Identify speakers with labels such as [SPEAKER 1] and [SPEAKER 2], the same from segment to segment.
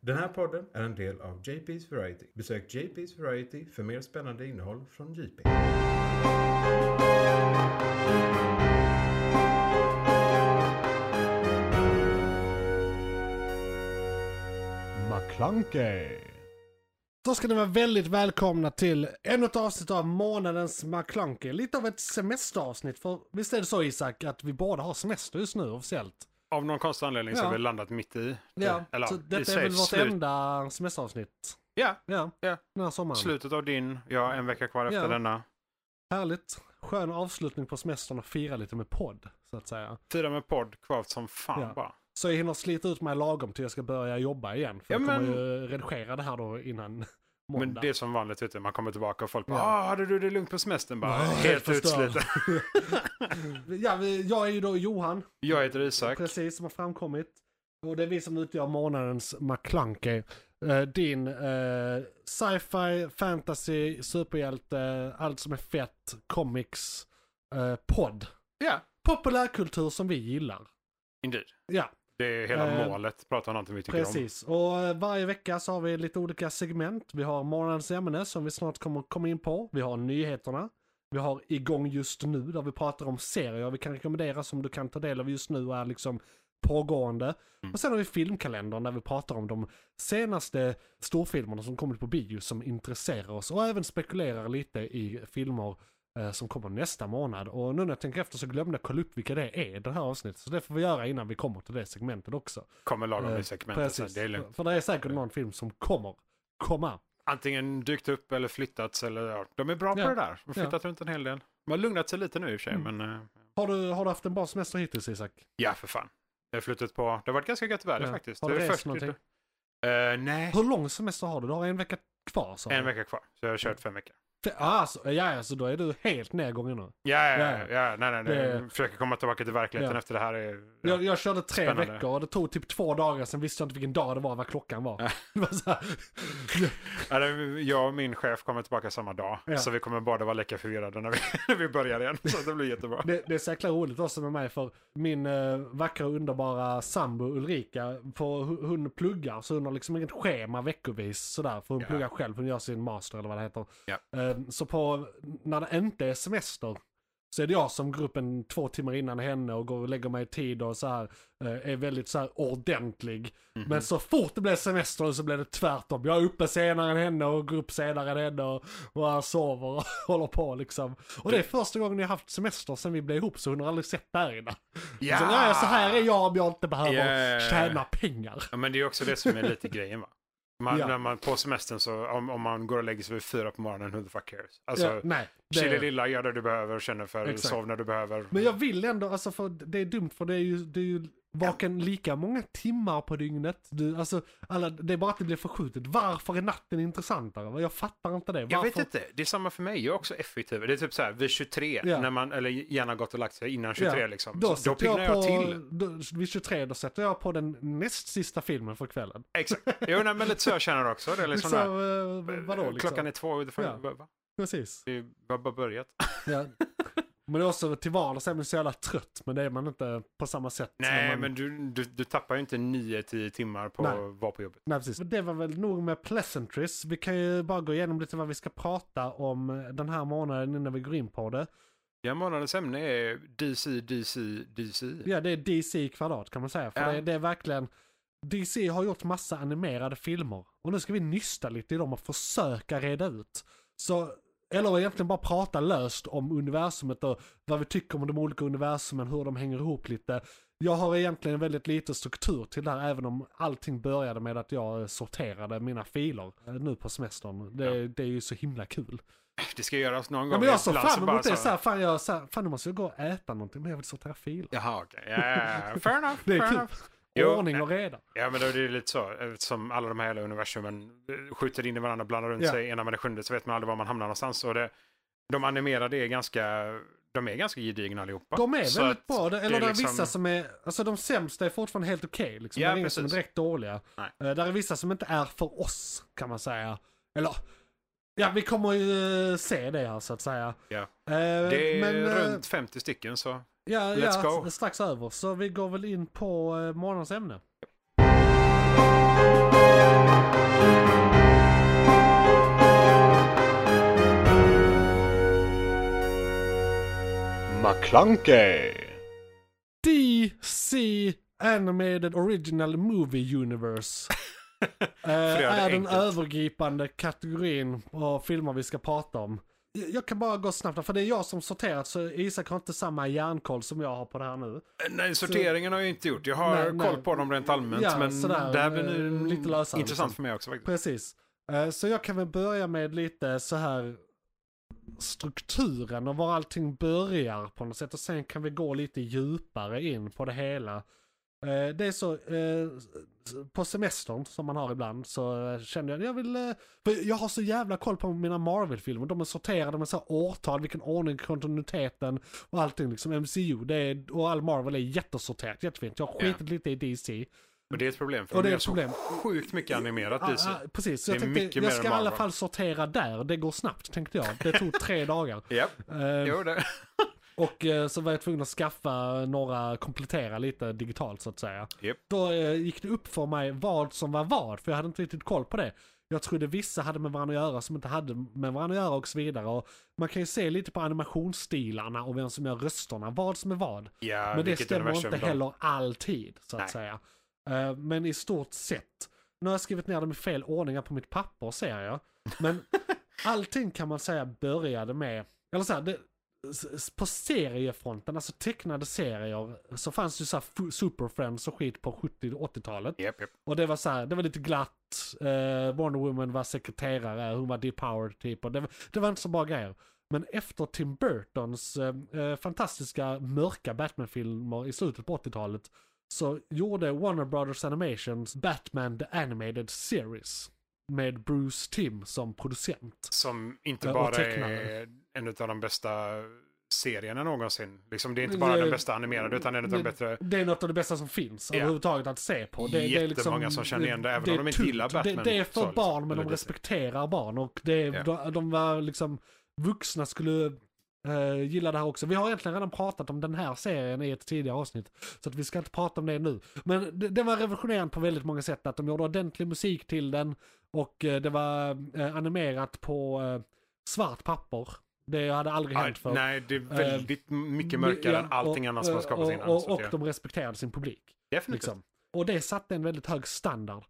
[SPEAKER 1] Den här podden är en del av JP's Variety. Besök JP's Variety för mer spännande innehåll från JP.
[SPEAKER 2] McClunkey. Då ska ni vara väldigt välkomna till ännu ett avsnitt av månadens McClunkey. Lite av ett semesteravsnitt. För visst är det så Isak att vi båda har semester just nu officiellt?
[SPEAKER 3] Av någon konstig anledning så
[SPEAKER 2] Ja.
[SPEAKER 3] har vi landat mitt i. det. Eller,
[SPEAKER 2] så
[SPEAKER 3] i
[SPEAKER 2] detta är
[SPEAKER 3] sig
[SPEAKER 2] väl vårt
[SPEAKER 3] slut-
[SPEAKER 2] enda semesteravsnitt.
[SPEAKER 3] Ja,
[SPEAKER 2] Ja,
[SPEAKER 3] ja.
[SPEAKER 2] den här sommaren.
[SPEAKER 3] Slutet av din, ja en vecka kvar efter
[SPEAKER 2] Ja.
[SPEAKER 3] denna.
[SPEAKER 2] Härligt. Skön avslutning på semestern och fira lite med podd, så att säga.
[SPEAKER 3] Fyra med podd kvavt som fan
[SPEAKER 2] Ja.
[SPEAKER 3] bara.
[SPEAKER 2] Så jag hinner slita ut mig lagom till jag ska börja jobba igen. För
[SPEAKER 3] Ja,
[SPEAKER 2] jag kommer
[SPEAKER 3] men-
[SPEAKER 2] ju redigera det här då innan måndag.
[SPEAKER 3] Men det är som vanligt, vet du, man kommer tillbaka och folk bara
[SPEAKER 2] Ja.
[SPEAKER 3] ah, hade du det lugnt på semestern? Bara,
[SPEAKER 2] Nej,
[SPEAKER 3] helt
[SPEAKER 2] helt förstörd.
[SPEAKER 3] utsliten.
[SPEAKER 2] ja, vi- jag är ju då Johan.
[SPEAKER 3] Jag heter Isak.
[SPEAKER 2] Precis, som har framkommit. Och det är vi som utgör månadens McClunky. Eh, din eh, sci-fi, fantasy, superhjälte, allt som är fett, comics, eh, podd.
[SPEAKER 3] Ja,
[SPEAKER 2] Populärkultur som vi gillar.
[SPEAKER 3] indeed.
[SPEAKER 2] Ja,
[SPEAKER 3] Det är hela
[SPEAKER 2] Eh,
[SPEAKER 3] målet, prata om någonting vi tycker
[SPEAKER 2] precis. Och eh, varje vecka så har vi lite olika segment. Vi har månadens ämne som vi snart kommer komma in på. Vi har nyheterna. Vi har igång just nu där vi pratar om serier vi kan rekommendera som du kan ta del av just nu och är liksom pågående. Och sen har vi filmkalendern där vi pratar om de senaste storfilmerna som kommit på bio som intresserar oss och även spekulerar lite i filmer eh, som kommer nästa månad. Och nu när jag tänker efter så glömde jag kolla upp vilka det är i det här avsnittet. Så det får vi göra innan vi kommer till det segmentet också.
[SPEAKER 3] om. Kommer lagom
[SPEAKER 2] Eh,
[SPEAKER 3] i segmentet. så Det är lugnt.
[SPEAKER 2] För det är säkert någon film som kommer komma.
[SPEAKER 3] Antingen dykt upp eller flyttats eller ja, de är bra
[SPEAKER 2] Ja. Mm.
[SPEAKER 3] på det där. De har flyttat runt en hel del. De har lugnat sig lite nu i och för sig, men eh,
[SPEAKER 2] Har du, har du haft en bra semester hittills Isak?
[SPEAKER 3] ja för fan. Det har flyttat på, det har varit ganska gött väder
[SPEAKER 2] Ja.
[SPEAKER 3] faktiskt.
[SPEAKER 2] Har du
[SPEAKER 3] det är
[SPEAKER 2] rest
[SPEAKER 3] först- typ-
[SPEAKER 2] någonting?
[SPEAKER 3] Eh, nej,
[SPEAKER 2] Hur lång semester har du? Du har en vecka kvar sa du.
[SPEAKER 3] en vecka kvar. Så jag har kört fem veckor.
[SPEAKER 2] Fe- Ah, så, ja, ja, så då är du helt nedgången nu.
[SPEAKER 3] Ja, ja,
[SPEAKER 2] Ja.
[SPEAKER 3] ja, ja nej, nej, nej.
[SPEAKER 2] Det-
[SPEAKER 3] Jag försöker komma tillbaka till verkligheten
[SPEAKER 2] Ja.
[SPEAKER 3] efter det här. Är, ja.
[SPEAKER 2] Jag, jag körde tre
[SPEAKER 3] Spännande.
[SPEAKER 2] veckor och det tog typ två dagar, sen visste jag inte vilken dag det var, vad klockan var. Det var så här,
[SPEAKER 3] Ja, det- Jag och min chef kommer tillbaka samma dag,
[SPEAKER 2] Ja.
[SPEAKER 3] så vi kommer båda vara lika förvirrade när vi, när vi börjar igen. Så det blir jättebra.
[SPEAKER 2] det, det är så jäkla roligt också med mig för min eh, vackra och underbara sambo Ulrika, för hu- hon pluggar så hon har liksom inget schema veckovis sådär. För hon
[SPEAKER 3] Ja.
[SPEAKER 2] pluggar själv, hon gör sin master eller vad det heter.
[SPEAKER 3] Ja.
[SPEAKER 2] Eh, så på, när det inte är semester så är det jag som går upp en två timmar innan henne och går och lägger mig i tid och så här, eh, är väldigt så här ordentlig.
[SPEAKER 3] Mhm.
[SPEAKER 2] Men så fort det blev semester så blev det tvärtom. Jag är uppe senare än henne och går upp senare än henne och, och jag sover och håller på liksom. Och det är första gången jag haft semester sen vi blev ihop så hon har aldrig sett det här innan.
[SPEAKER 3] Ja!
[SPEAKER 2] Så, nej, så här är jag om jag inte behöver
[SPEAKER 3] Ja.
[SPEAKER 2] tjäna pengar.
[SPEAKER 3] Ja, men det är också det som är lite grejen va? Man,
[SPEAKER 2] Ja.
[SPEAKER 3] när man, på semestern så, om, om man går och lägger sig vid fyra på morgonen, who the fuck cares? Alltså,
[SPEAKER 2] ja, nej, det-
[SPEAKER 3] chilla lilla, gör det du behöver, känner för,
[SPEAKER 2] Exakt.
[SPEAKER 3] sov när du behöver.
[SPEAKER 2] Men jag vill ändå, alltså för det är dumt för det är ju, det är ju vaken lika många timmar på dygnet. Du, alltså, alla, det är bara att det blir förskjutet. Varför är natten intressantare? Jag fattar inte det. Varför?
[SPEAKER 3] Jag vet inte, det är samma för mig. Jag är också effektiv. Det är typ så här vid 23,
[SPEAKER 2] Ja.
[SPEAKER 3] när man, eller gärna gått och lagt sig innan 23 liksom.
[SPEAKER 2] Då,
[SPEAKER 3] Så då
[SPEAKER 2] sätter
[SPEAKER 3] piggnar jag,
[SPEAKER 2] på,
[SPEAKER 3] till.
[SPEAKER 2] Då, vid 23 då sätter jag på den näst sista filmen för kvällen.
[SPEAKER 3] Exakt. Jo, nej, men lite så jag känner också. Det är liksom
[SPEAKER 2] Liksom,
[SPEAKER 3] där.
[SPEAKER 2] eh, vadå liksom?
[SPEAKER 3] Klockan är två ungefär.
[SPEAKER 2] Ja.
[SPEAKER 3] Va- va?
[SPEAKER 2] Precis.
[SPEAKER 3] Det har bara börjat.
[SPEAKER 2] Ja. Men det är också till vardags är man så jävla trött, men det är man inte på samma sätt. när
[SPEAKER 3] Nej,
[SPEAKER 2] man...
[SPEAKER 3] men du, du, du tappar ju inte 9-10 timmar på
[SPEAKER 2] Nej.
[SPEAKER 3] att vara på jobbet.
[SPEAKER 2] Nej, precis. Det var väl nog med pleasantries. Vi kan ju bara gå igenom lite vad vi ska prata om den här månaden innan vi går in på det.
[SPEAKER 3] Ja, månadens ämne är DC, DC, DC.
[SPEAKER 2] Ja, det är DC i kvadrat kan man säga. För
[SPEAKER 3] typ. Ja.
[SPEAKER 2] det, det är verkligen... DC har gjort massa animerade filmer. Och nu ska vi nysta lite i dem och försöka reda ut. Så, eller egentligen bara prata löst om universumet och vad vi tycker om de olika universumen, hur de hänger ihop lite. Jag har egentligen väldigt lite struktur till det här, även om allting började med att jag eh, sorterade mina filer eh, nu på semestern. Det, det är ju så himla kul.
[SPEAKER 3] Det ska göras någon gång.
[SPEAKER 2] Ja, men jag såg
[SPEAKER 3] Ibland
[SPEAKER 2] fram
[SPEAKER 3] bara
[SPEAKER 2] emot det, så här, fan, jag, så här, fan nu måste jag gå och äta någonting, men jag vill sortera filer.
[SPEAKER 3] Jaha, okej. Ja, ja, ja. fair enough.
[SPEAKER 2] Det är
[SPEAKER 3] fair
[SPEAKER 2] kul.
[SPEAKER 3] enough. Jo,
[SPEAKER 2] Ordning och reda.
[SPEAKER 3] Ja, men då är det ju lite så. Som alla de här hela universumen eh, skjuter in i varandra, blandar runt
[SPEAKER 2] Ja.
[SPEAKER 3] sig, ena med det sjunde, så vet man aldrig var man hamnar någonstans. Och det, de animerade är ganska, de är ganska gedigna allihopa.
[SPEAKER 2] De är
[SPEAKER 3] Så
[SPEAKER 2] väldigt
[SPEAKER 3] att
[SPEAKER 2] bra. Det, eller det är,
[SPEAKER 3] liksom-
[SPEAKER 2] vissa som är, alltså de sämsta är fortfarande helt okej. liksom.
[SPEAKER 3] Ja,
[SPEAKER 2] det är inga som är
[SPEAKER 3] precis.
[SPEAKER 2] direkt dåliga.
[SPEAKER 3] Nej.
[SPEAKER 2] Eh, där är vissa som inte är för oss, kan man säga. Eller, ja vi kommer ju eh, se det här så att säga.
[SPEAKER 3] Ja.
[SPEAKER 2] Eh,
[SPEAKER 3] Det är
[SPEAKER 2] men, eh,
[SPEAKER 3] runt 50 stycken så.
[SPEAKER 2] Ja,
[SPEAKER 3] Let's
[SPEAKER 2] ja
[SPEAKER 3] go.
[SPEAKER 2] strax över. Så vi går väl in på eh, morgonens ämne.
[SPEAKER 4] McClunkey.
[SPEAKER 2] DC Animated Original Movie Universe. eh,
[SPEAKER 3] det är
[SPEAKER 2] är den
[SPEAKER 3] enkelt.
[SPEAKER 2] övergripande kategorin av filmer vi ska prata om. Jag jag kan bara gå snabbt, för det är jag som sorterat så Isak har inte samma järnkoll som jag har på det här nu.
[SPEAKER 3] Nej, sorteringen har jag inte gjort. Jag har
[SPEAKER 2] Nej, nej.
[SPEAKER 3] koll på dem rent allmänt.
[SPEAKER 2] Ja,
[SPEAKER 3] men
[SPEAKER 2] sådär,
[SPEAKER 3] det här blir
[SPEAKER 2] eh,
[SPEAKER 3] nu
[SPEAKER 2] lite lösare,
[SPEAKER 3] intressant
[SPEAKER 2] liksom.
[SPEAKER 3] för mig också faktiskt.
[SPEAKER 2] Precis. Eh, Så jag kan väl börja med lite så här strukturen och var allting börjar på något sätt och sen kan vi gå lite djupare in på det hela. Eh, Det är så, eh, på semestern som man har ibland så eh, känner jag, jag vill, eh, för jag har så jävla koll på mina Marvel-filmer, de är sorterade med så här årtal, vilken ordning, kontinuiteten och allting liksom, MCU, det är, och all Marvel är jättesorterat, jättefint. Jag har
[SPEAKER 3] Ja.
[SPEAKER 2] skitit lite i DC.
[SPEAKER 3] Men det är ett problem. För
[SPEAKER 2] Och
[SPEAKER 3] de
[SPEAKER 2] det är
[SPEAKER 3] gör
[SPEAKER 2] ett
[SPEAKER 3] så
[SPEAKER 2] problem.
[SPEAKER 3] Sjukt mycket animerat DC.
[SPEAKER 2] Ah, ah, precis, så
[SPEAKER 3] Det
[SPEAKER 2] jag
[SPEAKER 3] är mycket
[SPEAKER 2] tänkte
[SPEAKER 3] mer
[SPEAKER 2] jag
[SPEAKER 3] än
[SPEAKER 2] ska i alla
[SPEAKER 3] Marvel.
[SPEAKER 2] fall sortera där. Det går snabbt tänkte jag. Det tog tre dagar.
[SPEAKER 3] Japp,
[SPEAKER 2] Eh,
[SPEAKER 3] jo det.
[SPEAKER 2] och eh, så var jag tvungen att skaffa några, komplettera lite digitalt så att säga.
[SPEAKER 3] Japp.
[SPEAKER 2] Då eh, gick det upp för mig vad som var vad, för jag hade inte riktigt koll på det. Jag trodde vissa hade med varandra att göra som inte hade med varandra att göra och så vidare. Och man kan ju se lite på animationsstilarna och vem som gör rösterna, vad som är vad.
[SPEAKER 3] Ja,
[SPEAKER 2] Men det
[SPEAKER 3] vilket
[SPEAKER 2] stämmer
[SPEAKER 3] universum
[SPEAKER 2] inte
[SPEAKER 3] då.
[SPEAKER 2] heller alltid, så att
[SPEAKER 3] Nej.
[SPEAKER 2] säga. Eh, men i stort sett. Nu har jag skrivit ner dem i fel ordningar på mitt papper, ser jag. Men allting kan man säga började med, eller så här, det, s- s- på seriefronten, alltså tecknade serier, så fanns ju så här fu- Super Friends och skit på 70 och 80-talet.
[SPEAKER 3] Japp, japp.
[SPEAKER 2] Och det var så här, det var lite glatt. Eh, Wonder Woman var sekreterare, hon var depowered typ. Och det, var- det var inte så bra grejer. Men efter Tim Burtons eh, eh, fantastiska mörka Batman-filmer i slutet på 80-talet så gjorde Warner Brothers Animations Batman The Animated Series med Bruce Timm som producent.
[SPEAKER 3] Som inte
[SPEAKER 2] Eh, och
[SPEAKER 3] bara
[SPEAKER 2] tecknare.
[SPEAKER 3] är en av de bästa serierna någonsin. Liksom, det är inte bara
[SPEAKER 2] Det-
[SPEAKER 3] den bästa animerade utan en av de bättre.
[SPEAKER 2] Det är något av det bästa som finns
[SPEAKER 3] Ja.
[SPEAKER 2] överhuvudtaget att se på. Det, det är liksom,
[SPEAKER 3] Jättemånga som känner igen det, även
[SPEAKER 2] är
[SPEAKER 3] om de inte
[SPEAKER 2] tungt.
[SPEAKER 3] gillar Batman,
[SPEAKER 2] Det, det är för
[SPEAKER 3] så liksom,
[SPEAKER 2] barn, men
[SPEAKER 3] eller
[SPEAKER 2] de
[SPEAKER 3] DC.
[SPEAKER 2] respekterar barn. Och det,
[SPEAKER 3] Ja.
[SPEAKER 2] de, de var liksom, vuxna skulle eh, gilla det här också. Vi har egentligen redan pratat om den här serien i ett tidigare avsnitt. Så att vi ska inte prata om det nu. Men det, det var revolutionerande på väldigt många sätt. Att de gjorde ordentlig musik till den. Och eh, det var eh, animerat på eh, svart papper. Det hade aldrig
[SPEAKER 3] Ah,
[SPEAKER 2] hänt förr.
[SPEAKER 3] nej, det är väldigt mycket mörkare
[SPEAKER 2] Eh, Ja,
[SPEAKER 3] än allting
[SPEAKER 2] och-
[SPEAKER 3] annat som har skapats
[SPEAKER 2] och,
[SPEAKER 3] innan.
[SPEAKER 2] Och,
[SPEAKER 3] så
[SPEAKER 2] och
[SPEAKER 3] att jag-
[SPEAKER 2] de respekterade sin publik.
[SPEAKER 3] Definitivt.
[SPEAKER 2] Liksom. Och det satte en väldigt hög standard.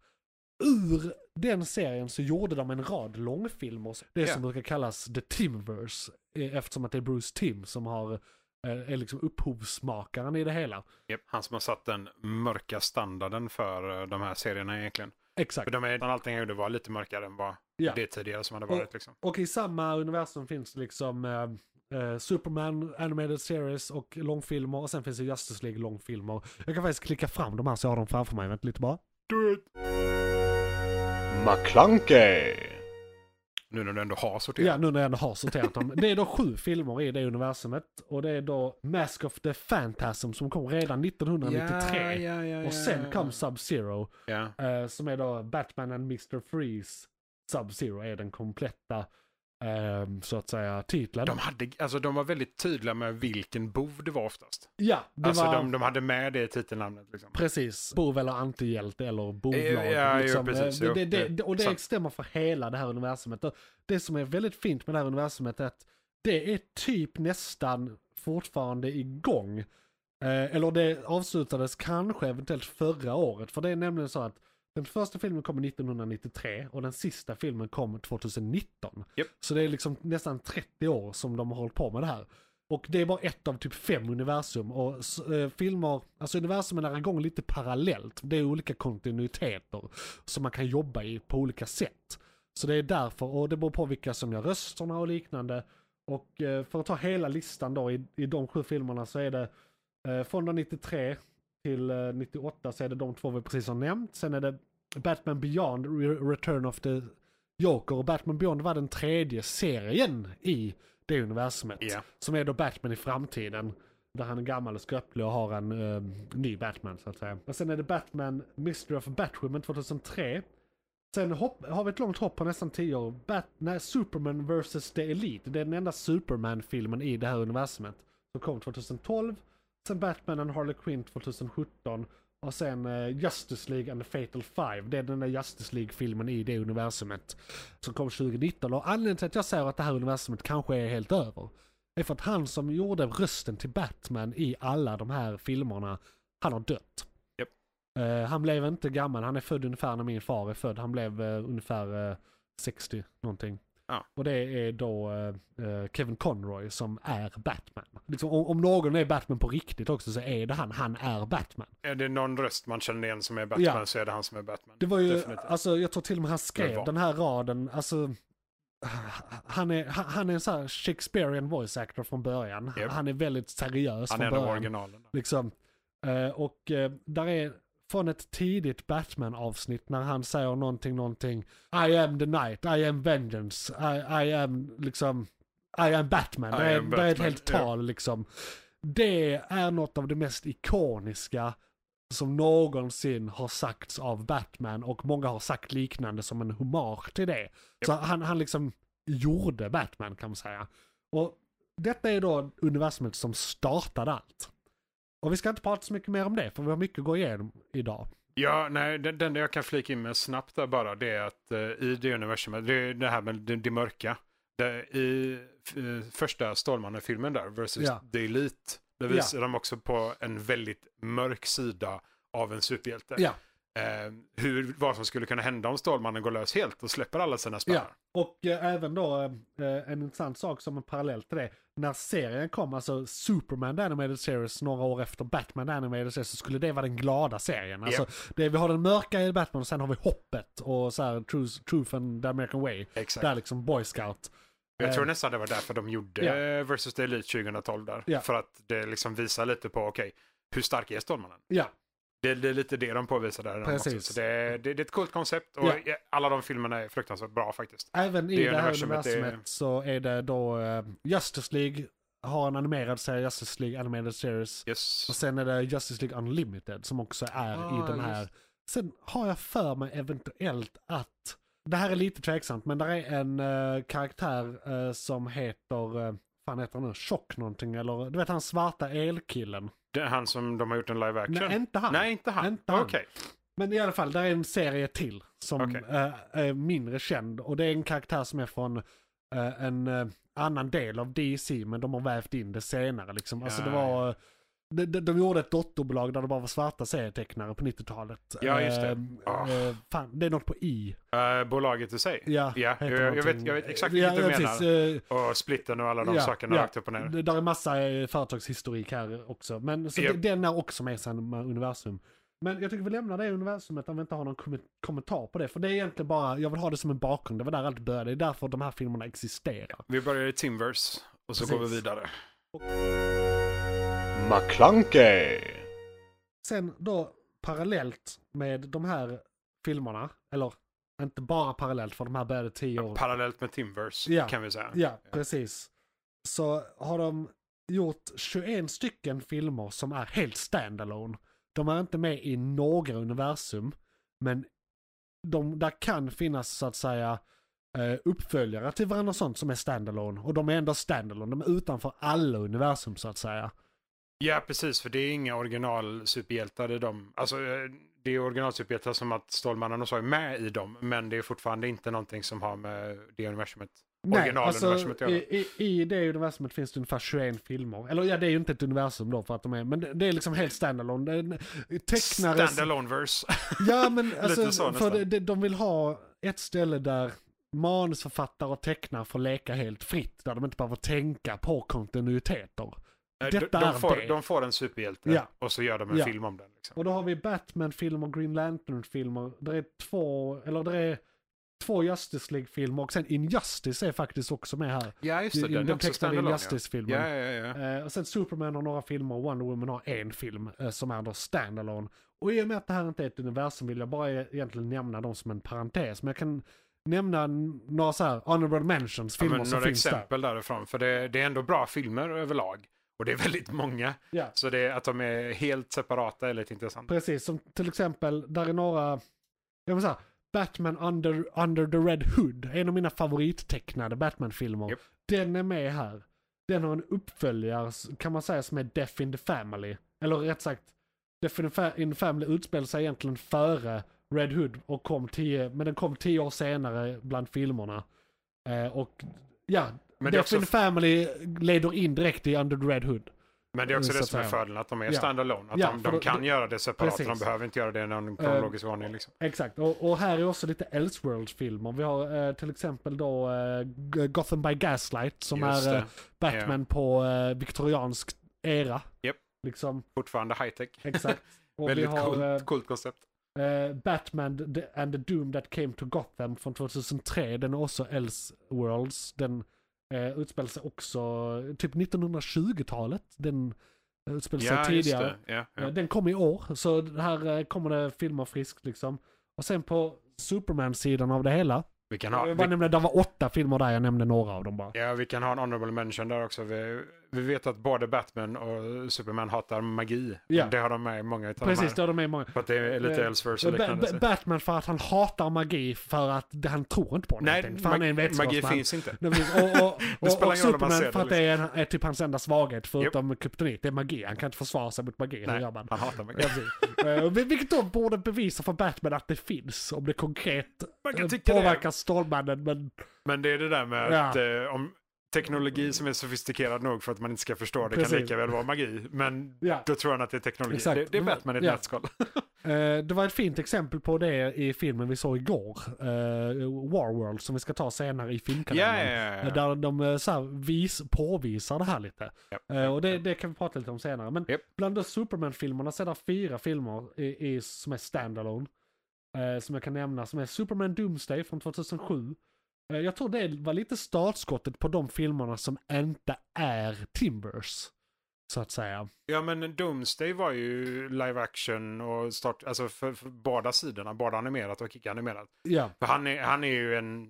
[SPEAKER 2] Ur den serien så gjorde de en rad långfilmer. Det
[SPEAKER 3] Ja.
[SPEAKER 2] som brukar kallas The Timverse. eh, Eftersom att det är Bruce Tim som har, eh, är liksom upphovsmakaren i det hela.
[SPEAKER 3] Japp, han som har satt den mörka standarden för eh, de här serierna egentligen.
[SPEAKER 2] Exakt.
[SPEAKER 3] För de är, allting han gjorde var lite mörkare än vad
[SPEAKER 2] Ja.
[SPEAKER 3] det tidigare som hade varit. Liksom.
[SPEAKER 2] Och i samma universum finns det liksom eh, eh, Superman Animated Series och långfilmer. Och sen finns det Justice League långfilmer. Jag kan faktiskt klicka fram de här så jag har dem framför mig. Vänta lite bara.
[SPEAKER 4] McClunkey.
[SPEAKER 3] Nu när du ändå har sorterat.
[SPEAKER 2] Ja, nu när jag ändå har sorterat dem. Det är då sju filmer i det universumet. Och det är då Mask of the Phantasm som kom redan 1993.
[SPEAKER 3] ja, ja,
[SPEAKER 2] Och sen kom Sub-Zero.
[SPEAKER 3] Ja.
[SPEAKER 2] eh, som är då Batman and Mr. Freeze. Sub-Zero är den kompletta, eh, så att säga, titeln.
[SPEAKER 3] De, hade, alltså, de var väldigt tydliga med vilken bov det var oftast.
[SPEAKER 2] ja, det
[SPEAKER 3] alltså
[SPEAKER 2] var
[SPEAKER 3] de, de hade med det i titelnamnet. Liksom.
[SPEAKER 2] precis bov eller antihjälte eller bovlag.
[SPEAKER 3] Eh, ja, jo,
[SPEAKER 2] liksom.
[SPEAKER 3] precis,
[SPEAKER 2] Eh, det,
[SPEAKER 3] jo,
[SPEAKER 2] det,
[SPEAKER 3] det-
[SPEAKER 2] det, och det
[SPEAKER 3] sant.
[SPEAKER 2] stämmer för hela det här universumet. Och Det som är väldigt fint med det här universumet är att det är typ nästan fortfarande igång. Eh, eller det avslutades kanske eventuellt förra året. För det är nämligen så att den första filmen kom 1993 och den sista filmen kom 2019.
[SPEAKER 3] Japp.
[SPEAKER 2] Så det är liksom nästan 30 år som de har hållit på med det här. Och det är bara ett av typ fem universum. Och s- eh, filmer, alltså universumen är igång lite parallellt. Det är olika kontinuiteter som man kan jobba i på olika sätt. Så det är därför, och det beror på vilka som gör rösterna och liknande. Och eh, för att ta hela listan då i, i de sju filmerna så är det eh, från då 93 till eh, 98 så är det de två vi precis har nämnt. Sen är det Batman Beyond, Re- Return of the Joker och Batman Beyond var den tredje serien i det universumet.
[SPEAKER 3] Ja.
[SPEAKER 2] Som är då Batman i framtiden. Där han är gammal och skröplig och har en eh, ny Batman så att säga. Och sen är det Batman Mystery of Batwoman 2003. Sen hopp, har vi ett långt hopp på nästan 10 år. Bat, nej, Superman vs. The Elite. Det är den enda Superman-filmen i det här universumet. Som kom 2012. Sen Batman and Harley Quinn 2017. Och sen eh, Justice League and the Fatal Five. Det är den där Justice League-filmen i det universumet. Som kom 2019. Och anledningen till att jag säger att det här universumet kanske är helt över. är för att han som gjorde rösten till Batman i alla de här filmerna, han har dött.
[SPEAKER 3] Japp.
[SPEAKER 2] Eh, han blev inte gammal, han är född ungefär när min far är född. Han blev eh, ungefär eh, 60 någonting.
[SPEAKER 3] Ja.
[SPEAKER 2] Och det är då eh, eh, Kevin Conroy som är Batman. Liksom, om, om någon är Batman på riktigt också så är det han. Han är Batman.
[SPEAKER 3] Är det någon röst man känner igen som är Batman
[SPEAKER 2] Ja.
[SPEAKER 3] så är det han som är Batman.
[SPEAKER 2] Det var ju,
[SPEAKER 3] Definitivt.
[SPEAKER 2] alltså jag tror till och med han
[SPEAKER 3] Det
[SPEAKER 2] skrev
[SPEAKER 3] var.
[SPEAKER 2] den här raden, alltså han är, han han är en sån här Shakespearean voice actor från början.
[SPEAKER 3] Japp.
[SPEAKER 2] Han är väldigt seriös
[SPEAKER 3] han
[SPEAKER 2] från
[SPEAKER 3] är en av
[SPEAKER 2] början.
[SPEAKER 3] originalen.
[SPEAKER 2] Liksom. Eh, och eh, där är från ett tidigt Batman-avsnitt när han säger någonting, någonting. I am the night, I am vengeance, I, I am liksom, I am Batman.
[SPEAKER 3] I
[SPEAKER 2] det, är,
[SPEAKER 3] am
[SPEAKER 2] det är ett
[SPEAKER 3] Batman,
[SPEAKER 2] helt
[SPEAKER 3] ja.
[SPEAKER 2] tal liksom. Det är något av det mest ikoniska som någonsin har sagts av Batman och många har sagt liknande som en hommage till det. Så han, han liksom gjorde Batman kan man säga. Och detta är då universumet som startade allt. Och vi ska inte prata så mycket mer om det, för vi har mycket att gå igenom idag.
[SPEAKER 3] Ja, nej, den, den där jag kan flika in med snabbt där bara, det är att eh, i det universumet, det, är det här med det, det mörka, det, i eh, första Stålmannen-filmen där, versus
[SPEAKER 2] Ja.
[SPEAKER 3] The Elite, där
[SPEAKER 2] Ja.
[SPEAKER 3] visar de också på en väldigt mörk sida av en superhjälte.
[SPEAKER 2] Ja.
[SPEAKER 3] Eh, hur, vad som skulle kunna hända om Stålmannen går lös helt och släpper alla sina spärrar.
[SPEAKER 2] Ja, och eh, även då eh, eh, en intressant sak som en parallell till det. När serien kom, alltså Superman The Animated Series några år efter Batman The Animated Series, så skulle det vara den glada serien. Alltså,
[SPEAKER 3] Ja.
[SPEAKER 2] det, vi har den mörka i Batman och sen har vi hoppet och så här, Truth, Truth and the American Way.
[SPEAKER 3] Exakt.
[SPEAKER 2] Där liksom Boy Scout.
[SPEAKER 3] Jag tror
[SPEAKER 2] Eh,
[SPEAKER 3] nästan det var därför de gjorde
[SPEAKER 2] ja.
[SPEAKER 3] versus The Elite 2012 där.
[SPEAKER 2] Ja.
[SPEAKER 3] För att det liksom visar lite på, okej, hur stark är Stålmannen?
[SPEAKER 2] Ja,
[SPEAKER 3] Det, det är lite det de påvisar där. Också.
[SPEAKER 2] Precis.
[SPEAKER 3] Så det, det, det är ett coolt koncept och
[SPEAKER 2] Ja. alla
[SPEAKER 3] alla de filmerna är fruktansvärt bra faktiskt.
[SPEAKER 2] även i
[SPEAKER 3] Det
[SPEAKER 2] det, här
[SPEAKER 3] universumet är-
[SPEAKER 2] universumet så är det då eh, Justice League har en animerad serie, Justice League Animated Series.
[SPEAKER 3] Yes.
[SPEAKER 2] Och sen är det Justice League Unlimited som också är
[SPEAKER 3] Ah,
[SPEAKER 2] i den här. Sen har jag för mig eventuellt att, det här är lite tveksamt, men där är en eh, karaktär eh, som heter, eh, fan heter han nu, Tjock någonting eller, du vet han svarta elkillen.
[SPEAKER 3] Det är han som de har gjort en live action.
[SPEAKER 2] Nej, inte han.
[SPEAKER 3] Nej, inte han.
[SPEAKER 2] Inte han.
[SPEAKER 3] Okej.
[SPEAKER 2] Men i alla fall, där är en serie till som
[SPEAKER 3] Okej.
[SPEAKER 2] eh, är mindre känd. Och det är en karaktär som är från eh, en eh, annan del av DC, men de har vävt in det senare. Liksom. Alltså, det
[SPEAKER 3] Ja,
[SPEAKER 2] var, de, de, de gjorde ett dotterbolag där det bara var svarta serietecknare på 90-talet.
[SPEAKER 3] Ja, just det.
[SPEAKER 2] Eh,
[SPEAKER 3] Ah.
[SPEAKER 2] eh, fan, det är något på I.
[SPEAKER 3] Eh, bolaget i sig.
[SPEAKER 2] Ja, heter
[SPEAKER 3] jag, jag, vet,
[SPEAKER 2] någonting.
[SPEAKER 3] jag vet exakt
[SPEAKER 2] Ja,
[SPEAKER 3] vad du
[SPEAKER 2] ja,
[SPEAKER 3] menar.
[SPEAKER 2] precis, eh,
[SPEAKER 3] Och splitten och alla de sakerna rakt upp och ner.
[SPEAKER 2] Det- Där är massa eh, företagshistorik här också. Men så
[SPEAKER 3] Japp.
[SPEAKER 2] det, den är också med i samma universum. Men jag tycker vi lämnar det universumet om vi inte har någon kommen- kommentar på det. För det är egentligen bara, jag vill ha det som en bakgrund. Det var där allt började. Det är därför de här filmerna existerar.
[SPEAKER 3] Vi börjar i Timverse och så
[SPEAKER 2] Precis.
[SPEAKER 3] går vi vidare.
[SPEAKER 4] McClunkey.
[SPEAKER 2] Sen då parallellt med de här filmerna, eller inte bara parallellt för de här började tio år
[SPEAKER 3] Parallellt med Timverse
[SPEAKER 2] Ja.
[SPEAKER 3] kan vi säga.
[SPEAKER 2] Ja, precis. Så har de gjort 21 stycken filmer som är helt standalone. De är inte med i några universum, men de, där kan finnas så att säga eh, uppföljare till varandra och sånt som är standalone. Och de är ändå standalone, de är utanför alla universum så att säga.
[SPEAKER 3] Ja, precis. För det är inga originalsuperhjältar i dem. Alltså, eh, det är originalsuperhjältar som att Stålmannen och så är med i dem. Men det är fortfarande inte någonting som har med det universumet. Originaluniversumet
[SPEAKER 2] alltså,
[SPEAKER 3] gör
[SPEAKER 2] i, i, I det universumet finns det ungefär 21 filmer. Eller ja, det är ju inte ett universum då för att de är, men det, det är liksom helt standalone. Det är en- Tecknare
[SPEAKER 3] Standalone-verse.
[SPEAKER 2] Ja men alltså,
[SPEAKER 3] Lite så
[SPEAKER 2] för
[SPEAKER 3] nästan.
[SPEAKER 2] de, de, de vill ha ett ställe där manusförfattare och tecknare får leka helt fritt. Där de inte behöver tänka på kontinuiteter.
[SPEAKER 3] Eh,
[SPEAKER 2] Detta
[SPEAKER 3] de,
[SPEAKER 2] är
[SPEAKER 3] de, får,
[SPEAKER 2] det.
[SPEAKER 3] de får en superhjälte
[SPEAKER 2] Ja.
[SPEAKER 3] och så gör de en
[SPEAKER 2] Ja.
[SPEAKER 3] film om den. Liksom.
[SPEAKER 2] Och då har vi Batman-filmer, Green Lantern-filmer. Där är två, eller där är två Justice League-filmer och sen Injustice är faktiskt också med här.
[SPEAKER 3] Ja, just det.
[SPEAKER 2] I- i
[SPEAKER 3] Den,
[SPEAKER 2] den
[SPEAKER 3] är också
[SPEAKER 2] tecknade
[SPEAKER 3] standalone,
[SPEAKER 2] Injustice-filmen.
[SPEAKER 3] Ja, ja, ja. ja.
[SPEAKER 2] Eh, och sen Superman har några filmer och Wonder Woman har en film eh, som är då standalone. Och i och med att det här inte är ett universum vill jag bara e- egentligen nämna dem som en parentes. Men jag kan nämna n- några så här honorable mentions
[SPEAKER 3] ja
[SPEAKER 2] filmer
[SPEAKER 3] men,
[SPEAKER 2] som
[SPEAKER 3] några
[SPEAKER 2] finns
[SPEAKER 3] exempel därifrån. För det, det är ändå bra filmer överlag. Och det är väldigt många.
[SPEAKER 2] där. Ja,
[SPEAKER 3] Så det, att de är helt separata är lite intressant.
[SPEAKER 2] precis. Som till exempel, där är några, jag vill säga, Batman under, under the Red Hood, en av mina favorittecknade Batman-filmer.
[SPEAKER 3] Japp.
[SPEAKER 2] Den är med här. Den har en uppföljare s- kan man säga som är Death in the Family. Eller rätt sagt, Death in the Fa- in the Family utspelar sig egentligen före Red Hood och kom tio, men den kom tio år senare bland filmerna. Eh, och ja,
[SPEAKER 3] Men det är
[SPEAKER 2] Death
[SPEAKER 3] också,
[SPEAKER 2] in the Family leder in direkt i Under the Red Hood.
[SPEAKER 3] men det, är också
[SPEAKER 2] Mm, så
[SPEAKER 3] det
[SPEAKER 2] att
[SPEAKER 3] som är
[SPEAKER 2] säga.
[SPEAKER 3] fördelen, att de är
[SPEAKER 2] Ja.
[SPEAKER 3] standalone. Att
[SPEAKER 2] Ja,
[SPEAKER 3] de,
[SPEAKER 2] för
[SPEAKER 3] de
[SPEAKER 2] då-
[SPEAKER 3] kan göra det separat,
[SPEAKER 2] Precis. Ehm,
[SPEAKER 3] de behöver inte göra det i någon kronologisk ordning. Liksom.
[SPEAKER 2] Exakt, och, och här är också lite Elseworlds-filmer. Vi har eh, till exempel då eh, G- Gotham by Gaslight som
[SPEAKER 3] Just
[SPEAKER 2] är eh,
[SPEAKER 3] det.
[SPEAKER 2] Batman på eh, viktoriansk era.
[SPEAKER 3] Japp.
[SPEAKER 2] Liksom,
[SPEAKER 3] Fortfarande high-tech.
[SPEAKER 2] exakt. Och vi
[SPEAKER 3] Väldigt
[SPEAKER 2] har eh,
[SPEAKER 3] coolt, coolt koncept.
[SPEAKER 2] eh, Batman the, and the Doom that came to Gotham från 2003. Den är också Elseworlds. Den eh, utspelar sig också eh, typ 1920-talet. Den eh, utspelar sig tidigare.
[SPEAKER 3] det. Ja, ja.
[SPEAKER 2] Eh, Den kom i år, så här eh, kommer det filmer friskt liksom. Och sen på Superman-sidan av det hela.
[SPEAKER 3] Vi, kan ha,
[SPEAKER 2] jag bara
[SPEAKER 3] vi,
[SPEAKER 2] nämnde, det var åtta filmer där, jag nämnde några av dem bara.
[SPEAKER 3] ja, vi kan ha en honorable mention där också. Vi, vi vet att både Batman och Superman hatar magi.
[SPEAKER 2] Ja.
[SPEAKER 3] Det har de med i många utav
[SPEAKER 2] Precis,
[SPEAKER 3] de
[SPEAKER 2] det är de är många.
[SPEAKER 3] här. För att det är lite
[SPEAKER 2] Eh,
[SPEAKER 3] Elseworlds och
[SPEAKER 2] Ba-
[SPEAKER 3] liknande.
[SPEAKER 2] Ba- Batman för att han hatar magi för att det- han tror inte på det. helt
[SPEAKER 3] Nej,
[SPEAKER 2] enkelt. för han är en
[SPEAKER 3] mag- magi
[SPEAKER 2] vetenskapsman.
[SPEAKER 3] finns inte.
[SPEAKER 2] Det finns- Och, och,
[SPEAKER 3] Det
[SPEAKER 2] och,
[SPEAKER 3] spelar
[SPEAKER 2] och
[SPEAKER 3] ingen roll om man
[SPEAKER 2] Superman
[SPEAKER 3] ser det, liksom.
[SPEAKER 2] för att det är, är typ hans enda svaghet förutom kryptonit. Det är magi. Han kan inte försvara sig mot magi. Hur
[SPEAKER 3] Nej,
[SPEAKER 2] gör man?
[SPEAKER 3] han hatar magi.
[SPEAKER 2] Ja, precis. Eh, vil- Vilket då borde bevisa för Batman att det finns. Om det konkret
[SPEAKER 3] Man kan
[SPEAKER 2] eh,
[SPEAKER 3] tycka det.
[SPEAKER 2] påverkar Stålmannen. Men
[SPEAKER 3] Men det är det där med
[SPEAKER 2] Ja.
[SPEAKER 3] att eh, om teknologi som är sofistikerad nog för att man inte ska förstå det
[SPEAKER 2] Precis.
[SPEAKER 3] kan lika väl vara magi. Men
[SPEAKER 2] Ja.
[SPEAKER 3] då tror han att det är teknologi.
[SPEAKER 2] Exakt.
[SPEAKER 3] Det, det är Batman i ett
[SPEAKER 2] Ja.
[SPEAKER 3] nötskal.
[SPEAKER 2] Eh, det var ett fint exempel på det i filmen vi såg igår. Uh, War World som vi ska ta senare i filmkanalen.
[SPEAKER 3] Ja, ja, ja, ja.
[SPEAKER 2] Eh, Där de eh, så här vis, påvisar det här lite.
[SPEAKER 3] Japp.
[SPEAKER 2] Eh, och det, det kan vi prata lite om senare. Men
[SPEAKER 3] Japp.
[SPEAKER 2] bland de Superman-filmerna så är det fyra filmer i, i, som är standalone. Eh, som jag kan nämna som är Superman Doomsday från 2007. Eh, jag tror det var lite startskottet på de filmerna som inte är Timbers. Så att säga.
[SPEAKER 3] Ja men Doomsday var ju live action och start, alltså för, för båda sidorna, både animerat och icke-animerat.
[SPEAKER 2] Ja,
[SPEAKER 3] För han är, han är ju en...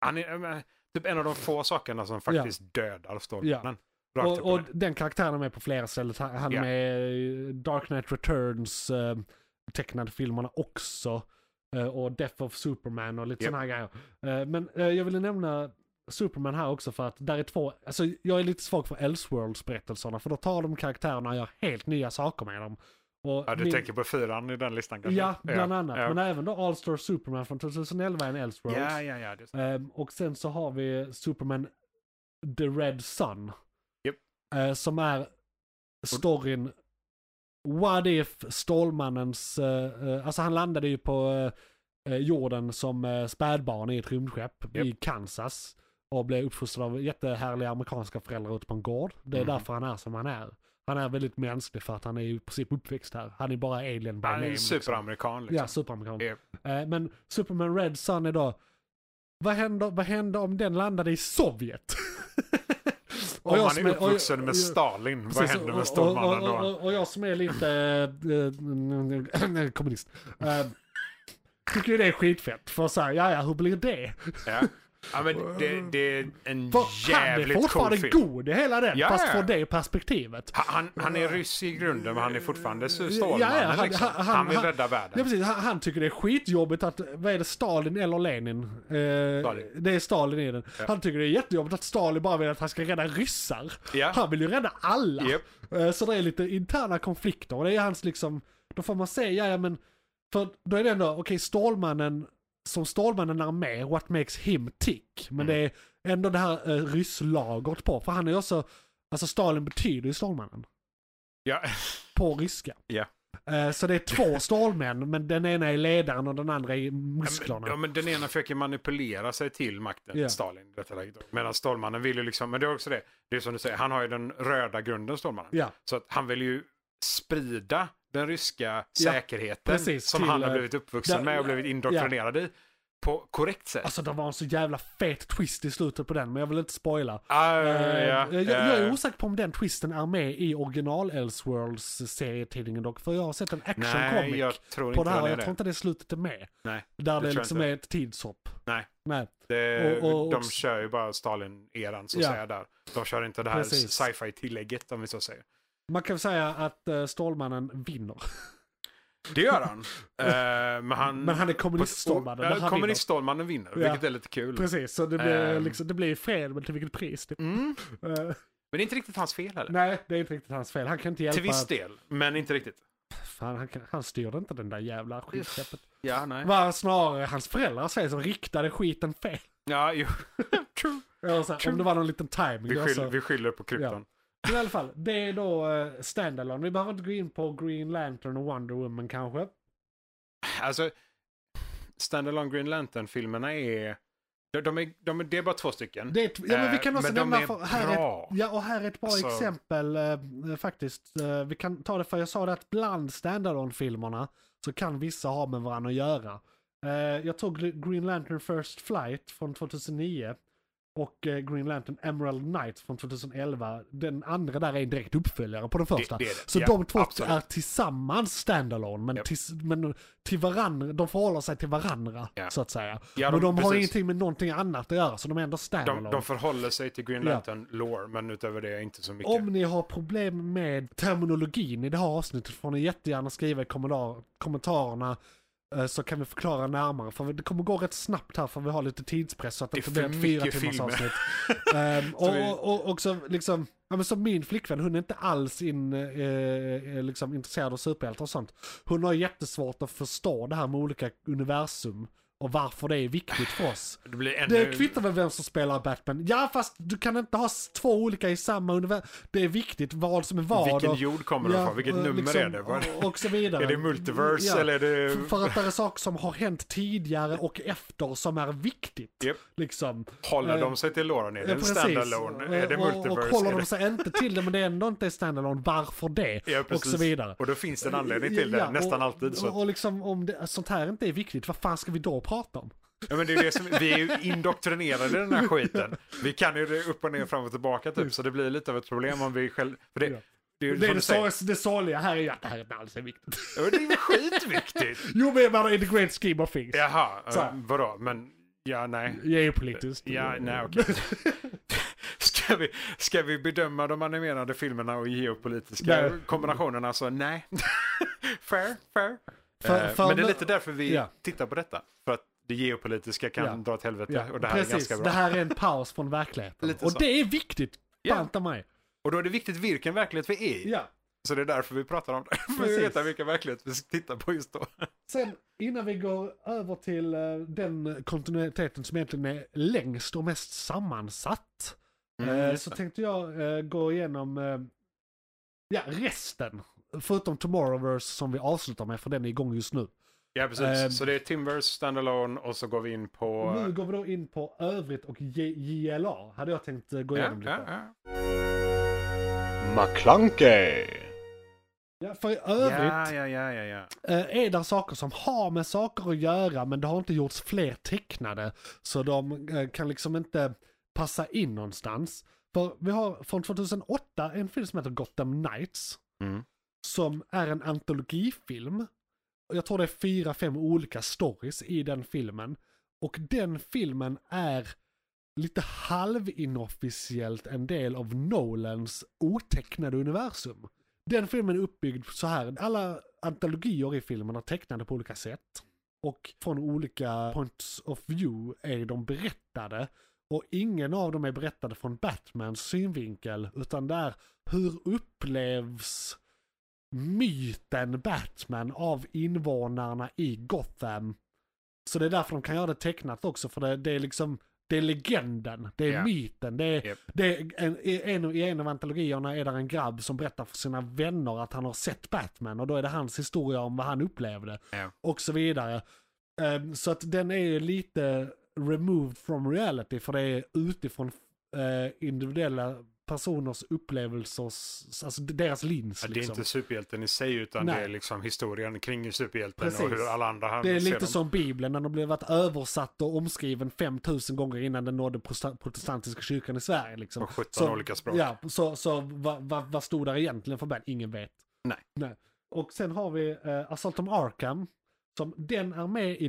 [SPEAKER 3] Han är eh, typ en av de få sakerna som faktiskt dödar Stålmannen. Rakt upp
[SPEAKER 2] Och, och
[SPEAKER 3] ner.
[SPEAKER 2] den karaktären är med på flera ställen. Han han är
[SPEAKER 3] Ja.
[SPEAKER 2] med i Dark Knight Returns eh, tecknade filmerna också. Eh, och Death of Superman och lite
[SPEAKER 3] Ja.
[SPEAKER 2] sådana här grejer. Eh, men eh, jag ville nämna Superman här också för att där är två, alltså jag är lite svag för Elseworlds berättelserna för då tar de karaktärerna och gör helt nya saker med dem. Och
[SPEAKER 3] ja, du
[SPEAKER 2] min-
[SPEAKER 3] tänker på fyran i den listan kanske?
[SPEAKER 2] Ja, bland annat.
[SPEAKER 3] Ja,
[SPEAKER 2] Men även då All-Star Superman från 2011 är en Elseworlds.
[SPEAKER 3] ja, ja, ja, det är sant.
[SPEAKER 2] Ehm, och sen så har vi Superman The Red Sun.
[SPEAKER 3] Japp.
[SPEAKER 2] Eh, som är storyn What if Stålmannens, eh, eh, alltså han landade ju på eh, eh, jorden som eh, spädbarn i ett rymdskepp i Kansas. Och blev uppfostrad av jättehärliga amerikanska föräldrar ute på en gård. Det är
[SPEAKER 3] Mhm.
[SPEAKER 2] därför han är som han är. Han är väldigt mänsklig för att han är ju i princip uppväxt här. Han är bara alien by
[SPEAKER 3] Han
[SPEAKER 2] name,
[SPEAKER 3] är ju
[SPEAKER 2] liksom.
[SPEAKER 3] superamerikan liksom.
[SPEAKER 2] Ja, superamerikan.
[SPEAKER 3] Yep.
[SPEAKER 2] Eh, Men Superman Red Sun är då, vad händer, vad händer om den landade i Sovjet?
[SPEAKER 3] Om han
[SPEAKER 2] som
[SPEAKER 3] är
[SPEAKER 2] och-
[SPEAKER 3] uppvuxen med
[SPEAKER 2] och-
[SPEAKER 3] Stalin, vad
[SPEAKER 2] precis,
[SPEAKER 3] händer
[SPEAKER 2] och-
[SPEAKER 3] med Stålmannen
[SPEAKER 2] och, och,
[SPEAKER 3] då?
[SPEAKER 2] och, och jag som är lite eh, eh, kommunist. Eh, Tycker ju det är skitfett. För såhär, ja ja, hur blir det?
[SPEAKER 3] Ja. ja, men det, det är en
[SPEAKER 2] För han är
[SPEAKER 3] jävligt cool
[SPEAKER 2] fortfarande
[SPEAKER 3] film.
[SPEAKER 2] god i hela den,
[SPEAKER 3] Ja,
[SPEAKER 2] fast
[SPEAKER 3] ja.
[SPEAKER 2] från det perspektivet.
[SPEAKER 3] Ha- Han, han är ryss i grunden men han är fortfarande Stålmannen.
[SPEAKER 2] han-
[SPEAKER 3] liksom.
[SPEAKER 2] han-
[SPEAKER 3] han,
[SPEAKER 2] han-
[SPEAKER 3] vill
[SPEAKER 2] han-
[SPEAKER 3] rädda
[SPEAKER 2] Ja,
[SPEAKER 3] världen.
[SPEAKER 2] precis. Han, han tycker det är skitjobbigt att, vad är det, Stalin eller Lenin? Eh,
[SPEAKER 3] Stalin.
[SPEAKER 2] Det är Stalin i den. Han tycker det är jättejobbigt att Stalin bara vill att han ska rädda ryssar.
[SPEAKER 3] Ja.
[SPEAKER 2] Han vill ju rädda alla.
[SPEAKER 3] Japp.
[SPEAKER 2] Eh, så det är lite interna konflikter och det är hans liksom, då får man säga, ja men, för då är det ändå, okej Stålmannen, som Stålmannen är med, what makes him tick?
[SPEAKER 3] Mm.
[SPEAKER 2] Men det är ändå det här eh, rysslagret på, för han är ju också, alltså Stalin betyder ju Stålmannen
[SPEAKER 3] Ja.
[SPEAKER 2] på ryska.
[SPEAKER 3] Ja.
[SPEAKER 2] Eh, Så det är två stålmän, men den ena är ledaren och den andra är musklerna.
[SPEAKER 3] Ja, men den ena försöker manipulera sig till makten,
[SPEAKER 2] Ja.
[SPEAKER 3] Stalin, i detta läget. då. Medan Stålmannen vill ju liksom, men det är också det, det är som du säger, han har ju den röda grunden, Stålmannen.
[SPEAKER 2] Ja.
[SPEAKER 3] Så att han vill ju sprida den ryska
[SPEAKER 2] Ja,
[SPEAKER 3] säkerheten
[SPEAKER 2] precis,
[SPEAKER 3] som
[SPEAKER 2] till,
[SPEAKER 3] han har
[SPEAKER 2] eh,
[SPEAKER 3] blivit uppvuxen
[SPEAKER 2] där-
[SPEAKER 3] med och blivit indoktrinerad i på korrekt sätt.
[SPEAKER 2] Alltså det var en så jävla fet twist i slutet på den, men jag vill inte spoila.
[SPEAKER 3] Ah,
[SPEAKER 2] Eh,
[SPEAKER 3] ja, Eh,
[SPEAKER 2] jag, jag är
[SPEAKER 3] ja.
[SPEAKER 2] osäker på om den twisten är med i original Elseworlds serietidningen dock, för jag har sett en action
[SPEAKER 3] Nej,
[SPEAKER 2] comic
[SPEAKER 3] jag tror
[SPEAKER 2] på
[SPEAKER 3] inte
[SPEAKER 2] det här
[SPEAKER 3] han
[SPEAKER 2] och
[SPEAKER 3] är
[SPEAKER 2] jag tror
[SPEAKER 3] det.
[SPEAKER 2] inte det slutet är med.
[SPEAKER 3] Nej,
[SPEAKER 2] Där
[SPEAKER 3] det
[SPEAKER 2] det,
[SPEAKER 3] tror jag
[SPEAKER 2] liksom
[SPEAKER 3] inte.
[SPEAKER 2] är ett tidshopp.
[SPEAKER 3] nej.
[SPEAKER 2] Nej.
[SPEAKER 3] Det,
[SPEAKER 2] Och- och-
[SPEAKER 3] de
[SPEAKER 2] och-
[SPEAKER 3] kör ju bara Stalin-eran så att
[SPEAKER 2] Ja.
[SPEAKER 3] säga där. De kör inte det här
[SPEAKER 2] Precis.
[SPEAKER 3] sci-fi-tillägget om vi så säger.
[SPEAKER 2] Man kan säga att eh, Stålmannen vinner.
[SPEAKER 3] Mm. Det gör han. Eh, men han...
[SPEAKER 2] Men han är kommuniststålmannen, men
[SPEAKER 3] Ja,
[SPEAKER 2] han
[SPEAKER 3] Kommuniststålmannen vinner,
[SPEAKER 2] Ja.
[SPEAKER 3] vilket är lite kul.
[SPEAKER 2] Precis, så det blir,
[SPEAKER 3] Ehm.
[SPEAKER 2] liksom, det blir fred, men till vilket pris? Typ.
[SPEAKER 3] Mm.
[SPEAKER 2] Eh,
[SPEAKER 3] Men det är inte riktigt hans fel heller.
[SPEAKER 2] nej, det är inte riktigt hans fel. Han kan inte hjälpa
[SPEAKER 3] Till viss
[SPEAKER 2] att-
[SPEAKER 3] del, men inte riktigt.
[SPEAKER 2] Fan, han, kan- han styrde inte den där jävla skitskeppet.
[SPEAKER 3] Ja, nej.
[SPEAKER 2] Var snarare hans föräldrar säger som riktade skiten fel.
[SPEAKER 3] Ja, jo. True.
[SPEAKER 2] Eller så här, om det var någon liten timing.
[SPEAKER 3] Vi
[SPEAKER 2] det alltså-
[SPEAKER 3] skyller,
[SPEAKER 2] var så-
[SPEAKER 3] vi skyller på krypton.
[SPEAKER 2] Men i alla fall, det är då eh, standalone. Vi behöver inte gå in på Green Lantern och Wonder Woman kanske.
[SPEAKER 3] Alltså, Standalone Green Lantern-filmerna är... De, de är, de är... Det är bara två stycken.
[SPEAKER 2] Det är ett, ja, men vi
[SPEAKER 3] Eh,
[SPEAKER 2] kan också
[SPEAKER 3] men de
[SPEAKER 2] nämna...
[SPEAKER 3] är
[SPEAKER 2] För, här är,
[SPEAKER 3] bra.
[SPEAKER 2] ett- ja, och här är ett bra
[SPEAKER 3] Alltså-
[SPEAKER 2] exempel eh, eh, faktiskt. Eh, vi kan ta det för jag sa det att bland standalone filmerna så kan vissa ha med varandra att göra. Eh, jag tog Green Lantern First Flight från 2009 och eh, Green Lantern Emerald Knight från 2011. Den andra där är en direkt uppföljare på den första.
[SPEAKER 3] det är det.
[SPEAKER 2] Så
[SPEAKER 3] Ja,
[SPEAKER 2] de två
[SPEAKER 3] absolut.
[SPEAKER 2] är tillsammans standalone men,
[SPEAKER 3] Japp.
[SPEAKER 2] tills, men till varandra, de förhåller sig till varandra
[SPEAKER 3] Ja.
[SPEAKER 2] så att säga.
[SPEAKER 3] Ja,
[SPEAKER 2] men
[SPEAKER 3] de-
[SPEAKER 2] de har
[SPEAKER 3] precis.
[SPEAKER 2] ingenting med någonting annat att göra så de är ändå standalone.
[SPEAKER 3] De, de förhåller sig till Green
[SPEAKER 2] Ja.
[SPEAKER 3] Lantern-lore, men utöver det inte så mycket.
[SPEAKER 2] Om ni har problem med terminologin i det här avsnittet får ni jättegärna skriva i kommentar- kommentarerna eh, så kan vi förklara närmare. För det kommer gå rätt snabbt här för vi har lite tidspress så att det
[SPEAKER 3] Det är
[SPEAKER 2] inte blir
[SPEAKER 3] för
[SPEAKER 2] ett fyra
[SPEAKER 3] mycket
[SPEAKER 2] timmars
[SPEAKER 3] filmer.
[SPEAKER 2] avsnitt. Ehm, och,
[SPEAKER 3] vi-
[SPEAKER 2] och, och också liksom, ja, men som min flickvän, hon är inte alls in, eh, eh, liksom, intresserad av superhjältar och sånt. Hon har jättesvårt att förstå det här med olika universum och varför det är viktigt för oss.
[SPEAKER 3] Det blir ännu...
[SPEAKER 2] Det kvittar väl vem som spelar Batman. Ja, fast du kan inte ha s- två olika i samma universum. Det är viktigt vad som är vad.
[SPEAKER 3] Vilken
[SPEAKER 2] och-
[SPEAKER 3] jord kommer de
[SPEAKER 2] ja,
[SPEAKER 3] ifrån? Vilket
[SPEAKER 2] och
[SPEAKER 3] nummer
[SPEAKER 2] liksom-
[SPEAKER 3] är det? Var...
[SPEAKER 2] Och, och så vidare.
[SPEAKER 3] Är det multiverse
[SPEAKER 2] Ja,
[SPEAKER 3] eller är det...
[SPEAKER 2] f- För att det är saker som har hänt tidigare och efter som är viktigt.
[SPEAKER 3] Japp.
[SPEAKER 2] Liksom.
[SPEAKER 3] Håller
[SPEAKER 2] eh,
[SPEAKER 3] de sig till loren? Är det
[SPEAKER 2] Ja,
[SPEAKER 3] en
[SPEAKER 2] precis.
[SPEAKER 3] standalone? Är det
[SPEAKER 2] Och-
[SPEAKER 3] multiverse?
[SPEAKER 2] Och, och
[SPEAKER 3] är
[SPEAKER 2] håller
[SPEAKER 3] det...
[SPEAKER 2] de sig inte till det men det är ändå inte standalone, varför det?
[SPEAKER 3] Ja,
[SPEAKER 2] och
[SPEAKER 3] precis.
[SPEAKER 2] så vidare.
[SPEAKER 3] Och då finns det en anledning till
[SPEAKER 2] Ja,
[SPEAKER 3] det, nästan
[SPEAKER 2] och,
[SPEAKER 3] alltid. Så.
[SPEAKER 2] Och, och liksom om det, sånt här inte är viktigt, vad fan ska vi då prata om?
[SPEAKER 3] Ja, men det är det som, vi är ju indoktrinerade i den här skiten. Vi kan ju det upp och ner, fram och tillbaka typ, så det blir lite av ett problem om vi själv... För det,
[SPEAKER 2] Ja.
[SPEAKER 3] det är ju
[SPEAKER 2] Det,
[SPEAKER 3] som
[SPEAKER 2] är
[SPEAKER 3] du
[SPEAKER 2] det,
[SPEAKER 3] säger,
[SPEAKER 2] sorg- det sorgliga här är ju att det här inte alls är viktigt.
[SPEAKER 3] Ja, men det är ju skitviktigt!
[SPEAKER 2] Jo men jag menar i the great scheme of things.
[SPEAKER 3] Jaha,
[SPEAKER 2] Så
[SPEAKER 3] eh,
[SPEAKER 2] här.
[SPEAKER 3] vadå, men ja, nej.
[SPEAKER 2] Geopolitiskt.
[SPEAKER 3] Ja, Eh, nej, okej. Ska vi, ska vi bedöma de animerade filmerna och geopolitiska
[SPEAKER 2] Nej.
[SPEAKER 3] kombinationerna så nej. fair, fair.
[SPEAKER 2] För-
[SPEAKER 3] Eh,
[SPEAKER 2] för-
[SPEAKER 3] men det är lite därför vi
[SPEAKER 2] Ja.
[SPEAKER 3] tittar på detta. För att det geopolitiska kan
[SPEAKER 2] Ja.
[SPEAKER 3] dra åt helvete
[SPEAKER 2] Ja,
[SPEAKER 3] och det här
[SPEAKER 2] precis,
[SPEAKER 3] är ganska bra.
[SPEAKER 2] det här är en paus från verkligheten.
[SPEAKER 3] Lite
[SPEAKER 2] och
[SPEAKER 3] så.
[SPEAKER 2] det är viktigt.
[SPEAKER 3] Ja.
[SPEAKER 2] Banta mig.
[SPEAKER 3] Och då är det viktigt vilken verklighet vi är i.
[SPEAKER 2] Ja.
[SPEAKER 3] Så det är därför vi pratar om det. För
[SPEAKER 2] Precis.
[SPEAKER 3] vi vet vilken verklighet vi tittar på just då.
[SPEAKER 2] Sen innan vi går över till eh, den kontinuiteten som egentligen är längst och mest sammansatt.
[SPEAKER 3] Mm,
[SPEAKER 2] eh, så tänkte jag eh, gå igenom eh, ja, resten. Förutom Tomorrowverse som vi avslutar med för den är igång just nu.
[SPEAKER 3] Ja, precis.
[SPEAKER 2] Ehm.
[SPEAKER 3] så det är Timverse, Standalone och så går vi in på...
[SPEAKER 2] Nu går vi då in på övrigt och J- JLA. Hade jag tänkt eh, gå
[SPEAKER 3] ja,
[SPEAKER 2] igenom lite.
[SPEAKER 3] ja, ja.
[SPEAKER 4] McClunkey.
[SPEAKER 2] Ja, för i övrigt
[SPEAKER 3] ja, ja, ja, ja, ja.
[SPEAKER 2] eh, är det saker som har med saker att göra men det har inte gjorts fler tecknade. Så de eh, kan liksom inte passa in någonstans. För vi har från 2008 en film som heter Gotham Knights.
[SPEAKER 3] Mm.
[SPEAKER 2] Som är en antologifilm. Och Jag tror det är fyra, fem olika stories i den filmen. Och den filmen är lite halvinofficiellt en del av Nolans otecknade universum. Den filmen är uppbyggd så här. Alla antologier i filmen är tecknade på olika sätt. Och från olika points of view är de berättade. Och ingen av dem är berättade från Batmans synvinkel. Utan det är hur upplevs myten Batman av invånarna i Gotham. Så det är därför de kan göra det tecknat också. För det, det är liksom, det är legenden, det är
[SPEAKER 3] Ja.
[SPEAKER 2] myten, det är
[SPEAKER 3] Japp.
[SPEAKER 2] det är en, i, en, I en av antologierna är där en grabb som berättar för sina vänner att han har sett Batman och då är det hans historia om vad han upplevde.
[SPEAKER 3] Ja.
[SPEAKER 2] Och så vidare. Ehm, så att den är ju lite removed from reality för det är utifrån eh, individuella personers upplevelser, alltså deras lins.
[SPEAKER 3] Ja, det är
[SPEAKER 2] liksom.
[SPEAKER 3] inte superhjälten i sig utan
[SPEAKER 2] Nej.
[SPEAKER 3] det är liksom historien kring superhjälten
[SPEAKER 2] Precis.
[SPEAKER 3] och hur alla andra han
[SPEAKER 2] Det är
[SPEAKER 3] ser
[SPEAKER 2] lite
[SPEAKER 3] dem.
[SPEAKER 2] som Bibeln, när den blev varit översatt och omskriven 5000 gånger innan den nådde prosta- protestantiska kyrkan i Sverige. Liksom.
[SPEAKER 3] På 17
[SPEAKER 2] så,
[SPEAKER 3] olika språk.
[SPEAKER 2] Ja, så, så vad va, vad stod där egentligen för band? Ingen vet.
[SPEAKER 3] Nej.
[SPEAKER 2] Och sen har vi eh, Assault on Arkham, som den är med i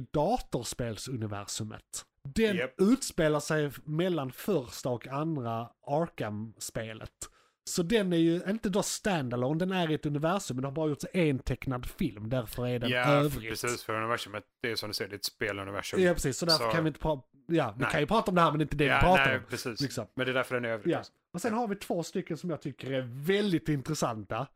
[SPEAKER 2] datorspelsuniversumet. Den
[SPEAKER 3] Japp.
[SPEAKER 2] utspelar sig mellan första och andra Arkham-spelet. Så den är ju inte då standalone, den är i ett universum, men det har bara gjorts en tecknad film, därför är den
[SPEAKER 3] ja,
[SPEAKER 2] övrigt.
[SPEAKER 3] precis. För universumet, det är som du säger, det är ett speluniversum.
[SPEAKER 2] Ja, precis. Så därför
[SPEAKER 3] Så-
[SPEAKER 2] kan vi inte prata... Ja, vi
[SPEAKER 3] Nej.
[SPEAKER 2] kan ju prata om det här, men det är inte det
[SPEAKER 3] Ja,
[SPEAKER 2] vi pratar
[SPEAKER 3] nej,
[SPEAKER 2] om.
[SPEAKER 3] precis.
[SPEAKER 2] liksom.
[SPEAKER 3] Men det är därför den är övrig.
[SPEAKER 2] Ja. Och sen har vi två stycken som jag tycker är väldigt intressanta.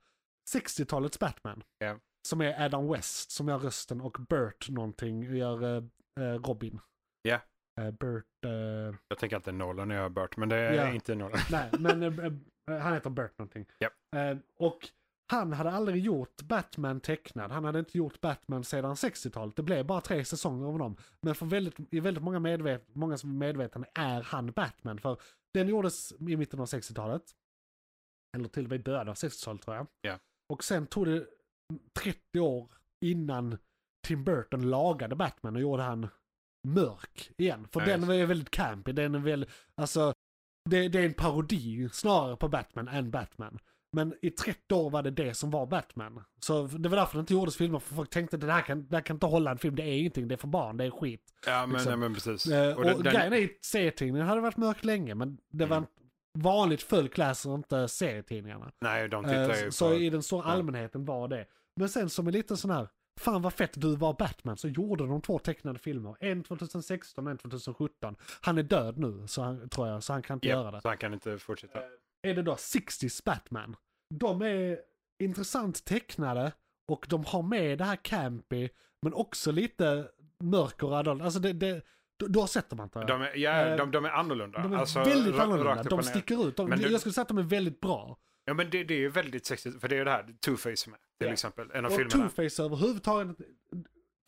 [SPEAKER 2] 60-talets Batman.
[SPEAKER 3] Ja.
[SPEAKER 2] Som är Adam West som gör rösten och Burt någonting gör eh, eh, Robin.
[SPEAKER 3] Ja.
[SPEAKER 2] eh, Bert... eh,
[SPEAKER 3] Jag tänker inte Nolan när jag hör Bert, men det är
[SPEAKER 2] Ja.
[SPEAKER 3] inte Nolan.
[SPEAKER 2] nej, men eh, eh, han heter Bert någonting.
[SPEAKER 3] Japp.
[SPEAKER 2] Eh, och han hade aldrig gjort Batman tecknad. Han hade inte gjort Batman sedan 60-talet. Det blev bara tre säsonger av dem. Men för väldigt, i väldigt många medvet- många som är medvetna är han Batman. För den gjordes i mitten av 60-talet. Eller till och med i början av 60-talet tror jag.
[SPEAKER 3] Ja.
[SPEAKER 2] Och sen tog det 30 år innan Tim Burton lagade Batman och gjorde han mörk igen. För
[SPEAKER 3] Ja,
[SPEAKER 2] den
[SPEAKER 3] just.
[SPEAKER 2] var ju väldigt campy. Den är väl, alltså, det, det är en parodi snarare på Batman än Batman. Men i 30 år var det det som var Batman. Så det var därför det inte gjordes filmer, för folk tänkte att det här kan, det här kan inte hålla en film, det är ingenting, det är för barn, det är skit.
[SPEAKER 3] Ja, men,
[SPEAKER 2] Liksom.
[SPEAKER 3] ja, men precis.
[SPEAKER 2] Eh, och
[SPEAKER 3] Och den- den-
[SPEAKER 2] grejen är ju, serietidningen hade varit mörk länge, men det var
[SPEAKER 3] Mm.
[SPEAKER 2] inte- vanligt folk läser inte serietidningarna.
[SPEAKER 3] nej, de
[SPEAKER 2] Eh,
[SPEAKER 3] tittar ju
[SPEAKER 2] så-
[SPEAKER 3] på...
[SPEAKER 2] så i den stora
[SPEAKER 3] ja.
[SPEAKER 2] allmänheten var det. Men sen som en liten sån här, fan vad fett du var Batman, så gjorde de två tecknade filmer. En 2016 och en 2017. Han är död nu, så han, tror jag, så han kan inte göra det Eh,
[SPEAKER 3] Så han kan inte fortsätta.
[SPEAKER 2] är det då 60s Batman. De är intressant tecknade och de har med det här campy men också lite mörk och adult. Alltså det, det, då- då sätter man inte.
[SPEAKER 3] De är, ja,
[SPEAKER 2] Eh,
[SPEAKER 3] de, de är annorlunda.
[SPEAKER 2] de är
[SPEAKER 3] Alltså,
[SPEAKER 2] väldigt
[SPEAKER 3] ra-
[SPEAKER 2] annorlunda,
[SPEAKER 3] rakt upp
[SPEAKER 2] de
[SPEAKER 3] och ner.
[SPEAKER 2] sticker ut. De,
[SPEAKER 3] Men du-
[SPEAKER 2] Jag skulle säga att de är väldigt bra.
[SPEAKER 3] Ja, men det, det är ju väldigt sexigt, för det är ju det här Two-Face med, till
[SPEAKER 2] Ja.
[SPEAKER 3] exempel. En av
[SPEAKER 2] Och
[SPEAKER 3] filmerna.
[SPEAKER 2] Two-Face överhuvudtaget,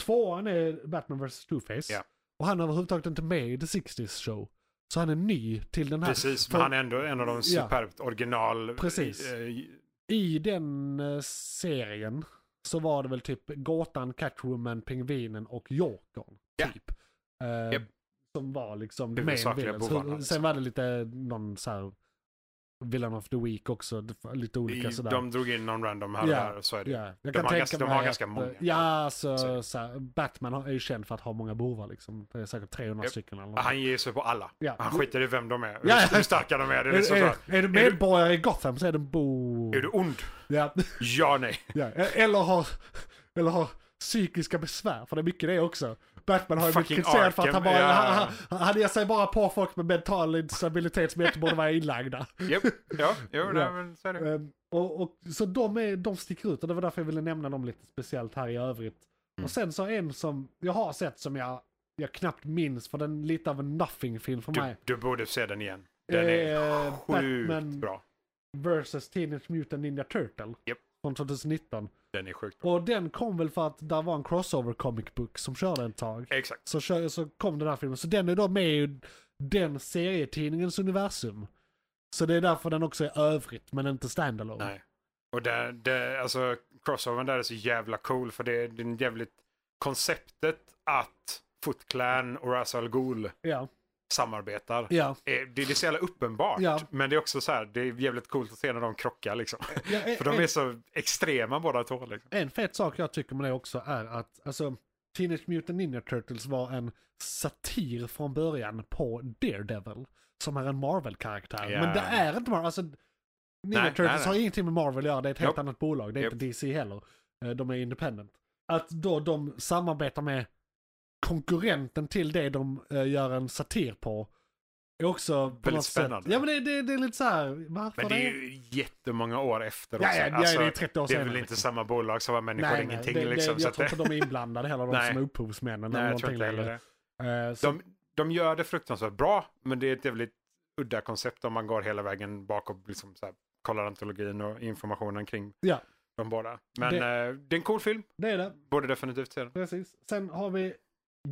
[SPEAKER 2] tvåan är Batman vs. Two-Face.
[SPEAKER 3] Ja.
[SPEAKER 2] Och han är överhuvudtaget inte med i The 60s show. Så han är ny till den här.
[SPEAKER 3] Precis,
[SPEAKER 2] För-
[SPEAKER 3] men han är ändå en av de
[SPEAKER 2] Ja.
[SPEAKER 3] superbt original...
[SPEAKER 2] Precis.
[SPEAKER 3] eh,
[SPEAKER 2] I den eh, serien så var det väl typ Gåtan, Catwoman, Pingvinen och Jokern.
[SPEAKER 3] Ja.
[SPEAKER 2] Typ. Eh,
[SPEAKER 3] Japp.
[SPEAKER 2] Som var liksom
[SPEAKER 3] Det
[SPEAKER 2] main
[SPEAKER 3] är huvudsakliga
[SPEAKER 2] villains.
[SPEAKER 3] bovarna,
[SPEAKER 2] Sen
[SPEAKER 3] liksom.
[SPEAKER 2] var det lite någon så här Villain of the Week också. det var Lite olika
[SPEAKER 3] i-
[SPEAKER 2] sådär.
[SPEAKER 3] de drog in någon random här och
[SPEAKER 2] Ja,
[SPEAKER 3] där, och så är det.
[SPEAKER 2] Ja, jag
[SPEAKER 3] De
[SPEAKER 2] kan
[SPEAKER 3] har
[SPEAKER 2] tänka
[SPEAKER 3] ganska- de
[SPEAKER 2] mig
[SPEAKER 3] har ganska
[SPEAKER 2] att, eh,
[SPEAKER 3] många.
[SPEAKER 2] Ja, alltså,
[SPEAKER 3] Så är det.
[SPEAKER 2] så här, Batman har- är ju känd för att ha många bovar liksom. Det är säkert 300
[SPEAKER 3] Japp. Ah,
[SPEAKER 2] stycken eller något.
[SPEAKER 3] Han ger sig på alla.
[SPEAKER 2] Ja.
[SPEAKER 3] Han skiter i vem de är,
[SPEAKER 2] Ja.
[SPEAKER 3] hur starka de är. Det är, liksom
[SPEAKER 2] är,
[SPEAKER 3] så.
[SPEAKER 2] är, är du medborgare i Gotham så är det en bo...
[SPEAKER 3] Är du ond?
[SPEAKER 2] Ja.
[SPEAKER 3] Ja, nej.
[SPEAKER 2] Ja, E- eller har, eller har psykiska besvär, för det är mycket det också. Batman har ju blivit
[SPEAKER 3] Fucking
[SPEAKER 2] kritiserad för att han
[SPEAKER 3] Arkham,
[SPEAKER 2] bara,
[SPEAKER 3] ja.
[SPEAKER 2] han, han, han ger sig bara på folk med mental instabilitet som inte borde vara inlagda.
[SPEAKER 3] Japp. Ja, jo,
[SPEAKER 2] Ja.
[SPEAKER 3] nej, men så är det.
[SPEAKER 2] Ehm, och, och, så de, är, de sticker ut och det var därför jag ville nämna dem lite speciellt här i övrigt.
[SPEAKER 3] Mm.
[SPEAKER 2] Och sen så en som jag har sett som jag, jag knappt minns för den är lite av en nothing-film för
[SPEAKER 3] Du,
[SPEAKER 2] mig.
[SPEAKER 3] du borde se den igen. Den är
[SPEAKER 2] Eh,
[SPEAKER 3] sjukt
[SPEAKER 2] Batman-
[SPEAKER 3] bra.
[SPEAKER 2] Versus Teenage Mutant Ninja Turtle.
[SPEAKER 3] Japp.
[SPEAKER 2] Från 2019.
[SPEAKER 3] Den är sjukt bra.
[SPEAKER 2] Och den kom väl för att där var en crossover comic book som körde ett tag.
[SPEAKER 3] Exakt.
[SPEAKER 2] Så, kör, så kom den här filmen. Så den är då med i den serietidningens universum. Så det är därför den också är övrigt men inte standalone.
[SPEAKER 3] Nej. Och det, det, alltså, crossovern där är så jävla cool för det, det är en jävligt... Konceptet att Foot Clan och Ra's al Ghul
[SPEAKER 2] Ja,
[SPEAKER 3] samarbetar.
[SPEAKER 2] ja.
[SPEAKER 3] Eh, Det, det är så jävla uppenbart.
[SPEAKER 2] Ja.
[SPEAKER 3] Men det är också så här, det är jävligt coolt att se när de krockar liksom.
[SPEAKER 2] ja eh,
[SPEAKER 3] För de
[SPEAKER 2] en,
[SPEAKER 3] är så extrema båda två. Liksom.
[SPEAKER 2] en fet sak jag tycker med det också är att alltså, Teenage Mutant Ninja Turtles var en satir från början på Daredevil. Som är en Marvel-karaktär.
[SPEAKER 3] Ja.
[SPEAKER 2] Men det är inte Marvel. Alltså, Ninja
[SPEAKER 3] Nej,
[SPEAKER 2] Turtles
[SPEAKER 3] nej, nej.
[SPEAKER 2] har ingenting med Marvel att göra. Det är ett helt
[SPEAKER 3] Japp.
[SPEAKER 2] annat bolag. Det är
[SPEAKER 3] Japp.
[SPEAKER 2] inte DC heller. Eh, De är independent. Att då de samarbetar med konkurrenten till det de eh, gör en satir på. Är också på
[SPEAKER 3] Väldigt
[SPEAKER 2] något
[SPEAKER 3] spännande.
[SPEAKER 2] Sätt, ja men det, det, det är lite så här, varför
[SPEAKER 3] Men det är ju jättemånga år efter
[SPEAKER 2] Ja,
[SPEAKER 3] också. Alltså,
[SPEAKER 2] ja, ja, det är 30 år
[SPEAKER 3] det är väl
[SPEAKER 2] senare,
[SPEAKER 3] inte
[SPEAKER 2] liksom.
[SPEAKER 3] samma bolag som var människor
[SPEAKER 2] Nej,
[SPEAKER 3] ingenting.
[SPEAKER 2] nej, det,
[SPEAKER 3] liksom,
[SPEAKER 2] det,
[SPEAKER 3] så
[SPEAKER 2] jag
[SPEAKER 3] att
[SPEAKER 2] tror
[SPEAKER 3] det-
[SPEAKER 2] inte de är inblandade heller, de
[SPEAKER 3] Nej.
[SPEAKER 2] som är upphovsmännen.
[SPEAKER 3] Nej,
[SPEAKER 2] eller
[SPEAKER 3] jag tror inte
[SPEAKER 2] någonting
[SPEAKER 3] heller
[SPEAKER 2] längre.
[SPEAKER 3] det.
[SPEAKER 2] Eh, så,
[SPEAKER 3] De, de gör det fruktansvärt bra, men det är ett jävligt udda koncept om man går hela vägen bak och liksom så här, kollar antologin och informationen kring
[SPEAKER 2] Ja.
[SPEAKER 3] de båda. Men det, eh, det är en cool film,
[SPEAKER 2] det är det,
[SPEAKER 3] borde definitivt se den.
[SPEAKER 2] precis. Sen har vi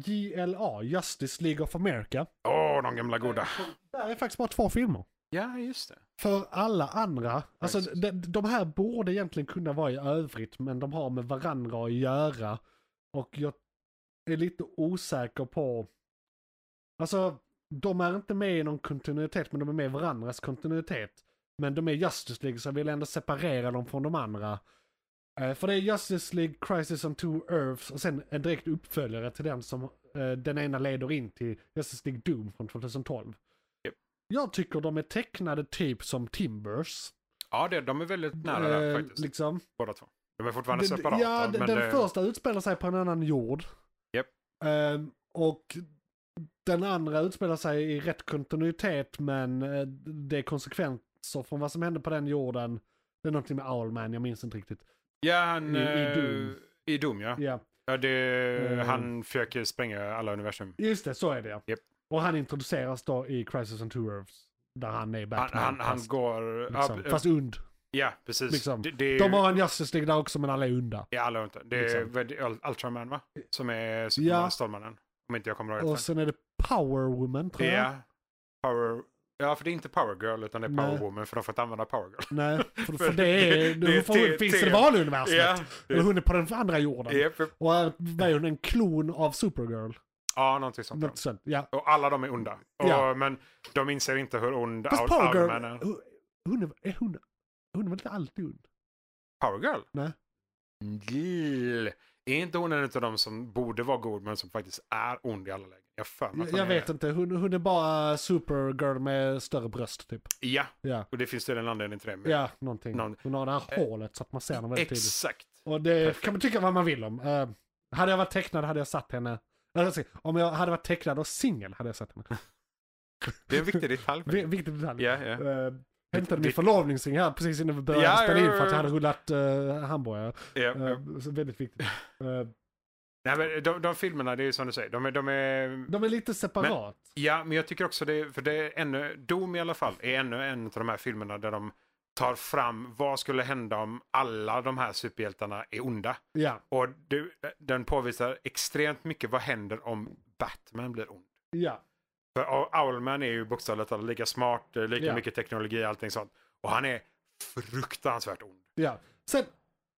[SPEAKER 2] JLA, Justice League of America.
[SPEAKER 3] Åh, de gamla goda.
[SPEAKER 2] Där är faktiskt bara två filmer.
[SPEAKER 3] Ja, just det.
[SPEAKER 2] För alla andra, alltså
[SPEAKER 3] Precis.
[SPEAKER 2] de, de här borde egentligen kunna vara i övrigt men de har med varandra att göra. Och jag är lite osäker på, alltså de är inte med i någon kontinuitet men de är med i varandras kontinuitet. Men de är Justice League så jag vill ändå separera dem från de andra. Eh, för det är Justice League, Crisis on Two Earths och sen en direkt uppföljare till den som eh, den ena leder in till Justice League Doom från 2012. Jag tycker de är tecknade typ som Timbers.
[SPEAKER 3] Ja, det, de är väldigt nära där
[SPEAKER 2] Eh,
[SPEAKER 3] faktiskt.
[SPEAKER 2] liksom.
[SPEAKER 3] Båda två. De är fortfarande
[SPEAKER 2] Den-
[SPEAKER 3] separata.
[SPEAKER 2] ja, den,
[SPEAKER 3] men eh,
[SPEAKER 2] den
[SPEAKER 3] det,
[SPEAKER 2] första utspelar sig på en annan jord.
[SPEAKER 3] Japp.
[SPEAKER 2] Ehm, och den andra utspelar sig i rätt kontinuitet men eh, det är konsekvenser från vad som hände på den jorden. Det är någonting med Owlman, jag minns inte riktigt.
[SPEAKER 3] ja, han...
[SPEAKER 2] i- i
[SPEAKER 3] eh,
[SPEAKER 2] Doom.
[SPEAKER 3] I Doom, ja.
[SPEAKER 2] Ja,
[SPEAKER 3] ja det,
[SPEAKER 2] Eh.
[SPEAKER 3] Han försöker spränga alla universum.
[SPEAKER 2] just det, så är det ja.
[SPEAKER 3] Japp.
[SPEAKER 2] Och han introduceras då i Crisis on Two Earths. Där han är
[SPEAKER 3] Han,
[SPEAKER 2] Batman.
[SPEAKER 3] han, han
[SPEAKER 2] fast,
[SPEAKER 3] går...
[SPEAKER 2] liksom,
[SPEAKER 3] ja, eh,
[SPEAKER 2] fast und.
[SPEAKER 3] ja, precis.
[SPEAKER 2] liksom,
[SPEAKER 3] det, det är
[SPEAKER 2] De har en Justice League där också men alla är unda.
[SPEAKER 3] Ja, alla har inte. Det är
[SPEAKER 2] Liksom.
[SPEAKER 3] väl Ultraman va? Som är
[SPEAKER 2] Ja.
[SPEAKER 3] Superman, Stålmannen. Om inte jag kommer ihåg rätt.
[SPEAKER 2] Och sen är det Power Woman tror jag.
[SPEAKER 3] Ja. Power... Ja, för det är inte Power Girl utan det är Power
[SPEAKER 2] Nej.
[SPEAKER 3] Woman för de får inte använda Power Girl.
[SPEAKER 2] Nej, för, för
[SPEAKER 3] För
[SPEAKER 2] det är...
[SPEAKER 3] det- det är
[SPEAKER 2] för,
[SPEAKER 3] te-
[SPEAKER 2] finns det
[SPEAKER 3] te-
[SPEAKER 2] valuniversumet?
[SPEAKER 3] Ja,
[SPEAKER 2] Eller hon är på den andra jorden.
[SPEAKER 3] ja, för-
[SPEAKER 2] Och är, var hon en klon av Supergirl?
[SPEAKER 3] ja, någonting sånt.
[SPEAKER 2] Något sånt. Ja.
[SPEAKER 3] Och alla de är onda. Och,
[SPEAKER 2] Ja.
[SPEAKER 3] Men de inser inte hur ond
[SPEAKER 2] Fast
[SPEAKER 3] Al-
[SPEAKER 2] Power
[SPEAKER 3] Alderman
[SPEAKER 2] Girl,
[SPEAKER 3] är.
[SPEAKER 2] hon, hon, är- är hon, hon är väl inte alltid ond?
[SPEAKER 3] Power Girl?
[SPEAKER 2] Nej.
[SPEAKER 3] Jill. Är inte hon en av de som borde vara god men som faktiskt är ond i alla lägen? Jag har för mig att
[SPEAKER 2] Jag,
[SPEAKER 3] hon
[SPEAKER 2] jag
[SPEAKER 3] är
[SPEAKER 2] vet
[SPEAKER 3] det.
[SPEAKER 2] inte, hon, hon är bara Supergirl med större bröst typ.
[SPEAKER 3] Ja,
[SPEAKER 2] Ja,
[SPEAKER 3] och det finns tydligen en anledning till det. men-
[SPEAKER 2] ja någonting.
[SPEAKER 3] Någon-
[SPEAKER 2] Hon har det här
[SPEAKER 3] Eh,
[SPEAKER 2] hålet så att man ser henne väldigt tydligt.
[SPEAKER 3] Exakt.
[SPEAKER 2] Och det
[SPEAKER 3] Perfekt.
[SPEAKER 2] kan man tycka vad man vill om. Eh, hade jag varit tecknad hade jag satt henne... Eller, alltså, Om jag hade varit tecknad och singel hade jag satt henne.
[SPEAKER 3] Det är en viktig detalj.
[SPEAKER 2] Vi- Viktig detalj.
[SPEAKER 3] Ja, ja.
[SPEAKER 2] Eh, hämtade min
[SPEAKER 3] Det-
[SPEAKER 2] förlovningsring här precis innan vi började
[SPEAKER 3] Ja,
[SPEAKER 2] spela in
[SPEAKER 3] ja,
[SPEAKER 2] för att jag
[SPEAKER 3] ja.
[SPEAKER 2] hade rullat uh, hamburgare.
[SPEAKER 3] Ja,
[SPEAKER 2] Eh,
[SPEAKER 3] ja.
[SPEAKER 2] så väldigt viktigt. Eh,
[SPEAKER 3] Nej, men de, de filmerna, det är ju som du säger, de är, de är...
[SPEAKER 2] de är lite separat.
[SPEAKER 3] Ja, men jag tycker också det, för det är ännu, Doom i alla fall, är ännu en av de här filmerna där de tar fram vad skulle hända om alla de här superhjältarna är onda.
[SPEAKER 2] Ja,
[SPEAKER 3] Och det, den påvisar extremt mycket vad händer om Batman blir ond.
[SPEAKER 2] ja.
[SPEAKER 3] För Ow- Owlman är ju bokstavligt talat lika smart, eh, lika
[SPEAKER 2] Ja.
[SPEAKER 3] mycket teknologi och allting sånt. Och han är fruktansvärt ond.
[SPEAKER 2] Ja. Sen,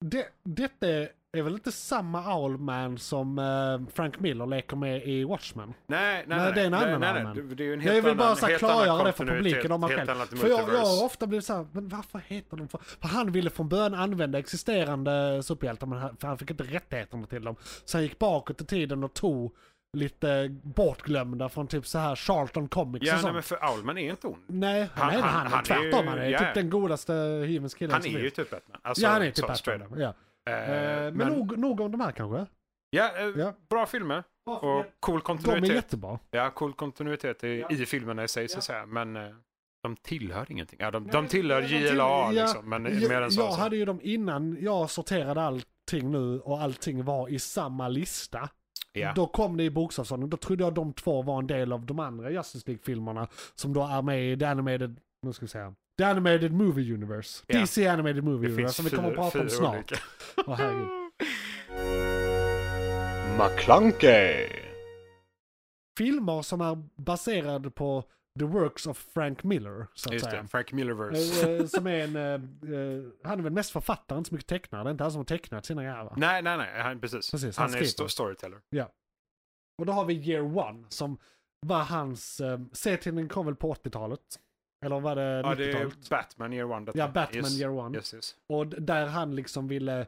[SPEAKER 2] det, detta är väl inte samma Owlman som eh, Frank Miller leker med i Watchmen?
[SPEAKER 3] Nej, nej,
[SPEAKER 2] Nej,
[SPEAKER 3] nej.
[SPEAKER 2] det är en annan
[SPEAKER 3] nej, nej,
[SPEAKER 2] Owlman.
[SPEAKER 3] det- Det är ju en
[SPEAKER 2] Jag
[SPEAKER 3] helt
[SPEAKER 2] vill bara
[SPEAKER 3] annan,
[SPEAKER 2] så här
[SPEAKER 3] helt annan
[SPEAKER 2] klargöra det för
[SPEAKER 3] kontinuitet,
[SPEAKER 2] publiken om man
[SPEAKER 3] helt
[SPEAKER 2] själv.
[SPEAKER 3] annat
[SPEAKER 2] För jag, jag
[SPEAKER 3] multiverse.
[SPEAKER 2] har ofta blivit såhär, men varför heter de för... för han ville från början använda existerande superhjältar men han, för han fick inte rättigheterna till dem. Så han gick bakåt i tiden och tog lite bortglömda från typ så här Charlton Comics
[SPEAKER 3] Ja,
[SPEAKER 2] och
[SPEAKER 3] nej,
[SPEAKER 2] sånt.
[SPEAKER 3] men för Owlman är inte ond.
[SPEAKER 2] Nej, han,
[SPEAKER 3] Han-
[SPEAKER 2] nej, men han,
[SPEAKER 3] han- han
[SPEAKER 2] är
[SPEAKER 3] är
[SPEAKER 2] tvärtom.
[SPEAKER 3] ju-
[SPEAKER 2] han är
[SPEAKER 3] ja,
[SPEAKER 2] typ
[SPEAKER 3] ja.
[SPEAKER 2] den godaste hyvens killen
[SPEAKER 3] Han
[SPEAKER 2] som
[SPEAKER 3] är ju
[SPEAKER 2] finns.
[SPEAKER 3] typ Batman. Alltså,
[SPEAKER 2] ja, han är
[SPEAKER 3] så-
[SPEAKER 2] typ
[SPEAKER 3] straight up.
[SPEAKER 2] Batman. Ja.
[SPEAKER 3] Eh,
[SPEAKER 2] Eh, men
[SPEAKER 3] men-
[SPEAKER 2] nog, nog om de här kanske?
[SPEAKER 3] Ja, eh,
[SPEAKER 2] Ja.
[SPEAKER 3] bra filmer och cool
[SPEAKER 2] De är
[SPEAKER 3] kontinuitet.
[SPEAKER 2] jättebra.
[SPEAKER 3] Ja, cool kontinuitet i, i filmerna i sig så att säga. Men eh, de tillhör ingenting. Ja, de, de tillhör
[SPEAKER 2] de tillhör-
[SPEAKER 3] JLA
[SPEAKER 2] ja,
[SPEAKER 3] liksom, men
[SPEAKER 2] Jag,
[SPEAKER 3] mer än så.
[SPEAKER 2] jag
[SPEAKER 3] alltså.
[SPEAKER 2] hade ju dem innan jag sorterade allting nu och allting var i samma lista.
[SPEAKER 3] Ja.
[SPEAKER 2] Då kom det i bokstavsordning. Då trodde jag de två var en del av de andra Justice League-filmerna som då är med i The Animated, nu ska vi säga, The Animated Movie Universe.
[SPEAKER 3] Ja.
[SPEAKER 2] DC Animated Movie
[SPEAKER 3] Det
[SPEAKER 2] Universe
[SPEAKER 3] finns
[SPEAKER 2] som vi kommer att
[SPEAKER 3] fyra-
[SPEAKER 2] prata
[SPEAKER 3] fyra
[SPEAKER 2] om snart.
[SPEAKER 3] olika.
[SPEAKER 2] Åh, herregud.
[SPEAKER 4] McClunkey.
[SPEAKER 2] Filmer som är baserade på the works of Frank Miller, så att
[SPEAKER 3] Just
[SPEAKER 2] säga.
[SPEAKER 3] det, Frank Millerverse.
[SPEAKER 2] Eh, eh, som är en, eh, eh, han är väl mest författare, inte så mycket tecknare. Det är inte han som har tecknat sina grejer va?
[SPEAKER 3] nej, nej, nej, han, precis.
[SPEAKER 2] Precis, han
[SPEAKER 3] han, är
[SPEAKER 2] skriver.
[SPEAKER 3] sto- storyteller.
[SPEAKER 2] Och då har vi Year One som var hans, eh, serietidningen kom väl på 80-talet? Eller var det
[SPEAKER 3] Ja, det
[SPEAKER 2] 90-talet?
[SPEAKER 3] är Batman Year One. detta.
[SPEAKER 2] Ja, Batman
[SPEAKER 3] yes.
[SPEAKER 2] Year One.
[SPEAKER 3] Yes, yes.
[SPEAKER 2] Och d- där han liksom ville,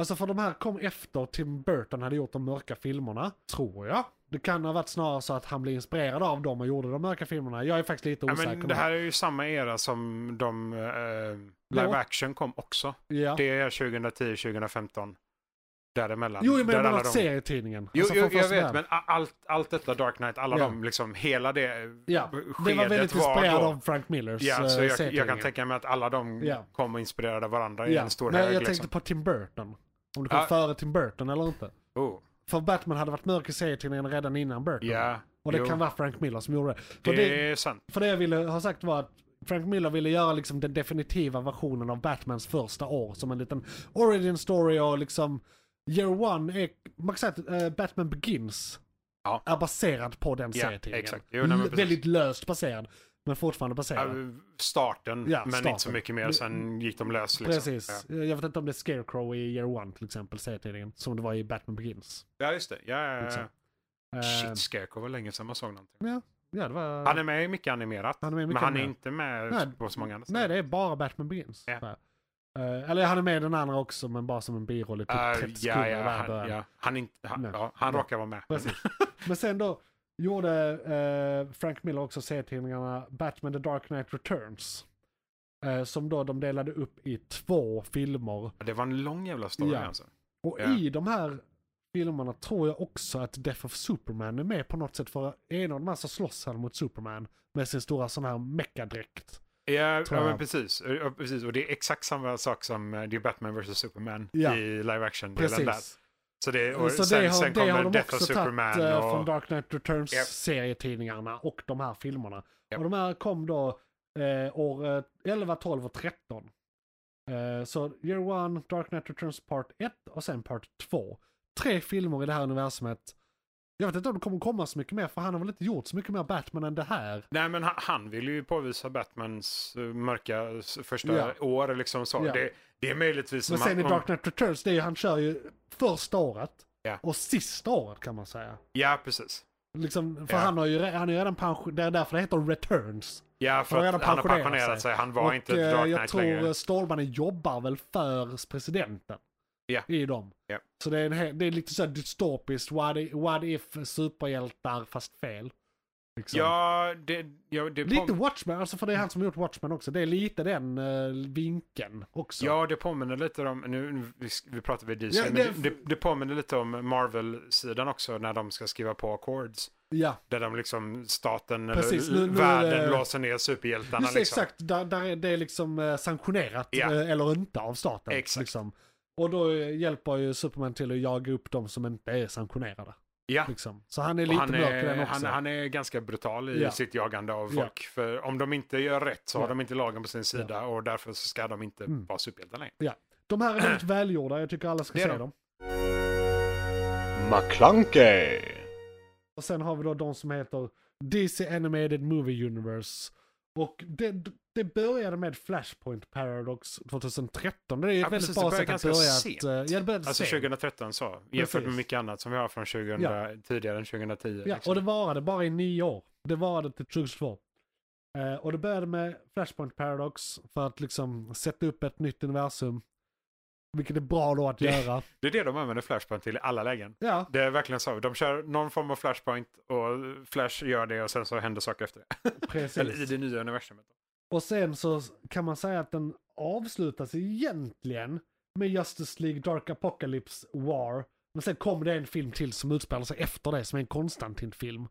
[SPEAKER 2] alltså för de här kom efter Tim Burton hade gjort de mörka filmerna, tror jag. Det kan ha varit snarare så att han blev inspirerad av dem och gjorde de mörka filmerna. Jag är faktiskt lite
[SPEAKER 3] Ja,
[SPEAKER 2] osäker.
[SPEAKER 3] men det här är ju samma era som de eh,
[SPEAKER 2] Då?
[SPEAKER 3] live action kom också.
[SPEAKER 2] ja.
[SPEAKER 3] Det är 2010, 2015. Däremellan.
[SPEAKER 2] Jo, men
[SPEAKER 3] Där
[SPEAKER 2] jag menar
[SPEAKER 3] alla de-
[SPEAKER 2] serietidningen.
[SPEAKER 3] Jo,
[SPEAKER 2] Alltså
[SPEAKER 3] jo
[SPEAKER 2] från
[SPEAKER 3] jag
[SPEAKER 2] första
[SPEAKER 3] vet,
[SPEAKER 2] början.
[SPEAKER 3] men a- allt, allt detta Dark Knight, alla
[SPEAKER 2] Ja.
[SPEAKER 3] de liksom, hela det
[SPEAKER 2] Ja, det
[SPEAKER 3] skedet
[SPEAKER 2] var väldigt
[SPEAKER 3] var
[SPEAKER 2] inspirerad
[SPEAKER 3] då.
[SPEAKER 2] av Frank Millers
[SPEAKER 3] Ja, så
[SPEAKER 2] eh,
[SPEAKER 3] jag, jag
[SPEAKER 2] serietidningar.
[SPEAKER 3] kan tänka mig att alla de
[SPEAKER 2] Ja.
[SPEAKER 3] kom och inspirerade varandra i en stor
[SPEAKER 2] Men
[SPEAKER 3] hög.
[SPEAKER 2] jag
[SPEAKER 3] liksom.
[SPEAKER 2] tänkte på Tim Burton. Om det kom
[SPEAKER 3] Ja.
[SPEAKER 2] före Tim Burton eller inte.
[SPEAKER 3] oh,
[SPEAKER 2] För Batman hade varit mörk i serietidningen redan innan Burton.
[SPEAKER 3] ja,
[SPEAKER 2] Mm. Och det
[SPEAKER 3] jo,
[SPEAKER 2] kan vara Frank Miller som gjorde det. För
[SPEAKER 3] det,
[SPEAKER 2] det,
[SPEAKER 3] är sant.
[SPEAKER 2] för det jag ville ha sagt var att Frank Miller ville göra liksom den definitiva versionen av Batmans första år. Som en liten origin story och liksom year one är, man kan säga att eh, Batman Begins
[SPEAKER 3] Ja.
[SPEAKER 2] är baserad på den
[SPEAKER 3] Ja,
[SPEAKER 2] serietidningen.
[SPEAKER 3] exakt. Jo, nej, men
[SPEAKER 2] L-
[SPEAKER 3] precis.
[SPEAKER 2] väldigt löst baserad, men fortfarande baserad.
[SPEAKER 3] Ja, liksom. Äh, Starten,
[SPEAKER 2] Ja,
[SPEAKER 3] men inte så
[SPEAKER 2] starten.
[SPEAKER 3] mycket mer. Sen gick de lös. Liksom.
[SPEAKER 2] Precis. Jag vet inte om det är Scarecrow i Year One till exempel, serietidningen. Som det var i Batman Begins.
[SPEAKER 3] Ja. ja, just det. Ja, ja,
[SPEAKER 2] Liksom.
[SPEAKER 3] ja.
[SPEAKER 2] Eh,
[SPEAKER 3] Shit, Scarecrow var länge sedan man såg någonting.
[SPEAKER 2] ja, det var...
[SPEAKER 3] Han är med i mycket animerat,
[SPEAKER 2] Han är med i mycket
[SPEAKER 3] men han är
[SPEAKER 2] animerat.
[SPEAKER 3] inte med
[SPEAKER 2] Nej,
[SPEAKER 3] på så många andra
[SPEAKER 2] Nej, det är bara Batman Begins.
[SPEAKER 3] Alltså. Ja.
[SPEAKER 2] Där. Eh, eller han är med i den andra också, men bara som en biroll i typ
[SPEAKER 3] Eh,
[SPEAKER 2] 30 sekunder
[SPEAKER 3] ja, ja,
[SPEAKER 2] där i
[SPEAKER 3] han,
[SPEAKER 2] början.
[SPEAKER 3] ja. han, är inte, han,
[SPEAKER 2] Nej.
[SPEAKER 3] ja, han
[SPEAKER 2] Nej.
[SPEAKER 3] råkar vara med.
[SPEAKER 2] Precis. Men sen då gjorde eh, Frank Miller också serietidningarna Batman The Dark Knight Returns. Eh, som då de delade upp i två filmer.
[SPEAKER 3] Det var en lång jävla story
[SPEAKER 2] Ja.
[SPEAKER 3] alltså.
[SPEAKER 2] Och
[SPEAKER 3] Ja.
[SPEAKER 2] i de här filmerna tror jag också att Death of Superman är med på något sätt. För en av de här så slåss han mot Superman med sin stora sån här meckadräkt.
[SPEAKER 3] Ja,
[SPEAKER 2] Tror
[SPEAKER 3] ja men
[SPEAKER 2] jag.
[SPEAKER 3] precis. Ja, precis. Och det är exakt samma sak som eh, det är Batman vs Superman
[SPEAKER 2] Ja.
[SPEAKER 3] i live action-delen där.
[SPEAKER 2] Precis.
[SPEAKER 3] Så det, och
[SPEAKER 2] Så
[SPEAKER 3] sen,
[SPEAKER 2] det har,
[SPEAKER 3] sen
[SPEAKER 2] det har
[SPEAKER 3] kommer
[SPEAKER 2] de
[SPEAKER 3] Death of
[SPEAKER 2] också
[SPEAKER 3] Superman
[SPEAKER 2] tagit eh,
[SPEAKER 3] och...
[SPEAKER 2] från Dark Knight Returns
[SPEAKER 3] Japp.
[SPEAKER 2] serietidningarna och de här filmerna.
[SPEAKER 3] Japp.
[SPEAKER 2] Och de här kom då eh, år eh, 11, 12 och 13. Eh, så Year One, Dark Knight Returns Part 1 och sen Part 2. Tre filmer i det här universumet. Jag vet inte om det kommer komma så mycket mer för han har väl inte gjort så mycket mer Batman än det här.
[SPEAKER 3] Nej men han, han vill ju påvisa Batmans eh, mörka s- första
[SPEAKER 2] Ja.
[SPEAKER 3] år liksom så.
[SPEAKER 2] Ja.
[SPEAKER 3] Det, det är möjligtvis
[SPEAKER 2] Men
[SPEAKER 3] som
[SPEAKER 2] sen i
[SPEAKER 3] han,
[SPEAKER 2] Dark Knight Returns, det är, ju- han kör ju första året
[SPEAKER 3] Ja.
[SPEAKER 2] och sista året kan man säga.
[SPEAKER 3] Ja precis.
[SPEAKER 2] Liksom, för
[SPEAKER 3] Ja.
[SPEAKER 2] han, har ju, re- han är ju redan pensionerad, det är därför det heter Returns.
[SPEAKER 3] Ja för
[SPEAKER 2] Han har
[SPEAKER 3] att
[SPEAKER 2] redan
[SPEAKER 3] han har
[SPEAKER 2] pensionerat
[SPEAKER 3] pensionerat
[SPEAKER 2] sig.
[SPEAKER 3] sig. Han var
[SPEAKER 2] och
[SPEAKER 3] inte
[SPEAKER 2] eh,
[SPEAKER 3] Dark
[SPEAKER 2] jag
[SPEAKER 3] Knight
[SPEAKER 2] tror
[SPEAKER 3] längre.
[SPEAKER 2] eh, Stålmannen jobbar väl för presidenten.
[SPEAKER 3] Ja.
[SPEAKER 2] I dem.
[SPEAKER 3] Ja.
[SPEAKER 2] Så det är, en, he- det är lite så här dystopiskt, what if, what if superhjältar fast fel. Liksom.
[SPEAKER 3] Ja, det... Ja, det
[SPEAKER 2] Lite
[SPEAKER 3] påm-
[SPEAKER 2] Watchmen, alltså för det är han som har gjort Watchmen också. Det är lite den eh, vinkeln också.
[SPEAKER 3] Ja, det påminner lite om, nu nu- vi, vi pratar vid DC,
[SPEAKER 2] Ja,
[SPEAKER 3] men
[SPEAKER 2] det-
[SPEAKER 3] det, det, det påminner lite om Marvel-sidan också när de ska skriva på accords.
[SPEAKER 2] ja.
[SPEAKER 3] Där de liksom, staten,
[SPEAKER 2] Precis,
[SPEAKER 3] eller
[SPEAKER 2] nu- nu-
[SPEAKER 3] världen
[SPEAKER 2] eh,
[SPEAKER 3] låser ner superhjältarna.
[SPEAKER 2] Just det,
[SPEAKER 3] liksom.
[SPEAKER 2] exakt. Där, där är det är liksom eh, sanktionerat
[SPEAKER 3] Ja.
[SPEAKER 2] eh, eller inte av staten.
[SPEAKER 3] Exakt.
[SPEAKER 2] Liksom. Och då eh, hjälper ju Superman till att jaga upp de som inte är sanktionerade.
[SPEAKER 3] Ja.
[SPEAKER 2] Liksom. Så han är
[SPEAKER 3] Och
[SPEAKER 2] lite
[SPEAKER 3] Han
[SPEAKER 2] mörk i den
[SPEAKER 3] är,
[SPEAKER 2] också.
[SPEAKER 3] han, han är ganska brutal i
[SPEAKER 2] Ja.
[SPEAKER 3] sitt jagande av
[SPEAKER 2] Ja.
[SPEAKER 3] folk. För om de inte gör rätt så har
[SPEAKER 2] Ja.
[SPEAKER 3] de inte lagen på sin sida och därför så ska de inte
[SPEAKER 2] Mm.
[SPEAKER 3] vara superhjältar längre.
[SPEAKER 2] Ja. De här är väldigt välgjorda, jag tycker alla ska
[SPEAKER 3] Det är
[SPEAKER 2] se
[SPEAKER 3] de.
[SPEAKER 2] dem.
[SPEAKER 4] McClunkey,
[SPEAKER 2] Och sen har vi då de som heter DC Animated Movie Universe. Och det, det började med Flashpoint Paradox 2013. Det är ett
[SPEAKER 3] Ja,
[SPEAKER 2] väldigt
[SPEAKER 3] precis,
[SPEAKER 2] bra
[SPEAKER 3] det började
[SPEAKER 2] sätt att
[SPEAKER 3] ganska
[SPEAKER 2] börja.
[SPEAKER 3] sent.
[SPEAKER 2] Att, eh, ja, det började
[SPEAKER 3] Alltså
[SPEAKER 2] sent.
[SPEAKER 3] 2013 så, jämfört med
[SPEAKER 2] Precis.
[SPEAKER 3] mycket annat som vi har från 2000, tidigare än 2010.
[SPEAKER 2] Ja,
[SPEAKER 3] liksom.
[SPEAKER 2] och det varade bara i nio år. Det varade till 2022. Eh, och det började med Flashpoint Paradox för att liksom sätta upp ett nytt universum. Vilket är bra då att
[SPEAKER 3] Det-
[SPEAKER 2] göra.
[SPEAKER 3] det är det de använder Flashpoint till i alla lägen.
[SPEAKER 2] Ja,
[SPEAKER 3] Det är verkligen så. De kör någon form av Flashpoint och Flash gör det och sen så händer saker efter det. Eller i
[SPEAKER 2] precis.
[SPEAKER 3] det nya universumet.
[SPEAKER 2] Och sen så kan man säga att den avslutas egentligen med Justice League Dark Apocalypse War. Men sen kom det en film till som utspelar sig efter det, som är en Konstantin-film.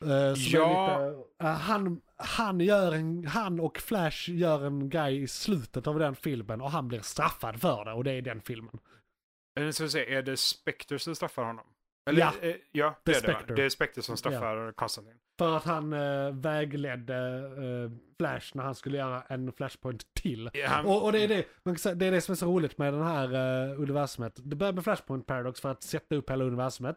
[SPEAKER 2] Eh, som
[SPEAKER 3] Ja.
[SPEAKER 2] är lite, eh, han, han, gör en, han och Flash gör en grej i slutet av den filmen och han blir straffad för det och det är den filmen.
[SPEAKER 3] Eller ska vi se, är det Spectre som straffar honom?
[SPEAKER 2] Ja.
[SPEAKER 3] eh, ja det,
[SPEAKER 2] Det
[SPEAKER 3] är
[SPEAKER 2] är
[SPEAKER 3] det, va?
[SPEAKER 2] Spectre.
[SPEAKER 3] det är Spectre som straffar Konstantin.
[SPEAKER 2] För att han eh, vägledde eh, Flash när han skulle göra en Flashpoint till.
[SPEAKER 3] Ja, han-
[SPEAKER 2] Och, och det, är det, man kan säga, det är det som är så roligt med den här eh, universumet. Det börjar med Flashpoint Paradox för att sätta upp hela universumet.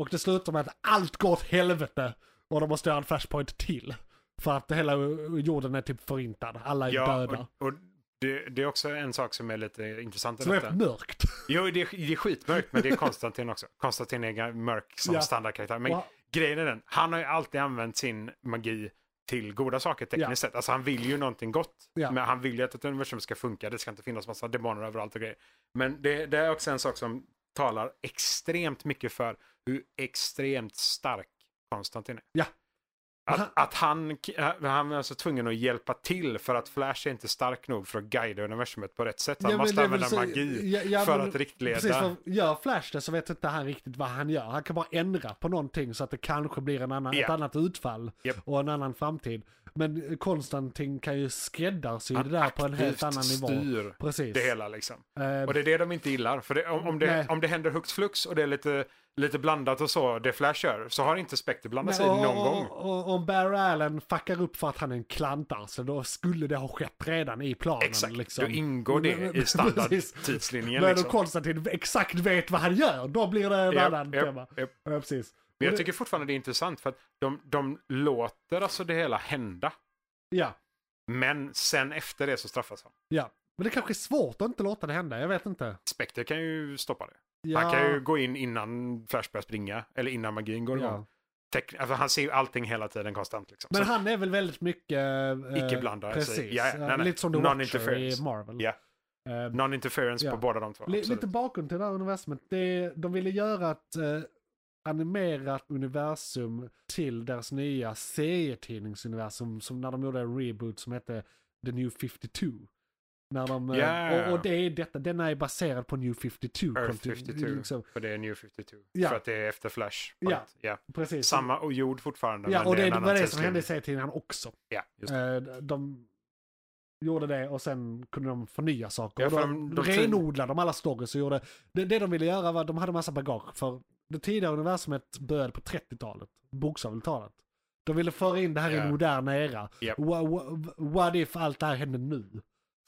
[SPEAKER 2] Och det slutar med att allt går åt helvete och de måste göra en Flashpoint till. För att hela eh, jorden är typ förintad, alla är
[SPEAKER 3] Ja,
[SPEAKER 2] döda.
[SPEAKER 3] och, och det, det är också en sak som är lite intressant. i
[SPEAKER 2] Så det
[SPEAKER 3] detta.
[SPEAKER 2] är mörkt.
[SPEAKER 3] Jo, det är, det är skitmörkt, men det är Konstantin också. Konstantin är ga- mörk som
[SPEAKER 2] Ja.
[SPEAKER 3] standardkaraktär. Men
[SPEAKER 2] Och-
[SPEAKER 3] grejen är den, han har ju alltid använt sin magi till goda saker tekniskt
[SPEAKER 2] Ja.
[SPEAKER 3] sett. Alltså han vill ju någonting gott.
[SPEAKER 2] Ja.
[SPEAKER 3] Men han vill ju att ett universum ska funka. Det ska inte finnas massa demoner överallt och grejer. Men det, det är också en sak som talar extremt mycket för hur extremt stark Konstantin är.
[SPEAKER 2] Ja.
[SPEAKER 3] Att,
[SPEAKER 2] Han-
[SPEAKER 3] att han, han är alltså tvungen att hjälpa till för att Flash är inte stark nog för att guida universumet på rätt sätt. Han
[SPEAKER 2] Ja, men det
[SPEAKER 3] måste
[SPEAKER 2] är väl
[SPEAKER 3] använda
[SPEAKER 2] så-
[SPEAKER 3] magi
[SPEAKER 2] ja, ja,
[SPEAKER 3] för
[SPEAKER 2] men-
[SPEAKER 3] att riktleda.
[SPEAKER 2] Precis, för gör Flash det så vet inte han riktigt vad han gör. Han kan bara ändra på någonting så att det kanske blir en annan,
[SPEAKER 3] Ja.
[SPEAKER 2] ett annat utfall
[SPEAKER 3] Japp.
[SPEAKER 2] och en annan framtid. Men Konstantin kan ju skräddarsy det
[SPEAKER 3] Han
[SPEAKER 2] där på en helt
[SPEAKER 3] aktivt
[SPEAKER 2] annan nivå.
[SPEAKER 3] styr
[SPEAKER 2] Precis.
[SPEAKER 3] det hela liksom.
[SPEAKER 2] Eh,
[SPEAKER 3] Och det är det de inte gillar. För det, om, om, det,
[SPEAKER 2] Nej.
[SPEAKER 3] om det händer högt flux och det är lite, lite blandat och så, det Flash gör, så har inte Spectre blandat sig
[SPEAKER 2] nej, och-
[SPEAKER 3] någon
[SPEAKER 2] och-
[SPEAKER 3] gång.
[SPEAKER 2] och- och Om Barry Allen fuckar upp för att han är en klantarsel då skulle det ha skett redan i planen.
[SPEAKER 3] Exakt,
[SPEAKER 2] liksom.
[SPEAKER 3] då ingår
[SPEAKER 2] Men- men-
[SPEAKER 3] det i
[SPEAKER 2] precis.
[SPEAKER 3] standardtidslinjen.
[SPEAKER 2] Men om
[SPEAKER 3] Liksom.
[SPEAKER 2] Konstantin exakt vet vad han gör, då blir det en
[SPEAKER 3] Japp,
[SPEAKER 2] annan
[SPEAKER 3] japp,
[SPEAKER 2] tema.
[SPEAKER 3] japp.
[SPEAKER 2] Ja, precis.
[SPEAKER 3] Men
[SPEAKER 2] Och
[SPEAKER 3] jag
[SPEAKER 2] det-
[SPEAKER 3] tycker fortfarande det är intressant för att de, de låter alltså det hela hända.
[SPEAKER 2] Ja.
[SPEAKER 3] Men sen efter det så straffas han.
[SPEAKER 2] Ja, men det kanske är svårt att inte låta det hända, jag vet inte.
[SPEAKER 3] Spectre kan ju stoppa det.
[SPEAKER 2] Ja,
[SPEAKER 3] Han kan ju gå in innan Flash börjar springa, eller innan magin går igång.
[SPEAKER 2] ja.
[SPEAKER 3] Tek- alltså, han ser ju allting hela tiden konstant. Liksom.
[SPEAKER 2] Men
[SPEAKER 3] Så-
[SPEAKER 2] han är väl väldigt mycket... eh,
[SPEAKER 3] Icke blandad, alltså.
[SPEAKER 2] Precis,
[SPEAKER 3] Ja, ja, nej, nej.
[SPEAKER 2] lite som The Watcher
[SPEAKER 3] Non-interference.
[SPEAKER 2] i Marvel.
[SPEAKER 3] Ja.
[SPEAKER 2] Eh,
[SPEAKER 3] Non-interference
[SPEAKER 2] Ja.
[SPEAKER 3] på båda de två.
[SPEAKER 2] li-
[SPEAKER 3] absolut.
[SPEAKER 2] lite bakgrund till det här universumet. Det, de ville göra ett eh, animerat universum till deras nya serietidningsuniversum som när de gjorde en reboot som hette The New 52. När de, eh,
[SPEAKER 3] Ja.
[SPEAKER 2] och, och det är detta, denna är baserad på New 52.
[SPEAKER 3] Earth
[SPEAKER 2] kontin-
[SPEAKER 3] 52.
[SPEAKER 2] liksom.
[SPEAKER 3] För det är New 52.
[SPEAKER 2] Ja.
[SPEAKER 3] För att det är efter Flash.
[SPEAKER 2] Ja.
[SPEAKER 3] Point. ja.
[SPEAKER 2] Precis.
[SPEAKER 3] Samma och jord fortfarande.
[SPEAKER 2] ja,
[SPEAKER 3] men
[SPEAKER 2] och det
[SPEAKER 3] är en
[SPEAKER 2] var
[SPEAKER 3] annan
[SPEAKER 2] det som hände i
[SPEAKER 3] tidslinje.
[SPEAKER 2] Eh, serietidningarna också.
[SPEAKER 3] Ja, just det.
[SPEAKER 2] Eh, de, gjorde det och sen kunde de förnya saker.
[SPEAKER 3] Ja,
[SPEAKER 2] och
[SPEAKER 3] för
[SPEAKER 2] de,
[SPEAKER 3] de- de tid-
[SPEAKER 2] renodlade de alla stories och gjorde... Det, det de ville göra var att de hade massa bagage. För det tidigare universumet började på 30-talet, bokstavligt talat. De ville föra in det här i en
[SPEAKER 3] Ja.
[SPEAKER 2] modern era.
[SPEAKER 3] Japp.
[SPEAKER 2] Wha- wha- What if allt det här hände nu?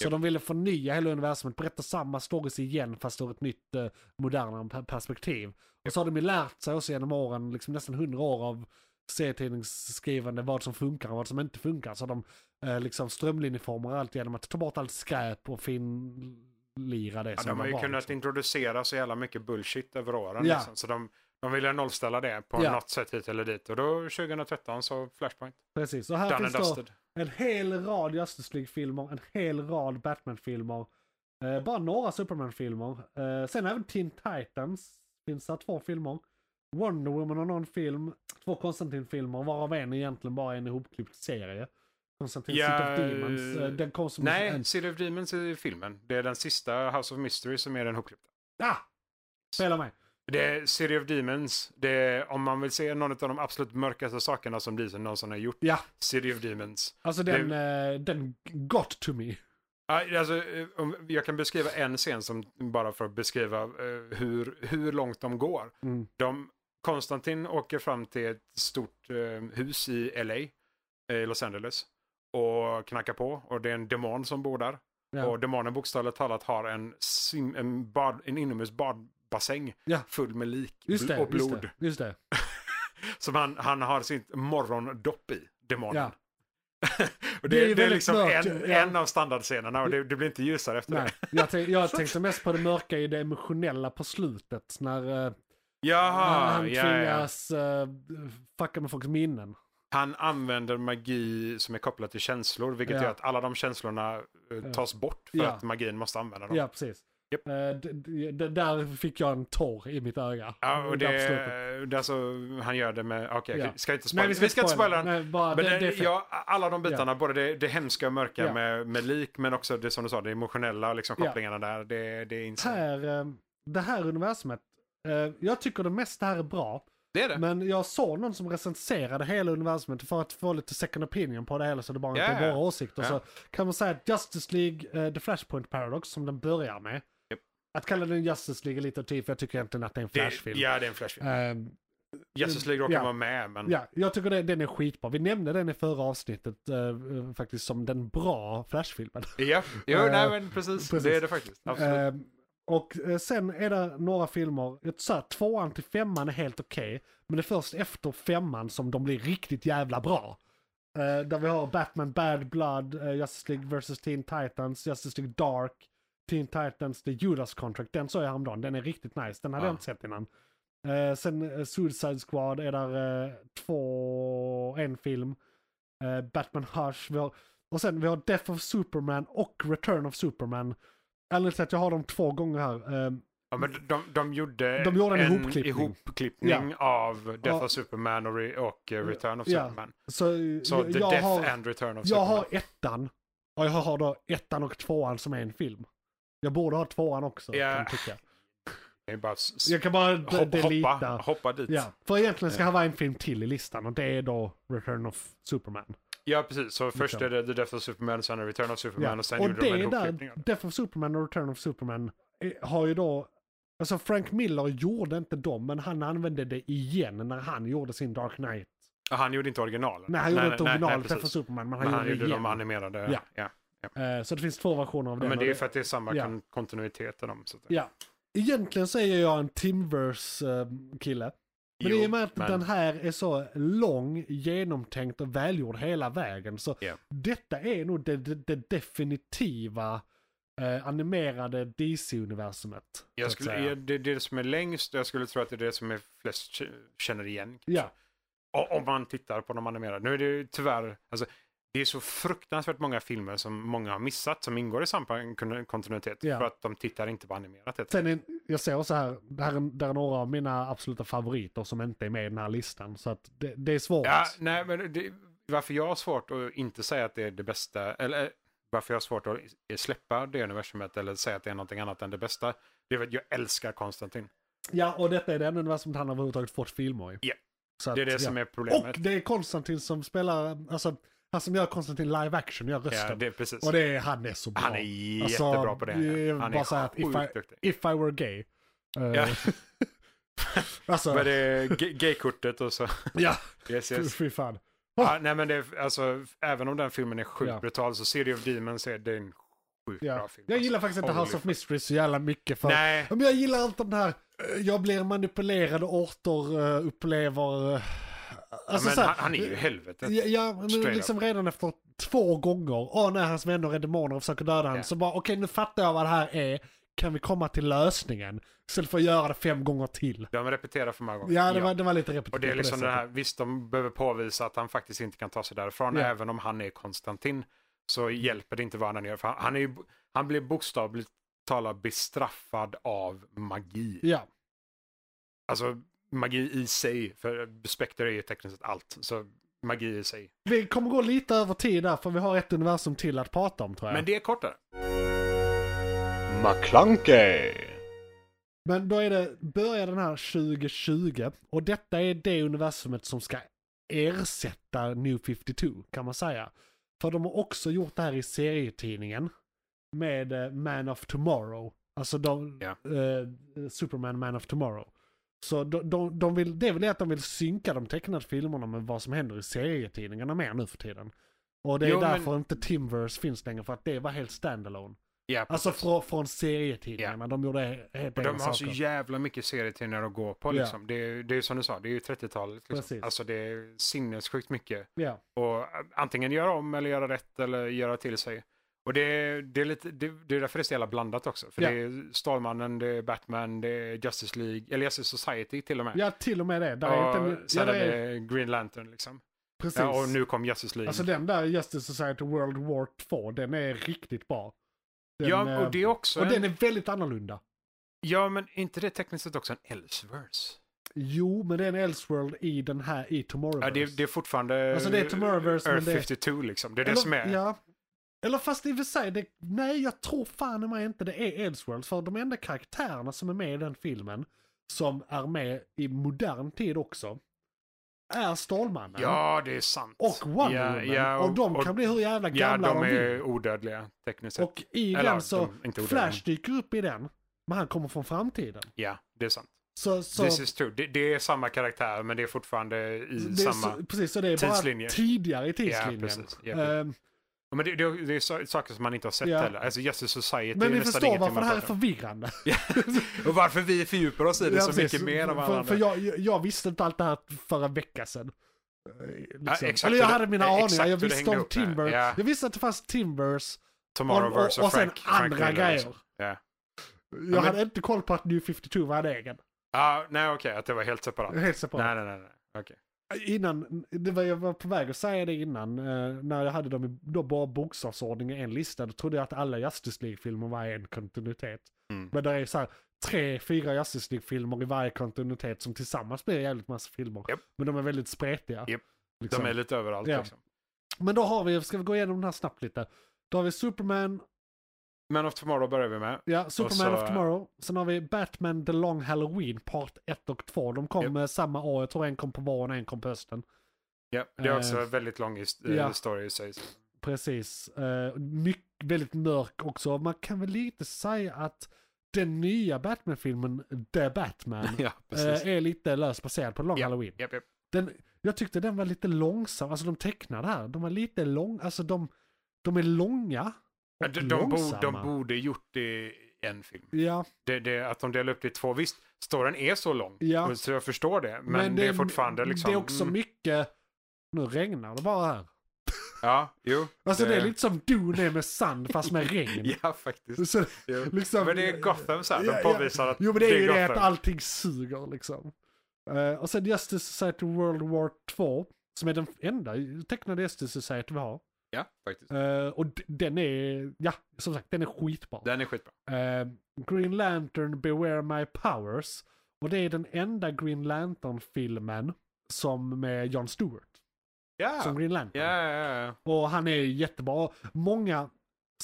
[SPEAKER 2] Så
[SPEAKER 3] Japp.
[SPEAKER 2] de ville förnya hela universumet, berätta samma stories igen fast ur ett nytt eh, modernare pe- perspektiv. Och så har de ju lärt sig också genom åren, liksom nästan hundra år av serietidningsskrivande, vad som funkar och vad som inte funkar. Så de eh, liksom strömlinjeformar allt genom att ta bort allt skräp och finlira det
[SPEAKER 3] Ja,
[SPEAKER 2] som
[SPEAKER 3] de har ju
[SPEAKER 2] var,
[SPEAKER 3] kunnat
[SPEAKER 2] liksom.
[SPEAKER 3] introducera så jävla mycket bullshit över åren.
[SPEAKER 2] Ja.
[SPEAKER 3] Liksom. Så de, de ville nollställa det på
[SPEAKER 2] Ja.
[SPEAKER 3] något sätt hit eller dit. Och då 2013 så Flashpoint.
[SPEAKER 2] Precis, och här
[SPEAKER 3] Done
[SPEAKER 2] finns
[SPEAKER 3] and
[SPEAKER 2] då
[SPEAKER 3] dusted.
[SPEAKER 2] en hel rad Justice League-filmer, en hel rad Batman-filmer, eh, bara några Superman-filmer. Eh, sen även Teen Titans finns där två filmer. Wonder Woman har någon film, två Konstantin-filmer, varav en egentligen bara är en ihopklippt serie. Konstantin
[SPEAKER 3] Ja,
[SPEAKER 2] City of Demons, eh, den kom som
[SPEAKER 3] Nej,
[SPEAKER 2] en...
[SPEAKER 3] City of Demons är filmen. Det är den sista House of Mystery som är den hopklippta.
[SPEAKER 2] Ah! Spela mig.
[SPEAKER 3] Det är City of Demons. Det är, om man vill se någon av de absolut mörkaste sakerna som Disney någonsin har gjort.
[SPEAKER 2] Ja,
[SPEAKER 3] City of Demons.
[SPEAKER 2] alltså
[SPEAKER 3] Det-
[SPEAKER 2] den, eh, den got to me.
[SPEAKER 3] Ja, Alltså, eh, om- jag kan beskriva en scen som bara för att beskriva eh, hur, hur långt de går.
[SPEAKER 2] Mm.
[SPEAKER 3] De, Konstantin åker fram till ett stort eh, hus i LA, eh, Los Angeles, och knackar på. Och det är en demon som bor där.
[SPEAKER 2] Ja.
[SPEAKER 3] Och demonen bokstavligt talat har en, sim, en, bad, en inomhus badbassäng
[SPEAKER 2] Ja.
[SPEAKER 3] full med lik
[SPEAKER 2] Just det,
[SPEAKER 3] och blod.
[SPEAKER 2] just det, just det.
[SPEAKER 3] Som han, han har sitt morgondopp i, demonen.
[SPEAKER 2] Ja.
[SPEAKER 3] och
[SPEAKER 2] Det
[SPEAKER 3] det,
[SPEAKER 2] är
[SPEAKER 3] det, är
[SPEAKER 2] väldigt
[SPEAKER 3] liksom
[SPEAKER 2] mörkt,
[SPEAKER 3] en,
[SPEAKER 2] ja.
[SPEAKER 3] en av standardscenerna och det, det blir inte ljusare efter
[SPEAKER 2] Nej,
[SPEAKER 3] det.
[SPEAKER 2] jag, tänk, jag tänkte mest på det mörka i det emotionella på slutet. När eh,
[SPEAKER 3] Jaha,
[SPEAKER 2] han, han
[SPEAKER 3] Ah, ja, ja.
[SPEAKER 2] tvingas eh, fucka med folks minnen.
[SPEAKER 3] Han använder magi som är kopplat till känslor, vilket
[SPEAKER 2] Ja.
[SPEAKER 3] gör att alla de känslorna eh, tas bort för
[SPEAKER 2] Ja.
[SPEAKER 3] att magin måste använda dem.
[SPEAKER 2] Ja, precis.
[SPEAKER 3] Japp.
[SPEAKER 2] Eh, d- d- d- där fick jag en tår i mitt öga.
[SPEAKER 3] Ja, och det,
[SPEAKER 2] Där på slutet.
[SPEAKER 3] det är alltså, han gör det med, okej, okej,
[SPEAKER 2] Ja.
[SPEAKER 3] ska inte spoila.
[SPEAKER 2] Nej,
[SPEAKER 3] Vi ska, inte spoila den.
[SPEAKER 2] Nej, bara,
[SPEAKER 3] Men
[SPEAKER 2] det,
[SPEAKER 3] det,
[SPEAKER 2] det är fel.
[SPEAKER 3] ja, alla de bitarna, både det, det hemska och mörka
[SPEAKER 2] Ja.
[SPEAKER 3] med, med lik, men också det som du sa, det emotionella, liksom
[SPEAKER 2] Ja.
[SPEAKER 3] kopplingarna där, det, det är insane.
[SPEAKER 2] här, eh, det här universumet, eh, jag tycker det mesta här är bra.
[SPEAKER 3] Det är det.
[SPEAKER 2] Men jag såg någon som recenserade hela universumet för att få lite second opinion på det hela så det bara inte
[SPEAKER 3] Ja,
[SPEAKER 2] är
[SPEAKER 3] ja.
[SPEAKER 2] våra åsikter. Så
[SPEAKER 3] Ja.
[SPEAKER 2] kan man säga att Justice League, eh, The Flashpoint Paradox som den börjar med. Att kalla den Justice League är lite att ta i, för jag tycker egentligen att det är en
[SPEAKER 3] det
[SPEAKER 2] flashfilm.
[SPEAKER 3] ja, det är en flashfilm.
[SPEAKER 2] Ehm,
[SPEAKER 3] Justice League råkar
[SPEAKER 2] ja.
[SPEAKER 3] vara med, men
[SPEAKER 2] Ja, jag tycker det, den är skitbra. Vi nämnde den i förra avsnittet eh, faktiskt som den bra Flash-filmen.
[SPEAKER 3] Ja, jo,
[SPEAKER 2] Eh,
[SPEAKER 3] nej, men precis.
[SPEAKER 2] precis.
[SPEAKER 3] Det är det faktiskt. Absolut.
[SPEAKER 2] Eh, och eh, sen är det några filmer, jag tror så här, tvåan till femman är helt okej, men det är först efter femman som de blir riktigt jävla bra. Eh, där vi har Batman Bad Blood, eh, Justice League vs Teen Titans, Justice League Dark, Teen Titans, The Judas Contract. Den såg jag häromdagen, den är riktigt nice, den hade jag
[SPEAKER 3] Ja.
[SPEAKER 2] inte sett innan. Eh, sen eh, Suicide Squad är där eh, två, en film. Eh, Batman Hush, vi har, och sen vi har Death of Superman och Return of Superman. Anledningen till att jag har dem två gånger här. eh,
[SPEAKER 3] ja, men de, de, gjorde
[SPEAKER 2] De gjorde en ihopklippning.
[SPEAKER 3] ihopklippning av Death
[SPEAKER 2] Ja.
[SPEAKER 3] of Superman och, re, och eh, Return of
[SPEAKER 2] Ja.
[SPEAKER 3] Superman.
[SPEAKER 2] så eh,
[SPEAKER 3] Så
[SPEAKER 2] jag,
[SPEAKER 3] The
[SPEAKER 2] jag,
[SPEAKER 3] Death
[SPEAKER 2] har,
[SPEAKER 3] and Return of
[SPEAKER 2] jag
[SPEAKER 3] Superman.
[SPEAKER 2] har ettan. Och jag har då ettan och tvåan som är en film. Jag borde ha tvåan också.
[SPEAKER 3] Ja.
[SPEAKER 2] Kan jag, tycka.
[SPEAKER 3] Det är bara s- s-
[SPEAKER 2] jag kan bara d-
[SPEAKER 3] hopp,
[SPEAKER 2] delita.
[SPEAKER 3] hoppa, hoppa dit.
[SPEAKER 2] Ja, för egentligen ska det vara en film till i listan och det är då Return of Superman.
[SPEAKER 3] Ja, precis. Så först
[SPEAKER 2] Liksom.
[SPEAKER 3] är det The Death of Superman, sen är det Return of Superman
[SPEAKER 2] Ja.
[SPEAKER 3] och sen
[SPEAKER 2] och
[SPEAKER 3] gjorde de en
[SPEAKER 2] det
[SPEAKER 3] ihopklippning.
[SPEAKER 2] där,
[SPEAKER 3] av det.
[SPEAKER 2] Death of Superman och Return of Superman eh, har ju då, alltså Frank Miller gjorde inte dem, men han använde det igen när han gjorde sin Dark Knight.
[SPEAKER 3] Ja, Han gjorde inte originalen.
[SPEAKER 2] Nej, han gjorde inte originalet Death of
[SPEAKER 3] precis.
[SPEAKER 2] Superman, men han
[SPEAKER 3] Men
[SPEAKER 2] gjorde
[SPEAKER 3] han
[SPEAKER 2] det
[SPEAKER 3] gjorde
[SPEAKER 2] igen.
[SPEAKER 3] de animerade.
[SPEAKER 2] Ja.
[SPEAKER 3] Ja. Ja.
[SPEAKER 2] Eh, Så det finns två versioner av den.
[SPEAKER 3] Men
[SPEAKER 2] och
[SPEAKER 3] det är för att det är samma
[SPEAKER 2] Ja.
[SPEAKER 3] kon- kontinuitet i dem. Så att...
[SPEAKER 2] Ja. Egentligen så är jag en Timverse-kille. Men
[SPEAKER 3] Jo,
[SPEAKER 2] i och med att
[SPEAKER 3] men-
[SPEAKER 2] den här är så lång, genomtänkt och välgjord hela vägen så
[SPEAKER 3] Ja.
[SPEAKER 2] detta är nog det, det, det definitiva eh, animerade DC-universumet. så
[SPEAKER 3] Jag
[SPEAKER 2] att
[SPEAKER 3] skulle,
[SPEAKER 2] säga.
[SPEAKER 3] ja, det är det som är längst jag skulle tro att det är det som är flest k- känner igen. kanske.
[SPEAKER 2] Ja.
[SPEAKER 3] O- Om man tittar på de animerade. Nu är det ju tyvärr, alltså, det är så fruktansvärt många filmer som många har missat som ingår i samma kon- kontinuitet
[SPEAKER 2] Ja.
[SPEAKER 3] för att de tittar inte på animerat. helt
[SPEAKER 2] Sen är, jag ser så här, det här är, det här är några av mina absoluta favoriter som inte är med i den här listan. Så att det, det är svårt.
[SPEAKER 3] Ja, nej, men det, varför jag har svårt att inte säga att det är det bästa, eller eh, varför jag har svårt att i- släppa det universumet eller säga att det är någonting annat än det bästa, det är för att jag älskar Konstantin.
[SPEAKER 2] Ja, och detta är det enda universum han överhuvudtaget fått filmer i.
[SPEAKER 3] Ja.
[SPEAKER 2] Så att,
[SPEAKER 3] Det är det
[SPEAKER 2] ja.
[SPEAKER 3] som är
[SPEAKER 2] Och
[SPEAKER 3] problemet.
[SPEAKER 2] det är Konstantin som spelar, alltså Han som gör Konstantin live action, gör rösten.
[SPEAKER 3] Ja, det är precis.
[SPEAKER 2] Och det är, han är så bra. Alltså,
[SPEAKER 3] Han är jättebra på det.
[SPEAKER 2] är
[SPEAKER 3] Han
[SPEAKER 2] bara så här,
[SPEAKER 3] är
[SPEAKER 2] att if,
[SPEAKER 3] sjukt
[SPEAKER 2] I,
[SPEAKER 3] duktig.
[SPEAKER 2] if I were gay. Eh,
[SPEAKER 3] Ja.
[SPEAKER 2] alltså,
[SPEAKER 3] Men det är ga- gaykortet och så.
[SPEAKER 2] ja,
[SPEAKER 3] Yes,
[SPEAKER 2] fy-
[SPEAKER 3] yes.
[SPEAKER 2] fy fan.
[SPEAKER 3] Ja, nej, men det är, alltså, även om den filmen är sjukt
[SPEAKER 2] Ja.
[SPEAKER 3] brutal så City of Demons är det är en sjukt
[SPEAKER 2] Ja.
[SPEAKER 3] bra film.
[SPEAKER 2] Jag
[SPEAKER 3] alltså.
[SPEAKER 2] gillar faktiskt inte
[SPEAKER 3] Holy
[SPEAKER 2] House of
[SPEAKER 3] fuck.
[SPEAKER 2] Mystery så jävla mycket. För
[SPEAKER 3] Nej,
[SPEAKER 2] Ja, Men jag gillar allt om det här, eh, jag blir manipulerad och åter eh, upplever... eh, Alltså,
[SPEAKER 3] ja,
[SPEAKER 2] så
[SPEAKER 3] men
[SPEAKER 2] här,
[SPEAKER 3] han, han är ju i helvetet.
[SPEAKER 2] Ja, ja men
[SPEAKER 3] Straight
[SPEAKER 2] liksom redan efter två gånger, åh nej hans vänner är demoner och försöker döda honom,
[SPEAKER 3] Ja.
[SPEAKER 2] så bara okej nu fattar jag vad det här är, kan vi komma till lösningen? Istället för att göra det fem gånger till.
[SPEAKER 3] De repeterar för många gånger.
[SPEAKER 2] Ja, det, Var, det var lite repetitivt.
[SPEAKER 3] Och det
[SPEAKER 2] på
[SPEAKER 3] är liksom det
[SPEAKER 2] sättet.
[SPEAKER 3] här, visst de behöver påvisa att han faktiskt inte kan ta sig därifrån,
[SPEAKER 2] Ja.
[SPEAKER 3] även om han är Konstantin, så hjälper det inte vad han än gör. För han, han, är ju, han blir bokstavligt talat bestraffad av magi.
[SPEAKER 2] Ja,
[SPEAKER 3] Alltså magi i sig, för Spectre är ju tekniskt sett allt, så magi i sig.
[SPEAKER 2] vi kommer gå lite över tid där, för vi har ett universum till att prata om tror jag.
[SPEAKER 3] Men
[SPEAKER 2] Men,
[SPEAKER 3] det är kortare.
[SPEAKER 4] McClunkey,
[SPEAKER 2] då är det, börjar den här 2020, och detta är det universumet som ska ersätta New 52, kan man säga. För de har också gjort det här i serietidningen. med eh, Man of Tomorrow. Alltså de,
[SPEAKER 3] Ja.
[SPEAKER 2] eh, Superman Man of Tomorrow. Så de, de, de vill, det är väl det att de vill synka de tecknade filmerna med vad som händer i serietidningarna mer nu för tiden. Och det är
[SPEAKER 3] Jo, men-
[SPEAKER 2] därför inte Timverse finns längre, för att det var helt standalone.
[SPEAKER 3] Ja,
[SPEAKER 2] Alltså
[SPEAKER 3] precis.
[SPEAKER 2] från, från serietidningarna, de gjorde he- helt
[SPEAKER 3] Och
[SPEAKER 2] egna
[SPEAKER 3] de har så
[SPEAKER 2] saker.
[SPEAKER 3] jävla mycket serietidningar att gå på
[SPEAKER 2] Ja.
[SPEAKER 3] liksom. Det, är, det är ju som du sa, det är ju 30-talet. Liksom.
[SPEAKER 2] Precis.
[SPEAKER 3] Alltså det är sinnessjukt mycket.
[SPEAKER 2] ja.
[SPEAKER 3] Och eh, antingen göra om eller göra rätt eller göra till sig. Och det, är- det, är, lite, det, det är därför det är så jävla blandat också. För
[SPEAKER 2] Ja.
[SPEAKER 3] det är Stålmannen, det är Batman, det är Justice League, eller Justice Society till och med.
[SPEAKER 2] ja, till och med det. Där
[SPEAKER 3] och
[SPEAKER 2] är inte, ja,
[SPEAKER 3] sen
[SPEAKER 2] där
[SPEAKER 3] är
[SPEAKER 2] är,
[SPEAKER 3] det Green Lantern liksom.
[SPEAKER 2] precis.
[SPEAKER 3] Ja, och nu kom Justice League.
[SPEAKER 2] Alltså den där Justice Society World War 2, den är riktigt bra. Den,
[SPEAKER 3] ja,
[SPEAKER 2] eh,
[SPEAKER 3] och det är också...
[SPEAKER 2] och
[SPEAKER 3] en,
[SPEAKER 2] den är väldigt annorlunda.
[SPEAKER 3] Ja, men inte det tekniskt sett också en Elseverse?
[SPEAKER 2] Jo, men det är en Elseworld i den här, i Tomorrowverse.
[SPEAKER 3] Ja, det, det är fortfarande
[SPEAKER 2] Alltså, det är Tomorrowverse, men
[SPEAKER 3] Earth
[SPEAKER 2] det-
[SPEAKER 3] 52 liksom. Det är det
[SPEAKER 2] Eller-
[SPEAKER 3] som är...
[SPEAKER 2] Ja. Eller fast i och för sig, det, nej jag tror fan i mig inte det är Elseworld. För de enda karaktärerna som är med i den filmen, som är med i modern tid också, är Stålmannen.
[SPEAKER 3] Ja, det är sant.
[SPEAKER 2] Och Wonder
[SPEAKER 3] ja,
[SPEAKER 2] Woman.
[SPEAKER 3] ja,
[SPEAKER 2] och, de kan bli hur jävla
[SPEAKER 3] Ja,
[SPEAKER 2] gamla
[SPEAKER 3] de
[SPEAKER 2] de
[SPEAKER 3] är
[SPEAKER 2] vill.
[SPEAKER 3] odödliga tekniskt sett.
[SPEAKER 2] Och i
[SPEAKER 3] eller,
[SPEAKER 2] den så,
[SPEAKER 3] de- inte odödliga.
[SPEAKER 2] Flash dyker upp i den. Men han kommer från framtiden.
[SPEAKER 3] Ja, det är sant.
[SPEAKER 2] Så, så,
[SPEAKER 3] This is true. Det, det är samma karaktär men det är fortfarande i
[SPEAKER 2] det är
[SPEAKER 3] samma...
[SPEAKER 2] så, precis, så det är bara
[SPEAKER 3] tidslinje.
[SPEAKER 2] tidigare i tidslinjen.
[SPEAKER 3] precis. Ja, precis.
[SPEAKER 2] Ehm,
[SPEAKER 3] Men det, det, det är so- saker som man inte har sett
[SPEAKER 2] Ja.
[SPEAKER 3] heller. Alltså Justice Society
[SPEAKER 2] Men
[SPEAKER 3] är
[SPEAKER 2] vi
[SPEAKER 3] nästan
[SPEAKER 2] förstår
[SPEAKER 3] ingenting
[SPEAKER 2] varför det
[SPEAKER 3] man
[SPEAKER 2] här är
[SPEAKER 3] pratar om.
[SPEAKER 2] förvirrande.
[SPEAKER 3] Och varför vi fördjupar oss i det
[SPEAKER 2] Ja,
[SPEAKER 3] så
[SPEAKER 2] precis.
[SPEAKER 3] mycket mer än vad alla
[SPEAKER 2] för,
[SPEAKER 3] andra.
[SPEAKER 2] för jag, jag visste inte allt det här förra veckan sedan. Eh, Liksom.
[SPEAKER 3] exakt
[SPEAKER 2] Eller jag
[SPEAKER 3] hur det-
[SPEAKER 2] hade mina
[SPEAKER 3] eh, exakt
[SPEAKER 2] aningar, jag
[SPEAKER 3] hur det hängde
[SPEAKER 2] visste om
[SPEAKER 3] upp med.
[SPEAKER 2] Timbers.
[SPEAKER 3] Ja.
[SPEAKER 2] Jag visste att det fanns Timbers och,
[SPEAKER 3] Tomorrowverse
[SPEAKER 2] och, och sen
[SPEAKER 3] Frank, Frank
[SPEAKER 2] andra
[SPEAKER 3] Miller
[SPEAKER 2] grejer.
[SPEAKER 3] liksom. Ja.
[SPEAKER 2] Jag
[SPEAKER 3] men-
[SPEAKER 2] hade inte koll på att New 52 var en egen.
[SPEAKER 3] Ah, nej, okej. att det var helt separat.
[SPEAKER 2] Helt separat.
[SPEAKER 3] Nej, nej, nej. nej. Okej.
[SPEAKER 2] Innan, det var, jag var på väg att säga det innan, eh, när jag hade dem i då bara bokstavsordning i en lista, då trodde jag att alla Justice League-filmer var en kontinuitet.
[SPEAKER 3] Mm.
[SPEAKER 2] Men det är så här, tre, fyra Justice League-filmer i varje kontinuitet som tillsammans blir en jävligt massa filmer.
[SPEAKER 3] Japp.
[SPEAKER 2] Men de är väldigt spretiga.
[SPEAKER 3] Japp.
[SPEAKER 2] Liksom.
[SPEAKER 3] De är lite överallt
[SPEAKER 2] Ja.
[SPEAKER 3] liksom.
[SPEAKER 2] Men då har vi, ska vi gå igenom den här snabbt lite. Då har vi Superman,
[SPEAKER 3] Men of Tomorrow börjar vi med.
[SPEAKER 2] ja, Superman
[SPEAKER 3] så,
[SPEAKER 2] of
[SPEAKER 3] eh,
[SPEAKER 2] Tomorrow. Sen har vi Batman The Long Halloween Part 1 och 2. De kom
[SPEAKER 3] Japp.
[SPEAKER 2] eh, samma år, jag tror en kom på våren och en kom på hösten.
[SPEAKER 3] Ja, det är också
[SPEAKER 2] Eh,
[SPEAKER 3] en väldigt lång his-
[SPEAKER 2] ja.
[SPEAKER 3] story i sig.
[SPEAKER 2] Precis. Eh, mycket, väldigt mörk också. Man kan väl lite säga att den nya Batman-filmen The Batman
[SPEAKER 3] Ja,
[SPEAKER 2] eh, är lite löst baserad på Long
[SPEAKER 3] Ja.
[SPEAKER 2] Halloween.
[SPEAKER 3] Japp, japp.
[SPEAKER 2] Den, jag tyckte den var lite långsam, alltså de tecknade här, de var lite lång, alltså de, de är långa.
[SPEAKER 3] Ja,
[SPEAKER 2] och
[SPEAKER 3] De, de, borde,
[SPEAKER 2] långsamma.
[SPEAKER 3] de borde gjort det i en film.
[SPEAKER 2] Ja,
[SPEAKER 3] Det, det, att de delar upp det i två. Visst, storyn är så lång.
[SPEAKER 2] Ja.
[SPEAKER 3] och Så jag förstår det. Men,
[SPEAKER 2] men,
[SPEAKER 3] det, är fortfarande liksom...
[SPEAKER 2] Det är också
[SPEAKER 3] mm,
[SPEAKER 2] mycket, nu regnar det bara här.
[SPEAKER 3] Ja, jo. Eh,
[SPEAKER 2] Alltså det, är lite som Dune är med sand fast med regn.
[SPEAKER 3] Ja, faktiskt.
[SPEAKER 2] Så,
[SPEAKER 3] Jo.
[SPEAKER 2] liksom-
[SPEAKER 3] men det är Gotham så här.
[SPEAKER 2] Ja,
[SPEAKER 3] De
[SPEAKER 2] ja.
[SPEAKER 3] påvisar att
[SPEAKER 2] Jo men det är ju det att
[SPEAKER 3] Gotham.
[SPEAKER 2] allting suger liksom. Eh, och sen Justice Society World War 2, som är den enda tecknade Justice Society vi har.
[SPEAKER 3] Ja, faktiskt.
[SPEAKER 2] Eh, och d- den är, ja, som sagt, den är skitbra.
[SPEAKER 3] Den är skitbra.
[SPEAKER 2] Eh, Green Lantern Beware My Powers. Och det är den enda Green Lantern-filmen som med Jon Stewart.
[SPEAKER 3] Ja,
[SPEAKER 2] Som Green Lantern.
[SPEAKER 3] ja, ja, ja.
[SPEAKER 2] Och han är jättebra. Många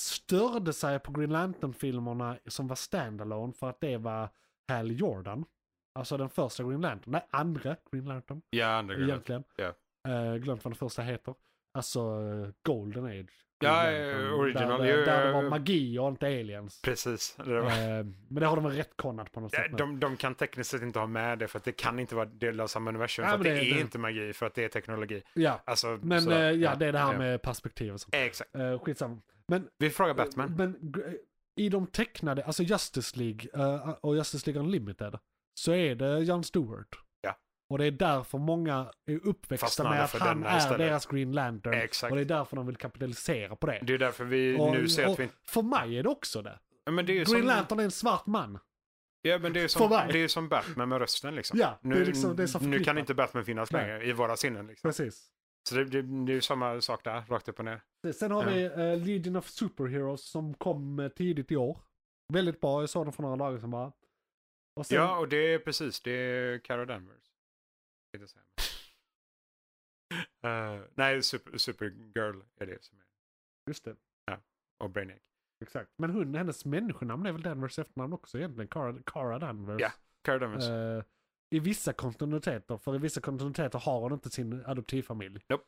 [SPEAKER 2] störde sig på Green Lantern-filmerna som var standalone för att det var Hal Jordan. Alltså den första Green Lantern. Nej, andra Green Lantern
[SPEAKER 3] ja. andra grejer.
[SPEAKER 2] egentligen.
[SPEAKER 3] Ja.
[SPEAKER 2] Eh, glömt vad den första heter. Alltså eh, Golden Age.
[SPEAKER 3] Ja,
[SPEAKER 2] Egentligen.
[SPEAKER 3] eh, original.
[SPEAKER 2] Där, där, där det var
[SPEAKER 3] Eh,
[SPEAKER 2] magi och inte aliens.
[SPEAKER 3] Precis. Det var...
[SPEAKER 2] Eh, men det har de väl retconat på något
[SPEAKER 3] Ja,
[SPEAKER 2] sätt nu.
[SPEAKER 3] De, de kan tekniskt sett inte ha med det för att det kan inte vara del av samma universum.
[SPEAKER 2] Ja,
[SPEAKER 3] för att
[SPEAKER 2] men
[SPEAKER 3] det,
[SPEAKER 2] det-
[SPEAKER 3] är
[SPEAKER 2] det-
[SPEAKER 3] inte magi för att det är teknologi.
[SPEAKER 2] Ja,
[SPEAKER 3] Alltså,
[SPEAKER 2] men
[SPEAKER 3] så-
[SPEAKER 2] eh, ja, det är det här
[SPEAKER 3] ja.
[SPEAKER 2] med perspektiv och sånt.
[SPEAKER 3] Eh, Exakt.
[SPEAKER 2] Eh, skitsamma. Men
[SPEAKER 3] Vi frågar Batman.
[SPEAKER 2] Men g- i de tecknade, alltså Justice League eh, och Justice League Unlimited, så är det Jon Stewart.
[SPEAKER 3] Ja.
[SPEAKER 2] Och det är därför många är uppväxta
[SPEAKER 3] Fastnade
[SPEAKER 2] med att
[SPEAKER 3] för
[SPEAKER 2] han
[SPEAKER 3] denna
[SPEAKER 2] är
[SPEAKER 3] istället.
[SPEAKER 2] deras Green Lantern.
[SPEAKER 3] Exakt.
[SPEAKER 2] Och det är därför de vill kapitalisera på det.
[SPEAKER 3] Det är därför vi
[SPEAKER 2] och,
[SPEAKER 3] nu ser
[SPEAKER 2] och
[SPEAKER 3] att vi inte...
[SPEAKER 2] För mig är det också det.
[SPEAKER 3] Ja, Men det är ju
[SPEAKER 2] Green
[SPEAKER 3] som,
[SPEAKER 2] Lantern är en svart man.
[SPEAKER 3] ja, men det är ju
[SPEAKER 2] för
[SPEAKER 3] som,
[SPEAKER 2] mig.
[SPEAKER 3] det är ju som Batman med rösten liksom.
[SPEAKER 2] Ja, det är
[SPEAKER 3] nu,
[SPEAKER 2] liksom- det är så
[SPEAKER 3] nu
[SPEAKER 2] förknippat.
[SPEAKER 3] kan inte Batman finnas
[SPEAKER 2] Nej.
[SPEAKER 3] längre i våra sinnen. Liksom.
[SPEAKER 2] Precis.
[SPEAKER 3] Så det, det, det är ju samma sak där, rakt upp och ner.
[SPEAKER 2] Sen har
[SPEAKER 3] Ja.
[SPEAKER 2] vi eh, Legion of Superheroes som kom eh, tidigt i år. Väldigt bra, jag såg den för några dagar sedan bara. Och sen,
[SPEAKER 3] Ja, och det är precis, det är Cara Danvers. Tänkte jag säga. Eh, nej, super, Supergirl är det som är.
[SPEAKER 2] just det.
[SPEAKER 3] Och Brainiac.
[SPEAKER 2] Exakt. Men hon, hennes människonamn är väl Danvers efternamn också egentligen? Cara, Cara Danvers.
[SPEAKER 3] Ja, Cara Danvers.
[SPEAKER 2] Eh, I vissa kontinuiteter, för i vissa kontinuiteter har hon inte sin adoptivfamilj.
[SPEAKER 3] Nope.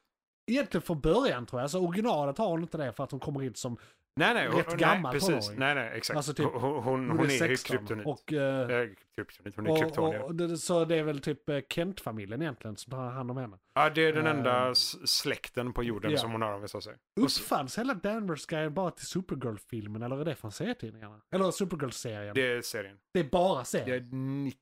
[SPEAKER 2] Egentligen från början tror jag, alltså originalet har hon inte det för att hon kommer hit som,
[SPEAKER 3] Nej, nej.
[SPEAKER 2] Rätt gammal
[SPEAKER 3] nej, precis.
[SPEAKER 2] tonåring.
[SPEAKER 3] Nej, nej, exakt.
[SPEAKER 2] Alltså typ-
[SPEAKER 3] hon, hon, Mm, hon
[SPEAKER 2] är
[SPEAKER 3] är ju
[SPEAKER 2] 16.
[SPEAKER 3] kryptonit.
[SPEAKER 2] Och, eh,
[SPEAKER 3] Eh, kryptonit. Hon är
[SPEAKER 2] och,
[SPEAKER 3] kryptonier.
[SPEAKER 2] och, och det, så det är väl typ eh, Kent-familjen egentligen som tar hand om henne.
[SPEAKER 3] ja, det är den
[SPEAKER 2] eh,
[SPEAKER 3] enda s- släkten på jorden
[SPEAKER 2] ja.
[SPEAKER 3] som hon har om vi så säger. Och så-
[SPEAKER 2] Uppfanns hela Danvers-grejen bara till Supergirl-filmen eller är det från serietidningarna? Eller Supergirl-serien? Det,
[SPEAKER 3] Det är serien.
[SPEAKER 2] är bara serien.
[SPEAKER 3] Jag är 90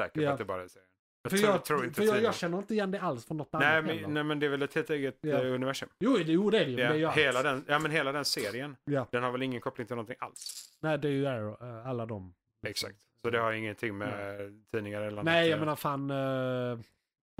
[SPEAKER 3] säker
[SPEAKER 2] Ja.
[SPEAKER 3] på att det bara är serien. Jag
[SPEAKER 2] för
[SPEAKER 3] tror,
[SPEAKER 2] jag,
[SPEAKER 3] tror inte
[SPEAKER 2] för jag,
[SPEAKER 3] tiden.
[SPEAKER 2] jag känner inte igen det alls från något
[SPEAKER 3] nej,
[SPEAKER 2] annat heller.
[SPEAKER 3] men, nej, men det är väl ett helt eget
[SPEAKER 2] Ja.
[SPEAKER 3] eh, universum.
[SPEAKER 2] Jo, det, jo, det är det ju. men
[SPEAKER 3] Ja,
[SPEAKER 2] Det är ju allt.
[SPEAKER 3] hela, den, ja, men hela den serien.
[SPEAKER 2] Ja.
[SPEAKER 3] Den har väl ingen koppling till någonting alls.
[SPEAKER 2] Nej, det är ju Arrow, eh, alla de.
[SPEAKER 3] Exakt. Så det har ingenting med tidningar eller annat.
[SPEAKER 2] Nej, jag
[SPEAKER 3] eh,
[SPEAKER 2] menar fan eh,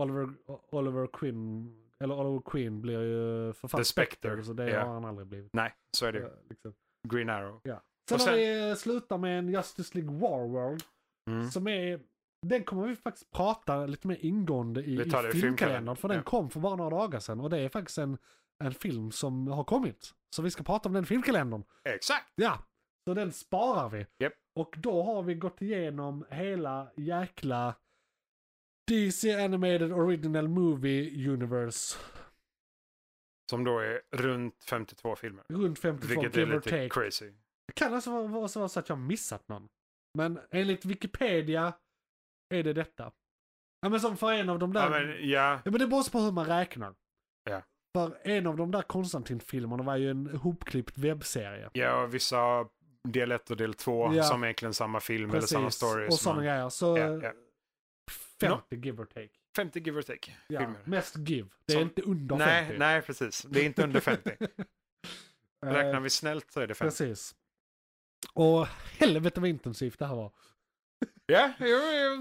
[SPEAKER 2] Oliver, Oliver Queen, eller Oliver Queen blir ju författare.
[SPEAKER 3] The Spectre,
[SPEAKER 2] Så det
[SPEAKER 3] ja.
[SPEAKER 2] har han aldrig blivit.
[SPEAKER 3] Nej, så är det ju.
[SPEAKER 2] Eh, liksom.
[SPEAKER 3] Green Arrow.
[SPEAKER 2] Sen,
[SPEAKER 3] Och sen-
[SPEAKER 2] har vi eh, slutat med en Justice League War World
[SPEAKER 3] Mm.
[SPEAKER 2] som är den kommer vi faktiskt prata lite mer ingående i,
[SPEAKER 3] Vi
[SPEAKER 2] i
[SPEAKER 3] tar det i
[SPEAKER 2] filmkalendern.
[SPEAKER 3] filmkalendern,
[SPEAKER 2] För den
[SPEAKER 3] ja.
[SPEAKER 2] kom för bara några dagar sedan och det är faktiskt en, en film som har kommit. Så vi ska prata om den filmkalendern.
[SPEAKER 3] Exakt!
[SPEAKER 2] Ja, så den sparar vi.
[SPEAKER 3] Japp.
[SPEAKER 2] Och då har vi gått igenom hela jäkla DC Animated Original Movie Universe.
[SPEAKER 3] Som då är runt 52 filmer.
[SPEAKER 2] Runt 52
[SPEAKER 3] Vilket är
[SPEAKER 2] give or
[SPEAKER 3] lite
[SPEAKER 2] take.
[SPEAKER 3] crazy.
[SPEAKER 2] Det kan alltså vara, vara så att jag missat någon. Men enligt Wikipedia är det detta. Ja men som för en av de
[SPEAKER 3] Ja,
[SPEAKER 2] där...
[SPEAKER 3] men, ja,
[SPEAKER 2] Ja, men det beror också på hur man räknar.
[SPEAKER 3] Ja.
[SPEAKER 2] För en av de där Konstantin-filmerna var ju en hopklippt webbserie.
[SPEAKER 3] ja, och vissa har del 1 och del 2
[SPEAKER 2] Ja.
[SPEAKER 3] som är egentligen samma film eller samma story.
[SPEAKER 2] och
[SPEAKER 3] som
[SPEAKER 2] sådana
[SPEAKER 3] man-
[SPEAKER 2] grejer. Så
[SPEAKER 3] Ja, ja.
[SPEAKER 2] 50 give or take.
[SPEAKER 3] 50 give or take
[SPEAKER 2] Ja,
[SPEAKER 3] filmer.
[SPEAKER 2] mest give. Det är
[SPEAKER 3] Som-
[SPEAKER 2] inte under
[SPEAKER 3] nej,
[SPEAKER 2] 50.
[SPEAKER 3] nej, precis. Det är inte under 50. Räknar vi snällt så är det 50.
[SPEAKER 2] Eh, Precis. Och helvete vad intensivt det här var.
[SPEAKER 3] Ja, jo, jo,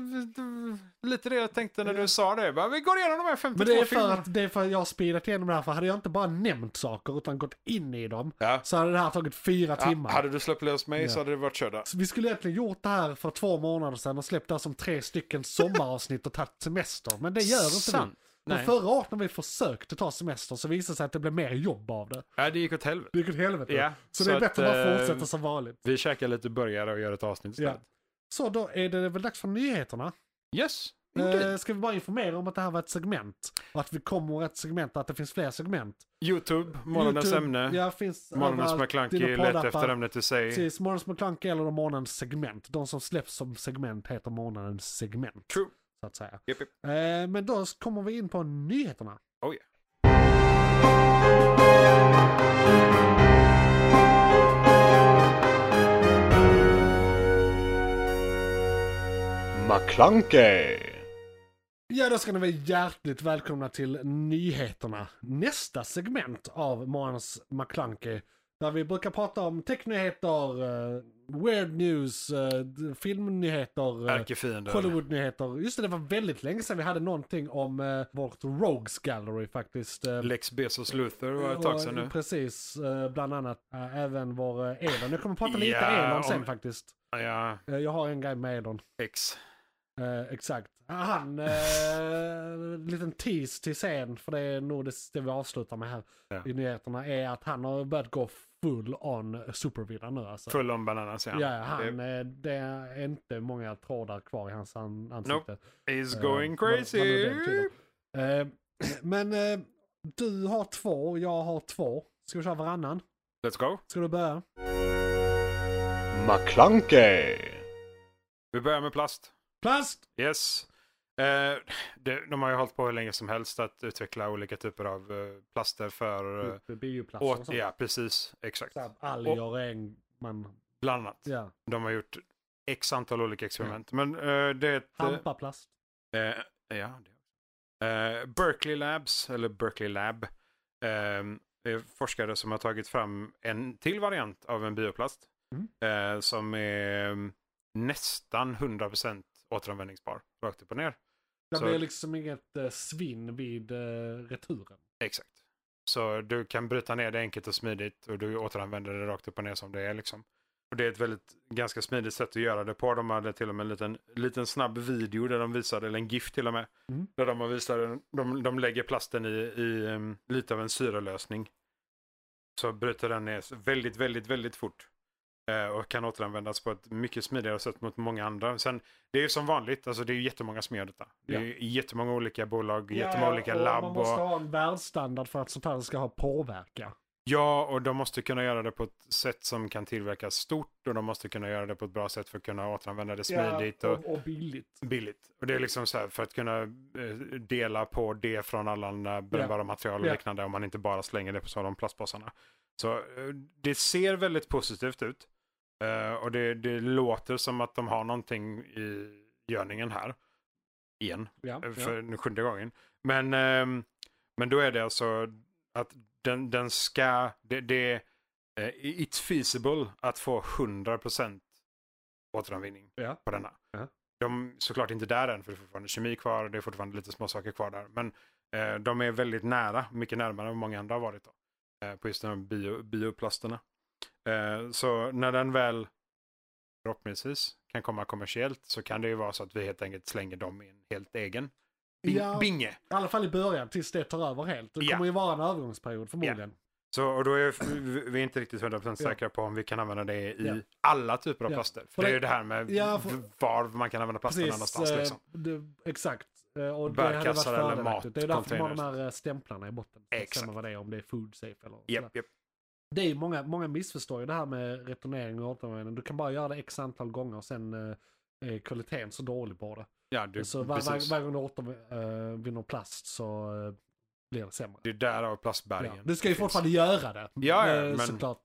[SPEAKER 3] lite det jag tänkte när du sa det. Bara, Vi går igenom de här 52
[SPEAKER 2] Men det är för
[SPEAKER 3] filmerna.
[SPEAKER 2] att, det är för att jag har speedat igenom det här. För hade jag inte bara nämnt saker utan gått in i dem
[SPEAKER 3] Ja.
[SPEAKER 2] så hade det här tagit fyra timmar.
[SPEAKER 3] hade du släppt lös mig
[SPEAKER 2] Ja.
[SPEAKER 3] så hade det varit körda.
[SPEAKER 2] Så vi skulle egentligen gjort det här för två månader sedan och släppt det här som tre stycken sommaravsnitt och tagit semester. Men det gör inte
[SPEAKER 3] Sant.
[SPEAKER 2] vi. Men
[SPEAKER 3] Nej.
[SPEAKER 2] förra året när vi försökte ta semester så visade det sig att det blev mer jobb av det.
[SPEAKER 3] Ja, det gick åt helvete.
[SPEAKER 2] Vilket helvete.
[SPEAKER 3] Ja,
[SPEAKER 2] så, det är
[SPEAKER 3] så
[SPEAKER 2] bättre att
[SPEAKER 3] att,
[SPEAKER 2] bara
[SPEAKER 3] eh,
[SPEAKER 2] fortsätta som vanligt.
[SPEAKER 3] Vi käkar lite burgare och gör ett avsnitt
[SPEAKER 2] Ja.
[SPEAKER 3] istället.
[SPEAKER 2] Så då är det väl dags för nyheterna.
[SPEAKER 3] Yes!
[SPEAKER 2] Eh, ska vi bara informera om att det här var ett segment? Och att vi kommer ett segment och att det finns fler segment.
[SPEAKER 3] Youtube, morgonens
[SPEAKER 2] YouTube,
[SPEAKER 3] ämne.
[SPEAKER 2] Ja, finns
[SPEAKER 3] Morgonens
[SPEAKER 2] överallt. Dina Typ.
[SPEAKER 3] McKlunky,
[SPEAKER 2] poddappar.
[SPEAKER 3] leta efter ämnet i sig.
[SPEAKER 2] Precis, Morgonens McClunky eller månadens segment. De som släpps som segment heter månadens segment.
[SPEAKER 3] True.
[SPEAKER 2] Så att säga.
[SPEAKER 3] Japp, japp.
[SPEAKER 2] Eh, men då kommer vi in på nyheterna.
[SPEAKER 3] Oh yeah.
[SPEAKER 4] McClunkey!
[SPEAKER 2] Ja, då ska ni vara hjärtligt välkomna till nyheterna. Nästa segment av Månadens McClunky. Där vi brukar prata om technyheter, eh, weird news, eh, d- filmnyheter, eh,
[SPEAKER 3] Ärkefienden.
[SPEAKER 2] Hollywoodnyheter. Just det, det var väldigt länge sedan vi hade någonting om eh, vårt Rogues Gallery faktiskt. Eh,
[SPEAKER 3] Lex Bezos Luther var ett tag sedan
[SPEAKER 2] och,
[SPEAKER 3] nu.
[SPEAKER 2] Precis, eh, bland annat eh, även vår eh, Elon. Jag kommer prata lite
[SPEAKER 3] Ja,
[SPEAKER 2] Elon sen
[SPEAKER 3] om-
[SPEAKER 2] faktiskt.
[SPEAKER 3] Ja,
[SPEAKER 2] Eh, jag har en grej med Elon.
[SPEAKER 3] X.
[SPEAKER 2] Eh, exakt. Ah, Han, eh, liten tease till sen, för det är nog det, det vi avslutar med här
[SPEAKER 3] Ja.
[SPEAKER 2] i nyheterna, är att han har börjat gå full on supervilla nu alltså.
[SPEAKER 3] Full om bananas, ja.
[SPEAKER 2] Ja, han, eh, det är inte många trådar kvar i hans an- ansikte.
[SPEAKER 3] Nope. He's
[SPEAKER 2] Eh,
[SPEAKER 3] going
[SPEAKER 2] vad- vad nu
[SPEAKER 3] crazy!
[SPEAKER 2] den betyder. Eh, men eh, Du har två, jag har två. Ska vi köra varannan?
[SPEAKER 3] Let's go.
[SPEAKER 2] Ska du börja?
[SPEAKER 4] McClunkey.
[SPEAKER 3] Vi börjar med plast.
[SPEAKER 2] Plast!
[SPEAKER 3] Yes. Eh, det, de har ju hållit på hur länge som helst att utveckla olika typer av eh, plaster för... Eh,
[SPEAKER 2] Bioplast
[SPEAKER 3] åt, ja, precis. Exakt.
[SPEAKER 2] Alger, äng, man...
[SPEAKER 3] Bland annat.
[SPEAKER 2] Ja. Mm.
[SPEAKER 3] De har gjort x antal olika experiment. Men eh, det är ett... eh,
[SPEAKER 2] Hampaplast.
[SPEAKER 3] Eh, ja, det. Eh, Berkeley Labs, eller Berkeley Lab, eh, är forskare som har tagit fram en till variant av en bioplast.
[SPEAKER 2] Mm.
[SPEAKER 3] Eh, som är eh, nästan 100% återanvändningsbar, rakt upp och ner.
[SPEAKER 2] Det
[SPEAKER 3] Så-
[SPEAKER 2] blir liksom inget eh, svinn vid eh, returen.
[SPEAKER 3] Exakt. Så du kan bryta ner det enkelt och smidigt och du återanvänder det rakt upp och ner som det är. Liksom. Och det är ett väldigt, ganska smidigt sätt att göra det på. De hade till och med en liten, liten snabb video där de visade, eller en GIF till och med,
[SPEAKER 2] Mm.
[SPEAKER 3] där de har visat, den- de, de lägger plasten i, i em, lite av en syrelösning. Så bryter den ner väldigt, väldigt, väldigt fort. Eh, och kan återanvändas på ett mycket smidigare sätt mot många andra. Sen, det är ju som vanligt, alltså det är ju jättemånga som gör detta. Det är
[SPEAKER 2] Ja.
[SPEAKER 3] ju jättemånga olika bolag, jättemånga olika labb.
[SPEAKER 2] Man
[SPEAKER 3] och-
[SPEAKER 2] måste ha en världsstandard för att sånt här ska ha påverka.
[SPEAKER 3] Ja, och de måste kunna göra det på ett sätt som kan tillverkas stort och de måste kunna göra det på ett bra sätt för att kunna återanvända det smidigt och
[SPEAKER 2] och, och billigt.
[SPEAKER 3] billigt. Och det är liksom så här för att kunna eh, dela på det från alla andra brännbara material och
[SPEAKER 2] Ja.
[SPEAKER 3] liknande om man inte bara slänger det på sådana plastpåsarna. Så eh, det ser väldigt positivt ut Eh, och det, det låter som att de har någonting i görningen här. Igen
[SPEAKER 2] Ja,
[SPEAKER 3] Eh, för
[SPEAKER 2] ja.
[SPEAKER 3] den sjunde gången. Men, ehm, men då är det alltså att den, den ska, det, det är eh, it's feasible att få 100% återanvändning
[SPEAKER 2] Ja.
[SPEAKER 3] på denna.
[SPEAKER 2] Ja.
[SPEAKER 3] De är såklart inte där än för det är fortfarande kemi kvar och det är fortfarande lite små saker kvar där. Men eh, de är väldigt nära, mycket närmare än många andra har varit då. Eh, på just de här bio, bioplasterna. Eh, så när den väl förhoppningsvis kan komma kommersiellt så kan det ju vara så att vi helt enkelt slänger dem i en helt egen bing,
[SPEAKER 2] Ja.
[SPEAKER 3] binge.
[SPEAKER 2] I alla fall i början, tills det tar över helt. Det
[SPEAKER 3] Ja.
[SPEAKER 2] kommer ju vara en övergångsperiod förmodligen.
[SPEAKER 3] Så, och då är vi, vi är inte riktigt 100%
[SPEAKER 2] Ja.
[SPEAKER 3] säkra på om vi kan använda det i
[SPEAKER 2] Ja.
[SPEAKER 3] alla typer av
[SPEAKER 2] Ja.
[SPEAKER 3] plaster.
[SPEAKER 2] För
[SPEAKER 3] För det är
[SPEAKER 2] det-
[SPEAKER 3] ju det här med
[SPEAKER 2] Ja, för-
[SPEAKER 3] var man kan använda plasten någonstans.
[SPEAKER 2] eh,
[SPEAKER 3] Liksom.
[SPEAKER 2] det, exakt. Eh, Och det hade varit
[SPEAKER 3] Bärkassar eller
[SPEAKER 2] fördelaktigt. Det är därför de har de
[SPEAKER 3] matcontainers.
[SPEAKER 2] här eh, stämplarna i botten. För att
[SPEAKER 3] Exakt.
[SPEAKER 2] bestämma vad det är, om det är food safe eller sådär.
[SPEAKER 3] Japp, japp.
[SPEAKER 2] Det är ju många, många missförstår ju det här med returnering och återanvändning. Du kan bara göra det x antal gånger och sen eh, är kvaliteten så dålig på det.
[SPEAKER 3] Ja, du,
[SPEAKER 2] så Alltså, var, var,
[SPEAKER 3] precis.
[SPEAKER 2] varje gång du återvinner plast så eh, blir det sämre.
[SPEAKER 3] Det är därav
[SPEAKER 2] Ja.
[SPEAKER 3] plastbergen.
[SPEAKER 2] Du ska ju
[SPEAKER 3] finns.
[SPEAKER 2] fortfarande göra det.
[SPEAKER 3] Ja, ja,
[SPEAKER 2] eh,
[SPEAKER 3] men-
[SPEAKER 2] Såklart.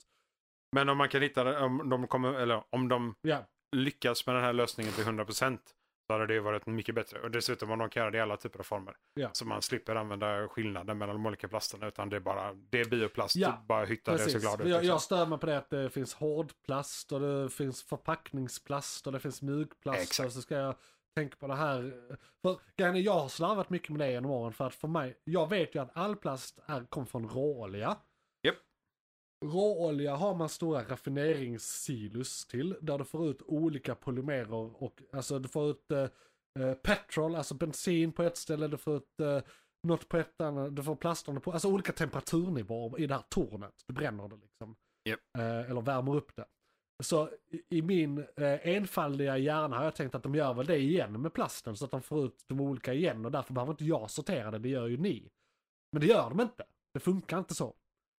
[SPEAKER 3] Men om man kan hitta det, om de, kommer, eller om de
[SPEAKER 2] Ja,
[SPEAKER 3] lyckas med den här lösningen till 100% så hade det ju varit mycket bättre. Och dessutom om de kan göra det i alla typer av former.
[SPEAKER 2] Ja.
[SPEAKER 3] Så man slipper använda skillnaden mellan de olika plasterna utan det är bara, det är bioplast,
[SPEAKER 2] Ja,
[SPEAKER 3] bara hytta det och
[SPEAKER 2] precis.
[SPEAKER 3] så glad ut.
[SPEAKER 2] jag,
[SPEAKER 3] liksom.
[SPEAKER 2] jag stör mig på det att det finns hårdplast och det finns förpackningsplast och det finns mjukplast.
[SPEAKER 3] Exakt.
[SPEAKER 2] Och så ska jag tänka på det här. För, grejen är, jag har slarvat mycket med det genom åren för att för mig, jag vet ju att all plast är, kom från råolja.
[SPEAKER 3] Japp.
[SPEAKER 2] Råolja har man stora raffineringssilos till där du får ut olika polymerer och alltså du får ut eh, eh, petrol, alltså bensin på ett ställe, du får ut eh, något på ett annat, du får plasterna på, alltså olika temperaturnivåer i det här tornet. Du bränner det liksom.
[SPEAKER 3] Japp.
[SPEAKER 2] Eh, eller värmer upp det. Så i- i min eh, enfaldiga hjärna har jag tänkt att de gör väl det igen med plasten så att de får ut de olika igen och därför behöver inte jag sortera det, det gör ju ni. Men det gör de inte. Det funkar inte så.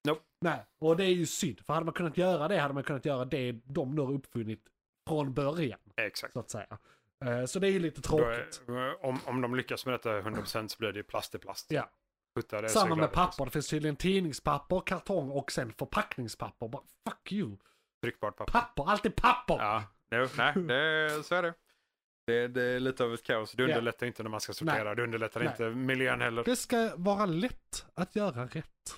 [SPEAKER 3] Nope.
[SPEAKER 2] Nej, och det är ju synd. För hade man kunnat göra det hade man kunnat göra det de nu har uppfunnit från början,
[SPEAKER 3] Exakt.
[SPEAKER 2] så att säga. Eh, så det är ju lite
[SPEAKER 3] Då
[SPEAKER 2] tråkigt.
[SPEAKER 3] är, om, om de lyckas med detta 100% så blir det plast i plast.
[SPEAKER 2] Ja.
[SPEAKER 3] Hytta det så
[SPEAKER 2] Samma
[SPEAKER 3] glad
[SPEAKER 2] med
[SPEAKER 3] ut,
[SPEAKER 2] papper.
[SPEAKER 3] liksom.
[SPEAKER 2] Det finns tydligen tidningspapper, kartong och sen förpackningspapper. Bara, fuck you.
[SPEAKER 3] Tryckbart papper.
[SPEAKER 2] Papper, alltid papper!
[SPEAKER 3] Ja, no, nej, det, så är det. det. Det är lite av ett kaos. Det
[SPEAKER 2] Ja.
[SPEAKER 3] underlättar inte när man ska sortera. Det underlättar
[SPEAKER 2] Nej.
[SPEAKER 3] inte miljön heller.
[SPEAKER 2] Det ska vara lätt att göra rätt,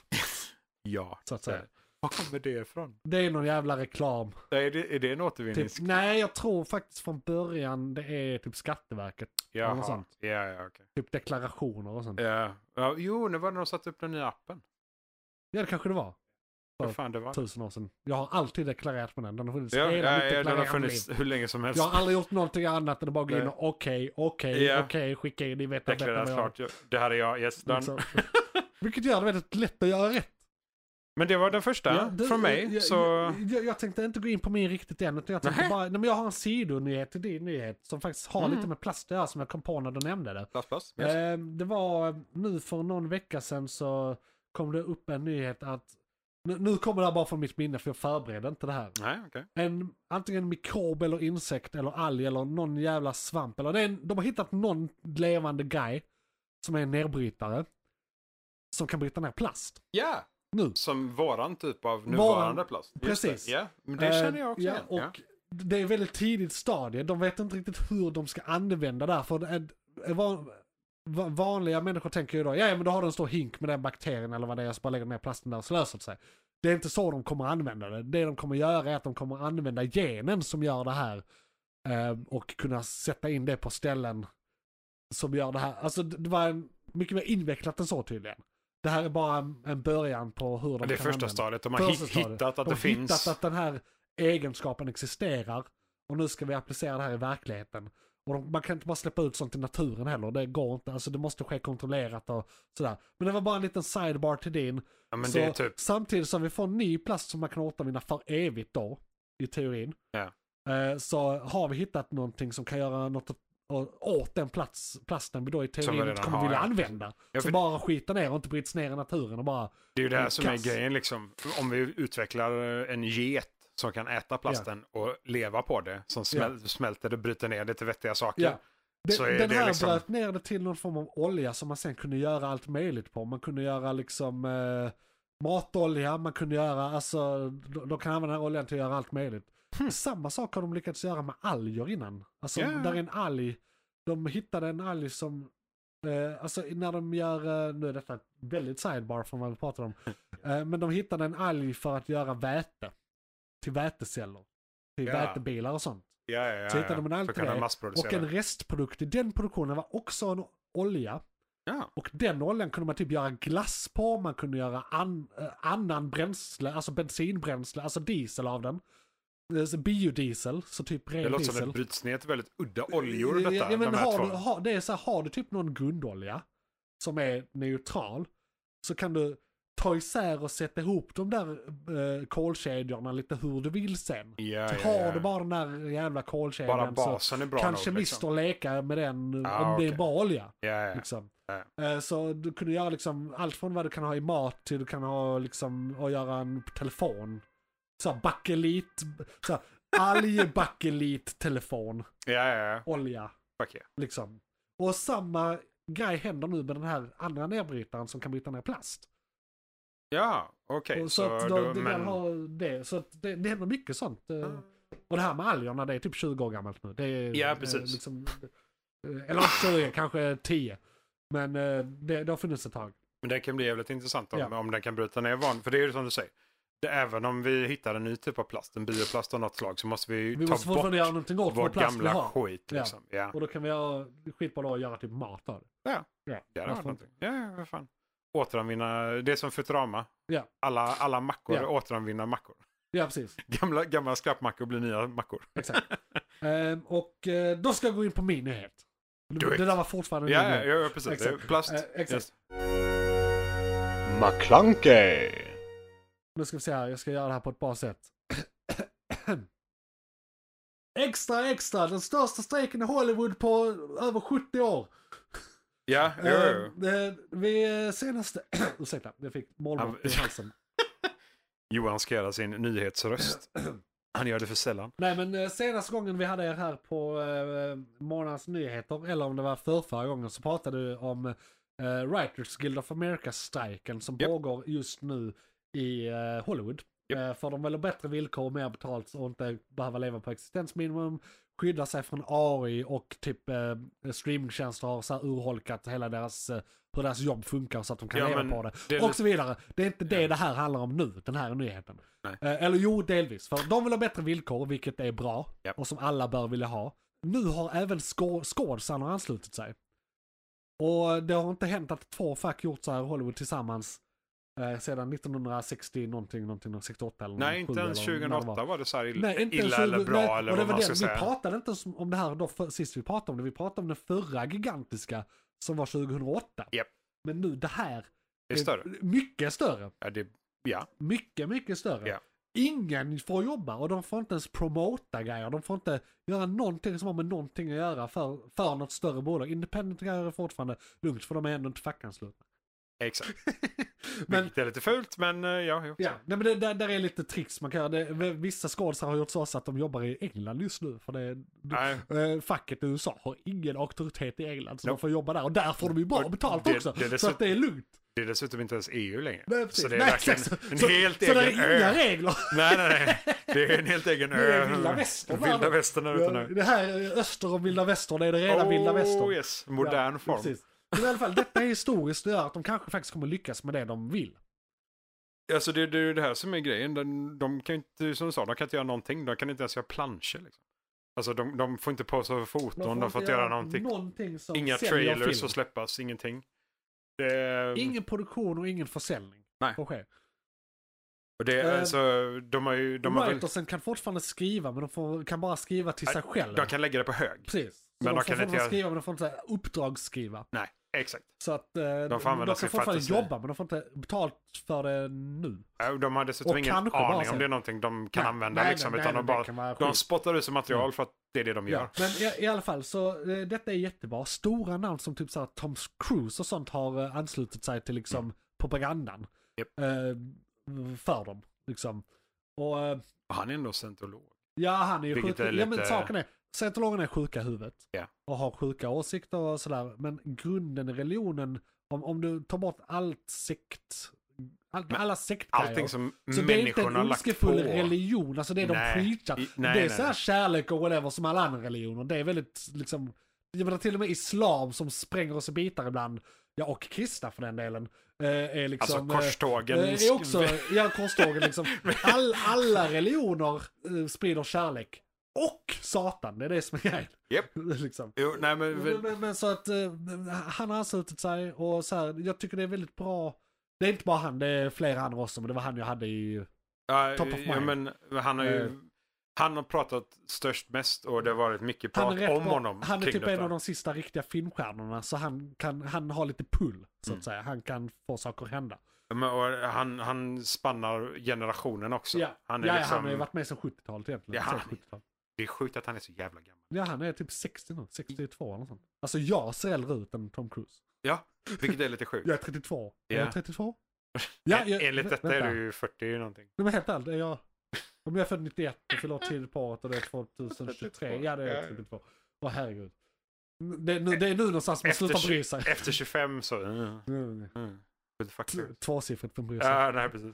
[SPEAKER 3] Ja.
[SPEAKER 2] så att säga.
[SPEAKER 3] Var kommer det ifrån?
[SPEAKER 2] Det är någon jävla reklam.
[SPEAKER 3] Är det, är det en
[SPEAKER 2] Typ,
[SPEAKER 3] återvinnings...
[SPEAKER 2] nej, jag tror faktiskt från början det är typ Skatteverket.
[SPEAKER 3] Jaha.
[SPEAKER 2] något sånt.
[SPEAKER 3] Ja, ja, okej.
[SPEAKER 2] Typ deklarationer och sånt.
[SPEAKER 3] Ja. Ja, jo, nu var det de satte upp den nya appen.
[SPEAKER 2] Ja, det kanske det var.
[SPEAKER 3] Vad fan det var.
[SPEAKER 2] Tusen år sedan. Jag har alltid deklarerat med den. Den har funnits
[SPEAKER 3] Ja,
[SPEAKER 2] hela
[SPEAKER 3] ja,
[SPEAKER 2] mitt
[SPEAKER 3] ja, den har
[SPEAKER 2] deklarerande
[SPEAKER 3] funnits
[SPEAKER 2] liv.
[SPEAKER 3] hur länge som helst.
[SPEAKER 2] Jag har aldrig gjort någonting annat än att bara gå in och okej, okej,
[SPEAKER 3] Ja.
[SPEAKER 2] okej, skicka in, ni vet att detta
[SPEAKER 3] Deklarerat
[SPEAKER 2] var jag.
[SPEAKER 3] klart. ju. Det här är jag, yes, done.
[SPEAKER 2] Liksom. Vilket gör det väldigt lätt att göra rätt.
[SPEAKER 3] Men det var den första
[SPEAKER 2] Ja, du,
[SPEAKER 3] från mig.
[SPEAKER 2] Jag,
[SPEAKER 3] så...
[SPEAKER 2] jag, jag, jag tänkte inte gå in på min riktigt än. Utan jag, tänkte
[SPEAKER 3] Nähä.
[SPEAKER 2] bara, nej, men jag har en sidonyhet till din nyhet som faktiskt har
[SPEAKER 3] Mm.
[SPEAKER 2] lite med plast att göra som jag kom på när du nämnde det.
[SPEAKER 3] Plast, plast.
[SPEAKER 2] Eh, det var nu för någon vecka sedan så kom det upp en nyhet att nu, nu kommer det här bara från mitt minne för jag förberedde inte det här.
[SPEAKER 3] Nej, okej.
[SPEAKER 2] En, antingen mikrob eller insekt eller alg eller någon jävla svamp. Eller det är en, de har hittat någon levande guy som är en nedbrytare. Som kan bryta ner plast.
[SPEAKER 3] Ja,
[SPEAKER 2] Nu.
[SPEAKER 3] som våran typ av nuvarande plast. Just
[SPEAKER 2] Precis.
[SPEAKER 3] Det. Ja, men det känner jag också
[SPEAKER 2] Eh,
[SPEAKER 3] igen.
[SPEAKER 2] ja,
[SPEAKER 3] Ja.
[SPEAKER 2] och Det är väldigt tidigt stadie. De vet inte riktigt hur de ska använda det här. För det är- är van- va- vanliga människor tänker ju då, ja ja, men då har du en stor hink med den bakterien eller vad det är, så bara lägger de ner plasten där och så löser det sig. Det är inte så de kommer använda det. Det de kommer göra är att de kommer använda genen som gör det här eh, och kunna sätta in det på ställen som gör det här. Alltså det det var en, mycket mer invecklat än så tydligen. Det här är bara en, en början på hur de
[SPEAKER 3] Men det är
[SPEAKER 2] kan
[SPEAKER 3] första
[SPEAKER 2] använda
[SPEAKER 3] stadiet. De har
[SPEAKER 2] Första
[SPEAKER 3] hit-
[SPEAKER 2] stadiet.
[SPEAKER 3] hittat att
[SPEAKER 2] de
[SPEAKER 3] det
[SPEAKER 2] har
[SPEAKER 3] finns.
[SPEAKER 2] hittat att den här egenskapen existerar och nu ska vi applicera det här i verkligheten. Och de, man kan inte bara släppa ut sånt i naturen heller, det går inte. Alltså det måste ske kontrollerat och sådär. Men det var bara en liten sidebar till din.
[SPEAKER 3] Ja, men
[SPEAKER 2] så
[SPEAKER 3] det är typ...
[SPEAKER 2] Samtidigt som vi får ny plast som man kan återvinna för evigt då, i teorin.
[SPEAKER 3] Ja.
[SPEAKER 2] eh, Så har vi hittat någonting som kan göra något åt- åt den plats, plasten vi då i teorin
[SPEAKER 3] redan
[SPEAKER 2] inte kommer
[SPEAKER 3] har,
[SPEAKER 2] vilja
[SPEAKER 3] ja.
[SPEAKER 2] använda.
[SPEAKER 3] Ja,
[SPEAKER 2] Så
[SPEAKER 3] för-
[SPEAKER 2] bara skita ner och inte bryts ner i naturen och bara
[SPEAKER 3] Det är ju det här som är
[SPEAKER 2] Kass.
[SPEAKER 3] grejen liksom. Om vi utvecklar eh, en get som kan äta plasten och leva på det, som smäl- smälter det och bryter ner det till vettiga saker.
[SPEAKER 2] Ja. Det,
[SPEAKER 3] Så är
[SPEAKER 2] den
[SPEAKER 3] det
[SPEAKER 2] här
[SPEAKER 3] liksom-
[SPEAKER 2] bröt ner det till någon form av olja som man sen kunde göra allt möjligt på. Man kunde göra liksom eh, matolja, man kunde göra, alltså de, de kan använda den här oljan till att göra allt möjligt. Samma sak har de lyckats göra med alger innan. Alltså
[SPEAKER 3] Hmm. Ja.
[SPEAKER 2] där är en alg, de hittade en alg som, eh, alltså när de gör, eh, nu är detta väldigt sidebar från vad vi pratade om, eh, men de hittade en alg för att göra väte. Till väteceller, till
[SPEAKER 3] Ja.
[SPEAKER 2] vätebilar och sånt.
[SPEAKER 3] Ja, ja, ja,
[SPEAKER 2] Så hittar de en allt
[SPEAKER 3] Så kan
[SPEAKER 2] det
[SPEAKER 3] de
[SPEAKER 2] Och
[SPEAKER 3] massproducera.
[SPEAKER 2] en restprodukt i den produktionen var också en olja.
[SPEAKER 3] Ja.
[SPEAKER 2] Och den oljan kunde man typ göra glass på, man kunde göra an, eh, annan bränsle, alltså bensinbränsle, alltså diesel av den. Eh, så Biodiesel, så typ
[SPEAKER 3] Det
[SPEAKER 2] ren
[SPEAKER 3] låter som
[SPEAKER 2] diesel.
[SPEAKER 3] det bryts ner till väldigt udda oljor detta.
[SPEAKER 2] ja, ja, men
[SPEAKER 3] de här
[SPEAKER 2] har,
[SPEAKER 3] två.
[SPEAKER 2] du, har, det är så här, har du typ någon grundolja som är neutral så kan du ta isär och sätta ihop de där eh, kolkedjorna lite hur du vill sen.
[SPEAKER 3] Ja,
[SPEAKER 2] så
[SPEAKER 3] ja,
[SPEAKER 2] har
[SPEAKER 3] ja.
[SPEAKER 2] du bara den där jävla kolkedjan
[SPEAKER 3] Bara
[SPEAKER 2] så
[SPEAKER 3] basen är bra
[SPEAKER 2] kan
[SPEAKER 3] nog,
[SPEAKER 2] kemister
[SPEAKER 3] liksom.
[SPEAKER 2] leka med den
[SPEAKER 3] Ja,
[SPEAKER 2] om det är
[SPEAKER 3] okej.
[SPEAKER 2] bra olja.
[SPEAKER 3] Ja, ja.
[SPEAKER 2] Liksom.
[SPEAKER 3] Ja.
[SPEAKER 2] Eh, Så du kunde göra liksom allt från vad du kan ha i mat till du kan ha liksom att göra en telefon. Så här bakelit, så här algbakelit telefon,
[SPEAKER 3] ja, ja, ja.
[SPEAKER 2] olja
[SPEAKER 3] Fuck yeah.
[SPEAKER 2] liksom. Och samma grej händer nu med den här andra nedbrytaren som kan bryta ner plast.
[SPEAKER 3] Ja, okej.
[SPEAKER 2] Och så,
[SPEAKER 3] så
[SPEAKER 2] att
[SPEAKER 3] då,
[SPEAKER 2] då, det,
[SPEAKER 3] men...
[SPEAKER 2] men... har det. så att det, det händer mycket sånt. eh. Och det här med algerna, det är typ 20 år gammalt nu. Det är,
[SPEAKER 3] Ja,
[SPEAKER 2] eh,
[SPEAKER 3] precis.
[SPEAKER 2] Liksom, eh, eller inte 20, kanske 10. Men eh, det, det har funnits ett tag.
[SPEAKER 3] Men det kan bli jävligt intressant om,
[SPEAKER 2] Ja.
[SPEAKER 3] om den kan bryta ner van. För det är ju som du säger. Det, även om vi hittar en ny typ av plast, en bioplast av något slag, så måste vi, ju
[SPEAKER 2] Vi
[SPEAKER 3] ta
[SPEAKER 2] måste
[SPEAKER 3] bort
[SPEAKER 2] fortfarande göra någonting åt vår
[SPEAKER 3] vår
[SPEAKER 2] plast vi
[SPEAKER 3] gamla
[SPEAKER 2] har.
[SPEAKER 3] skit.
[SPEAKER 2] Ja.
[SPEAKER 3] Liksom. Ja.
[SPEAKER 2] Och då kan vi göra skitbra då och göra typ mat av det.
[SPEAKER 3] Ja.
[SPEAKER 2] ja.
[SPEAKER 3] Det hade
[SPEAKER 2] varför
[SPEAKER 3] varit någonting. Ja, ja, vad fan. Återanvinna, det är som Futurama.
[SPEAKER 2] Ja.
[SPEAKER 3] Alla, alla mackor,
[SPEAKER 2] Ja.
[SPEAKER 3] återanvinna mackor.
[SPEAKER 2] inte? Ja, precis.
[SPEAKER 3] Gamla, gamla skräpmackor blir nya mackor.
[SPEAKER 2] Exakt. Ehm, och eh, då ska jag gå in på min nyhet.
[SPEAKER 3] Do
[SPEAKER 2] Det
[SPEAKER 3] it.
[SPEAKER 2] där var fortfarande
[SPEAKER 3] Ja,
[SPEAKER 2] min
[SPEAKER 3] ja,
[SPEAKER 2] nyhet.
[SPEAKER 3] ja precis. Det är
[SPEAKER 2] Exakt.
[SPEAKER 3] Plast.
[SPEAKER 2] Eh, exakt.
[SPEAKER 3] Yes.
[SPEAKER 4] McClunkey,
[SPEAKER 2] Nu ska vi se här, jag ska göra det här på ett bra sätt. extra, extra! Den största strejken i Hollywood på över 70 år.
[SPEAKER 3] Ja, jo, jo.
[SPEAKER 2] Ehm, eh, vi eh, senaste... Ursäkta, jag fick
[SPEAKER 3] Han-
[SPEAKER 2] målbrott i halsen.
[SPEAKER 3] Johan ska göra sin nyhetsröst. Han gör det för sällan.
[SPEAKER 2] Nej men eh, senaste gången vi hade er här på eh, Morgonens Nyheter, eller om det var förrförra gången, så pratade du om eh, Writers Guild of America-strejken som
[SPEAKER 3] Japp.
[SPEAKER 2] pågår just nu i eh, Hollywood.
[SPEAKER 3] Japp.
[SPEAKER 2] Eh, för de vill ha bättre villkor, mer betalt och inte behöva leva på existensminimum, skydda sig från AI och typ eh, streamingtjänster har så här urholkat hela deras, eh, hur deras jobb funkar så att de kan
[SPEAKER 3] Ja,
[SPEAKER 2] leva
[SPEAKER 3] men
[SPEAKER 2] på det.
[SPEAKER 3] det är
[SPEAKER 2] och
[SPEAKER 3] lite-
[SPEAKER 2] så vidare. Det är inte det det här handlar om nu, den här nyheten.
[SPEAKER 3] Nej.
[SPEAKER 2] Eh, Eller jo, delvis. För de vill ha bättre villkor, vilket är bra.
[SPEAKER 3] Ja.
[SPEAKER 2] Och som alla bör vilja ha. Nu har även skå- skådisarna anslutit sig. Och det har inte hänt att två fack gjort så här i Hollywood tillsammans eh, sedan 1960 någonting, någonting, 68 eller
[SPEAKER 3] Nej,
[SPEAKER 2] 97
[SPEAKER 3] inte ens
[SPEAKER 2] eller när det
[SPEAKER 3] 2008 var det så här illa,
[SPEAKER 2] Nej, inte
[SPEAKER 3] illa
[SPEAKER 2] ens
[SPEAKER 3] eller
[SPEAKER 2] 20
[SPEAKER 3] bra
[SPEAKER 2] nej,
[SPEAKER 3] eller
[SPEAKER 2] och det
[SPEAKER 3] vad
[SPEAKER 2] var
[SPEAKER 3] man ska
[SPEAKER 2] det,
[SPEAKER 3] säga.
[SPEAKER 2] Vi pratade inte ens om det här då för, sist vi pratade om det. Vi pratade om den förra gigantiska som var 2008.
[SPEAKER 3] Japp.
[SPEAKER 2] Men nu det här
[SPEAKER 3] Det är större.
[SPEAKER 2] Eh, mycket större.
[SPEAKER 3] Ja, det, Ja,
[SPEAKER 2] Mycket, mycket större.
[SPEAKER 3] Ja.
[SPEAKER 2] Ingen får jobba och de får inte ens promota grejer. De får inte göra någonting som har med någonting att göra för, för något större bolag. Independent grejer är fortfarande lugnt för de är ändå inte fackanslutna.
[SPEAKER 3] exakt.
[SPEAKER 2] Men
[SPEAKER 3] Vilket är lite fult, men eh, ja. Jo.
[SPEAKER 2] Ja, nej, men det, där, där är lite tricks man kan göra. Det, vissa skådisar har gjort så att de jobbar i England just nu. För det,
[SPEAKER 3] Nej.
[SPEAKER 2] eh, facket i USA har ingen auktoritet i England så de får jobba där. Och där får de ju bra
[SPEAKER 3] Och
[SPEAKER 2] betalt
[SPEAKER 3] det-
[SPEAKER 2] också.
[SPEAKER 3] det är
[SPEAKER 2] så
[SPEAKER 3] dessutom-
[SPEAKER 2] att det är lugnt.
[SPEAKER 3] Det är dessutom inte ens EU längre.
[SPEAKER 2] Nej, precis.
[SPEAKER 3] så det är
[SPEAKER 2] Nej,
[SPEAKER 3] verkligen
[SPEAKER 2] exakt.
[SPEAKER 3] en
[SPEAKER 2] så,
[SPEAKER 3] helt
[SPEAKER 2] så,
[SPEAKER 3] egen
[SPEAKER 2] det är inga
[SPEAKER 3] ö.
[SPEAKER 2] regler.
[SPEAKER 3] Nej, nej, nej. Det är en helt egen ö.
[SPEAKER 2] Det är vilda
[SPEAKER 3] Eh,
[SPEAKER 2] västern.
[SPEAKER 3] Vilda västern där ute nu. Oh,
[SPEAKER 2] Det här är öster om vilda västern. Det är det rena vilda västern.
[SPEAKER 3] yes. Modern
[SPEAKER 2] Ja,
[SPEAKER 3] form.
[SPEAKER 2] Precis. Men i alla fall, detta är historiskt. Det gör att de kanske faktiskt kommer lyckas med det de vill.
[SPEAKER 3] Alltså det, det är ju det här som är grejen. De, de kan ju inte, som du sa, de kan inte göra någonting. De kan inte ens göra planscher. Liksom. Alltså de, de får inte posa för foton, de får, inte göra någonting.
[SPEAKER 2] som
[SPEAKER 3] Inga
[SPEAKER 2] säljer
[SPEAKER 3] trailers
[SPEAKER 2] film.
[SPEAKER 3] som släppas, ingenting. Det, är-
[SPEAKER 2] Ingen produktion och ingen försäljning.
[SPEAKER 3] Nej.
[SPEAKER 2] får ske.
[SPEAKER 3] och det, är
[SPEAKER 2] eh,
[SPEAKER 3] alltså, de har ju... De, har väl,
[SPEAKER 2] Writersen kan fortfarande skriva, men de får, kan bara skriva till sig
[SPEAKER 3] Nej,
[SPEAKER 2] själv.
[SPEAKER 3] de kan lägga det på hög.
[SPEAKER 2] Precis. Så
[SPEAKER 3] Men
[SPEAKER 2] de,
[SPEAKER 3] de
[SPEAKER 2] får
[SPEAKER 3] kan inte
[SPEAKER 2] fortfarande
[SPEAKER 3] göra-
[SPEAKER 2] skriva, men de får inte så här uppdragsskriva.
[SPEAKER 3] Nej, exakt.
[SPEAKER 2] Så att eh, de,
[SPEAKER 3] får använda
[SPEAKER 2] de
[SPEAKER 3] sin
[SPEAKER 2] kan fortfarande
[SPEAKER 3] fantasi.
[SPEAKER 2] jobba, men de får inte betalt för det nu.
[SPEAKER 3] Eh, De har dessutom
[SPEAKER 2] Och
[SPEAKER 3] ingen
[SPEAKER 2] kanske bara
[SPEAKER 3] aning
[SPEAKER 2] sen.
[SPEAKER 3] om det är någonting de kan
[SPEAKER 2] Nej,
[SPEAKER 3] använda.
[SPEAKER 2] nej,
[SPEAKER 3] liksom,
[SPEAKER 2] nej,
[SPEAKER 3] utan
[SPEAKER 2] nej,
[SPEAKER 3] de,
[SPEAKER 2] det
[SPEAKER 3] bara,
[SPEAKER 2] kan vara
[SPEAKER 3] de
[SPEAKER 2] skit.
[SPEAKER 3] spottar ut som material för att det är det de gör.
[SPEAKER 2] Ja. Men i, i alla fall, så eh, detta är jättebra. Stora namn som typ så här, Tom Cruise och sånt har eh, anslutit sig till liksom propagandan.
[SPEAKER 3] Japp.
[SPEAKER 2] Eh, för dem, liksom. Och eh,
[SPEAKER 3] Och han är ändå scientolog.
[SPEAKER 2] ja, han är ju
[SPEAKER 3] Vilket
[SPEAKER 2] sjuk.
[SPEAKER 3] är
[SPEAKER 2] Ja, men
[SPEAKER 3] lite-
[SPEAKER 2] saken är, scientologerna är sjuka i huvudet.
[SPEAKER 3] Ja.
[SPEAKER 2] Och har sjuka åsikter och sådär. Men grunden i religionen, om, om du tar bort allt sekt, all, alla sektgrejer.
[SPEAKER 3] Allting som
[SPEAKER 2] Så det är inte en
[SPEAKER 3] människorna har lagt på.
[SPEAKER 2] ondskefull religion, alltså det är
[SPEAKER 3] Nej.
[SPEAKER 2] de preachar.
[SPEAKER 3] I- nej,
[SPEAKER 2] det
[SPEAKER 3] nej,
[SPEAKER 2] är så här
[SPEAKER 3] nej.
[SPEAKER 2] kärlek och whatever som alla andra religioner. Det är väldigt liksom, jag menar till och med islam som spränger oss i bitar ibland, ja och kristna för den delen. eh, Är liksom,
[SPEAKER 3] Alltså korstågen.
[SPEAKER 2] eh, Är också, ja korstågen liksom. All, alla religioner eh, sprider kärlek. Och Satan, det är det som är grejen.
[SPEAKER 3] Japp.
[SPEAKER 2] liksom.
[SPEAKER 3] Jo, nej men...
[SPEAKER 2] Men, men, men så att eh, han har anslutit sig och så här, jag tycker det är väldigt bra. Det är inte bara han, det är flera andra också, men det var han jag hade i...
[SPEAKER 3] ja,
[SPEAKER 2] top of
[SPEAKER 3] Ja,
[SPEAKER 2] mind.
[SPEAKER 3] men han har ju...
[SPEAKER 2] Eh.
[SPEAKER 3] Han har pratat störst mest och det har varit mycket
[SPEAKER 2] Han
[SPEAKER 3] prat
[SPEAKER 2] är, rätt
[SPEAKER 3] om
[SPEAKER 2] bra.
[SPEAKER 3] honom
[SPEAKER 2] han är
[SPEAKER 3] kring
[SPEAKER 2] typ
[SPEAKER 3] detta.
[SPEAKER 2] en av de sista riktiga filmstjärnorna, så han, kan, han har lite pull, så att
[SPEAKER 3] Mm.
[SPEAKER 2] säga. Han kan få saker att hända.
[SPEAKER 3] Men, och han, han spannar generationen också.
[SPEAKER 2] Ja,
[SPEAKER 3] Han
[SPEAKER 2] han,
[SPEAKER 3] är
[SPEAKER 2] ja,
[SPEAKER 3] liksom...
[SPEAKER 2] han har ju varit med sedan 70-talet egentligen.
[SPEAKER 3] Ja,
[SPEAKER 2] Ja,
[SPEAKER 3] han- Det är sjukt att han är så jävla gammal.
[SPEAKER 2] ja, han är typ 60 nu, 62 eller något sånt. Alltså jag ser äldre ut än Tom Cruise.
[SPEAKER 3] Ja, vilket är lite sjukt.
[SPEAKER 2] Jag är 32. Är
[SPEAKER 3] Ja.
[SPEAKER 2] jag 32?
[SPEAKER 3] En- Enligt detta
[SPEAKER 2] vänta.
[SPEAKER 3] är du ju 40 någonting.
[SPEAKER 2] Nej men helt ärligt, är jag... Om jag är född 91 och fyller år tidigt på året och det är 2023, ja det är jag 32. Åh herregud. Det är, nu, det är nu någonstans man
[SPEAKER 3] Efter
[SPEAKER 2] slutar
[SPEAKER 3] tju-
[SPEAKER 2] bry sig.
[SPEAKER 3] Efter 25 så... Mm,
[SPEAKER 2] Mm.
[SPEAKER 3] mm. Who the fuck
[SPEAKER 2] T-
[SPEAKER 3] cares?
[SPEAKER 2] Tvåsiffrigt man bryr sig.
[SPEAKER 3] Ja, nej precis.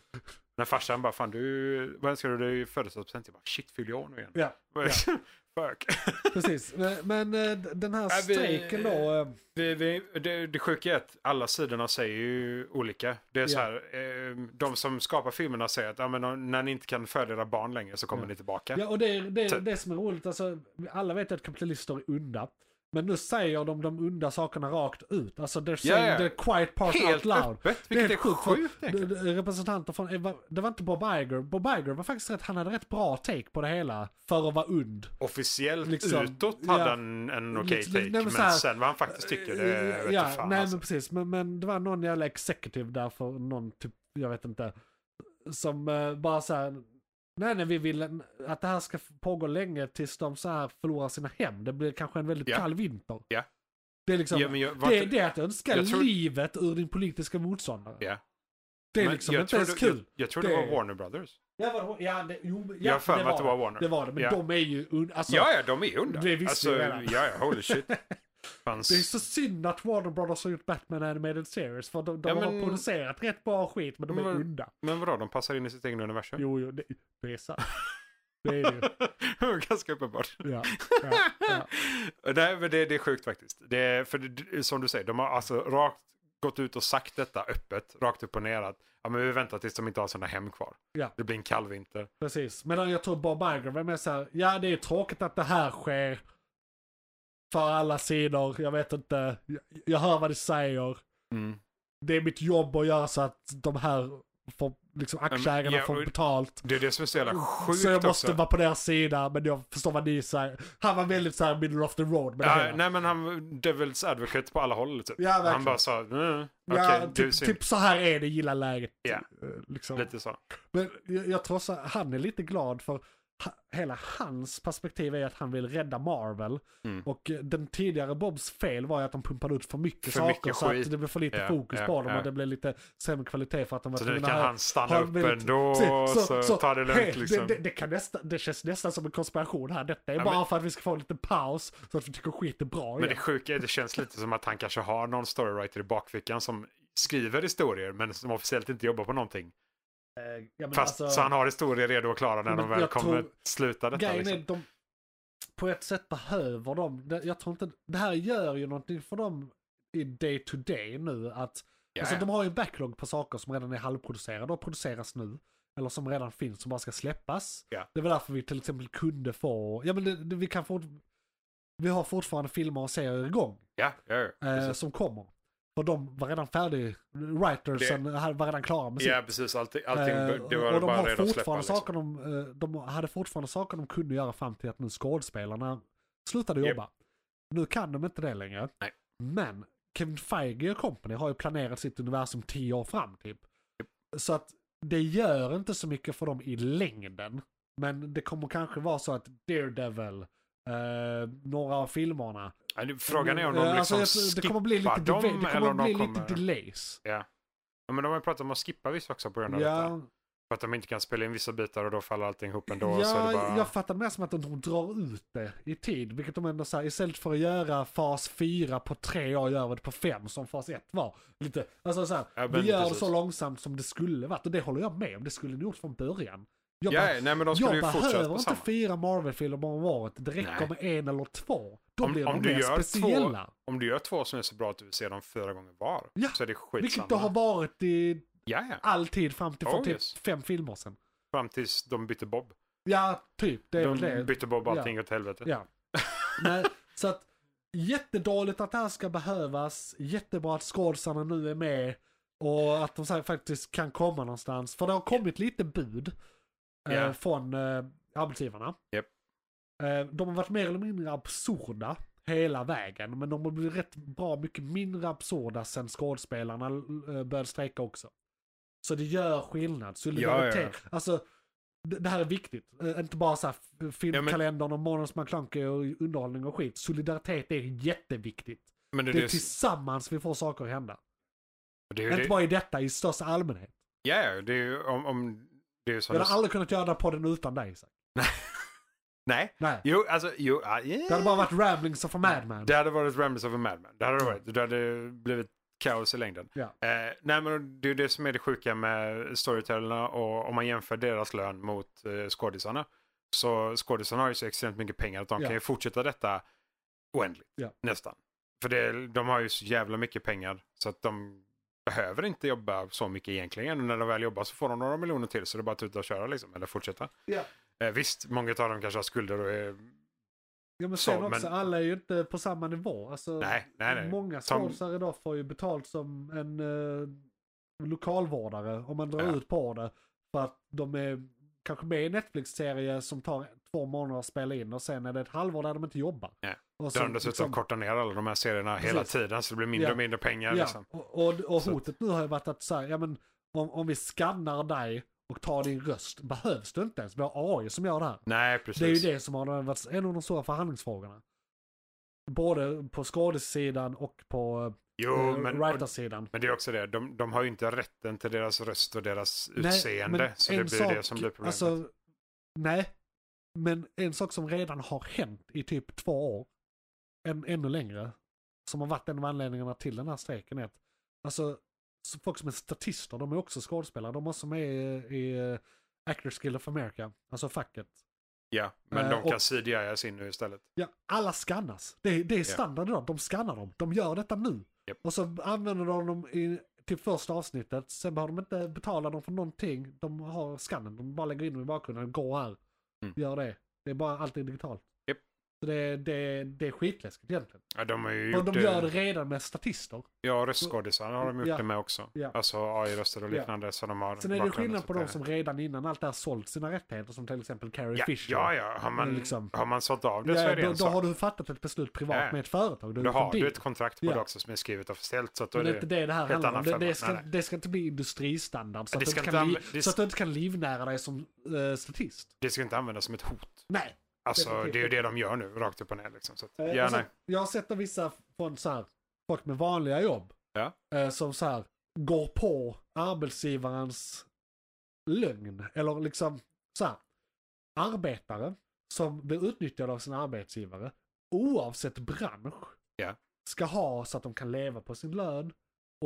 [SPEAKER 3] När farsan bara, fan du, vad önskar du dig i födelsedagspresent? Jag bara, shit fyller jag år nu igen?
[SPEAKER 2] Ja, ja.
[SPEAKER 3] Fuck.
[SPEAKER 2] precis. Men, men eh, d- den här
[SPEAKER 3] Ja, vi-
[SPEAKER 2] strejken då. eh,
[SPEAKER 3] Vi, vi, det, det sjuka är att alla sidorna säger ju olika. Det är så
[SPEAKER 2] Ja.
[SPEAKER 3] här, eh, de som skapar filmerna säger att ja, men, när ni inte kan föda era barn längre så kommer
[SPEAKER 2] Ja.
[SPEAKER 3] ni tillbaka.
[SPEAKER 2] Ja, och det, är- det, är-
[SPEAKER 3] Så-
[SPEAKER 2] det som är roligt, alltså, alla vet att kapitalister är onda. Men nu säger de de onda sakerna rakt ut. Alltså they're saying
[SPEAKER 3] Ja, ja.
[SPEAKER 2] the quiet part out
[SPEAKER 3] Helt
[SPEAKER 2] loud.
[SPEAKER 3] öppet, vilket är
[SPEAKER 2] sjukt, för
[SPEAKER 3] sjukt egentligen.
[SPEAKER 2] d- d- Representanter från, eh, va- det var inte Bob Iger. Bob Iger var faktiskt rätt, han hade rätt bra take på det hela för att vara ond.
[SPEAKER 3] Officiellt
[SPEAKER 2] Liksom,
[SPEAKER 3] utåt hade
[SPEAKER 2] ja.
[SPEAKER 3] han en okej
[SPEAKER 2] Liksom,
[SPEAKER 3] take,
[SPEAKER 2] nej, men
[SPEAKER 3] men,
[SPEAKER 2] så här- eh,
[SPEAKER 3] sen vad han faktiskt tycker, det vet
[SPEAKER 2] ja,
[SPEAKER 3] jag fan
[SPEAKER 2] nej
[SPEAKER 3] alltså.
[SPEAKER 2] men precis. Men, men det var någon jävla executive där för någon typ, jag vet inte. Som eh, bara så här, nej nej vi vill en- att det här ska pågå länge tills de så här förlorar sina hem. Det blir kanske en väldigt
[SPEAKER 3] Ja.
[SPEAKER 2] kall vinter.
[SPEAKER 3] Ja.
[SPEAKER 2] Det är liksom,
[SPEAKER 3] Ja, men jag- var
[SPEAKER 2] det,
[SPEAKER 3] inte-
[SPEAKER 2] det är att önska
[SPEAKER 3] jag tror-
[SPEAKER 2] livet ur din politiska motståndare.
[SPEAKER 3] Ja.
[SPEAKER 2] Det är
[SPEAKER 3] Men
[SPEAKER 2] liksom
[SPEAKER 3] jag
[SPEAKER 2] inte
[SPEAKER 3] tror
[SPEAKER 2] ens
[SPEAKER 3] det-
[SPEAKER 2] kul.
[SPEAKER 3] Jag, jag tror det,
[SPEAKER 2] Det-
[SPEAKER 3] var Warner Brothers.
[SPEAKER 2] Ja, var det, ja, det, jo, men- ja,
[SPEAKER 3] Jag har för mig att det var Warner.
[SPEAKER 2] Det var det, men
[SPEAKER 3] Ja.
[SPEAKER 2] de är ju... un- Alltså,
[SPEAKER 3] ja, ja, de är onda.
[SPEAKER 2] det visste vi redan.
[SPEAKER 3] ja, ja, holy shit. Fanns...
[SPEAKER 2] Det är så synd att Warner Brothers har gjort Batman Animated Series, för de, de
[SPEAKER 3] Ja,
[SPEAKER 2] har
[SPEAKER 3] men-
[SPEAKER 2] producerat rätt bra skit, men de är
[SPEAKER 3] Men-
[SPEAKER 2] onda.
[SPEAKER 3] Men vadå, de passar in i sitt eget universum?
[SPEAKER 2] Jo, jo, det, det är sant. Det är det ju.
[SPEAKER 3] Ganska uppenbart.
[SPEAKER 2] Ja, ja, ja.
[SPEAKER 3] Nej, men det, det är sjukt faktiskt. Det, är- för det, som du säger, de har alltså rakt gått ut och sagt detta öppet, rakt upp och ner att ja, men vi väntar tills de inte har sina hem kvar.
[SPEAKER 2] Ja.
[SPEAKER 3] Det blir en kall vinter.
[SPEAKER 2] Precis. Medan jag tror Bob Iger var med så här, ja det är tråkigt att det här sker. För alla sidor, jag vet inte, jag, jag hör vad du säger.
[SPEAKER 3] Mm.
[SPEAKER 2] Det är mitt jobb att göra så att de här, får, liksom aktieägarna
[SPEAKER 3] ja,
[SPEAKER 2] får
[SPEAKER 3] och-
[SPEAKER 2] betalt.
[SPEAKER 3] Det är det som är så jävla sjukt
[SPEAKER 2] så jag måste
[SPEAKER 3] också.
[SPEAKER 2] vara på deras sida, men jag förstår vad ni säger. Han var väldigt så här middle of the road med det
[SPEAKER 3] Ja,
[SPEAKER 2] hela.
[SPEAKER 3] nej men han var devil's advocate på alla håll typ.
[SPEAKER 2] Ja, verkligen.
[SPEAKER 3] han bara sa, mm, okej,
[SPEAKER 2] ja,
[SPEAKER 3] du är
[SPEAKER 2] typ,
[SPEAKER 3] synd.
[SPEAKER 2] typ så här är det, gilla läget.
[SPEAKER 3] Ja.
[SPEAKER 2] Eh, Liksom.
[SPEAKER 3] Lite så.
[SPEAKER 2] Men jag, jag tror så, han är lite glad för ha, hela hans perspektiv är att han vill rädda Marvel.
[SPEAKER 3] Mm.
[SPEAKER 2] Och eh, den tidigare Bobs fel var ju att de pumpade ut för mycket
[SPEAKER 3] För
[SPEAKER 2] saker
[SPEAKER 3] mycket
[SPEAKER 2] så
[SPEAKER 3] skit.
[SPEAKER 2] att det blev för lite
[SPEAKER 3] Ja,
[SPEAKER 2] fokus
[SPEAKER 3] ja,
[SPEAKER 2] på dem
[SPEAKER 3] ja.
[SPEAKER 2] och det blev lite sämre kvalitet för att de var
[SPEAKER 3] Så nu
[SPEAKER 2] tvungna
[SPEAKER 3] kan
[SPEAKER 2] att ha-
[SPEAKER 3] han stanna
[SPEAKER 2] har
[SPEAKER 3] upp
[SPEAKER 2] väldigt-
[SPEAKER 3] ändå och så, ta det lugnt
[SPEAKER 2] hej,
[SPEAKER 3] liksom.
[SPEAKER 2] Det, det, det, kan nästa, det känns nästan som en konspiration här. Detta är
[SPEAKER 3] Ja,
[SPEAKER 2] bara
[SPEAKER 3] men-
[SPEAKER 2] för att vi ska få en liten paus så att vi tycker skit är bra
[SPEAKER 3] Men det
[SPEAKER 2] igen.
[SPEAKER 3] sjuka är det känns lite som att han kanske har någon storywriter i bakfickan som skriver historier men som officiellt inte jobbar på någonting.
[SPEAKER 2] Eh, ja, men
[SPEAKER 3] Fast,
[SPEAKER 2] alltså-
[SPEAKER 3] så han har historier redo och klara när
[SPEAKER 2] Men
[SPEAKER 3] de väl
[SPEAKER 2] jag
[SPEAKER 3] kommer
[SPEAKER 2] tror-
[SPEAKER 3] sluta detta.
[SPEAKER 2] Grejen
[SPEAKER 3] Liksom.
[SPEAKER 2] är, de, på ett sätt behöver de, det- jag tror inte, det här gör ju någonting för dem i day to day nu att,
[SPEAKER 3] Ja,
[SPEAKER 2] alltså
[SPEAKER 3] ja.
[SPEAKER 2] de har ju en backlog på saker som redan är halvproducerade och produceras nu. Eller som redan finns som bara ska släppas.
[SPEAKER 3] Ja.
[SPEAKER 2] Det var därför vi till exempel kunde få, ja men det, det, vi kan fort, vi har fortfarande filmer och serier igång
[SPEAKER 3] Ja, ja, ja.
[SPEAKER 2] eh,
[SPEAKER 3] precis.
[SPEAKER 2] som kommer. För de var redan färdig, writersen hade- var redan klara med sitt.
[SPEAKER 3] Ja, precis. Allting, allting
[SPEAKER 2] alltså- Eh,
[SPEAKER 3] det var
[SPEAKER 2] och de
[SPEAKER 3] bara
[SPEAKER 2] har
[SPEAKER 3] redo att
[SPEAKER 2] fortfarande
[SPEAKER 3] släppa. Liksom.
[SPEAKER 2] saker de, eh, de hade fortfarande saker de kunde göra fram till att nu skådespelarna slutade
[SPEAKER 3] Japp.
[SPEAKER 2] jobba. Nu kan de inte det längre.
[SPEAKER 3] Nej.
[SPEAKER 2] Men Kevin Feige och company har ju planerat sitt universum tio år fram typ. Så att det gör inte så mycket för dem i längden. Men det kommer kanske vara så att Daredevil, eh, några av filmerna.
[SPEAKER 3] Ja, nu- Frågan är om de
[SPEAKER 2] Eh,
[SPEAKER 3] liksom
[SPEAKER 2] alltså, jag tror-
[SPEAKER 3] skippar
[SPEAKER 2] det kommer bli lite,
[SPEAKER 3] dem
[SPEAKER 2] delay- det
[SPEAKER 3] eller
[SPEAKER 2] kommer
[SPEAKER 3] om de
[SPEAKER 2] bli
[SPEAKER 3] kommer-
[SPEAKER 2] lite delays.
[SPEAKER 3] Ja. ja, men de har ju pratat om att skippa vissa också på grund av detta.
[SPEAKER 2] Ja,
[SPEAKER 3] För att de inte kan spela in vissa bitar och då faller allting ihop ändå.
[SPEAKER 2] ja,
[SPEAKER 3] så är det bara...
[SPEAKER 2] jag fattar det mer som att de drar ut det i tid. Vilket de ändå säger, istället för att göra fas 4 på tre år gör vi det på fem som fas 1 var. Lite, alltså så här,
[SPEAKER 3] Ja, men
[SPEAKER 2] vi gör
[SPEAKER 3] precis.
[SPEAKER 2] det så långsamt som det skulle varit. Och det håller jag med om, det skulle ni gjort från början. Jag,
[SPEAKER 3] Ja,
[SPEAKER 2] bara-
[SPEAKER 3] nej, men de skulle
[SPEAKER 2] jag
[SPEAKER 3] ju fortsätta
[SPEAKER 2] behöver
[SPEAKER 3] på
[SPEAKER 2] inte
[SPEAKER 3] samma.
[SPEAKER 2] fyra Marvel-filmer om året, det räcker
[SPEAKER 3] Nej.
[SPEAKER 2] med en eller två. Då
[SPEAKER 3] Om-
[SPEAKER 2] blir
[SPEAKER 3] om
[SPEAKER 2] de
[SPEAKER 3] du
[SPEAKER 2] mer
[SPEAKER 3] gör två-
[SPEAKER 2] speciella.
[SPEAKER 3] Om du gör två som är så bra att du vill se dem fyra gånger var
[SPEAKER 2] Ja,
[SPEAKER 3] så är det skitsamma.
[SPEAKER 2] Vilket det har varit i
[SPEAKER 3] Ja, ja.
[SPEAKER 2] all tid fram till för
[SPEAKER 3] Oh,
[SPEAKER 2] typ
[SPEAKER 3] yes.
[SPEAKER 2] fem filmer sen.
[SPEAKER 3] Fram tills de bytte Bob.
[SPEAKER 2] Ja, typ. Det är väl
[SPEAKER 3] De
[SPEAKER 2] det.
[SPEAKER 3] bytte Bob allting åt helvete.
[SPEAKER 2] Ja. Nej, så att jättedåligt att det här ska behövas. Jättebra att skådisarna nu är med. Och att de så här faktiskt kan komma någonstans. För det har kommit lite bud eh,
[SPEAKER 3] Ja.
[SPEAKER 2] från eh, arbetsgivarna.
[SPEAKER 3] Japp.
[SPEAKER 2] Eh, de har varit mer eller mindre absurda hela vägen. Men de har blivit rätt bra mycket mindre absurda sen skådespelarna eh, började strejka också. Så det gör skillnad. Solidaritet. Alltså, det det här är viktigt. Eh, Inte bara så här f- filmkalendern och Månadens McKlunky och underhållning och skit. Solidaritet är jätteviktigt.
[SPEAKER 3] Men det,
[SPEAKER 2] Det är tillsammans vi får saker att hända.
[SPEAKER 3] det, är ju-
[SPEAKER 2] Inte bara i detta, i största allmänhet.
[SPEAKER 3] Ja, ja, det är ju om, om det är ju som
[SPEAKER 2] Jag
[SPEAKER 3] du-
[SPEAKER 2] hade aldrig kunnat göra den här podden utan dig. Isak.
[SPEAKER 3] Nej,
[SPEAKER 2] Nej.
[SPEAKER 3] jo, alltså, jo, ah, yeah.
[SPEAKER 2] Det hade bara varit ramblings of a madman.
[SPEAKER 3] Det hade varit Ramblers of a Madman. Det hade det varit. Det hade blivit kaos i längden.
[SPEAKER 2] Ja.
[SPEAKER 3] Eh, nej, men det är ju det som är det sjuka med storytellerna och om man jämför deras lön mot eh, skådisarna. Så skådisarna har ju så extremt mycket pengar att de
[SPEAKER 2] Ja.
[SPEAKER 3] kan ju fortsätta detta oändligt.
[SPEAKER 2] Ja.
[SPEAKER 3] Nästan. För det, de har ju så jävla mycket pengar så att de behöver inte jobba så mycket egentligen. Och när de väl jobbar så får de några miljoner till så det är bara att tuta och köra liksom. Eller fortsätta.
[SPEAKER 2] Ja.
[SPEAKER 3] Eh, visst, många av dem kanske har skulder och är
[SPEAKER 2] Ja, men
[SPEAKER 3] Så,
[SPEAKER 2] sen också,
[SPEAKER 3] men-
[SPEAKER 2] alla är ju inte på samma nivå. Alltså,
[SPEAKER 3] Nej, nej, nej.
[SPEAKER 2] Många
[SPEAKER 3] Som-
[SPEAKER 2] skådisar idag får ju betalt som en eh, lokalvårdare om man drar
[SPEAKER 3] Ja.
[SPEAKER 2] ut på det. För att de är kanske med i en Netflix-serie som tar två månader att spela in och sen är det ett halvår där de inte jobbar.
[SPEAKER 3] Ja.
[SPEAKER 2] Och
[SPEAKER 3] Där
[SPEAKER 2] så
[SPEAKER 3] de dessutom
[SPEAKER 2] liksom-
[SPEAKER 3] kortar ner alla de här serierna hela
[SPEAKER 2] Precis.
[SPEAKER 3] tiden så det blir mindre
[SPEAKER 2] Ja.
[SPEAKER 3] och mindre pengar.
[SPEAKER 2] Ja,
[SPEAKER 3] Liksom.
[SPEAKER 2] och, och, och
[SPEAKER 3] Så att-
[SPEAKER 2] hotet nu har ju varit att så här, ja men om, om vi skannar dig och tar din röst behövs det inte ens. Vi har AI som gör det här.
[SPEAKER 3] Nej, precis.
[SPEAKER 2] Det är ju det som har varit en av de stora förhandlingsfrågorna. Både på skådesidan och på
[SPEAKER 3] Jo,
[SPEAKER 2] eh,
[SPEAKER 3] men,
[SPEAKER 2] writersidan.
[SPEAKER 3] men det är också det. De, de har ju inte rätten till deras röst och deras
[SPEAKER 2] Nej,
[SPEAKER 3] utseende.
[SPEAKER 2] men
[SPEAKER 3] så det
[SPEAKER 2] en
[SPEAKER 3] blir det som blir problemet.
[SPEAKER 2] Alltså, nej, men en sak som redan har hänt i typ två år, än, ännu längre, som har varit en av anledningarna till den här strejken är att, alltså, så folk som är statister, de är också skådespelare, de är också med i, i eh, Actors Guild of America, alltså facket.
[SPEAKER 3] ja, men
[SPEAKER 2] eh,
[SPEAKER 3] de kan
[SPEAKER 2] och-
[SPEAKER 3] CGI-a sig nu istället.
[SPEAKER 2] Ja, alla skannas. Det, är- det är standard idag. De skannar dem. De gör detta nu.
[SPEAKER 3] Japp.
[SPEAKER 2] Och så använder de dem i, till första avsnittet. Sen behöver de inte betala dem för någonting. De har skannen. De bara lägger in dem i bakgrunden. Gå här.
[SPEAKER 3] Mm.
[SPEAKER 2] Gör det. Det är bara allting digitalt.
[SPEAKER 3] Japp.
[SPEAKER 2] Så det, det, det är skitläskigt egentligen.
[SPEAKER 3] Ja, de har ju
[SPEAKER 2] Och
[SPEAKER 3] gjort
[SPEAKER 2] de
[SPEAKER 3] det.
[SPEAKER 2] gör det redan med statister.
[SPEAKER 3] Ja, röstskådisarna har de gjort
[SPEAKER 2] Ja.
[SPEAKER 3] det med också.
[SPEAKER 2] Ja.
[SPEAKER 3] Alltså AI-röster och liknande som de har.
[SPEAKER 2] Sen är det
[SPEAKER 3] bakgrunden,
[SPEAKER 2] skillnad
[SPEAKER 3] så
[SPEAKER 2] på
[SPEAKER 3] att
[SPEAKER 2] de
[SPEAKER 3] det-
[SPEAKER 2] som redan innan allt det här sålt sina rättigheter, som till exempel Carrie
[SPEAKER 3] Ja,
[SPEAKER 2] Fisher.
[SPEAKER 3] ja, ja. Har man,
[SPEAKER 2] Men liksom-
[SPEAKER 3] har man sålt av det så
[SPEAKER 2] Ja,
[SPEAKER 3] är det
[SPEAKER 2] då,
[SPEAKER 3] en
[SPEAKER 2] då har
[SPEAKER 3] sak.
[SPEAKER 2] du fattat ett beslut privat
[SPEAKER 3] Ja.
[SPEAKER 2] med ett företag. Du,
[SPEAKER 3] Då har
[SPEAKER 2] gjort en
[SPEAKER 3] du
[SPEAKER 2] deal.
[SPEAKER 3] ett kontrakt på
[SPEAKER 2] Ja.
[SPEAKER 3] det också som är skrivet officiellt. Så att då
[SPEAKER 2] Men
[SPEAKER 3] är
[SPEAKER 2] det är inte
[SPEAKER 3] det...
[SPEAKER 2] det det här
[SPEAKER 3] helt
[SPEAKER 2] handlar om.
[SPEAKER 3] annan
[SPEAKER 2] Det, det,
[SPEAKER 3] femma.
[SPEAKER 2] ska,
[SPEAKER 3] Nej, nej.
[SPEAKER 2] det ska inte bli industristandard så,
[SPEAKER 3] Det
[SPEAKER 2] att,
[SPEAKER 3] ska
[SPEAKER 2] du inte
[SPEAKER 3] inte
[SPEAKER 2] kan li,
[SPEAKER 3] anv- det
[SPEAKER 2] så att
[SPEAKER 3] ska-
[SPEAKER 2] du inte kan livnära dig som eh, statist.
[SPEAKER 3] det ska inte användas som ett hot.
[SPEAKER 2] Nej.
[SPEAKER 3] Alltså,
[SPEAKER 2] Definitivt
[SPEAKER 3] det är ju det de gör nu, rakt upp och ner. Liksom. Så att,
[SPEAKER 2] Eh,
[SPEAKER 3] ja,
[SPEAKER 2] alltså,
[SPEAKER 3] nej.
[SPEAKER 2] jag har sett av vissa från så här, folk med vanliga jobb
[SPEAKER 3] Ja.
[SPEAKER 2] eh, som så här, går på arbetsgivarens lögn. Eller liksom så här, arbetare som blir utnyttjade av sin arbetsgivare oavsett bransch
[SPEAKER 3] Ja.
[SPEAKER 2] ska ha så att de kan leva på sin lön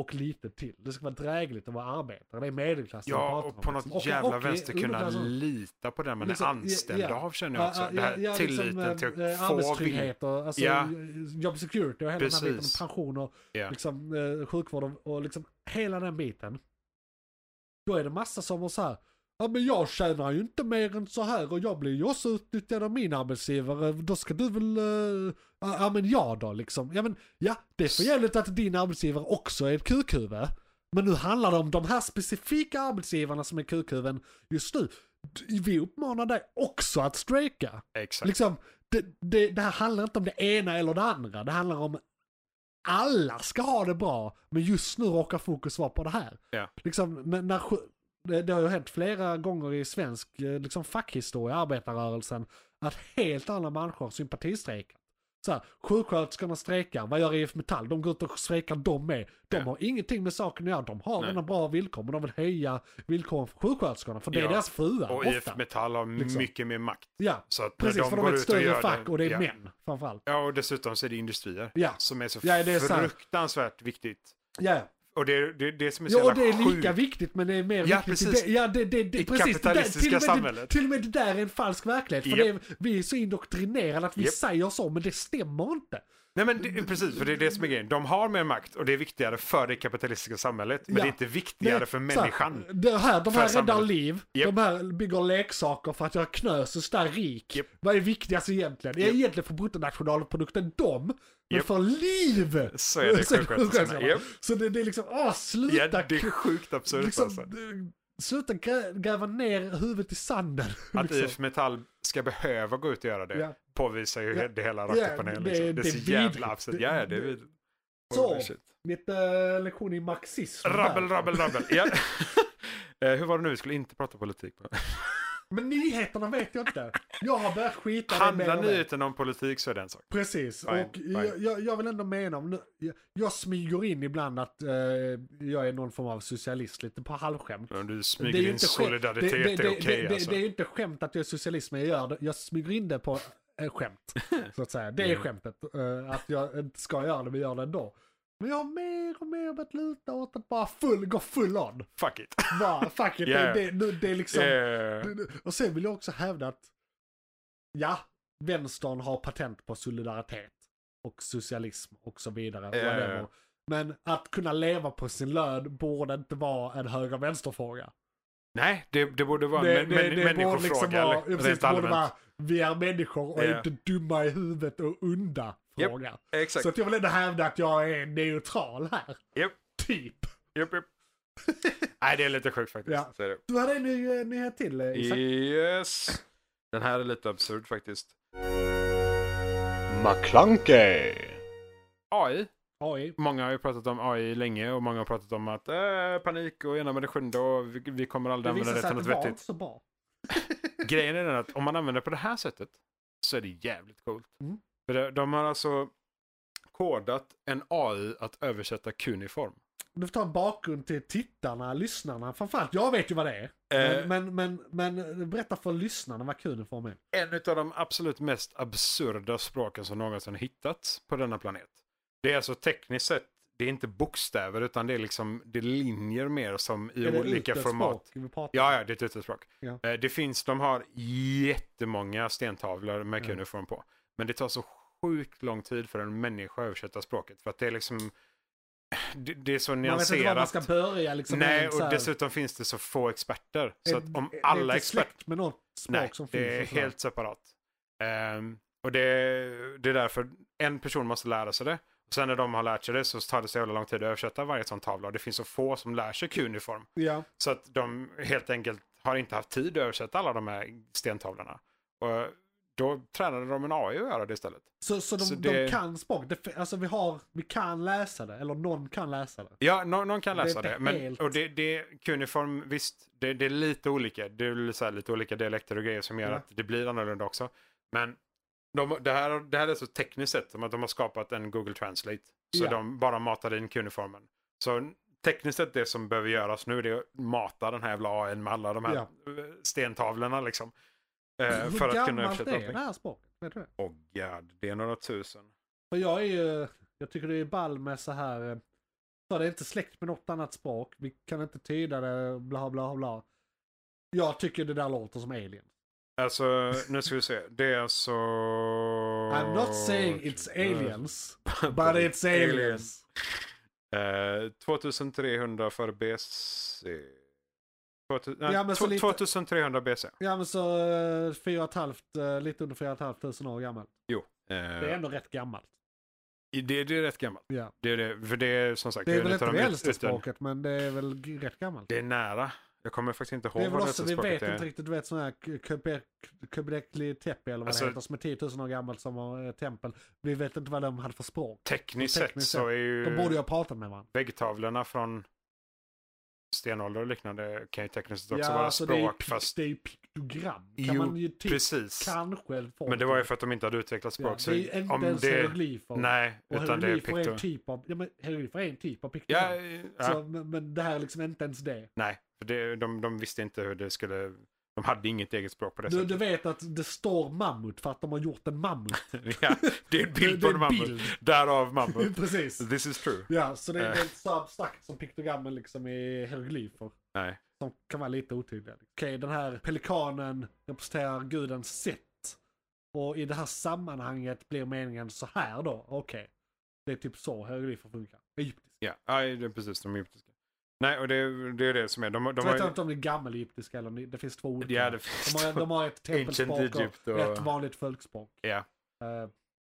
[SPEAKER 2] och lite till. Det ska vara drägligt att vara arbetare. Det är medelklassen vi
[SPEAKER 3] Ja,
[SPEAKER 2] pratar
[SPEAKER 3] och
[SPEAKER 2] om,
[SPEAKER 3] på
[SPEAKER 2] liksom.
[SPEAKER 3] något jävla
[SPEAKER 2] i
[SPEAKER 3] vänster kunna
[SPEAKER 2] underklassen.
[SPEAKER 3] lita på den man är
[SPEAKER 2] alltså- Liksom, ja,
[SPEAKER 3] anställd
[SPEAKER 2] ja.
[SPEAKER 3] av känner
[SPEAKER 2] Ja,
[SPEAKER 3] jag också.
[SPEAKER 2] ja,
[SPEAKER 3] Det här
[SPEAKER 2] ja,
[SPEAKER 3] tilliten
[SPEAKER 2] liksom,
[SPEAKER 3] till
[SPEAKER 2] eh,
[SPEAKER 3] att få vill.
[SPEAKER 2] Arbetstrygghet och alltså,
[SPEAKER 3] Ja.
[SPEAKER 2] job security och hela den här biten.
[SPEAKER 3] Precis.
[SPEAKER 2] och Pension och
[SPEAKER 3] Ja.
[SPEAKER 2] liksom, eh, sjukvård och, och liksom hela den biten. Då är det massa som var så här. Ja men jag tjänar ju inte mer än så här och jag blir ju också utnyttjad av min arbetsgivare. Då ska du väl... eh, ja ja, men jag då liksom. Ja men ja, det är för jävligt att din arbetsgivare också är ett kukhuvud. Men nu handlar det om de här specifika arbetsgivarna som är kukhuvuden just nu. D- Vi uppmanar dig också att strejka.
[SPEAKER 3] Exakt.
[SPEAKER 2] Liksom, det, det, det här handlar inte om det ena eller det andra. Det handlar om alla ska ha det bra, men just nu råkar fokus vara på det här.
[SPEAKER 3] Ja.
[SPEAKER 2] Liksom, när, när, sju- det, det har ju hänt flera gånger i svensk eh, liksom, fackhistoria, arbetarrörelsen, att helt andra människor sympatistrejkar. Så här, sjuksköterskorna strejkar, vad gör IF Metall? De går ut och strejkar de med. De
[SPEAKER 3] Ja.
[SPEAKER 2] har ingenting med saken att göra, de har
[SPEAKER 3] Nej.
[SPEAKER 2] redan bra villkor, men de vill höja villkoren för sjuksköterskorna, för det är
[SPEAKER 3] Ja.
[SPEAKER 2] deras fruar
[SPEAKER 3] Och
[SPEAKER 2] Liksom. ofta.
[SPEAKER 3] IF Metall har
[SPEAKER 2] Liksom.
[SPEAKER 3] mycket mer makt.
[SPEAKER 2] Ja,
[SPEAKER 3] Så att när
[SPEAKER 2] precis,
[SPEAKER 3] de
[SPEAKER 2] för de
[SPEAKER 3] går
[SPEAKER 2] är ett
[SPEAKER 3] ut och
[SPEAKER 2] större
[SPEAKER 3] gör
[SPEAKER 2] fack
[SPEAKER 3] det-
[SPEAKER 2] och det är
[SPEAKER 3] ja.
[SPEAKER 2] män framförallt.
[SPEAKER 3] Ja, och dessutom så är det industrier
[SPEAKER 2] Ja.
[SPEAKER 3] som är så
[SPEAKER 2] Ja, det är sant.
[SPEAKER 3] fruktansvärt viktigt.
[SPEAKER 2] Ja,
[SPEAKER 3] Och det är det, är det som är så
[SPEAKER 2] Ja, och det
[SPEAKER 3] jävla
[SPEAKER 2] är lika
[SPEAKER 3] sjukt.
[SPEAKER 2] viktigt men det är mer
[SPEAKER 3] Ja,
[SPEAKER 2] viktigt. i
[SPEAKER 3] precis.
[SPEAKER 2] Det, ja, det, det, det,
[SPEAKER 3] I
[SPEAKER 2] precis. Det där,
[SPEAKER 3] kapitalistiska
[SPEAKER 2] till, och med,
[SPEAKER 3] samhället.
[SPEAKER 2] Det, till och med det där är en falsk verklighet. För
[SPEAKER 3] Japp.
[SPEAKER 2] det är, vi är så indoktrinerade att vi
[SPEAKER 3] Japp.
[SPEAKER 2] säger så, men det stämmer inte.
[SPEAKER 3] Nej men det, precis, för det är det som är grejen. De har mer makt och det är viktigare för det kapitalistiska samhället. Men
[SPEAKER 2] Ja.
[SPEAKER 3] det är inte viktigare
[SPEAKER 2] Nej,
[SPEAKER 3] för
[SPEAKER 2] så här,
[SPEAKER 3] människan.
[SPEAKER 2] Det här, de
[SPEAKER 3] För
[SPEAKER 2] här räddar
[SPEAKER 3] samhället.
[SPEAKER 2] liv,
[SPEAKER 3] Japp.
[SPEAKER 2] de här bygger leksaker för att jag knös och där rik.
[SPEAKER 3] Japp.
[SPEAKER 2] Vad är viktigast egentligen? Är
[SPEAKER 3] Japp.
[SPEAKER 2] egentligen för bruttonationalprodukten dem, men
[SPEAKER 3] Japp.
[SPEAKER 2] för liv!
[SPEAKER 3] Så är det sjuksköterskorna.
[SPEAKER 2] sjuksköterskorna.
[SPEAKER 3] Japp.
[SPEAKER 2] Så det, det är liksom, åh
[SPEAKER 3] Ja,
[SPEAKER 2] sluta!
[SPEAKER 3] det är sjukt absurt
[SPEAKER 2] liksom,
[SPEAKER 3] alltså.
[SPEAKER 2] eh, Sluta grä, gräva ner huvudet i sanden.
[SPEAKER 3] Att IF Metall ska behöva gå ut och göra det
[SPEAKER 2] liksom. Ja.
[SPEAKER 3] påvisar ju
[SPEAKER 2] Ja.
[SPEAKER 3] det hela rakt
[SPEAKER 2] Ja,
[SPEAKER 3] upp och ner. Liksom. Det,
[SPEAKER 2] det- det
[SPEAKER 3] är
[SPEAKER 2] är
[SPEAKER 3] så jävla
[SPEAKER 2] vidrigt.
[SPEAKER 3] absurt.
[SPEAKER 2] Det-
[SPEAKER 3] Ja, ja, det är
[SPEAKER 2] det-
[SPEAKER 3] vidrigt.
[SPEAKER 2] Så.
[SPEAKER 3] Holy shit.
[SPEAKER 2] Lite eh, lektion i marxism.
[SPEAKER 3] Rabbel,
[SPEAKER 2] där.
[SPEAKER 3] rabbel, rabbel. Ja. Eh, Hur var det nu? Vi skulle inte prata politik. va?
[SPEAKER 2] Men nyheterna vet jag inte. Jag har börjat skita i det mer
[SPEAKER 3] Handlar
[SPEAKER 2] och mer.
[SPEAKER 3] nyheten om politik så är det en sak.
[SPEAKER 2] Precis,
[SPEAKER 3] Fine,
[SPEAKER 2] och
[SPEAKER 3] fine.
[SPEAKER 2] jag- Jag, jag vill ändå mena om, nu- jag, jag smyger in ibland att eh, jag är någon form av socialist lite på halvskämt.
[SPEAKER 3] Men du
[SPEAKER 2] Det är
[SPEAKER 3] smyger
[SPEAKER 2] ju
[SPEAKER 3] in
[SPEAKER 2] inte skämt-
[SPEAKER 3] solidaritet,
[SPEAKER 2] det- det-
[SPEAKER 3] det är okej
[SPEAKER 2] det- det-
[SPEAKER 3] alltså.
[SPEAKER 2] Det är ju inte skämt att jag är socialist, men jag gör det. Jag smyger in det på eh, skämt. Så att säga. Det är
[SPEAKER 3] Mm.
[SPEAKER 2] skämtet. eh, att jag inte ska göra det, men gör det ändå. Men jag har mer och mer börjat luta åt att bara full, gå full on.
[SPEAKER 3] Fuck it.
[SPEAKER 2] Bara, fuck it,
[SPEAKER 3] Yeah.
[SPEAKER 2] det, det, nu- det är liksom...
[SPEAKER 3] Eh,
[SPEAKER 2] Nu- nu- Och sen vill jag också hävda att ja, vänstern har patent på solidaritet och socialism och så vidare.
[SPEAKER 3] Ja, ja, ja.
[SPEAKER 2] whatever. Men att kunna leva på sin lön borde inte vara en höger-vänster-fråga.
[SPEAKER 3] Nej, det, det borde vara
[SPEAKER 2] Det, liksom
[SPEAKER 3] en men, men, människofråga
[SPEAKER 2] vara, ja,
[SPEAKER 3] eller,
[SPEAKER 2] precis,
[SPEAKER 3] rent
[SPEAKER 2] det borde
[SPEAKER 3] allmänt.
[SPEAKER 2] vara vi är människor och
[SPEAKER 3] Ja.
[SPEAKER 2] inte dumma i huvudet och onda
[SPEAKER 3] Japp,
[SPEAKER 2] fråga.
[SPEAKER 3] Exakt.
[SPEAKER 2] Så att jag vill ändå hävda att jag är neutral här.
[SPEAKER 3] Japp.
[SPEAKER 2] Typ.
[SPEAKER 3] Japp, japp. Nej, det är lite sjukt faktiskt.
[SPEAKER 2] Ja.
[SPEAKER 3] Så är det.
[SPEAKER 2] Du hade en ny eh, nyhet till eh, Isak.
[SPEAKER 3] Yes. Den här är lite absurd faktiskt.
[SPEAKER 4] McClunkey,
[SPEAKER 3] AI.
[SPEAKER 2] AI.
[SPEAKER 3] Många har ju pratat om AI länge och många har pratat om att eh, panik och ena med det sjunde och vi, vi kommer aldrig
[SPEAKER 2] Det
[SPEAKER 3] använda
[SPEAKER 2] visade
[SPEAKER 3] det
[SPEAKER 2] sig
[SPEAKER 3] till
[SPEAKER 2] att
[SPEAKER 3] något
[SPEAKER 2] det var
[SPEAKER 3] vettigt.
[SPEAKER 2] inte så bra.
[SPEAKER 3] Grejen är den att om man använder det på det här sättet så är det jävligt coolt.
[SPEAKER 2] Mm.
[SPEAKER 3] För det, de har alltså kodat en AI att översätta kuniform.
[SPEAKER 2] Du får ta en bakgrund till tittarna, lyssnarna. Framförallt, jag vet ju vad det är.
[SPEAKER 3] Eh,
[SPEAKER 2] Men, men, men, men eh, berätta för lyssnarna vad kul det får med.
[SPEAKER 3] en av de absolut mest absurda språken som någonsin hittats på denna planet. Det är alltså tekniskt sett, det är inte bokstäver utan det är liksom det är linjer mer som i
[SPEAKER 2] Är det
[SPEAKER 3] olika
[SPEAKER 2] utländsk
[SPEAKER 3] format.
[SPEAKER 2] språk Vi pratar
[SPEAKER 3] Ja, ja, det är ett utespråk.
[SPEAKER 2] Ja.
[SPEAKER 3] Eh, Det finns, de har jättemånga stentavlor med
[SPEAKER 2] Ja.
[SPEAKER 3] kuniform på. Men det tar så sjukt lång tid för en människa att översätta språket. För att det är liksom, det, det är så
[SPEAKER 2] Man vet inte var man
[SPEAKER 3] nyanserat.
[SPEAKER 2] ska börja liksom.
[SPEAKER 3] Nej,
[SPEAKER 2] rent så
[SPEAKER 3] och
[SPEAKER 2] här.
[SPEAKER 3] dessutom finns det så få experter. Så
[SPEAKER 2] Är-
[SPEAKER 3] att om
[SPEAKER 2] är det
[SPEAKER 3] alla
[SPEAKER 2] inte
[SPEAKER 3] experter...
[SPEAKER 2] släkt med något språk
[SPEAKER 3] Nej,
[SPEAKER 2] som finns.
[SPEAKER 3] det är
[SPEAKER 2] och sådär?
[SPEAKER 3] helt separat. Ehm, Och det, det är därför en person måste lära sig det. Och sen när de har lärt sig det så tar det så jävla lång tid att översätta varje sån tavla. Och det finns så få som lär sig Q-uniform.
[SPEAKER 2] Ja.
[SPEAKER 3] Så att de helt enkelt har inte haft tid att översätta alla de här stentavlorna. Och då tränade de en AI att göra det istället.
[SPEAKER 2] Så, så, de,
[SPEAKER 3] Så det-
[SPEAKER 2] de kan språk. Det, fin- alltså vi har, vi kan läsa det, eller någon kan läsa det.
[SPEAKER 3] Ja, någon, någon kan
[SPEAKER 2] Det är
[SPEAKER 3] läsa det.
[SPEAKER 2] inte
[SPEAKER 3] men,
[SPEAKER 2] helt-
[SPEAKER 3] Och det, det Cuneiform, visst, det, det är lite olika. Det är väl så här lite olika dialekter och grejer som gör
[SPEAKER 2] Ja.
[SPEAKER 3] att det blir annorlunda också. Men de, det, här, det här är så tekniskt sett som att de har skapat en Google Translate. Så
[SPEAKER 2] Ja.
[SPEAKER 3] de bara matar in Cuneiformen. Så tekniskt sett det som behöver göras nu det är att mata den här jävla AIn med alla de här
[SPEAKER 2] Ja.
[SPEAKER 3] eh, stentavlorna liksom. Eh,
[SPEAKER 2] Hur
[SPEAKER 3] för att kunna
[SPEAKER 2] gammalt
[SPEAKER 3] översätta
[SPEAKER 2] är
[SPEAKER 3] allting.
[SPEAKER 2] det här språket? Vet du det?
[SPEAKER 3] Åh god, det är några tusen.
[SPEAKER 2] För jag är ju, jag tycker det är ball med så här, eh, så det är inte släkt med något annat språk, vi kan inte tyda det, bla bla bla. Jag tycker det där låter som alien.
[SPEAKER 3] Alltså, nu ska vi se. Det är alltså...
[SPEAKER 2] I'm not saying it's aliens, but it's aliens.
[SPEAKER 3] Eh, 2300 för BC. 2000, nej,
[SPEAKER 2] Ja, men så
[SPEAKER 3] tw-
[SPEAKER 2] lite-
[SPEAKER 3] 2300 BC.
[SPEAKER 2] Ja men så eh, fyra och ett halvt, eh, lite under fyra och ett halvt tusen år gammalt.
[SPEAKER 3] Jo. Eh,
[SPEAKER 2] Det är ändå rätt gammalt.
[SPEAKER 3] det, det är rätt gammalt.
[SPEAKER 2] Ja.
[SPEAKER 3] Det är det, för det är som sagt...
[SPEAKER 2] Det är
[SPEAKER 3] en
[SPEAKER 2] väl
[SPEAKER 3] utav
[SPEAKER 2] inte
[SPEAKER 3] de
[SPEAKER 2] det
[SPEAKER 3] ut-
[SPEAKER 2] äldsta
[SPEAKER 3] utan-
[SPEAKER 2] språket, men det är väl g- rätt gammalt.
[SPEAKER 3] Det är nära. Jag kommer faktiskt inte
[SPEAKER 2] Det är
[SPEAKER 3] ihåg
[SPEAKER 2] väl
[SPEAKER 3] vad det
[SPEAKER 2] också,
[SPEAKER 3] äldsta
[SPEAKER 2] vi vet
[SPEAKER 3] språket är.
[SPEAKER 2] inte riktigt, du vet sån här K- Köbe- Köbekli Tepe eller vad
[SPEAKER 3] Alltså-
[SPEAKER 2] det heter som är 10 000 år gammalt som var ett tempel. Vi vet inte vad de hade för språk.
[SPEAKER 3] Tekniskt sett
[SPEAKER 2] Tekniskt
[SPEAKER 3] så är ju
[SPEAKER 2] De borde ju ha pratat med varandra.
[SPEAKER 3] väggtavlorna från stenålder och liknande kan ju tekniskt sett också
[SPEAKER 2] ja,
[SPEAKER 3] vara
[SPEAKER 2] alltså det är ju
[SPEAKER 3] språk.
[SPEAKER 2] pik-
[SPEAKER 3] fast
[SPEAKER 2] det är ju piktogram. Kan
[SPEAKER 3] Jo,
[SPEAKER 2] man ju typ
[SPEAKER 3] precis.
[SPEAKER 2] kanske få
[SPEAKER 3] Men det var ju för att de inte hade utvecklat språk.
[SPEAKER 2] ja, Det är ju
[SPEAKER 3] så
[SPEAKER 2] inte
[SPEAKER 3] om
[SPEAKER 2] ens
[SPEAKER 3] det...
[SPEAKER 2] hieroglyfer.
[SPEAKER 3] Nej,
[SPEAKER 2] och
[SPEAKER 3] utan det är
[SPEAKER 2] hieroglyfer är en
[SPEAKER 3] piktor.
[SPEAKER 2] typ av, ja men hieroglyfer är en typ av
[SPEAKER 3] Ja,
[SPEAKER 2] piktogram.
[SPEAKER 3] ja.
[SPEAKER 2] Så, men, men det här är liksom inte ens det.
[SPEAKER 3] Nej, för det, de, de visste inte hur det skulle... De hade inget eget språk på det
[SPEAKER 2] Du, du
[SPEAKER 3] sättet.
[SPEAKER 2] vet att det står mammut för att de har gjort en mammut.
[SPEAKER 3] ja, det är en bild på en
[SPEAKER 2] Det- det är en
[SPEAKER 3] mammut.
[SPEAKER 2] bild.
[SPEAKER 3] Därav mammut.
[SPEAKER 2] Precis.
[SPEAKER 3] This is true.
[SPEAKER 2] Ja, så det
[SPEAKER 3] Eh.
[SPEAKER 2] är inte så abstrakt som piktogrammen liksom är hieroglyfer.
[SPEAKER 3] Nej.
[SPEAKER 2] Som kan vara lite otydliga. Okej, den här pelikanen representerar guden Set. Och i det här sammanhanget blir meningen så här då. Okej. Det är typ så hieroglyfer funkar. Egyptisk.
[SPEAKER 3] Ja, nej, det är precis. De egyptiska. Nej, och det, det är det som är. De, de
[SPEAKER 2] jag vet
[SPEAKER 3] har,
[SPEAKER 2] inte om det är gammelegyptiska eller ny- det finns två olika.
[SPEAKER 3] ja, det
[SPEAKER 2] de, har,
[SPEAKER 3] finns,
[SPEAKER 2] de har ett
[SPEAKER 3] Ancient
[SPEAKER 2] tempelspråk
[SPEAKER 3] Egypt
[SPEAKER 2] och,
[SPEAKER 3] och-
[SPEAKER 2] ett vanligt folkspråk.
[SPEAKER 3] Ja.
[SPEAKER 2] Eh,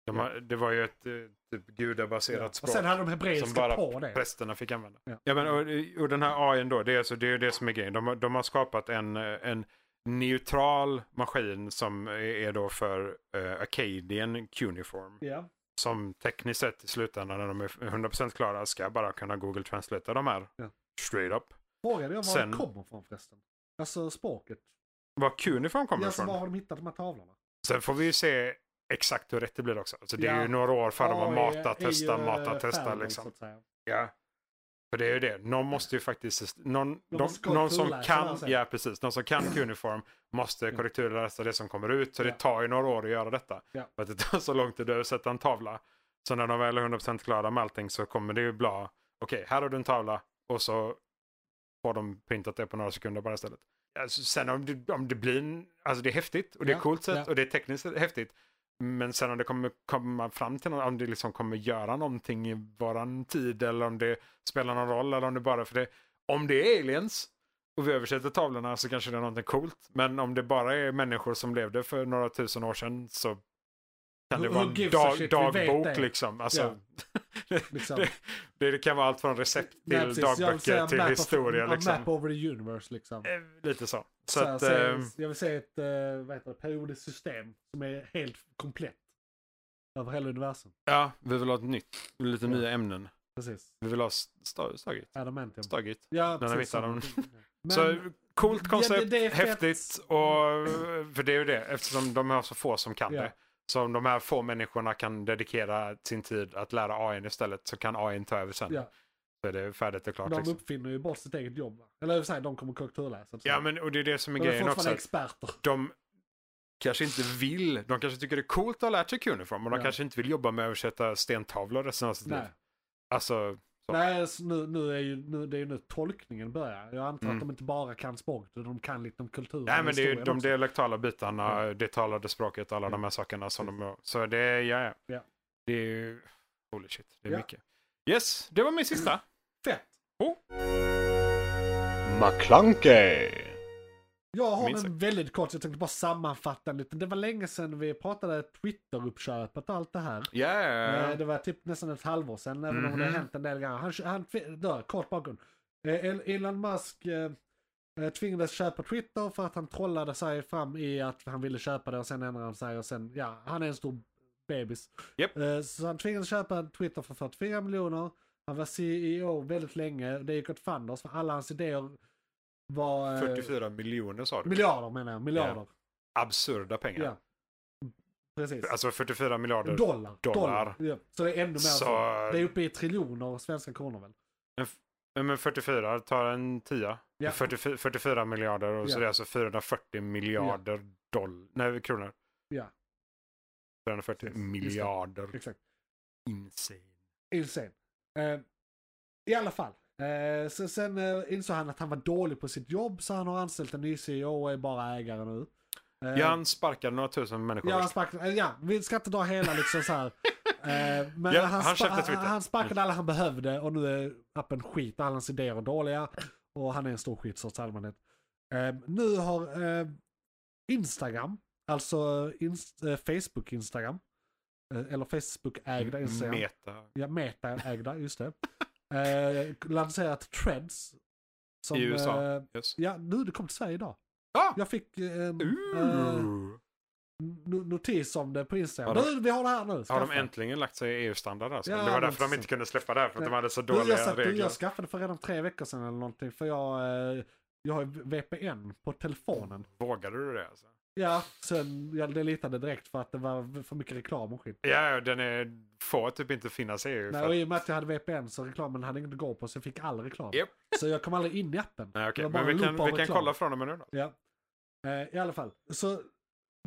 [SPEAKER 3] de har, det var ju ett eh, typ gudabaserat
[SPEAKER 2] ja. Och
[SPEAKER 3] språk.
[SPEAKER 2] sen hade de
[SPEAKER 3] Som
[SPEAKER 2] hebreiska
[SPEAKER 3] bara
[SPEAKER 2] på det.
[SPEAKER 3] prästerna fick använda. Ja.
[SPEAKER 2] Ja.
[SPEAKER 3] men, och, och den här AIn då, det är, alltså, det är ju det som är grejen. De, har- de har skapat en, eh, en neutral maskin som är- är då för uh, Acadian Cuneiform.
[SPEAKER 2] Ja.
[SPEAKER 3] Som tekniskt sett i slutändan när de är 100% klara ska bara kunna Google Translate de här.
[SPEAKER 2] Ja.
[SPEAKER 3] Straight up.
[SPEAKER 2] Frågade jag var
[SPEAKER 3] Sen-
[SPEAKER 2] det kommer från förresten. Alltså språket.
[SPEAKER 3] Var Cuneiform kommer
[SPEAKER 2] Ja, så
[SPEAKER 3] ifrån.
[SPEAKER 2] var har de hittat de här tavlorna?
[SPEAKER 3] Sen får vi ju se exakt hur rätt det blir också. Alltså, det är
[SPEAKER 2] Ja.
[SPEAKER 3] ju några år för de har
[SPEAKER 2] AI
[SPEAKER 3] mata,
[SPEAKER 2] är ju eh,
[SPEAKER 3] testa, mata,
[SPEAKER 2] färgen,
[SPEAKER 3] testa
[SPEAKER 2] så
[SPEAKER 3] liksom.
[SPEAKER 2] att säga.
[SPEAKER 3] Ja. För det är ju det. Någon måste ju faktiskt... Någon,
[SPEAKER 2] De
[SPEAKER 3] de,
[SPEAKER 2] måste
[SPEAKER 3] någon som
[SPEAKER 2] korrekturläsa det
[SPEAKER 3] kan...
[SPEAKER 2] här sen.
[SPEAKER 3] Ja, precis. Någon som kan Cuneiform måste
[SPEAKER 2] Ja.
[SPEAKER 3] korrekturläsa det som kommer ut. Så det
[SPEAKER 2] Mm. Ja.
[SPEAKER 3] tar ju några år att göra detta.
[SPEAKER 2] Ja.
[SPEAKER 3] För att det tar så lång tid att översätta en tavla. Så när de väl är 100% klara med allting så kommer det ju bli... Okej, här har du en tavla. Och så får de printat det på några sekunder bara istället. Alltså, sen om det, om det blir... en- Alltså det är häftigt och det är
[SPEAKER 2] Ja,
[SPEAKER 3] coolt sett
[SPEAKER 2] ja.
[SPEAKER 3] och det är tekniskt häftigt. Men sen om det kommer komma fram till något, om det liksom kommer göra någonting i våran tid eller om det spelar någon roll eller om det bara för det. Om det är aliens och vi översätter tavlorna så kanske det är någonting coolt. Men om det bara är människor som levde för några tusen år sedan så kan det
[SPEAKER 2] Who-
[SPEAKER 3] vara
[SPEAKER 2] who
[SPEAKER 3] en
[SPEAKER 2] gives a
[SPEAKER 3] dag,
[SPEAKER 2] shit? Vi vet
[SPEAKER 3] dagbok
[SPEAKER 2] det.
[SPEAKER 3] liksom. Alltså,
[SPEAKER 2] Liksom.
[SPEAKER 3] det, det, det kan vara allt från recept till
[SPEAKER 2] Nej, precis. Jag vill säga
[SPEAKER 3] dagböcker till
[SPEAKER 2] map of-
[SPEAKER 3] historia.
[SPEAKER 2] a
[SPEAKER 3] liksom.
[SPEAKER 2] map over the universe liksom.
[SPEAKER 3] Eh, Lite så. Så,
[SPEAKER 2] Så
[SPEAKER 3] att,
[SPEAKER 2] jag, säger-
[SPEAKER 3] ehm,
[SPEAKER 2] jag vill säga ett eh, vad heter det, periodiskt system som är helt komplett. Över hela universum.
[SPEAKER 3] ja, vi vill ha ett nytt, lite
[SPEAKER 2] Ja.
[SPEAKER 3] nya ämnen.
[SPEAKER 2] Precis.
[SPEAKER 3] Vi vill ha st- Stargate.
[SPEAKER 2] Adamantium.
[SPEAKER 3] Stargate.
[SPEAKER 2] Ja,
[SPEAKER 3] Den har
[SPEAKER 2] precis.
[SPEAKER 3] vi hittat
[SPEAKER 2] så. Men,
[SPEAKER 3] så coolt
[SPEAKER 2] det-
[SPEAKER 3] koncept,
[SPEAKER 2] det är fett.
[SPEAKER 3] häftigt och för det är ju det eftersom de har så få som kan
[SPEAKER 2] Ja.
[SPEAKER 3] det. Så om de här få människorna kan dedikera sin tid att lära AI istället så kan AI ta över sen.
[SPEAKER 2] Ja.
[SPEAKER 3] Så är det färdigt och klart.
[SPEAKER 2] de
[SPEAKER 3] liksom.
[SPEAKER 2] uppfinner ju bort sitt eget jobb. va? Eller i och för sig, de kommer korrekturläsa.
[SPEAKER 3] Ja men och det är det som är
[SPEAKER 2] de är
[SPEAKER 3] grejen också.
[SPEAKER 2] fortfarande
[SPEAKER 3] att
[SPEAKER 2] experter.
[SPEAKER 3] De kanske inte vill, de kanske tycker det är coolt att ha lärt sig Cuneiform och de
[SPEAKER 2] Ja.
[SPEAKER 3] kanske inte vill jobba med att översätta stentavlor resten av sitt liv.
[SPEAKER 2] Nej.
[SPEAKER 3] Alltså, Så.
[SPEAKER 2] Nej, alltså, nu, nu är ju, nu, det är ju nu tolkningen börjar. Jag antar
[SPEAKER 3] Mm.
[SPEAKER 2] att de inte bara kan språket, utan de kan lite om kulturen
[SPEAKER 3] nej
[SPEAKER 2] och
[SPEAKER 3] men det är ju
[SPEAKER 2] historien
[SPEAKER 3] de
[SPEAKER 2] också.
[SPEAKER 3] dialektala bitarna, det talade språket, alla
[SPEAKER 2] Ja.
[SPEAKER 3] de här sakerna som de... Så det är, ja, ja.
[SPEAKER 2] Ja.
[SPEAKER 3] Det är ju... Holy shit, det är
[SPEAKER 2] Ja.
[SPEAKER 3] mycket. Yes, det var min sista.
[SPEAKER 2] Fett!
[SPEAKER 4] McClunkey!
[SPEAKER 2] Jag har
[SPEAKER 3] Minst
[SPEAKER 2] en väldigt kort, så jag tänkte bara sammanfatta lite. Det var länge sedan vi pratade Twitter-uppköpet och allt det här.
[SPEAKER 3] Ja,
[SPEAKER 2] Eh, Det var typ nästan ett halvår sedan, även om det har
[SPEAKER 3] Mhm.
[SPEAKER 2] hänt en del grejer. Han, han tvi- dör, kort bakgrund. Eh, El- Elon Musk eh, eh, tvingades köpa Twitter för att han trollade sig fram i att han ville köpa det och sen ändrade han sig och sen, ja, han är en stor bebis.
[SPEAKER 3] Japp.
[SPEAKER 2] Eh, Så han tvingades köpa Twitter för 44 miljoner. Han var CEO väldigt länge. Det gick åt fanders för alla hans idéer var... eh,
[SPEAKER 3] 44 miljoner sa du.
[SPEAKER 2] Miljarder menar jag, miljarder.
[SPEAKER 3] Absurda pengar.
[SPEAKER 2] Ja. Precis.
[SPEAKER 3] Alltså 44 miljarder.
[SPEAKER 2] dollar.
[SPEAKER 3] dollar.
[SPEAKER 2] Ja. Så det är ännu mer.
[SPEAKER 3] Så-
[SPEAKER 2] Så... Det är uppe i triljoner svenska kronor väl?
[SPEAKER 3] Ja, Men 44 tar en tia.
[SPEAKER 2] Ja.
[SPEAKER 3] 44, 44 miljarder och
[SPEAKER 2] Ja.
[SPEAKER 3] så det är alltså 440 miljarder dollar. Nej, kronor.
[SPEAKER 2] Ja.
[SPEAKER 3] 440
[SPEAKER 2] Precis, just det.
[SPEAKER 3] miljarder.
[SPEAKER 2] Exakt.
[SPEAKER 3] Insane.
[SPEAKER 2] Insane. Eh, I alla fall. Eh, så sen eh, insåg han att han var dålig på sitt jobb så han har anställt en ny CEO och är bara ägare nu. Eh,
[SPEAKER 3] Ja, han sparkade några tusen människor.
[SPEAKER 2] Ja, han
[SPEAKER 3] först.
[SPEAKER 2] sparkade, eh, ja, vi ska inte dra hela liksom så här. Eh, Men
[SPEAKER 3] Ja, han
[SPEAKER 2] han, spa-
[SPEAKER 3] köpte
[SPEAKER 2] han,
[SPEAKER 3] Twitter. Mm.
[SPEAKER 2] han sparkade alla han behövde och nu är appen skit. Alla hans idéer är dåliga och han är en stor skitsorts i allmänhet. Eh, Nu har eh, Instagram, alltså inst- eh, Facebook-Instagram, eh, eller Facebook-ägda Instagram.
[SPEAKER 3] Meta.
[SPEAKER 2] Ja, Meta-ägda, just det. Eh, lanserat Threads. som,
[SPEAKER 3] I USA.
[SPEAKER 2] eh,
[SPEAKER 3] Yes.
[SPEAKER 2] ja, nu det kom till Sverige idag.
[SPEAKER 3] Ah! Uh!
[SPEAKER 2] Jag fick eh, eh,
[SPEAKER 3] Ooh.
[SPEAKER 2] no- notis om det på Instagram.
[SPEAKER 3] Har de-
[SPEAKER 2] Nu, vi har det här nu.
[SPEAKER 3] Har
[SPEAKER 2] skaffa.
[SPEAKER 3] de äntligen lagt sig i EU-standard alltså?
[SPEAKER 2] Ja,
[SPEAKER 3] det var
[SPEAKER 2] men
[SPEAKER 3] därför de
[SPEAKER 2] precis.
[SPEAKER 3] inte kunde släppa det här, för att de hade så
[SPEAKER 2] du, jag,
[SPEAKER 3] dåliga
[SPEAKER 2] satt, du,
[SPEAKER 3] regler.
[SPEAKER 2] jag skaffade för redan tre veckor sedan eller någonting för jag, eh, jag har ju VPN på telefonen.
[SPEAKER 3] Vågade du det alltså?
[SPEAKER 2] Ja, sen jag delitade direkt för att det var för mycket reklam och skit.
[SPEAKER 3] Ja, ja, den är, får typ inte finnas i EU.
[SPEAKER 2] Nej,
[SPEAKER 3] för
[SPEAKER 2] och
[SPEAKER 3] att,
[SPEAKER 2] i och med att jag hade VPN så reklamen hade inget att gå på så jag fick all reklam.
[SPEAKER 3] Japp.
[SPEAKER 2] Så jag kom aldrig in i appen.
[SPEAKER 3] nej,
[SPEAKER 2] Det
[SPEAKER 3] okej.
[SPEAKER 2] var bara
[SPEAKER 3] Men vi
[SPEAKER 2] en loop
[SPEAKER 3] kan,
[SPEAKER 2] av
[SPEAKER 3] vi kan
[SPEAKER 2] reklam.
[SPEAKER 3] kolla från och med nu då.
[SPEAKER 2] Ja. Eh, I alla fall, så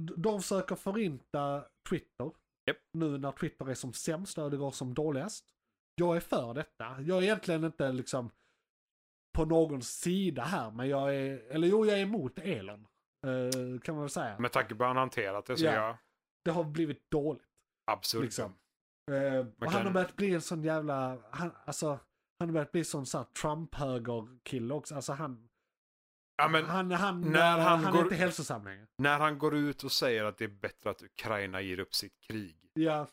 [SPEAKER 2] d- de försöker förinta Twitter.
[SPEAKER 3] Japp.
[SPEAKER 2] Nu när Twitter är som sämst och det går som dåligast. Jag är för detta. Jag är egentligen inte liksom på någon sida här, men jag är, eller jo, jag är emot elen. Eh, kan man väl säga.
[SPEAKER 3] Med tanke på hur han hanterat det så
[SPEAKER 2] Ja.
[SPEAKER 3] är jag
[SPEAKER 2] Det har blivit dåligt.
[SPEAKER 3] absurd.
[SPEAKER 2] Liksom. Eh, och
[SPEAKER 3] Man
[SPEAKER 2] han
[SPEAKER 3] kan-
[SPEAKER 2] har börjat bli en sån jävla, han, alltså, han har börjat bli sån sån här Trump-höger-kille också. Alltså han,
[SPEAKER 3] Ja, men
[SPEAKER 2] han, han,
[SPEAKER 3] när
[SPEAKER 2] eh,
[SPEAKER 3] han
[SPEAKER 2] han är
[SPEAKER 3] går-
[SPEAKER 2] inte hälsosam längre.
[SPEAKER 3] när han går ut och säger att det är bättre att Ukraina ger upp sitt krig.
[SPEAKER 2] Ja,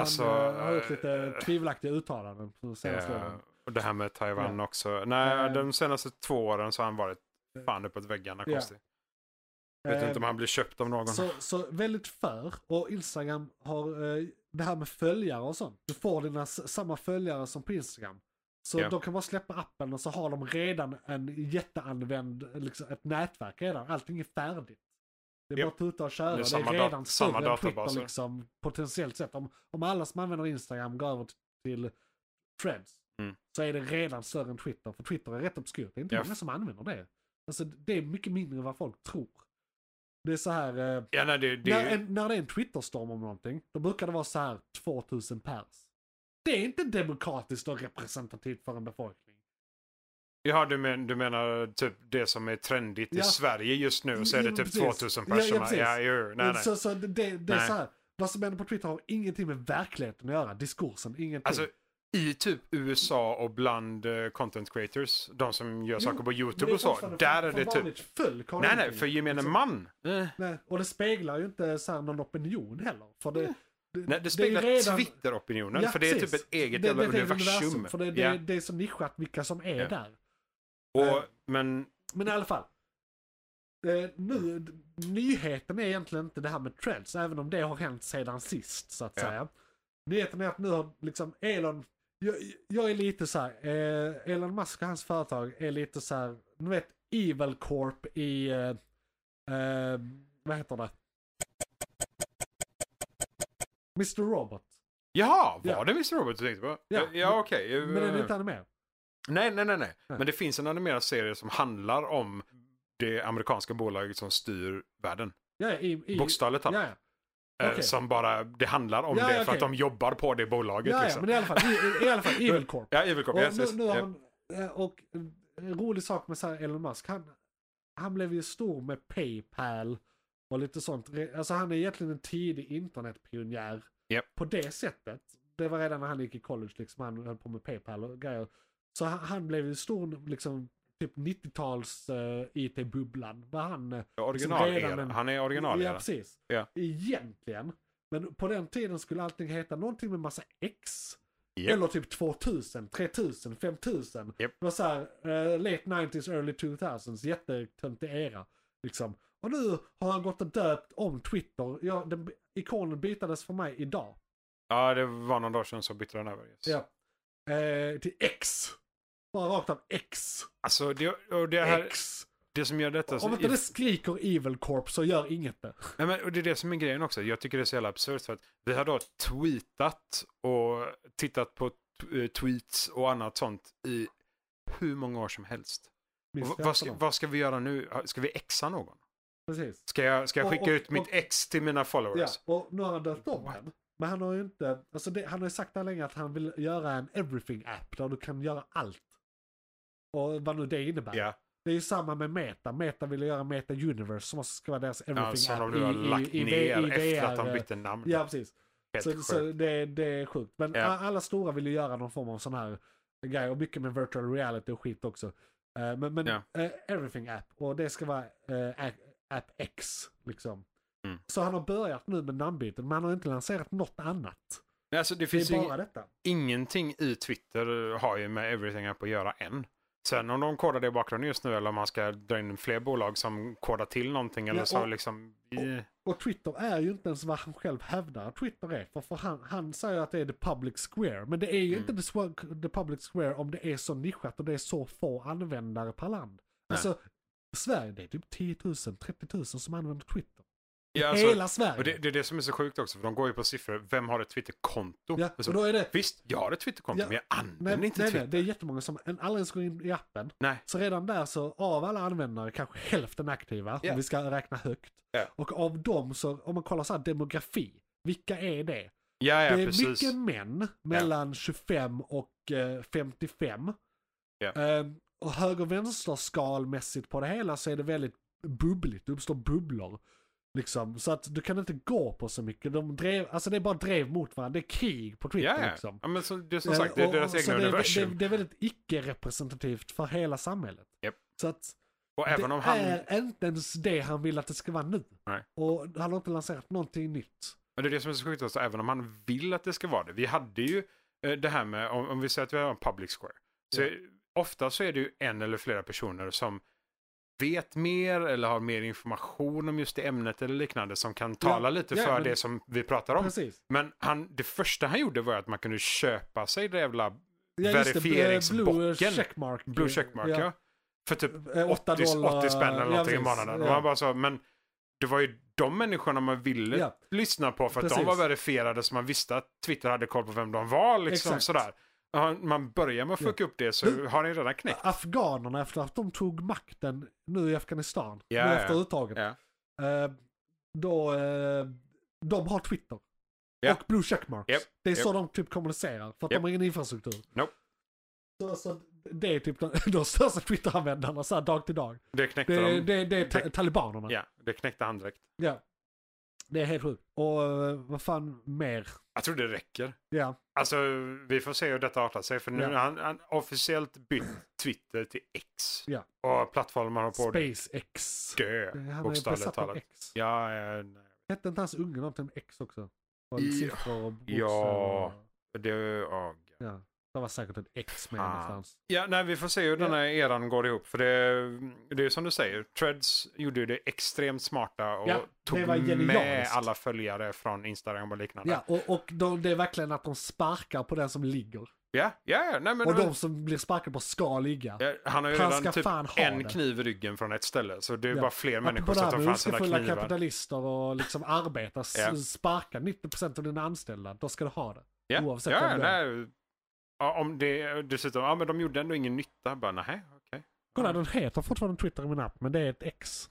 [SPEAKER 3] Alltså,
[SPEAKER 2] han eh, har gjort
[SPEAKER 3] eh,
[SPEAKER 2] lite tvivelaktiga uttalanden på de senaste
[SPEAKER 3] eh,
[SPEAKER 2] åren.
[SPEAKER 3] och det här med Taiwan också. Nej,
[SPEAKER 2] Eh.
[SPEAKER 3] de senaste två åren så har han varit fan uppåt väggarna
[SPEAKER 2] Ja.
[SPEAKER 3] konstigt. Vet
[SPEAKER 2] Eh,
[SPEAKER 3] inte om han blir köpt av någon.
[SPEAKER 2] så, så väldigt för, och Instagram har eh, det här med följare och sånt. Du får dina s- samma följare som på Instagram. Så
[SPEAKER 3] Ja.
[SPEAKER 2] de kan bara släppa appen och så har de redan en jätteanvänd, liksom, ett nätverk redan. Allting är färdigt. Det är
[SPEAKER 3] Ja.
[SPEAKER 2] bara att tuta och köra.
[SPEAKER 3] Det är
[SPEAKER 2] Det är,
[SPEAKER 3] samma dat-
[SPEAKER 2] redan större
[SPEAKER 3] samma
[SPEAKER 2] än Twitter
[SPEAKER 3] databaser.
[SPEAKER 2] liksom, potentiellt sett. Om, om alla som använder Instagram går över t- till Threads
[SPEAKER 3] Mm.
[SPEAKER 2] så är det redan större än Twitter. För Twitter är rätt obskyrt. Det är inte
[SPEAKER 3] Ja.
[SPEAKER 2] många som använder det. Alltså, det är mycket mindre än vad folk tror. Det är så här... Eh,
[SPEAKER 3] Ja, nej, det, det,
[SPEAKER 2] när, en, när det är en Twitterstorm om någonting, då brukar det vara så här 2000 pers. Det är inte demokratiskt och representativt för en befolkning.
[SPEAKER 3] Ja, du, men, du menar typ det som är trendigt
[SPEAKER 2] Ja.
[SPEAKER 3] i Sverige just nu så är
[SPEAKER 2] Ja,
[SPEAKER 3] det
[SPEAKER 2] precis.
[SPEAKER 3] typ 2000
[SPEAKER 2] Ja, ja,
[SPEAKER 3] personer.
[SPEAKER 2] precis.
[SPEAKER 3] Ja, jo, nej, nej.
[SPEAKER 2] Så, så det, det, det är
[SPEAKER 3] Nej.
[SPEAKER 2] så här, vad som händer på Twitter har ingenting med verkligheten att göra, diskursen, ingenting.
[SPEAKER 3] Alltså, i typ USA och bland eh, content creators, de som gör saker på YouTube och så, där är det typ...
[SPEAKER 2] Folk har
[SPEAKER 3] Nej, nej,
[SPEAKER 2] ingenting.
[SPEAKER 3] för gemene
[SPEAKER 2] Liksom,
[SPEAKER 3] man. Eh,
[SPEAKER 2] Nej, och det speglar ju inte så här någon opinion heller. För det,
[SPEAKER 3] Nej, det
[SPEAKER 2] är
[SPEAKER 3] speglar
[SPEAKER 2] redan-
[SPEAKER 3] Twitter-opinionen,
[SPEAKER 2] Ja,
[SPEAKER 3] för det är typ
[SPEAKER 2] precis.
[SPEAKER 3] ett eget
[SPEAKER 2] Det-
[SPEAKER 3] jävla
[SPEAKER 2] det är ett
[SPEAKER 3] universum.
[SPEAKER 2] För det, det,
[SPEAKER 3] ja.
[SPEAKER 2] det är så nischat vilka som är
[SPEAKER 3] Ja.
[SPEAKER 2] där. eh.
[SPEAKER 3] och, men,
[SPEAKER 2] Men i alla fall. Eh, nu, d- nyheten är egentligen inte det här med trends, även om det har hänt sedan sist så att
[SPEAKER 3] Ja.
[SPEAKER 2] säga. Nyheten är att nu har liksom Elon, jag, jag är lite så här, eh, Elon Musk och hans företag är lite så här, ni vet Evil Corp i, eh, eh, vad heter det? Mr. Robot.
[SPEAKER 3] jaha, var
[SPEAKER 2] Ja.
[SPEAKER 3] det Mr. Robot du tänkte på?
[SPEAKER 2] Ja.
[SPEAKER 3] Ja, ja okej.
[SPEAKER 2] Men den
[SPEAKER 3] Eh.
[SPEAKER 2] är inte animerad.
[SPEAKER 3] Nej, nej, nej, nej.
[SPEAKER 2] Nej.
[SPEAKER 3] Men det finns en animerad serie som handlar om det amerikanska bolaget som styr världen.
[SPEAKER 2] Ja, i, i,
[SPEAKER 3] Bokstavligt
[SPEAKER 2] ja,
[SPEAKER 3] talat.
[SPEAKER 2] ja.
[SPEAKER 3] Eh,
[SPEAKER 2] okej.
[SPEAKER 3] Som bara, det handlar om
[SPEAKER 2] Ja,
[SPEAKER 3] det för
[SPEAKER 2] ja, okej.
[SPEAKER 3] att de jobbar på det bolaget.
[SPEAKER 2] ja, ja,
[SPEAKER 3] liksom.
[SPEAKER 2] men i alla fall, i, i, i alla fall Evil Corp.
[SPEAKER 3] Ja, Evil Corp.
[SPEAKER 2] Och,
[SPEAKER 3] Yes,
[SPEAKER 2] nu,
[SPEAKER 3] yes.
[SPEAKER 2] nu har
[SPEAKER 3] Ja.
[SPEAKER 2] han, eh, och en rolig sak med så här Elon Musk, han, han blev ju stor med Paypal och lite sånt. Re- Alltså han är egentligen en tidig internetpionjär
[SPEAKER 3] Japp.
[SPEAKER 2] på det sättet. Det var redan när han gick i college, liksom, han höll på med Paypal och grejer. Så han, han blev ju stor liksom, typ 90-tals eh, IT-bubblan. Var han eh,
[SPEAKER 3] Original
[SPEAKER 2] redan en-
[SPEAKER 3] era. Han är original
[SPEAKER 2] Ja,
[SPEAKER 3] era.
[SPEAKER 2] precis.
[SPEAKER 3] Ja.
[SPEAKER 2] Egentligen. Men på den tiden skulle allting heta någonting med massa X.
[SPEAKER 3] Japp.
[SPEAKER 2] Eller typ 2000, 3000, 5000.
[SPEAKER 3] Japp.
[SPEAKER 2] Det var så här, eh, late 90s, early 2000s, jättetöntig era. Liksom. Och nu har han gått och döpt om Twitter. Ja, den, ikonen bytades för mig idag.
[SPEAKER 3] Ja, det var någon dag sedan så bytte den över. Yes.
[SPEAKER 2] Ja. Eh, till X. Bara rakt av X.
[SPEAKER 3] Alltså, det, och det, här,
[SPEAKER 2] X.
[SPEAKER 3] det som gör detta... Så,
[SPEAKER 2] Om inte det skriker Evil Corp så gör inget det.
[SPEAKER 3] nej, men, och det är det som är grejen också. Jag tycker det är så jävla absurt för att vi har då tweetat och tittat på t- eh, tweets och annat sånt i hur många år som helst. Och
[SPEAKER 2] Minst
[SPEAKER 3] v-
[SPEAKER 2] 15
[SPEAKER 3] vad, ska,
[SPEAKER 2] år.
[SPEAKER 3] vad ska vi göra nu? Ska vi exa någon?
[SPEAKER 2] Precis.
[SPEAKER 3] Ska jag, ska jag
[SPEAKER 2] Och-
[SPEAKER 3] skicka
[SPEAKER 2] och-
[SPEAKER 3] ut mitt
[SPEAKER 2] och-
[SPEAKER 3] ex till mina followers?
[SPEAKER 2] Ja, och nu har han döpt om
[SPEAKER 3] What?
[SPEAKER 2] den. Men han har ju inte, alltså det, han har ju sagt där länge att han vill göra en everything-app där du kan göra allt. Och vad nu det innebär.
[SPEAKER 3] Ja,
[SPEAKER 2] Det är ju samma med Meta. Meta vill göra Meta Universe som också ska vara deras
[SPEAKER 3] ja som
[SPEAKER 2] everything-app
[SPEAKER 3] de nu har lagt ner efter att
[SPEAKER 2] VR,
[SPEAKER 3] han bytte namn.
[SPEAKER 2] Ja, precis.
[SPEAKER 3] Helt
[SPEAKER 2] Så,
[SPEAKER 3] sjukt.
[SPEAKER 2] så det, det är sjukt. Men
[SPEAKER 3] Ja.
[SPEAKER 2] a- alla stora vill ju göra någon form av sån här grej. Och mycket med virtual reality och skit också. Eh, Men, men
[SPEAKER 3] Ja.
[SPEAKER 2] eh, everything app. Och det ska vara eh, app- app X liksom.
[SPEAKER 3] Mm.
[SPEAKER 2] Så han har börjat nu med namnbyten. Men han har inte lanserat något annat.
[SPEAKER 3] Nej, alltså, det
[SPEAKER 2] Det
[SPEAKER 3] finns
[SPEAKER 2] är
[SPEAKER 3] ju
[SPEAKER 2] bara detta.
[SPEAKER 3] ingenting i Twitter har ju med Everything App att göra än. Sen om de kodar det i bakgrunden just nu eller om man ska dra in fler bolag som kodar till någonting eller
[SPEAKER 2] Ja,
[SPEAKER 3] så
[SPEAKER 2] och-
[SPEAKER 3] liksom... eh,
[SPEAKER 2] Och Twitter är ju inte ens vad han själv hävdar att Twitter är. För, för han, han säger att det är the public square. Men det är ju
[SPEAKER 3] Mm.
[SPEAKER 2] inte the, swa- the public square om det är så nischat och det är så få användare per land.
[SPEAKER 3] Nej.
[SPEAKER 2] Alltså, Sverige, det är typ 10 000, 30 000 som använder Twitter.
[SPEAKER 3] ja, alltså,
[SPEAKER 2] Hela Sverige.
[SPEAKER 3] och det, det är det som är så sjukt också för de går ju på siffror. Vem har ett Twitterkonto?
[SPEAKER 2] ja,
[SPEAKER 3] Och så,
[SPEAKER 2] och då är det...
[SPEAKER 3] Visst, jag har ett Twitterkonto
[SPEAKER 2] Ja.
[SPEAKER 3] men jag använder
[SPEAKER 2] Nej, nej,
[SPEAKER 3] inte
[SPEAKER 2] nej,
[SPEAKER 3] Twitter.
[SPEAKER 2] det är jättemånga som en- aldrig ens går in i appen.
[SPEAKER 3] Nej.
[SPEAKER 2] Så redan där så av alla användare kanske hälften aktiva
[SPEAKER 3] Ja.
[SPEAKER 2] om vi ska räkna högt.
[SPEAKER 3] Ja.
[SPEAKER 2] Och av dem så, om man kollar så här demografi, vilka är det?
[SPEAKER 3] Ja, ja,
[SPEAKER 2] det är
[SPEAKER 3] precis.
[SPEAKER 2] mycket män mellan 25 och eh, 55.
[SPEAKER 3] Ja.
[SPEAKER 2] Eh, och höger och vänster skalmässigt på det hela så är det väldigt bubbligt, det uppstår bubblor. Liksom. Så att du kan inte gå på så mycket. De drev, alltså det är bara drev mot varandra, det är krig på Twitter
[SPEAKER 3] Ja, ja.
[SPEAKER 2] liksom. Eh,
[SPEAKER 3] ja, men så, det är som sagt, det är
[SPEAKER 2] Och-
[SPEAKER 3] deras
[SPEAKER 2] och- så
[SPEAKER 3] egna
[SPEAKER 2] det,
[SPEAKER 3] universum.
[SPEAKER 2] det, det är väldigt icke-representativt för hela samhället.
[SPEAKER 3] Japp.
[SPEAKER 2] Så att
[SPEAKER 3] och även
[SPEAKER 2] det
[SPEAKER 3] om han...
[SPEAKER 2] är inte ens det han vill att det ska vara nu.
[SPEAKER 3] Nej.
[SPEAKER 2] Och han har inte lanserat någonting nytt.
[SPEAKER 3] Men det är det som är så sjukt också, även om han vill att det ska vara det. Vi hade ju eh, det här med, om, om vi säger att vi har en public square. Så
[SPEAKER 2] Ja.
[SPEAKER 3] ofta så är det ju en eller flera personer som vet mer eller har mer information om just det ämnet eller liknande som kan tala lite
[SPEAKER 2] ja,
[SPEAKER 3] för
[SPEAKER 2] men-
[SPEAKER 3] det som vi pratar om.
[SPEAKER 2] Precis.
[SPEAKER 3] Men han, det första han gjorde var att man kunde köpa sig det jävla
[SPEAKER 2] Ja, just det, Blue
[SPEAKER 3] verifieringsbocken.
[SPEAKER 2] checkmark.
[SPEAKER 3] blue checkmark, ja. För typ
[SPEAKER 2] Eh,
[SPEAKER 3] 80,
[SPEAKER 2] åtta dollar.
[SPEAKER 3] 80 spänn eller
[SPEAKER 2] Ja,
[SPEAKER 3] någonting i
[SPEAKER 2] precis.
[SPEAKER 3] månaden. Och
[SPEAKER 2] Ja.
[SPEAKER 3] man bara så, men det var ju de människorna man ville
[SPEAKER 2] Ja.
[SPEAKER 3] lyssna på för att de
[SPEAKER 2] Precis.
[SPEAKER 3] var verifierade så man visste att Twitter hade koll på vem de var. Liksom,
[SPEAKER 2] Exakt.
[SPEAKER 3] sådär. Och han- Man börjar med att fucka upp det så
[SPEAKER 2] Du-
[SPEAKER 3] har han ju redan knäckt.
[SPEAKER 2] Afghanerna efter att de tog makten nu i Afghanistan,
[SPEAKER 3] Ja,
[SPEAKER 2] nu
[SPEAKER 3] ja.
[SPEAKER 2] efter uttaget.
[SPEAKER 3] Ja.
[SPEAKER 2] Eh, då, eh, de har Twitter.
[SPEAKER 3] Ja.
[SPEAKER 2] Och blue checkmarks.
[SPEAKER 3] Japp,
[SPEAKER 2] Det är så de typ kommunicerar, för att
[SPEAKER 3] Japp.
[SPEAKER 2] de har ingen infrastruktur.
[SPEAKER 3] Nope.
[SPEAKER 2] Så, så det är typ de, de största Twitter-användarna så här dag till dag.
[SPEAKER 3] Det knäckte,
[SPEAKER 2] Det,
[SPEAKER 3] de.
[SPEAKER 2] det, det är ta-
[SPEAKER 3] det-
[SPEAKER 2] talibanerna.
[SPEAKER 3] Ja, det knäckte han direkt.
[SPEAKER 2] Ja. Det är helt sjukt. Och eh, vad fan mer?
[SPEAKER 3] Jag tror det räcker.
[SPEAKER 2] Ja,
[SPEAKER 3] Alltså, vi får se hur detta artar sig. För nu
[SPEAKER 2] Ja.
[SPEAKER 3] har han, han officiellt bytt Twitter till X.
[SPEAKER 2] Ja.
[SPEAKER 3] Och plattformen har på att
[SPEAKER 2] SpaceX.
[SPEAKER 3] dö,
[SPEAKER 2] Det- Han är
[SPEAKER 3] bokstavligt
[SPEAKER 2] besatt av
[SPEAKER 3] talat.
[SPEAKER 2] X.
[SPEAKER 3] Ja, ja, nej.
[SPEAKER 2] Hette inte hans unge någonting med X också? Och
[SPEAKER 3] Ja.
[SPEAKER 2] siffror och bokstäver.
[SPEAKER 3] Ja.
[SPEAKER 2] Ja.
[SPEAKER 3] Det, ja.
[SPEAKER 2] ja. Det var säkert ett X med
[SPEAKER 3] Fan.
[SPEAKER 2] någonstans.
[SPEAKER 3] ja, nej, vi får se hur den
[SPEAKER 2] Ja.
[SPEAKER 3] här eran går ihop. För det, det är som du säger, Treads gjorde ju det extremt smarta och
[SPEAKER 2] Ja, det
[SPEAKER 3] tog
[SPEAKER 2] var
[SPEAKER 3] med
[SPEAKER 2] genialiskt.
[SPEAKER 3] alla följare från Instagram och liknande.
[SPEAKER 2] Ja, och, och de, det är verkligen att de sparkar på den som ligger.
[SPEAKER 3] ja, ja, ja, nej, men,
[SPEAKER 2] och de som blir sparkade på ska ligga.
[SPEAKER 3] ja, han har ju
[SPEAKER 2] Han
[SPEAKER 3] redan
[SPEAKER 2] ska
[SPEAKER 3] typ
[SPEAKER 2] fan ha
[SPEAKER 3] en
[SPEAKER 2] det.
[SPEAKER 3] kniv i ryggen från ett ställe. Så det är
[SPEAKER 2] Ja.
[SPEAKER 3] bara fler människor
[SPEAKER 2] Apropå det
[SPEAKER 3] som
[SPEAKER 2] här
[SPEAKER 3] tar
[SPEAKER 2] med
[SPEAKER 3] fram sina
[SPEAKER 2] oskuldsfulla
[SPEAKER 3] knivar.
[SPEAKER 2] kapitalister och liksom arbetare.
[SPEAKER 3] Ja.
[SPEAKER 2] s- Sparka 90% av dina anställda. Då ska du ha det.
[SPEAKER 3] Ja,
[SPEAKER 2] Oavsett
[SPEAKER 3] ja,
[SPEAKER 2] vem det är.
[SPEAKER 3] nej. Ja, om det dessutom, ja men de gjorde ändå ingen nytta. Bara nej, okej.
[SPEAKER 2] Kolla, den heter fortfarande Twitter i min app, men det är ett X.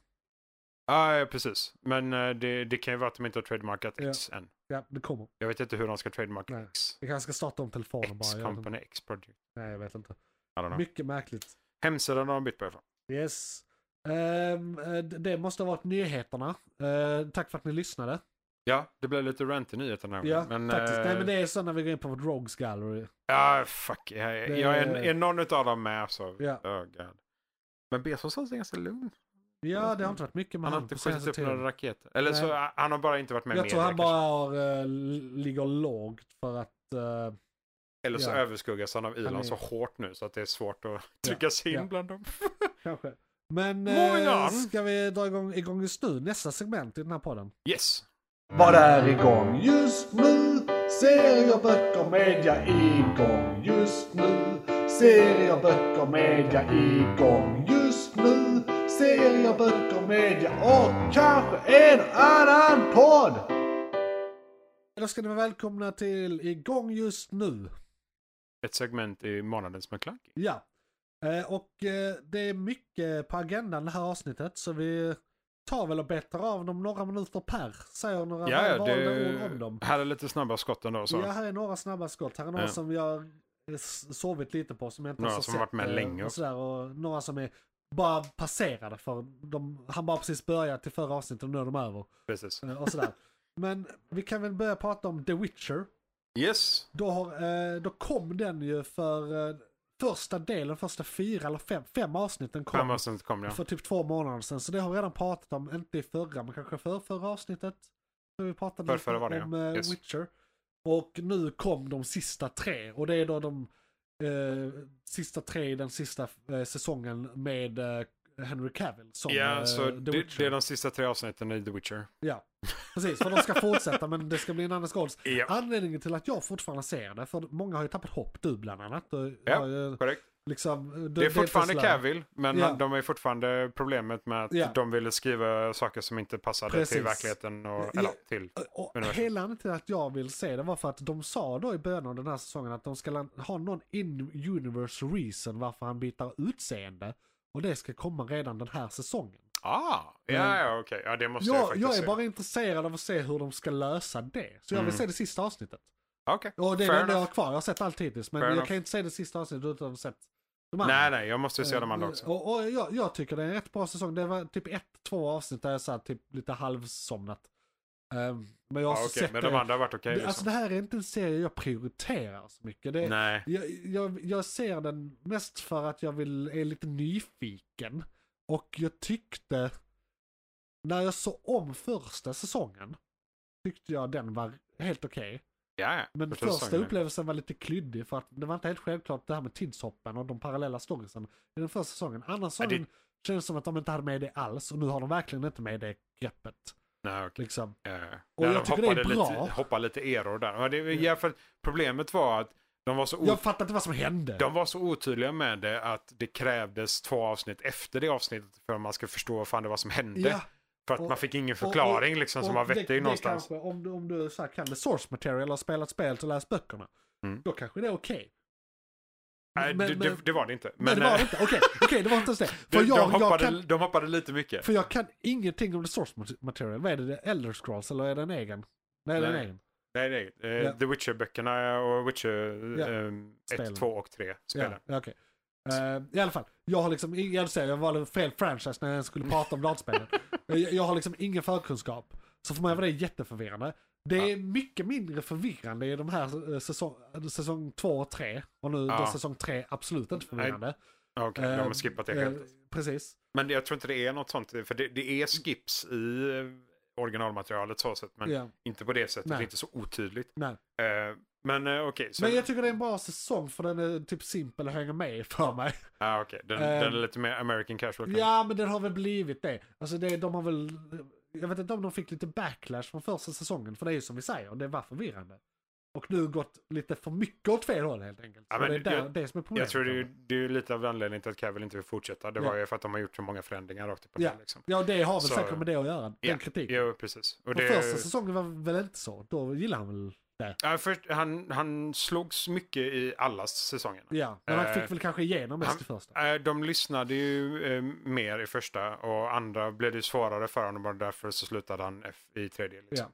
[SPEAKER 3] Ja, ja, precis. Men eh, det, det kan ju vara att de inte har trademarkat
[SPEAKER 2] Ja.
[SPEAKER 3] X än.
[SPEAKER 2] Ja, det kommer.
[SPEAKER 3] Jag vet inte hur de ska trademarka
[SPEAKER 2] Nej.
[SPEAKER 3] X.
[SPEAKER 2] Vi kanske ska starta om telefonen bara.
[SPEAKER 3] X
[SPEAKER 2] jag vet inte.
[SPEAKER 3] Company, X Project.
[SPEAKER 2] Nej, jag vet inte.
[SPEAKER 3] I don't know.
[SPEAKER 2] Mycket märkligt.
[SPEAKER 3] Hemsidan har de bytt på ifrån.
[SPEAKER 2] Yes. Ehm, eh, d- det måste ha varit nyheterna. Ehm, tack för att ni lyssnade.
[SPEAKER 3] Ja, det blev lite rant i nyheten här.
[SPEAKER 2] Ja,
[SPEAKER 3] men,
[SPEAKER 2] faktiskt.
[SPEAKER 3] eh,
[SPEAKER 2] Nej, men det är så när vi går in på vårt Rogues Gallery.
[SPEAKER 3] Ja, fuck. Jag,
[SPEAKER 2] Det-
[SPEAKER 3] jag är, är någon av dem med så...
[SPEAKER 2] Ja.
[SPEAKER 3] Oh, God. Men Bezos har sig ganska lugn.
[SPEAKER 2] Ja, det har inte varit mycket med
[SPEAKER 3] Han har
[SPEAKER 2] honom
[SPEAKER 3] inte
[SPEAKER 2] på senaste
[SPEAKER 3] skjutit upp
[SPEAKER 2] tiden.
[SPEAKER 3] några raketer. Eller
[SPEAKER 2] Nej.
[SPEAKER 3] så han har bara inte varit med
[SPEAKER 2] Jag
[SPEAKER 3] mer
[SPEAKER 2] tror han
[SPEAKER 3] kanske.
[SPEAKER 2] bara har, eh, ligger lågt för att... eh,
[SPEAKER 3] Eller så
[SPEAKER 2] ja.
[SPEAKER 3] överskuggas han av
[SPEAKER 2] Han är-
[SPEAKER 3] Elon så hårt nu så att det är svårt att trycka sig in
[SPEAKER 2] ja.
[SPEAKER 3] bland dem.
[SPEAKER 2] kanske. Men eh,
[SPEAKER 3] Morgan!
[SPEAKER 2] ska vi dra igång, igång just nu nästa segment i den här podden?
[SPEAKER 3] Yes!
[SPEAKER 5] Vad är igång just nu? Serier, böcker, media igång just nu. Serier, böcker, media igång just nu. Serier, böcker, media och kanske en annan podd.
[SPEAKER 2] Eller ska ni vara välkomna till igång just nu.
[SPEAKER 3] Ett segment i månadens McClunky.
[SPEAKER 2] Ja. Eh, och eh, det är mycket på agendan det här avsnittet så vi tar väl och betar av dem några minuter per. Säger några
[SPEAKER 3] Ja,
[SPEAKER 2] välvalda
[SPEAKER 3] det
[SPEAKER 2] ord om dem.
[SPEAKER 3] här är lite snabba skott ändå. Så.
[SPEAKER 2] Ja, här är några snabba skott. Här är några
[SPEAKER 3] Ja.
[SPEAKER 2] som jag har s- sovit lite på som jag inte
[SPEAKER 3] Några
[SPEAKER 2] ens har
[SPEAKER 3] som varit
[SPEAKER 2] sett,
[SPEAKER 3] med
[SPEAKER 2] eh,
[SPEAKER 3] länge
[SPEAKER 2] Och
[SPEAKER 3] också.
[SPEAKER 2] sådär, och några som är bara passerade för de, han bara precis börjat till förra avsnittet och nu är de över.
[SPEAKER 3] Precis.
[SPEAKER 2] eh, Och sådär. Men vi kan väl börja prata om The Witcher.
[SPEAKER 3] Yes!
[SPEAKER 2] Då, har, eh, då kom den ju för eh, första delen, första fyra eller fem, fem avsnitten kom.
[SPEAKER 3] Fan vad sent kom jag.
[SPEAKER 2] För typ två månader sedan. Så det har vi redan pratat om, inte i förra men kanske för förra avsnittet. Så vi pratade
[SPEAKER 3] Förrförra var
[SPEAKER 2] lite
[SPEAKER 3] det,
[SPEAKER 2] om
[SPEAKER 3] ja.
[SPEAKER 2] eh,
[SPEAKER 3] Yes.
[SPEAKER 2] Witcher. Och nu kom de sista tre. Och det är då de eh, sista tre i den sista eh, säsongen med eh, Henry Cavill som eh,
[SPEAKER 3] Ja, så
[SPEAKER 2] The
[SPEAKER 3] det,
[SPEAKER 2] Witcher.
[SPEAKER 3] det är de sista tre avsnitten i The Witcher.
[SPEAKER 2] Ja, precis. För de ska fortsätta men det ska bli en annan skåls.
[SPEAKER 3] Ja.
[SPEAKER 2] Anledningen till att jag fortfarande ser det, för många har ju tappat hopp, du bland annat. Och
[SPEAKER 3] Ja,
[SPEAKER 2] har ju
[SPEAKER 3] Korrekt.
[SPEAKER 2] liksom, du-
[SPEAKER 3] Det är fortfarande
[SPEAKER 2] Tesla.
[SPEAKER 3] Cavill, men
[SPEAKER 2] Ja.
[SPEAKER 3] de är fortfarande problemet med att
[SPEAKER 2] Ja.
[SPEAKER 3] de ville skriva saker som inte passade till
[SPEAKER 2] Precis.
[SPEAKER 3] verkligheten. Och,
[SPEAKER 2] Ja.
[SPEAKER 3] Eller till.
[SPEAKER 2] Och
[SPEAKER 3] Universum.
[SPEAKER 2] hela anledningen till att jag vill se det var för att de sa då i början av den här säsongen att de ska lan- ha någon in-universe reason varför han byter utseende. Och det ska komma redan den här säsongen.
[SPEAKER 3] Ah, ja, ja, okej. Ja, det måste jag
[SPEAKER 2] Mm. Jag,
[SPEAKER 3] faktiskt
[SPEAKER 2] jag är
[SPEAKER 3] se.
[SPEAKER 2] bara intresserad av att se hur de ska lösa det. Så jag vill
[SPEAKER 3] Mm.
[SPEAKER 2] se det sista avsnittet.
[SPEAKER 3] Okej,
[SPEAKER 2] Och det är
[SPEAKER 3] fair
[SPEAKER 2] det enda jag har
[SPEAKER 3] enough.
[SPEAKER 2] kvar. Jag har sett allt hittills. Men
[SPEAKER 3] Fair
[SPEAKER 2] jag
[SPEAKER 3] enough.
[SPEAKER 2] kan inte se det sista avsnittet utan att ha sett de andra.
[SPEAKER 3] Nej, nej, jag måste
[SPEAKER 2] Eh,
[SPEAKER 3] se de andra också.
[SPEAKER 2] Och, och jag, jag tycker det är en rätt bra säsong. Det var typ ett, två avsnitt där jag satt typ lite halvsomnat. Ehm, men jag har
[SPEAKER 3] Ja,
[SPEAKER 2] också
[SPEAKER 3] okej,
[SPEAKER 2] sett
[SPEAKER 3] men
[SPEAKER 2] det.
[SPEAKER 3] de andra har varit okej.
[SPEAKER 2] det, alltså det
[SPEAKER 3] liksom.
[SPEAKER 2] här är inte en serie jag prioriterar så mycket. Det,
[SPEAKER 3] Nej,
[SPEAKER 2] jag, jag, jag ser den mest för att jag vill, är lite nyfiken. Och jag tyckte, när jag såg om första säsongen, tyckte jag den var helt okej.
[SPEAKER 3] ja, ja.
[SPEAKER 2] Men
[SPEAKER 3] Första
[SPEAKER 2] första
[SPEAKER 3] säsongen.
[SPEAKER 2] upplevelsen var lite klyddig för att det var inte helt självklart det här med tidshoppen och de parallella storiesen i den första säsongen. Andra
[SPEAKER 3] Ja, det-
[SPEAKER 2] säsongen känns som att de inte hade med det alls och nu har de verkligen inte med det greppet.
[SPEAKER 3] Nej, okej.
[SPEAKER 2] Liksom.
[SPEAKER 3] Ja.
[SPEAKER 2] Och
[SPEAKER 3] Där
[SPEAKER 2] jag
[SPEAKER 3] de
[SPEAKER 2] tycker det är
[SPEAKER 3] hoppade
[SPEAKER 2] bra.
[SPEAKER 3] Lite, hoppade lite eror där. Ja, det, ja, för problemet var att de var så
[SPEAKER 2] Jag fattar inte vad som hände.
[SPEAKER 3] Oh. De var så otydliga med det att det krävdes två avsnitt efter det avsnittet för att man ska förstå vad fan det var som hände.
[SPEAKER 2] Ja,
[SPEAKER 3] för att
[SPEAKER 2] och-
[SPEAKER 3] man fick ingen förklaring
[SPEAKER 2] och-
[SPEAKER 3] liksom
[SPEAKER 2] och
[SPEAKER 3] som var
[SPEAKER 2] det-
[SPEAKER 3] vettig
[SPEAKER 2] det
[SPEAKER 3] någonstans.
[SPEAKER 2] Kanske, om du, om du så här, kan det source material eller har spelat spelet och läst böckerna,
[SPEAKER 3] Mm.
[SPEAKER 2] då kanske det är okej.
[SPEAKER 3] Nej,
[SPEAKER 2] Men-
[SPEAKER 3] det,
[SPEAKER 2] men-
[SPEAKER 3] det, det var det inte. eh,
[SPEAKER 2] Men, det var det inte. Okej, okej, det var inte ens det. För
[SPEAKER 3] de,
[SPEAKER 2] jag, jag
[SPEAKER 3] hoppade,
[SPEAKER 2] kan
[SPEAKER 3] de hoppade lite mycket.
[SPEAKER 2] För jag kan ingenting om det source material. Vad är det? Elder scrolls eller är det en egen? Nej, det är en
[SPEAKER 3] Nej.
[SPEAKER 2] egen.
[SPEAKER 3] Nej, nej. Eh,
[SPEAKER 2] Ja.
[SPEAKER 3] The Witcher-böckerna och Witcher
[SPEAKER 2] Ja.
[SPEAKER 3] eh, 1,
[SPEAKER 2] Spelen.
[SPEAKER 3] 2 och 3 spelen.
[SPEAKER 2] Ja, ja, okej. Eh, I alla fall, jag har liksom, ing- jag, säger, jag valde fel franchise när jag skulle prata om dataspelen. jag, jag har liksom ingen förkunskap. Så för mig var det jätteförvirrande. Det är mycket mindre förvirrande i de här eh, säsong, säsong två och tre. Och nu
[SPEAKER 3] Ja.
[SPEAKER 2] då säsong tre absolut inte förvirrande.
[SPEAKER 3] Okej, de har
[SPEAKER 2] Eh,
[SPEAKER 3] skippat det
[SPEAKER 2] eh,
[SPEAKER 3] helt.
[SPEAKER 2] Precis.
[SPEAKER 3] Men jag tror inte det är något sånt. För det, det är skips i eh, originalmaterialet så sett. Men
[SPEAKER 2] Ja.
[SPEAKER 3] inte på det sättet.
[SPEAKER 2] Nej.
[SPEAKER 3] Det är inte så otydligt.
[SPEAKER 2] Nej.
[SPEAKER 3] Eh, men eh, okej. så-
[SPEAKER 2] Men jag tycker det är en bra säsong för den är typ simpel och hänger med i för mig.
[SPEAKER 3] Ah, okej. Den,
[SPEAKER 2] Eh,
[SPEAKER 3] den är lite mer American casual. kanske.
[SPEAKER 2] Ja, men den har väl blivit det. Alltså det, de har väl... Jag vet inte om de fick lite backlash från första säsongen, för det är ju som vi säger, det var förvirrande. Och nu gått lite för mycket åt fel håll helt enkelt.
[SPEAKER 3] Ja,
[SPEAKER 2] Så
[SPEAKER 3] men
[SPEAKER 2] det är där,
[SPEAKER 3] jag-
[SPEAKER 2] det som är problemet.
[SPEAKER 3] Jag tror det är, ju- det är ju lite av anledningen till att Cavill inte vill fortsätta. Det
[SPEAKER 2] Ja.
[SPEAKER 3] var ju för att de har gjort så många förändringar rakt upp och
[SPEAKER 2] Ja,
[SPEAKER 3] ner. Liksom.
[SPEAKER 2] ja, det har väl
[SPEAKER 3] Så-
[SPEAKER 2] säkert med det att göra, den
[SPEAKER 3] Ja,
[SPEAKER 2] kritiken.
[SPEAKER 3] Jo, precis. Och
[SPEAKER 2] Och
[SPEAKER 3] det,
[SPEAKER 2] första säsongen var väl inte så, då gillar han väl det.
[SPEAKER 3] ja, först, han, han slogs mycket i alla säsongerna.
[SPEAKER 2] Ja, men han
[SPEAKER 3] Eh,
[SPEAKER 2] fick väl kanske igenom mest
[SPEAKER 3] han-
[SPEAKER 2] i första.
[SPEAKER 3] Eh, De lyssnade ju eh, mer i första och andra blev det ju svårare för honom och därför så slutade han F i tredje. Liksom.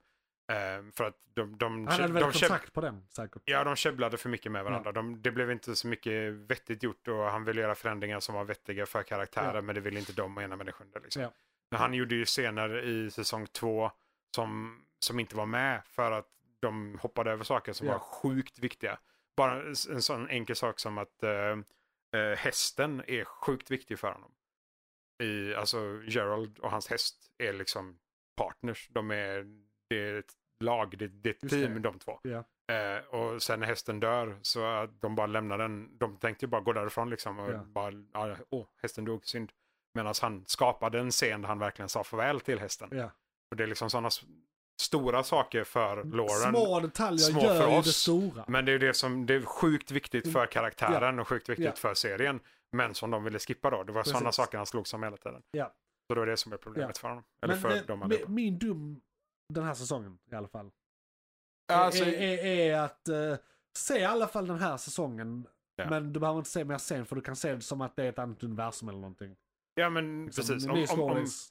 [SPEAKER 3] Eh, För att de, de,
[SPEAKER 2] Han hade väl
[SPEAKER 3] de, käbb-
[SPEAKER 2] kontrakt på den säkert.
[SPEAKER 3] Ja, de käbblade för mycket med varandra. De, det blev inte så mycket vettigt gjort och han ville göra förändringar som var vettiga för karaktärer,
[SPEAKER 2] Ja.
[SPEAKER 3] men det ville inte de och ena människan. Liksom.
[SPEAKER 2] Ja.
[SPEAKER 3] Men Han gjorde ju scener i säsong två som, som inte var med för att de hoppade över saker som
[SPEAKER 2] Ja.
[SPEAKER 3] var sjukt viktiga. Bara en, en sån enkel sak som att eh, eh, hästen är sjukt viktig för honom. i, alltså Gerald och hans häst är liksom partners. De är, det är ett lag, det, det är ett
[SPEAKER 2] Just
[SPEAKER 3] team
[SPEAKER 2] det.
[SPEAKER 3] de två.
[SPEAKER 2] Ja.
[SPEAKER 3] Eh, och sen när hästen dör så att de bara lämnar den, de tänkte ju bara gå därifrån liksom och
[SPEAKER 2] Ja.
[SPEAKER 3] bara, ja, åh, hästen dog, synd. Medan han skapade en scen där han verkligen sa farväl till hästen.
[SPEAKER 2] Ja.
[SPEAKER 3] Och det är liksom sådana s- stora saker för Lauren.
[SPEAKER 2] Mm. Små detaljer
[SPEAKER 3] små
[SPEAKER 2] gör
[SPEAKER 3] för
[SPEAKER 2] ju
[SPEAKER 3] oss,
[SPEAKER 2] det stora.
[SPEAKER 3] Men det är ju det som det är sjukt viktigt för karaktären och sjukt viktigt
[SPEAKER 2] Ja.
[SPEAKER 3] för serien. Men som de ville skippa då. Det var
[SPEAKER 2] Precis.
[SPEAKER 3] sådana saker han slog som hela tiden.
[SPEAKER 2] Ja.
[SPEAKER 3] Så då är det som är problemet för honom. Eller
[SPEAKER 2] Men,
[SPEAKER 3] för
[SPEAKER 2] eh,
[SPEAKER 3] dem
[SPEAKER 2] mi-
[SPEAKER 3] allihopa.
[SPEAKER 2] Min dum, den här säsongen i alla fall,
[SPEAKER 3] Alltså,
[SPEAKER 2] Eh, är, är, är att eh, se i alla fall den här säsongen.
[SPEAKER 3] Ja.
[SPEAKER 2] Men du behöver inte se mer sen för du kan se det som att det är ett annat universum eller någonting.
[SPEAKER 3] ja men
[SPEAKER 2] Liksom,
[SPEAKER 3] precis.
[SPEAKER 2] det är
[SPEAKER 3] Om, om, om
[SPEAKER 2] stories.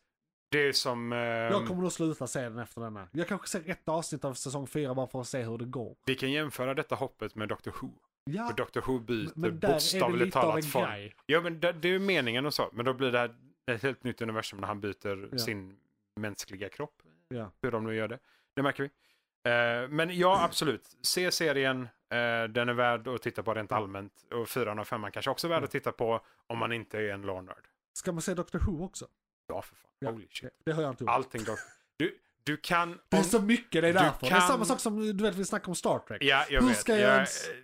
[SPEAKER 3] det är som...
[SPEAKER 2] Jag
[SPEAKER 3] ehm,
[SPEAKER 2] kommer nog sluta se den efter denna. Jag kanske ser ett avsnitt av säsong fyra bara för att se hur det går.
[SPEAKER 3] Vi kan jämföra detta hoppet med Doctor Who.
[SPEAKER 2] Ja,
[SPEAKER 3] För Doctor Who byter
[SPEAKER 2] men där är det
[SPEAKER 3] bokstavligt
[SPEAKER 2] lite av en
[SPEAKER 3] talat form.
[SPEAKER 2] grej.
[SPEAKER 3] Ja men det, det är ju meningen och så. Men då blir det här ett helt nytt universum när han byter
[SPEAKER 2] Ja.
[SPEAKER 3] sin mänskliga kropp.
[SPEAKER 2] Ja.
[SPEAKER 3] Hur de nu gör det. Det märker vi. Eh, men ja, absolut. Se serien. eh, den är värd att titta på rent allmänt. Och fyran och femman kanske också är värd att titta på om man inte är en lore-nörd.
[SPEAKER 2] Ska man se Doctor Who också?
[SPEAKER 3] Ja, för fan.
[SPEAKER 2] Ja,
[SPEAKER 3] Holy shit.
[SPEAKER 2] det- Det har jag inte gjort.
[SPEAKER 3] Allting dock. Du, du kan...
[SPEAKER 2] Det är
[SPEAKER 3] om-
[SPEAKER 2] så mycket, det
[SPEAKER 3] Du
[SPEAKER 2] är därför. Det är
[SPEAKER 3] kan-
[SPEAKER 2] samma sak som du vet, vi snackade om Star Trek.
[SPEAKER 3] Ja, jag
[SPEAKER 2] Hur
[SPEAKER 3] vet.
[SPEAKER 2] ska jag
[SPEAKER 3] jag
[SPEAKER 2] ens-
[SPEAKER 3] eh,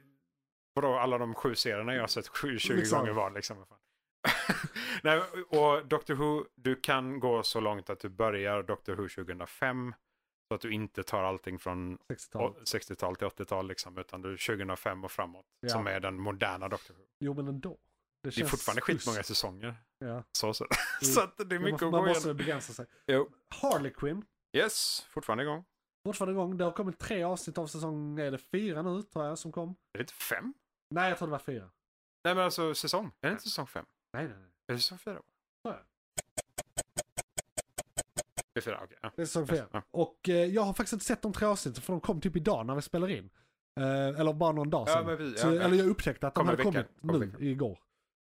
[SPEAKER 3] Vadå, alla de sju serierna jag har sett sju, 20
[SPEAKER 2] Liksom.
[SPEAKER 3] gånger var liksom. Vad fan. Nej, och Doctor Who, du kan gå så långt att du börjar Doctor Who 2005. Så att du inte tar allting från
[SPEAKER 2] 60-talet.
[SPEAKER 3] å- 60-tal till 80-tal liksom, utan du 2005 och framåt.
[SPEAKER 2] Ja.
[SPEAKER 3] Som är den moderna Doctor Who.
[SPEAKER 2] Jo, men ändå.
[SPEAKER 3] Det är
[SPEAKER 2] känns
[SPEAKER 3] fortfarande skitmånga
[SPEAKER 2] schysst.
[SPEAKER 3] säsonger.
[SPEAKER 2] Ja.
[SPEAKER 3] Så, så. så att det är mycket
[SPEAKER 2] man,
[SPEAKER 3] att
[SPEAKER 2] man
[SPEAKER 3] gå
[SPEAKER 2] måste
[SPEAKER 3] igenom.
[SPEAKER 2] begränsa sig.
[SPEAKER 3] Jo.
[SPEAKER 2] Harley Quinn.
[SPEAKER 3] Yes, fortfarande igång.
[SPEAKER 2] Fortfarande igång. Det har kommit tre avsnitt av säsong, är det fyra nu tror jag som kom?
[SPEAKER 3] Är det inte fem?
[SPEAKER 2] Nej, jag tror det var fyra.
[SPEAKER 3] Nej men alltså säsong. Är det inte säsong fem?
[SPEAKER 2] Nej, nej, nej.
[SPEAKER 3] Är det säsong fyra?
[SPEAKER 2] Tror jag.
[SPEAKER 3] Det är fyra, okej. ja.
[SPEAKER 2] Det är säsong fyra.
[SPEAKER 3] Ja.
[SPEAKER 2] Och eh, jag har faktiskt inte sett de tre avsnitten för de kom typ idag när vi spelar in. Eh, eller bara någon dag
[SPEAKER 3] Ja,
[SPEAKER 2] sedan.
[SPEAKER 3] men vi-
[SPEAKER 2] så,
[SPEAKER 3] ja, ja.
[SPEAKER 2] Eller jag upptäckte att de
[SPEAKER 3] Kommer
[SPEAKER 2] hade
[SPEAKER 3] veckan,
[SPEAKER 2] kommit
[SPEAKER 3] kommer
[SPEAKER 2] nu
[SPEAKER 3] veckan. Mm.
[SPEAKER 2] igår.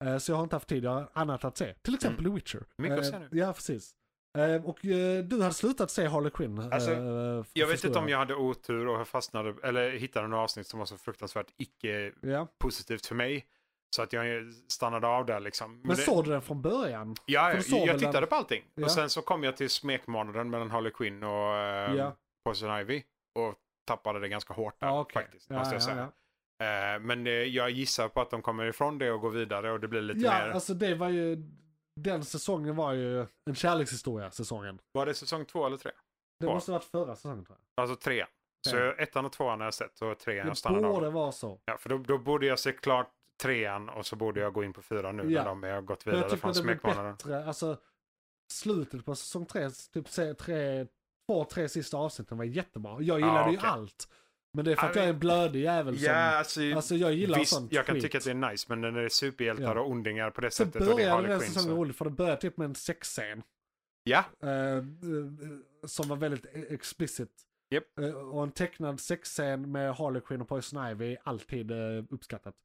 [SPEAKER 2] Eh, så jag har inte haft tid, jag har annat att se. Till exempel The Witcher.
[SPEAKER 3] Mycket att
[SPEAKER 2] Eh,
[SPEAKER 3] se nu.
[SPEAKER 2] Ja, precis. Eh, och eh, du hade slutat se Harley Quinn. eh,
[SPEAKER 3] Alltså,
[SPEAKER 2] f-
[SPEAKER 3] Jag vet
[SPEAKER 2] förstår
[SPEAKER 3] inte om jag hade otur och fastnade, eller hittade några avsnitt som var så fruktansvärt icke
[SPEAKER 2] Ja.
[SPEAKER 3] positivt för mig. Så att jag stannade av där liksom.
[SPEAKER 2] Men
[SPEAKER 3] det,
[SPEAKER 2] såg du den från början?
[SPEAKER 3] ja,
[SPEAKER 2] för du
[SPEAKER 3] jag,
[SPEAKER 2] såg väl
[SPEAKER 3] jag tittade
[SPEAKER 2] den-
[SPEAKER 3] på allting.
[SPEAKER 2] Ja.
[SPEAKER 3] Och sen så kom jag till smekmånaden mellan Harley Quinn och eh,
[SPEAKER 2] Ja.
[SPEAKER 3] Poison Ivy. Och tappade det ganska hårt där
[SPEAKER 2] Ja, okej.
[SPEAKER 3] faktiskt.
[SPEAKER 2] Ja,
[SPEAKER 3] måste jag
[SPEAKER 2] ja,
[SPEAKER 3] säga.
[SPEAKER 2] ja.
[SPEAKER 3] Eh, men eh, jag gissar på att de kommer ifrån det och går vidare och det blir lite
[SPEAKER 2] Ja,
[SPEAKER 3] mer.
[SPEAKER 2] alltså det var ju... Den säsongen var ju en kärlekshistoria, säsongen.
[SPEAKER 3] Var det säsong två eller tre?
[SPEAKER 2] Det
[SPEAKER 3] Två.
[SPEAKER 2] måste ha varit förra säsongen tror jag.
[SPEAKER 3] Alltså tre. Så
[SPEAKER 2] Tre.
[SPEAKER 3] jag- ettan och tvåan har jag sett och trean jag
[SPEAKER 2] Det
[SPEAKER 3] stannade av.
[SPEAKER 2] borde vara så.
[SPEAKER 3] Ja, för då, då borde jag se klart trean och så borde jag gå in på fyran nu
[SPEAKER 2] Ja.
[SPEAKER 3] när de har gått
[SPEAKER 2] Men jag
[SPEAKER 3] vidare
[SPEAKER 2] tycker
[SPEAKER 3] från
[SPEAKER 2] att det blir
[SPEAKER 3] smekmånaden.
[SPEAKER 2] bättre, alltså slutet på säsong tre, typ se- tre, två, tre sista avsnitten var jättebra. Jag gillade ju
[SPEAKER 3] okej.
[SPEAKER 2] allt. Men det är för
[SPEAKER 3] Ja,
[SPEAKER 2] att jag är en blödig jävel som...
[SPEAKER 3] alltså,
[SPEAKER 2] Alltså jag gillar sånt
[SPEAKER 3] jag kan
[SPEAKER 2] skit.
[SPEAKER 3] tycka att det är nice, men när det är superhjältar
[SPEAKER 2] Ja.
[SPEAKER 3] och ondingar på det
[SPEAKER 2] Så
[SPEAKER 3] sättet och det är
[SPEAKER 2] började
[SPEAKER 3] Harley
[SPEAKER 2] den
[SPEAKER 3] Quinn.
[SPEAKER 2] säsongen
[SPEAKER 3] Så.
[SPEAKER 2] roligt för det började typ med en sexscen.
[SPEAKER 3] Ja,
[SPEAKER 2] eh, eh, som var väldigt e- explicit.
[SPEAKER 3] Japp.
[SPEAKER 2] Eh, och en tecknad sexscen med Harley Quinn och Poison Ivy, alltid eh, uppskattat.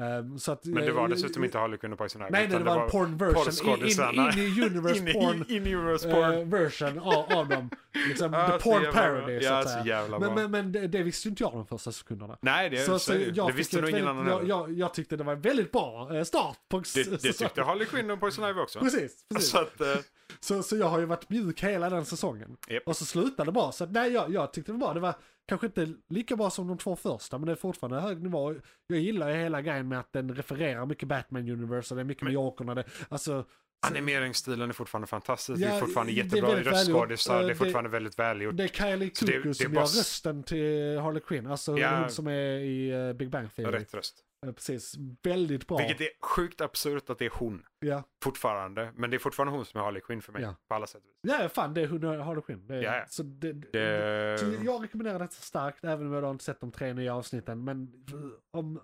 [SPEAKER 2] Eh, så att,
[SPEAKER 3] men det var
[SPEAKER 2] eh,
[SPEAKER 3] dessutom inte Harley Quinn och Poison Ivy.
[SPEAKER 2] Nej, nej,
[SPEAKER 3] utan
[SPEAKER 2] det var en porn version. In,
[SPEAKER 3] porrskådisarna.
[SPEAKER 2] in, in i universe
[SPEAKER 3] in i-
[SPEAKER 2] porn
[SPEAKER 3] in i universe porn.
[SPEAKER 2] eh, version av, av dem. Liksom,
[SPEAKER 3] Ah,
[SPEAKER 2] the
[SPEAKER 3] så
[SPEAKER 2] porn
[SPEAKER 3] jävla bra.
[SPEAKER 2] parody så
[SPEAKER 3] Ja,
[SPEAKER 2] att
[SPEAKER 3] så
[SPEAKER 2] säga.
[SPEAKER 3] jävla bra.
[SPEAKER 2] Men, men, men det, det visste ju inte jag de första sekunderna.
[SPEAKER 3] Nej, det,
[SPEAKER 2] så,
[SPEAKER 3] så,
[SPEAKER 2] så
[SPEAKER 3] är det ju.
[SPEAKER 2] jag
[SPEAKER 3] det
[SPEAKER 2] fick
[SPEAKER 3] visste
[SPEAKER 2] ett
[SPEAKER 3] nog ingen
[SPEAKER 2] väldigt-
[SPEAKER 3] annan
[SPEAKER 2] jag,
[SPEAKER 3] heller.
[SPEAKER 2] jag, jag tyckte det var en väldigt bra eh, start på en
[SPEAKER 3] Det, det tyckte
[SPEAKER 2] säsong.
[SPEAKER 3] Harley Quinn och Poison Ivy också.
[SPEAKER 2] Precis, precis.
[SPEAKER 3] Så att, eh,
[SPEAKER 2] Så, så jag har ju varit mjuk hela den säsongen.
[SPEAKER 3] Japp.
[SPEAKER 2] Och så slutade det bra. Så att, nej, jag, jag tyckte det var bra. Det var kanske inte lika bra som de två första, men det är fortfarande hög nivå. Jag gillar ju hela grejen med att den refererar mycket Batman Universe, och det är mycket med Jokerna. Det, alltså,
[SPEAKER 3] animeringsstilen är fortfarande fantastisk.
[SPEAKER 2] Ja,
[SPEAKER 3] det är fortfarande
[SPEAKER 2] det är
[SPEAKER 3] jättebra
[SPEAKER 2] väldigt välgjort.
[SPEAKER 3] röstskådisar.
[SPEAKER 2] Eh,
[SPEAKER 3] Det är
[SPEAKER 2] det-
[SPEAKER 3] fortfarande väldigt välgjort.
[SPEAKER 2] det är Kylie
[SPEAKER 3] Så det-
[SPEAKER 2] Cuoco
[SPEAKER 3] det är
[SPEAKER 2] som
[SPEAKER 3] bara
[SPEAKER 2] gör
[SPEAKER 3] s-
[SPEAKER 2] rösten till Harley Quinn, alltså
[SPEAKER 3] Ja.
[SPEAKER 2] hon som är i eh, Big Bang Theory.
[SPEAKER 3] Rätt röst.
[SPEAKER 2] Eh, Precis, väldigt bra.
[SPEAKER 3] Vilket är sjukt absurt att det är hon.
[SPEAKER 2] Ja.
[SPEAKER 3] fortfarande. Men det är fortfarande hon som är Harley Quinn för mig.
[SPEAKER 2] Ja.
[SPEAKER 3] På alla sätt och vis.
[SPEAKER 2] ja, fan det är hon och Harley Quinn. Det, är-
[SPEAKER 3] Ja, ja.
[SPEAKER 2] Så det, det...
[SPEAKER 3] Det...
[SPEAKER 2] Så jag rekommenderar detta starkt, även om jag då inte sett de tre nya avsnitten. Men om,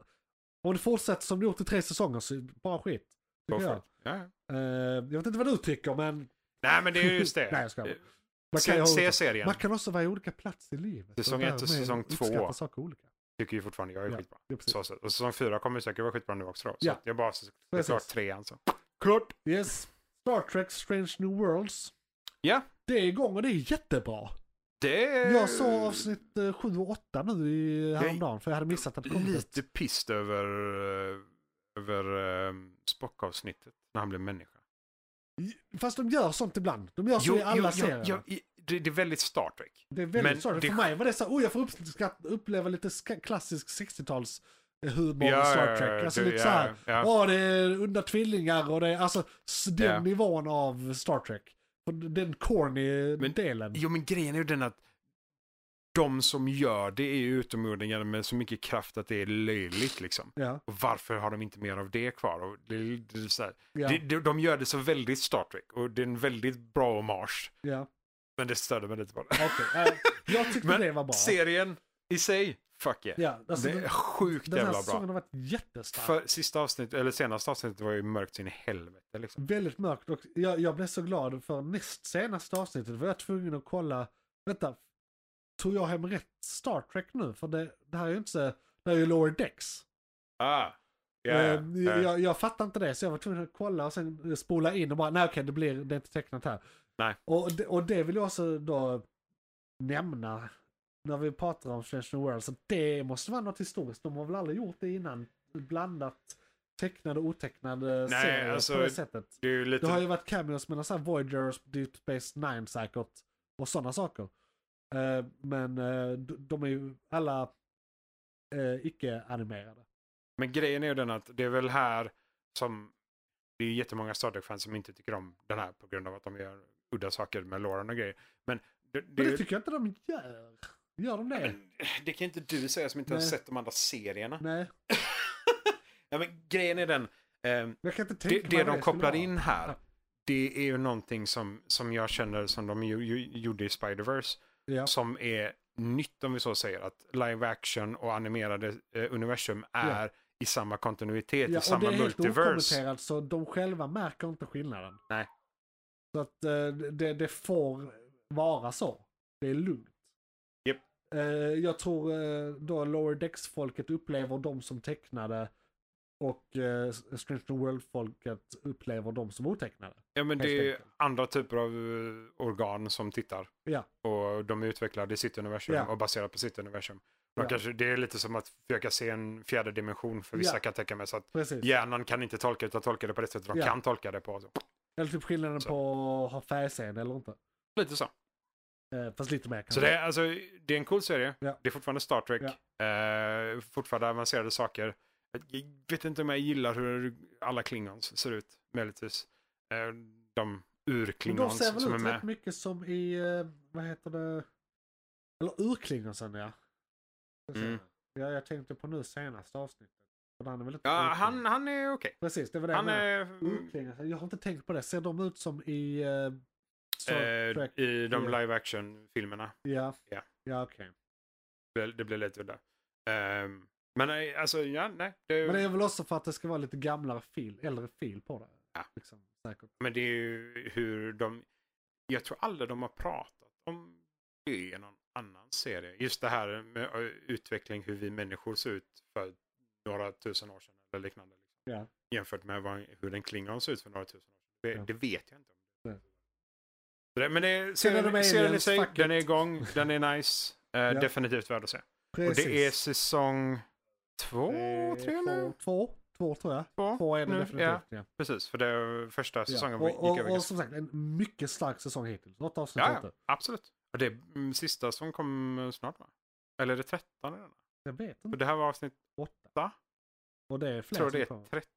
[SPEAKER 2] om det fortsätter som det gjort i tre säsonger så är det bara skit.
[SPEAKER 3] Go
[SPEAKER 2] Tycker
[SPEAKER 3] for
[SPEAKER 2] jag.
[SPEAKER 3] it. Ja. ja.
[SPEAKER 2] Eh, jag vet inte vad du tycker, men man
[SPEAKER 3] Nej, men det är just det.
[SPEAKER 2] Nej, jag skojar.
[SPEAKER 3] Eh,
[SPEAKER 2] kan, ju
[SPEAKER 3] se,
[SPEAKER 2] ha
[SPEAKER 3] se
[SPEAKER 2] olika-
[SPEAKER 3] serien.
[SPEAKER 2] man kan också vara i olika plats i livet.
[SPEAKER 3] Säsong
[SPEAKER 2] och
[SPEAKER 3] ett och
[SPEAKER 2] därmed
[SPEAKER 3] säsong två.
[SPEAKER 2] uppskatta saker olika.
[SPEAKER 3] Tycker ju fortfarande jag är
[SPEAKER 2] Ja,
[SPEAKER 3] skitbra.
[SPEAKER 2] det är precis.
[SPEAKER 3] Så, så. Och säsong fyra kommer säkert vara skitbra nu också. Då. Så
[SPEAKER 2] Ja.
[SPEAKER 3] att jag bara... så- Det är
[SPEAKER 2] Precis.
[SPEAKER 3] klart alltså. trean så.
[SPEAKER 2] Klart! Yes. Star Trek Strange New Worlds.
[SPEAKER 3] Ja,
[SPEAKER 2] Det är igång och det är jättebra.
[SPEAKER 3] det är...
[SPEAKER 2] Jag såg avsnitt 7 och 8 nu i, häromdagen för jag hade missat att det kom
[SPEAKER 3] Lite pist över, eh, över um, Spock-avsnittet. När han blev människa.
[SPEAKER 2] Fast de gör sånt ibland. De gör så Alltså, i alla serier.
[SPEAKER 3] det, det är väldigt Star Trek.
[SPEAKER 2] Det är väldigt
[SPEAKER 3] Men
[SPEAKER 2] sorgligt.
[SPEAKER 3] det-
[SPEAKER 2] För mig var det så här, oh jag får uppskatt, uppleva lite ska- klassisk 60-tals
[SPEAKER 3] Ja,
[SPEAKER 2] humor i
[SPEAKER 3] ja,
[SPEAKER 2] Star
[SPEAKER 3] ja,
[SPEAKER 2] Trek. Alltså
[SPEAKER 3] det-
[SPEAKER 2] lite så här,
[SPEAKER 3] ja, ja.
[SPEAKER 2] åh det är onda tvillingar och det är alltså s- den
[SPEAKER 3] Ja.
[SPEAKER 2] nivån av Star Trek. Och Den corny
[SPEAKER 3] Men-
[SPEAKER 2] delen.
[SPEAKER 3] Jo, men grejen är ju den att de som gör det är ju utomjordingar med så mycket kraft att det är löjligt liksom.
[SPEAKER 2] Ja,
[SPEAKER 3] Och varför har de inte mer av det kvar? Och det, det, är så här.
[SPEAKER 2] ja,
[SPEAKER 3] Det, det, de gör det så väldigt Star Trek och det är en väldigt bra hommage.
[SPEAKER 2] ja.
[SPEAKER 3] Men det störde mig lite bara.
[SPEAKER 2] Okej. eh, jag tyckte
[SPEAKER 3] Men
[SPEAKER 2] det var bra.
[SPEAKER 3] Serien i sig, fuck yeah.
[SPEAKER 2] Ja, alltså,
[SPEAKER 3] det är
[SPEAKER 2] den,
[SPEAKER 3] sjukt
[SPEAKER 2] den här
[SPEAKER 3] jävla
[SPEAKER 2] säsongen
[SPEAKER 3] bra.
[SPEAKER 2] har varit jättestark.
[SPEAKER 3] För sista avsnittet, eller senaste avsnittet var ju mörkt sin i helvete liksom.
[SPEAKER 2] Väldigt mörkt och jag, jag blev så glad för näst senaste avsnittet var jag tvungen att kolla, vänta, tog jag hem rätt Star Trek nu? För det, det här är ju inte så, det här är ju Lower Decks.
[SPEAKER 3] Ah, ja, ja,
[SPEAKER 2] Eh,
[SPEAKER 3] ja.
[SPEAKER 2] Jag, jag fattar inte det, så jag var tvungen att kolla och sen spola in och bara, nej okej, det, blir, det är inte tecknat här.
[SPEAKER 3] Nej.
[SPEAKER 2] Och, det- och det vill jag också då nämna, när vi pratar om Strange New Worlds, att det måste vara något historiskt. De har väl aldrig gjort det innan, blandat tecknade och otecknade
[SPEAKER 3] Nej,
[SPEAKER 2] serier
[SPEAKER 3] alltså,
[SPEAKER 2] på det sättet.
[SPEAKER 3] Det är ju lite...
[SPEAKER 2] Det har ju varit cameos mellan såhär Voyagers, Deep Space Nine säkert och sådana saker. Eh, men eh, d- de är ju alla eh, icke-animerade.
[SPEAKER 3] Men grejen är ju den att det är väl här som... Det är ju jättemånga Star Trek-fans som inte tycker om den här på grund av att de gör udda saker med Lauren och grejer. Men det, det,
[SPEAKER 2] Men
[SPEAKER 3] är
[SPEAKER 2] det
[SPEAKER 3] ju-
[SPEAKER 2] tycker jag inte de gör. Gör de det?
[SPEAKER 3] Men det kan inte du säga som inte har
[SPEAKER 2] Nej.
[SPEAKER 3] sett de andra serierna.
[SPEAKER 2] Nej,
[SPEAKER 3] Ja, men grejen är den, ehm,
[SPEAKER 2] jag kan inte tänka
[SPEAKER 3] det,
[SPEAKER 2] mig
[SPEAKER 3] det
[SPEAKER 2] vad
[SPEAKER 3] de
[SPEAKER 2] skulle
[SPEAKER 3] kopplar
[SPEAKER 2] vara.
[SPEAKER 3] in
[SPEAKER 2] Ja.
[SPEAKER 3] här, det är ju någonting som, som jag känner som de ju, ju, gjorde i Spider-Verse,
[SPEAKER 2] Ja.
[SPEAKER 3] som är nytt om vi så säger, att live action och animerade eh, universum är i samma kontinuitet,
[SPEAKER 2] Ja,
[SPEAKER 3] i samma
[SPEAKER 2] och det är helt
[SPEAKER 3] multiverse.
[SPEAKER 2] okommenterat så de själva märker inte skillnaden.
[SPEAKER 3] Nej.
[SPEAKER 2] Så att eh, det, det får vara så. Det är lugnt.
[SPEAKER 3] Japp.
[SPEAKER 2] Eh, jag tror eh, då Lower Decks-folket upplever de som tecknade och eh, Strange New World-folket upplever de som otecknade.
[SPEAKER 3] Ja, men
[SPEAKER 2] Helt
[SPEAKER 3] det är
[SPEAKER 2] enkelt.
[SPEAKER 3] andra typer av eh, organ som tittar.
[SPEAKER 2] Ja.
[SPEAKER 3] Och de är utvecklade i sitt universum
[SPEAKER 2] Ja.
[SPEAKER 3] och baserat på sitt universum. De
[SPEAKER 2] Ja.
[SPEAKER 3] Kanske, det är lite som att försöka se en fjärde dimension för vissa
[SPEAKER 2] Ja.
[SPEAKER 3] kan tänka mig. Så att
[SPEAKER 2] Precis.
[SPEAKER 3] hjärnan kan inte tolka utan tolka det på det sättet de
[SPEAKER 2] Ja.
[SPEAKER 3] kan tolka det på. Alltså. Så.
[SPEAKER 2] Eller typ skillnaden
[SPEAKER 3] Så.
[SPEAKER 2] på att ha färgseende eller inte.
[SPEAKER 3] Lite så.
[SPEAKER 2] Eh, fast lite mer kanske.
[SPEAKER 3] Så det är, alltså, det är en cool serie.
[SPEAKER 2] Ja.
[SPEAKER 3] Det är fortfarande Star Trek. Eh, fortfarande avancerade saker. Jag vet inte om jag gillar hur alla klingons ser ut, möjligtvis. Eh, de
[SPEAKER 2] Men de
[SPEAKER 3] ur-klingons
[SPEAKER 2] ser
[SPEAKER 3] som
[SPEAKER 2] väl
[SPEAKER 3] är
[SPEAKER 2] ut rätt
[SPEAKER 3] med.
[SPEAKER 2] mycket som i, eh, vad heter det, eller urklingonsen ja.
[SPEAKER 3] Mm.
[SPEAKER 2] ja. Jag tänkte på nu senaste avsnittet. Men han är väl inte
[SPEAKER 3] Ja,
[SPEAKER 2] urklingon.
[SPEAKER 3] han, han är okej.
[SPEAKER 2] Precis, det var det
[SPEAKER 3] Han
[SPEAKER 2] jag menade.
[SPEAKER 3] är... mm. eh,
[SPEAKER 2] Urklingonsen, jag har inte tänkt på det. Ser de ut som i eh, Star Trek?
[SPEAKER 3] Eh, I de
[SPEAKER 2] Ja.
[SPEAKER 3] live action-filmerna.
[SPEAKER 2] ja,
[SPEAKER 3] ja.
[SPEAKER 2] ja okej.
[SPEAKER 3] Det, det blir lite udda. Ehm, men eh, alltså, ja, nej. Det,
[SPEAKER 2] Men det är väl också för att det ska vara lite gamlare fil, äldre fil på det.
[SPEAKER 3] Ja.
[SPEAKER 2] Liksom, säkert.
[SPEAKER 3] Men det är ju hur de... Jag tror aldrig de har pratat om det i någon annan serie. Just det här med eh, utveckling, hur vi människor ser ut för några tusen år sedan eller liknande. liksom.
[SPEAKER 2] Ja.
[SPEAKER 3] Jämfört med vad, hur den klingon ser ut för några tusen år sedan. Det,
[SPEAKER 2] Ja.
[SPEAKER 3] det vet jag inte. om.
[SPEAKER 2] Nej.
[SPEAKER 3] Så det- Men det,
[SPEAKER 2] Sen är de
[SPEAKER 3] serien, serien i
[SPEAKER 2] aliens,
[SPEAKER 3] sig,
[SPEAKER 2] fuck
[SPEAKER 3] den är
[SPEAKER 2] it.
[SPEAKER 3] igång, den är nice. Eh,
[SPEAKER 2] Ja.
[SPEAKER 3] Definitivt värd att se. Och
[SPEAKER 2] Precis.
[SPEAKER 3] det är säsong två,
[SPEAKER 2] Eh,
[SPEAKER 3] tre
[SPEAKER 2] två,
[SPEAKER 3] nu?
[SPEAKER 2] två, två tror jag. Två är det
[SPEAKER 3] nu,
[SPEAKER 2] definitivt.
[SPEAKER 3] Ja,
[SPEAKER 2] Ja.
[SPEAKER 3] precis, för det första säsongen
[SPEAKER 2] Ja.
[SPEAKER 3] gick
[SPEAKER 2] Och,
[SPEAKER 3] över
[SPEAKER 2] och, och
[SPEAKER 3] ganska
[SPEAKER 2] som sagt, en mycket stark säsong hittills. Något avsnitt
[SPEAKER 3] Ja,
[SPEAKER 2] inte.
[SPEAKER 3] ja, absolut. Och det är mm, sista som kom eh, snart va? Eller är det 13 redan?
[SPEAKER 2] Jag vet
[SPEAKER 3] För
[SPEAKER 2] inte.
[SPEAKER 3] det här var avsnitt,
[SPEAKER 2] Åtta. Och det är
[SPEAKER 3] jag
[SPEAKER 2] fler
[SPEAKER 3] tror
[SPEAKER 2] som
[SPEAKER 3] det är
[SPEAKER 2] kommer.
[SPEAKER 3] 13.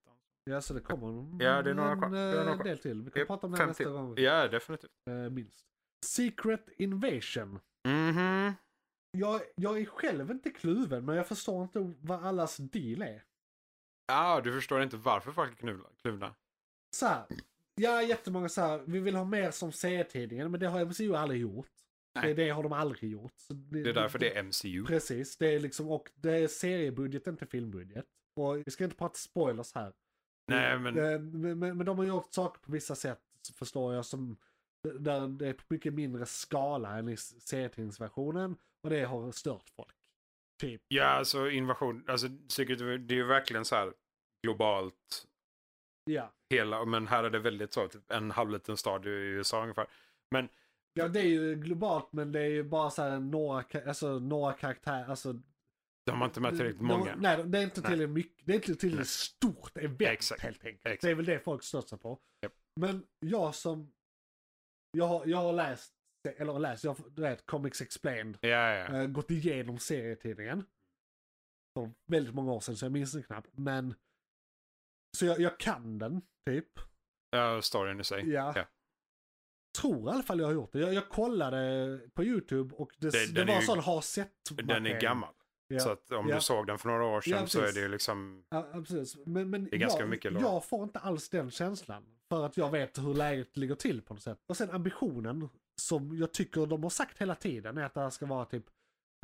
[SPEAKER 2] Ja, så det kommer
[SPEAKER 3] Ja, det är några
[SPEAKER 2] en,
[SPEAKER 3] kvar. Det är
[SPEAKER 2] eh,
[SPEAKER 3] några kvar.
[SPEAKER 2] del till. Vi kan
[SPEAKER 3] Japp,
[SPEAKER 2] prata om det här
[SPEAKER 3] fem
[SPEAKER 2] nästa
[SPEAKER 3] till.
[SPEAKER 2] gång.
[SPEAKER 3] Ja, definitivt.
[SPEAKER 2] eh, Minst. Secret Invasion.
[SPEAKER 3] Mhm.
[SPEAKER 2] Jag, jag är själv inte kluven, men jag förstår inte vad allas deal är.
[SPEAKER 3] Ja, du förstår inte varför folk är knuvla- kluvna.
[SPEAKER 2] Så här, ja, jättemånga så här, vi vill ha mer som serietidningen, men det har MCU aldrig gjort.
[SPEAKER 3] Nej.
[SPEAKER 2] Det, det har de aldrig gjort. Så det,
[SPEAKER 3] Det är därför det är MCU.
[SPEAKER 2] Precis, det är liksom, och det är seriebudget, inte filmbudget. Och vi ska inte prata spoilers här.
[SPEAKER 3] Nej, men
[SPEAKER 2] Eh, Men, men, men de har gjort saker på vissa sätt, förstår jag, som där det är på mycket mindre skala än i serietidningsversionen. Och det har stört folk. Typ.
[SPEAKER 3] ja, alltså invasion, alltså Secret, det är ju verkligen så här globalt
[SPEAKER 2] Ja.
[SPEAKER 3] hela, men här är det väldigt så, typ en halvliten stad i USA ungefär. Men
[SPEAKER 2] ja, det är ju globalt men det är ju bara så här några, ka- alltså, några karaktärer. Alltså,
[SPEAKER 3] de har inte med tillräckligt
[SPEAKER 2] Mm, de-
[SPEAKER 3] många.
[SPEAKER 2] nej, det är inte
[SPEAKER 3] Nej.
[SPEAKER 2] tillräckligt mycket. Det är inte tillräckligt
[SPEAKER 3] Nej.
[SPEAKER 2] stort event
[SPEAKER 3] Exakt.
[SPEAKER 2] helt enkelt.
[SPEAKER 3] Exakt.
[SPEAKER 2] Det är väl det folk stör sig på.
[SPEAKER 3] Japp.
[SPEAKER 2] Men jag som... Jag har, jag har läst, eller läst, jag, har- du vet, Comics Explained.
[SPEAKER 3] Ja, ja.
[SPEAKER 2] eh, gått igenom serietidningen. För väldigt många år sedan så jag minns den knappt. Men... Så jag, jag kan den, typ.
[SPEAKER 3] ja. Storyn i sig.
[SPEAKER 2] Ja.
[SPEAKER 3] Ja.
[SPEAKER 2] Tror i alla fall jag har gjort det. Jag, jag kollade på YouTube och det,
[SPEAKER 3] Den-
[SPEAKER 2] det,
[SPEAKER 3] den är
[SPEAKER 2] var
[SPEAKER 3] ju-
[SPEAKER 2] sån har sett
[SPEAKER 3] Den är gammal.
[SPEAKER 2] Ja,
[SPEAKER 3] Så att om
[SPEAKER 2] Ja.
[SPEAKER 3] du såg den för några år sedan
[SPEAKER 2] Ja,
[SPEAKER 3] så är
[SPEAKER 2] precis.
[SPEAKER 3] det ju liksom...
[SPEAKER 2] ja, ja, precis. Men, men
[SPEAKER 3] är ganska
[SPEAKER 2] jag,
[SPEAKER 3] mycket lore.
[SPEAKER 2] jag får inte alls den känslan. För att jag vet hur läget ligger till på något sätt. Och sen ambitionen som jag tycker de har sagt hela tiden är att det här ska vara typ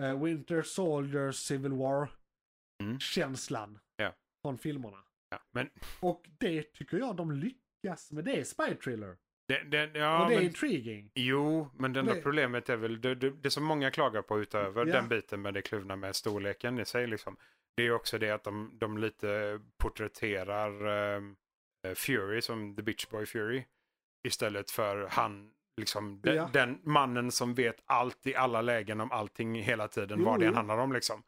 [SPEAKER 2] eh, Winter Soldier Civil
[SPEAKER 3] Mm.
[SPEAKER 2] War-känslan.
[SPEAKER 3] Ja.
[SPEAKER 2] Från filmerna.
[SPEAKER 3] Ja. Men
[SPEAKER 2] Och det tycker jag de lyckas med. Det är Spy Thriller.
[SPEAKER 3] den, den, ja,
[SPEAKER 2] och det är
[SPEAKER 3] men,
[SPEAKER 2] intriguing.
[SPEAKER 3] Jo, men det enda
[SPEAKER 2] Det-
[SPEAKER 3] problemet är väl det, det, det som många klagar på utöver
[SPEAKER 2] Ja.
[SPEAKER 3] den biten med det kluvna med storleken i sig. Liksom, det är ju också det att de, de lite porträtterar ehm, eh, Fury som The Bitch Boy Fury istället för han, liksom, de,
[SPEAKER 2] Ja.
[SPEAKER 3] den mannen som vet allt i alla lägen om allting hela tiden,
[SPEAKER 2] Jo,
[SPEAKER 3] vad det än
[SPEAKER 2] jo.
[SPEAKER 3] handlar om. Liksom.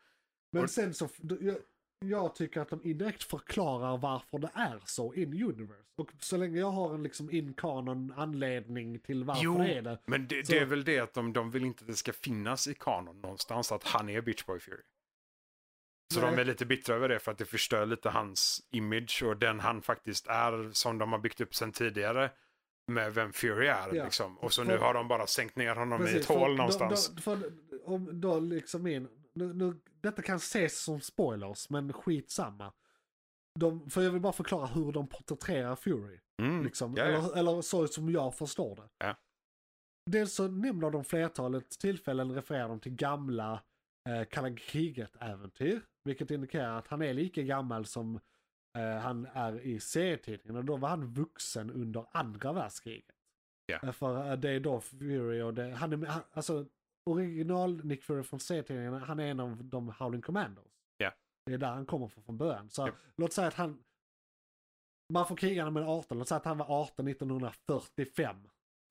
[SPEAKER 2] Men
[SPEAKER 3] Och-
[SPEAKER 2] sen så, du- jag, jag tycker att de indirekt förklarar varför det är så in universe. Och så länge jag har en liksom in canon anledning till varför
[SPEAKER 3] Jo,
[SPEAKER 2] det är det.
[SPEAKER 3] men det,
[SPEAKER 2] Så-
[SPEAKER 3] det är väl det att de, de vill inte att det ska finnas i kanon någonstans att han är Bitch Boy Fury. Så
[SPEAKER 2] Nej.
[SPEAKER 3] de är lite bittra över det för att det förstör lite hans image och den han faktiskt är som de har byggt upp sen tidigare med vem Fury är.
[SPEAKER 2] Ja.
[SPEAKER 3] Liksom. Och så
[SPEAKER 2] För-
[SPEAKER 3] nu har de bara sänkt ner honom i ett
[SPEAKER 2] för
[SPEAKER 3] hål
[SPEAKER 2] då-
[SPEAKER 3] någonstans.
[SPEAKER 2] Då, för, om då liksom in, nu, nu, detta kan ses som spoilers, men skitsamma. De, för jag vill bara förklara hur de porträtterar Fury.
[SPEAKER 3] mm.
[SPEAKER 2] Liksom,
[SPEAKER 3] ja, ja.
[SPEAKER 2] Eller, eller så som jag förstår det.
[SPEAKER 3] Ja.
[SPEAKER 2] Dels så nämner de flertalet tillfällen refererar de till gamla eh, kalla kriget-äventyr. Vilket indikerar att han är lika gammal som eh, han är i serietidningen. Och då var han vuxen under andra världskriget.
[SPEAKER 3] Ja.
[SPEAKER 2] Eh, För eh, det är då Fury och det, han är, han, alltså original Nick Fury från serietidningen, han är en av de Howling Commandos.
[SPEAKER 3] Ja.
[SPEAKER 2] Det är där han kommer från, från början. Så
[SPEAKER 3] Ja.
[SPEAKER 2] låt säga att han, man får kriga när man är 18. Låt säga att han var 18 1945.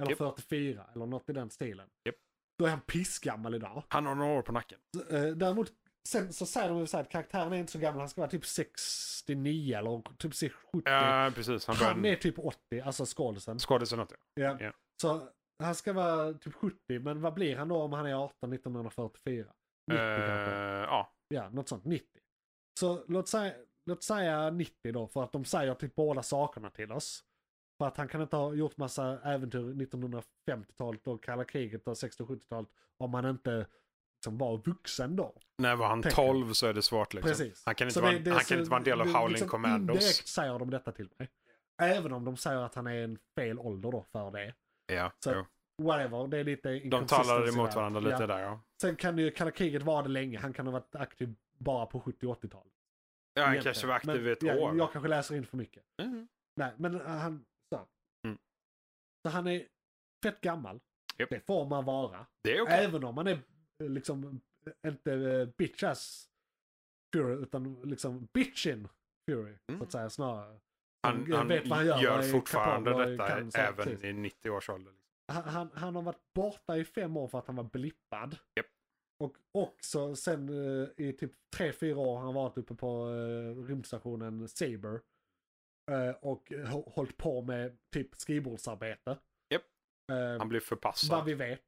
[SPEAKER 2] Eller
[SPEAKER 3] Japp.
[SPEAKER 2] 44 eller något i den stilen.
[SPEAKER 3] Japp.
[SPEAKER 2] Då är han pissgammal idag.
[SPEAKER 3] Han har några år på nacken.
[SPEAKER 2] Så, eh, Däremot sen så säger de ju så här att karaktären är inte så gammal. Han ska vara typ 69 eller typ 70.
[SPEAKER 3] Ja, precis. Han,
[SPEAKER 2] han
[SPEAKER 3] började...
[SPEAKER 2] är typ 80, alltså skådisen.
[SPEAKER 3] Skådisen heter
[SPEAKER 2] Ja.
[SPEAKER 3] Ja.
[SPEAKER 2] Så han ska vara typ 70, men vad blir han då om han är 18 1944? 90 kanske.
[SPEAKER 3] Eh, Ja,
[SPEAKER 2] Ja, något sånt. 90. Så låt säga, låt säga 90 då, för att de säger typ båda sakerna till oss. För att han kan inte ha gjort massa äventyr 1950-talet och kalla kriget och 60 och 70-talet om han inte liksom var vuxen då.
[SPEAKER 3] när var han
[SPEAKER 2] Tänk.
[SPEAKER 3] 12 så är det svårt. Liksom.
[SPEAKER 2] Precis.
[SPEAKER 3] Han kan inte,
[SPEAKER 2] Så
[SPEAKER 3] vara,
[SPEAKER 2] det- det-
[SPEAKER 3] han
[SPEAKER 2] så
[SPEAKER 3] kan inte vara en del av
[SPEAKER 2] det-
[SPEAKER 3] Howling
[SPEAKER 2] liksom
[SPEAKER 3] Commandos.
[SPEAKER 2] Indirekt säger de detta till mig. Även om de säger att han är en fel ålder då för det.
[SPEAKER 3] Ja,
[SPEAKER 2] Så-
[SPEAKER 3] jo.
[SPEAKER 2] Whatever, det är lite
[SPEAKER 3] De
[SPEAKER 2] inconsistency
[SPEAKER 3] talar emot
[SPEAKER 2] där.
[SPEAKER 3] varandra lite
[SPEAKER 2] Ja.
[SPEAKER 3] där. Ja,
[SPEAKER 2] Sen kan ju kalla kriget vara det länge. Han kan ha varit aktiv bara på 70 och 80-talet.
[SPEAKER 3] ja han
[SPEAKER 2] Egentligen.
[SPEAKER 3] kanske var aktiv
[SPEAKER 2] Men,
[SPEAKER 3] i ett
[SPEAKER 2] ja,
[SPEAKER 3] år.
[SPEAKER 2] Jag kanske läser in för mycket.
[SPEAKER 3] Mm.
[SPEAKER 2] Nej, men eh, han... Så,
[SPEAKER 3] Mm.
[SPEAKER 2] så han är fett gammal.
[SPEAKER 3] Japp.
[SPEAKER 2] Det får man vara.
[SPEAKER 3] Det är okej.
[SPEAKER 2] Även om man är eh, liksom eh, inte eh, bitch-ass Fury, utan liksom bitchin Fury, så
[SPEAKER 3] Mm.
[SPEAKER 2] att säga snarare.
[SPEAKER 3] Han,
[SPEAKER 2] Jag
[SPEAKER 3] han
[SPEAKER 2] vet vad han
[SPEAKER 3] gör,
[SPEAKER 2] gör, vad är
[SPEAKER 3] fortfarande
[SPEAKER 2] kapabel, vad typ?
[SPEAKER 3] detta
[SPEAKER 2] kan, så här,
[SPEAKER 3] även
[SPEAKER 2] precis.
[SPEAKER 3] i 90 års ålder. Liksom.
[SPEAKER 2] Han, han, han har varit borta i fem år för att han var blippad.
[SPEAKER 3] Japp.
[SPEAKER 2] Och också sen eh, i typ tre fyra år har han varit uppe på eh, rymdstationen Saber. eh, och hå- hållit på med typ skrivbordsarbete.
[SPEAKER 3] Japp.
[SPEAKER 2] Eh,
[SPEAKER 3] Han blir förpassad.
[SPEAKER 2] vad vi vet.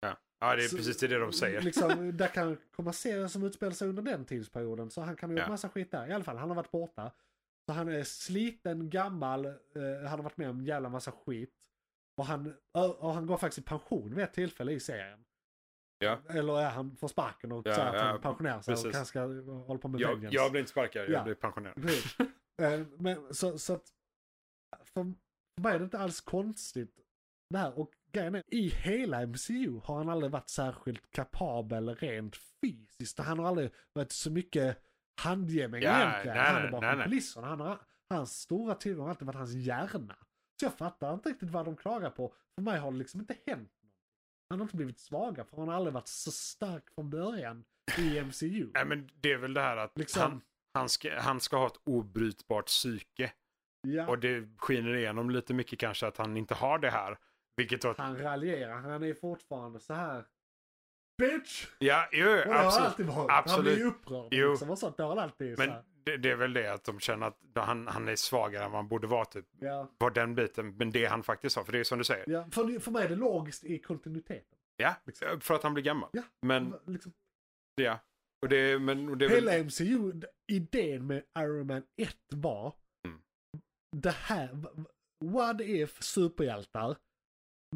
[SPEAKER 3] Ja. ja, det är
[SPEAKER 2] Så-
[SPEAKER 3] precis det de säger.
[SPEAKER 2] Liksom, där kan komma serier som utspelar sig under den tidsperioden. Så han kan ha gjort
[SPEAKER 3] Ja.
[SPEAKER 2] massa skit där. I alla fall, han har varit borta. Så han är sliten, gammal, eh, han har varit med om en jävla massa skit. Och han, och han går faktiskt i pension vid ett tillfälle i serien.
[SPEAKER 3] Ja.
[SPEAKER 2] Eller är han får sparken och
[SPEAKER 3] Ja,
[SPEAKER 2] så att
[SPEAKER 3] ja,
[SPEAKER 2] han pensionerar sig och
[SPEAKER 3] precis.
[SPEAKER 2] kanske ska hålla på med
[SPEAKER 3] Jag,
[SPEAKER 2] vengeance.
[SPEAKER 3] jag blir inte sparkad,
[SPEAKER 2] Ja.
[SPEAKER 3] jag blir pensionerad.
[SPEAKER 2] Precis. Eh, Men så, så att för för mig är det inte alls konstigt det här. Och grejen är, i hela MCU har han aldrig varit särskilt kapabel rent fysiskt. Han har aldrig varit så mycket handgemäng
[SPEAKER 3] Ja,
[SPEAKER 2] egentligen.
[SPEAKER 3] nej,
[SPEAKER 2] han är
[SPEAKER 3] nej,
[SPEAKER 2] bakom
[SPEAKER 3] nej, nej.
[SPEAKER 2] kulisserna. Han har, hans stora tillgång har alltid varit hans hjärna. Så jag fattar inte riktigt vad de klagar på. För mig har det liksom inte hänt något. Han har inte blivit svaga för han har aldrig varit så stark från början i MCU.
[SPEAKER 3] Nej, men det är väl det här att
[SPEAKER 2] Liksom.
[SPEAKER 3] han, han, ska, han ska ha ett obrytbart psyke.
[SPEAKER 2] Ja.
[SPEAKER 3] Och det skiner igenom lite mycket kanske att han inte har det här. Vilket då,
[SPEAKER 2] Han raljerar, han är fortfarande så här bitch!
[SPEAKER 3] Ja, jo,
[SPEAKER 2] Och det har
[SPEAKER 3] absolut.
[SPEAKER 2] alltid varit. Han
[SPEAKER 3] Absolut.
[SPEAKER 2] blir ju upprörd
[SPEAKER 3] Jo.
[SPEAKER 2] liksom och sånt. Det har han alltid
[SPEAKER 3] Men
[SPEAKER 2] så här.
[SPEAKER 3] det, det är väl det att de känner att han, han är svagare än vad han borde vara. Typ.
[SPEAKER 2] Ja.
[SPEAKER 3] På den biten, men det han faktiskt har. För det är som du säger.
[SPEAKER 2] Ja. För, för mig är det logiskt i kontinuiteten.
[SPEAKER 3] Ja, för att han blir gammal.
[SPEAKER 2] Ja.
[SPEAKER 3] Men,
[SPEAKER 2] Liksom,
[SPEAKER 3] ja. Och det, men, och det är väl-
[SPEAKER 2] Hela MCU, d- idén med Iron Man 1 var
[SPEAKER 3] Mm.
[SPEAKER 2] det här, v- v- what if superhjältar,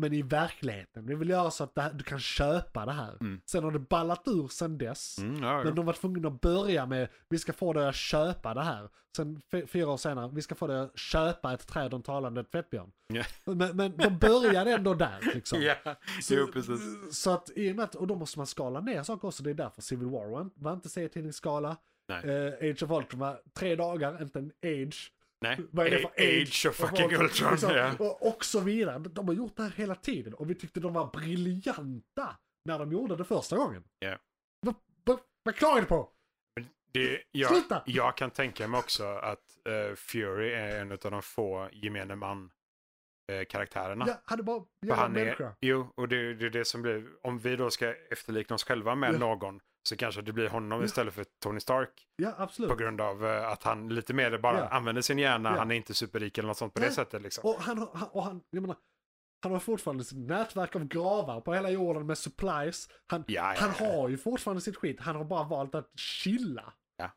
[SPEAKER 2] men i verkligheten. Vi vill göra så att det här, du kan köpa det här.
[SPEAKER 3] Mm.
[SPEAKER 2] Sen har det ballat ur sen dess.
[SPEAKER 3] Mm, ja,
[SPEAKER 2] Men
[SPEAKER 3] ja.
[SPEAKER 2] de var tvungna att börja med, vi ska få dig att köpa det här. Sen f- fyra år senare, vi ska få dig att köpa ett träd och en talande tvättbjörn.
[SPEAKER 3] Ja.
[SPEAKER 2] Men, men de började ändå där liksom.
[SPEAKER 3] ja. Jo, precis.
[SPEAKER 2] Så att i och med att, och då måste man skala ner saker också, det är därför Civil War var, var inte serietidningsskala.
[SPEAKER 3] Nej.
[SPEAKER 2] Eh, Age of Ultron var tre dagar, inte en age.
[SPEAKER 3] Nej.
[SPEAKER 2] Vad är det för age?
[SPEAKER 3] Age of fucking Ultron.
[SPEAKER 2] Liksom,
[SPEAKER 3] Ja.
[SPEAKER 2] och, och så vidare. De har gjort det här hela tiden och vi tyckte de var briljanta när de gjorde det första gången.
[SPEAKER 3] Ja.
[SPEAKER 2] Vad- vad- Vad klagar du på?
[SPEAKER 3] Men Det, jag,
[SPEAKER 2] Sluta!
[SPEAKER 3] jag kan tänka mig också att eh, Fury är en av de få gemene man-karaktärerna.
[SPEAKER 2] Jag hade bara, jag
[SPEAKER 3] För
[SPEAKER 2] var
[SPEAKER 3] han
[SPEAKER 2] människa.
[SPEAKER 3] är, jo, och det, det är det som blir, om vi då ska efterlikna oss själva med
[SPEAKER 2] Ja.
[SPEAKER 3] någon så kanske det blir honom
[SPEAKER 2] Ja.
[SPEAKER 3] istället för Tony Stark
[SPEAKER 2] Ja, absolut.
[SPEAKER 3] på grund av eh, att han lite mer bara
[SPEAKER 2] Ja.
[SPEAKER 3] använder sin hjärna,
[SPEAKER 2] Ja.
[SPEAKER 3] han är inte superrik eller något sånt på det
[SPEAKER 2] Nej.
[SPEAKER 3] sättet liksom.
[SPEAKER 2] Och han, har- han- och han, jag menar, han har fortfarande sitt nätverk av gravar på hela jorden med supplies. Han,
[SPEAKER 3] Ja, ja,
[SPEAKER 2] han
[SPEAKER 3] ja.
[SPEAKER 2] har ju fortfarande sitt skit, han har bara valt att chilla.
[SPEAKER 3] Ja.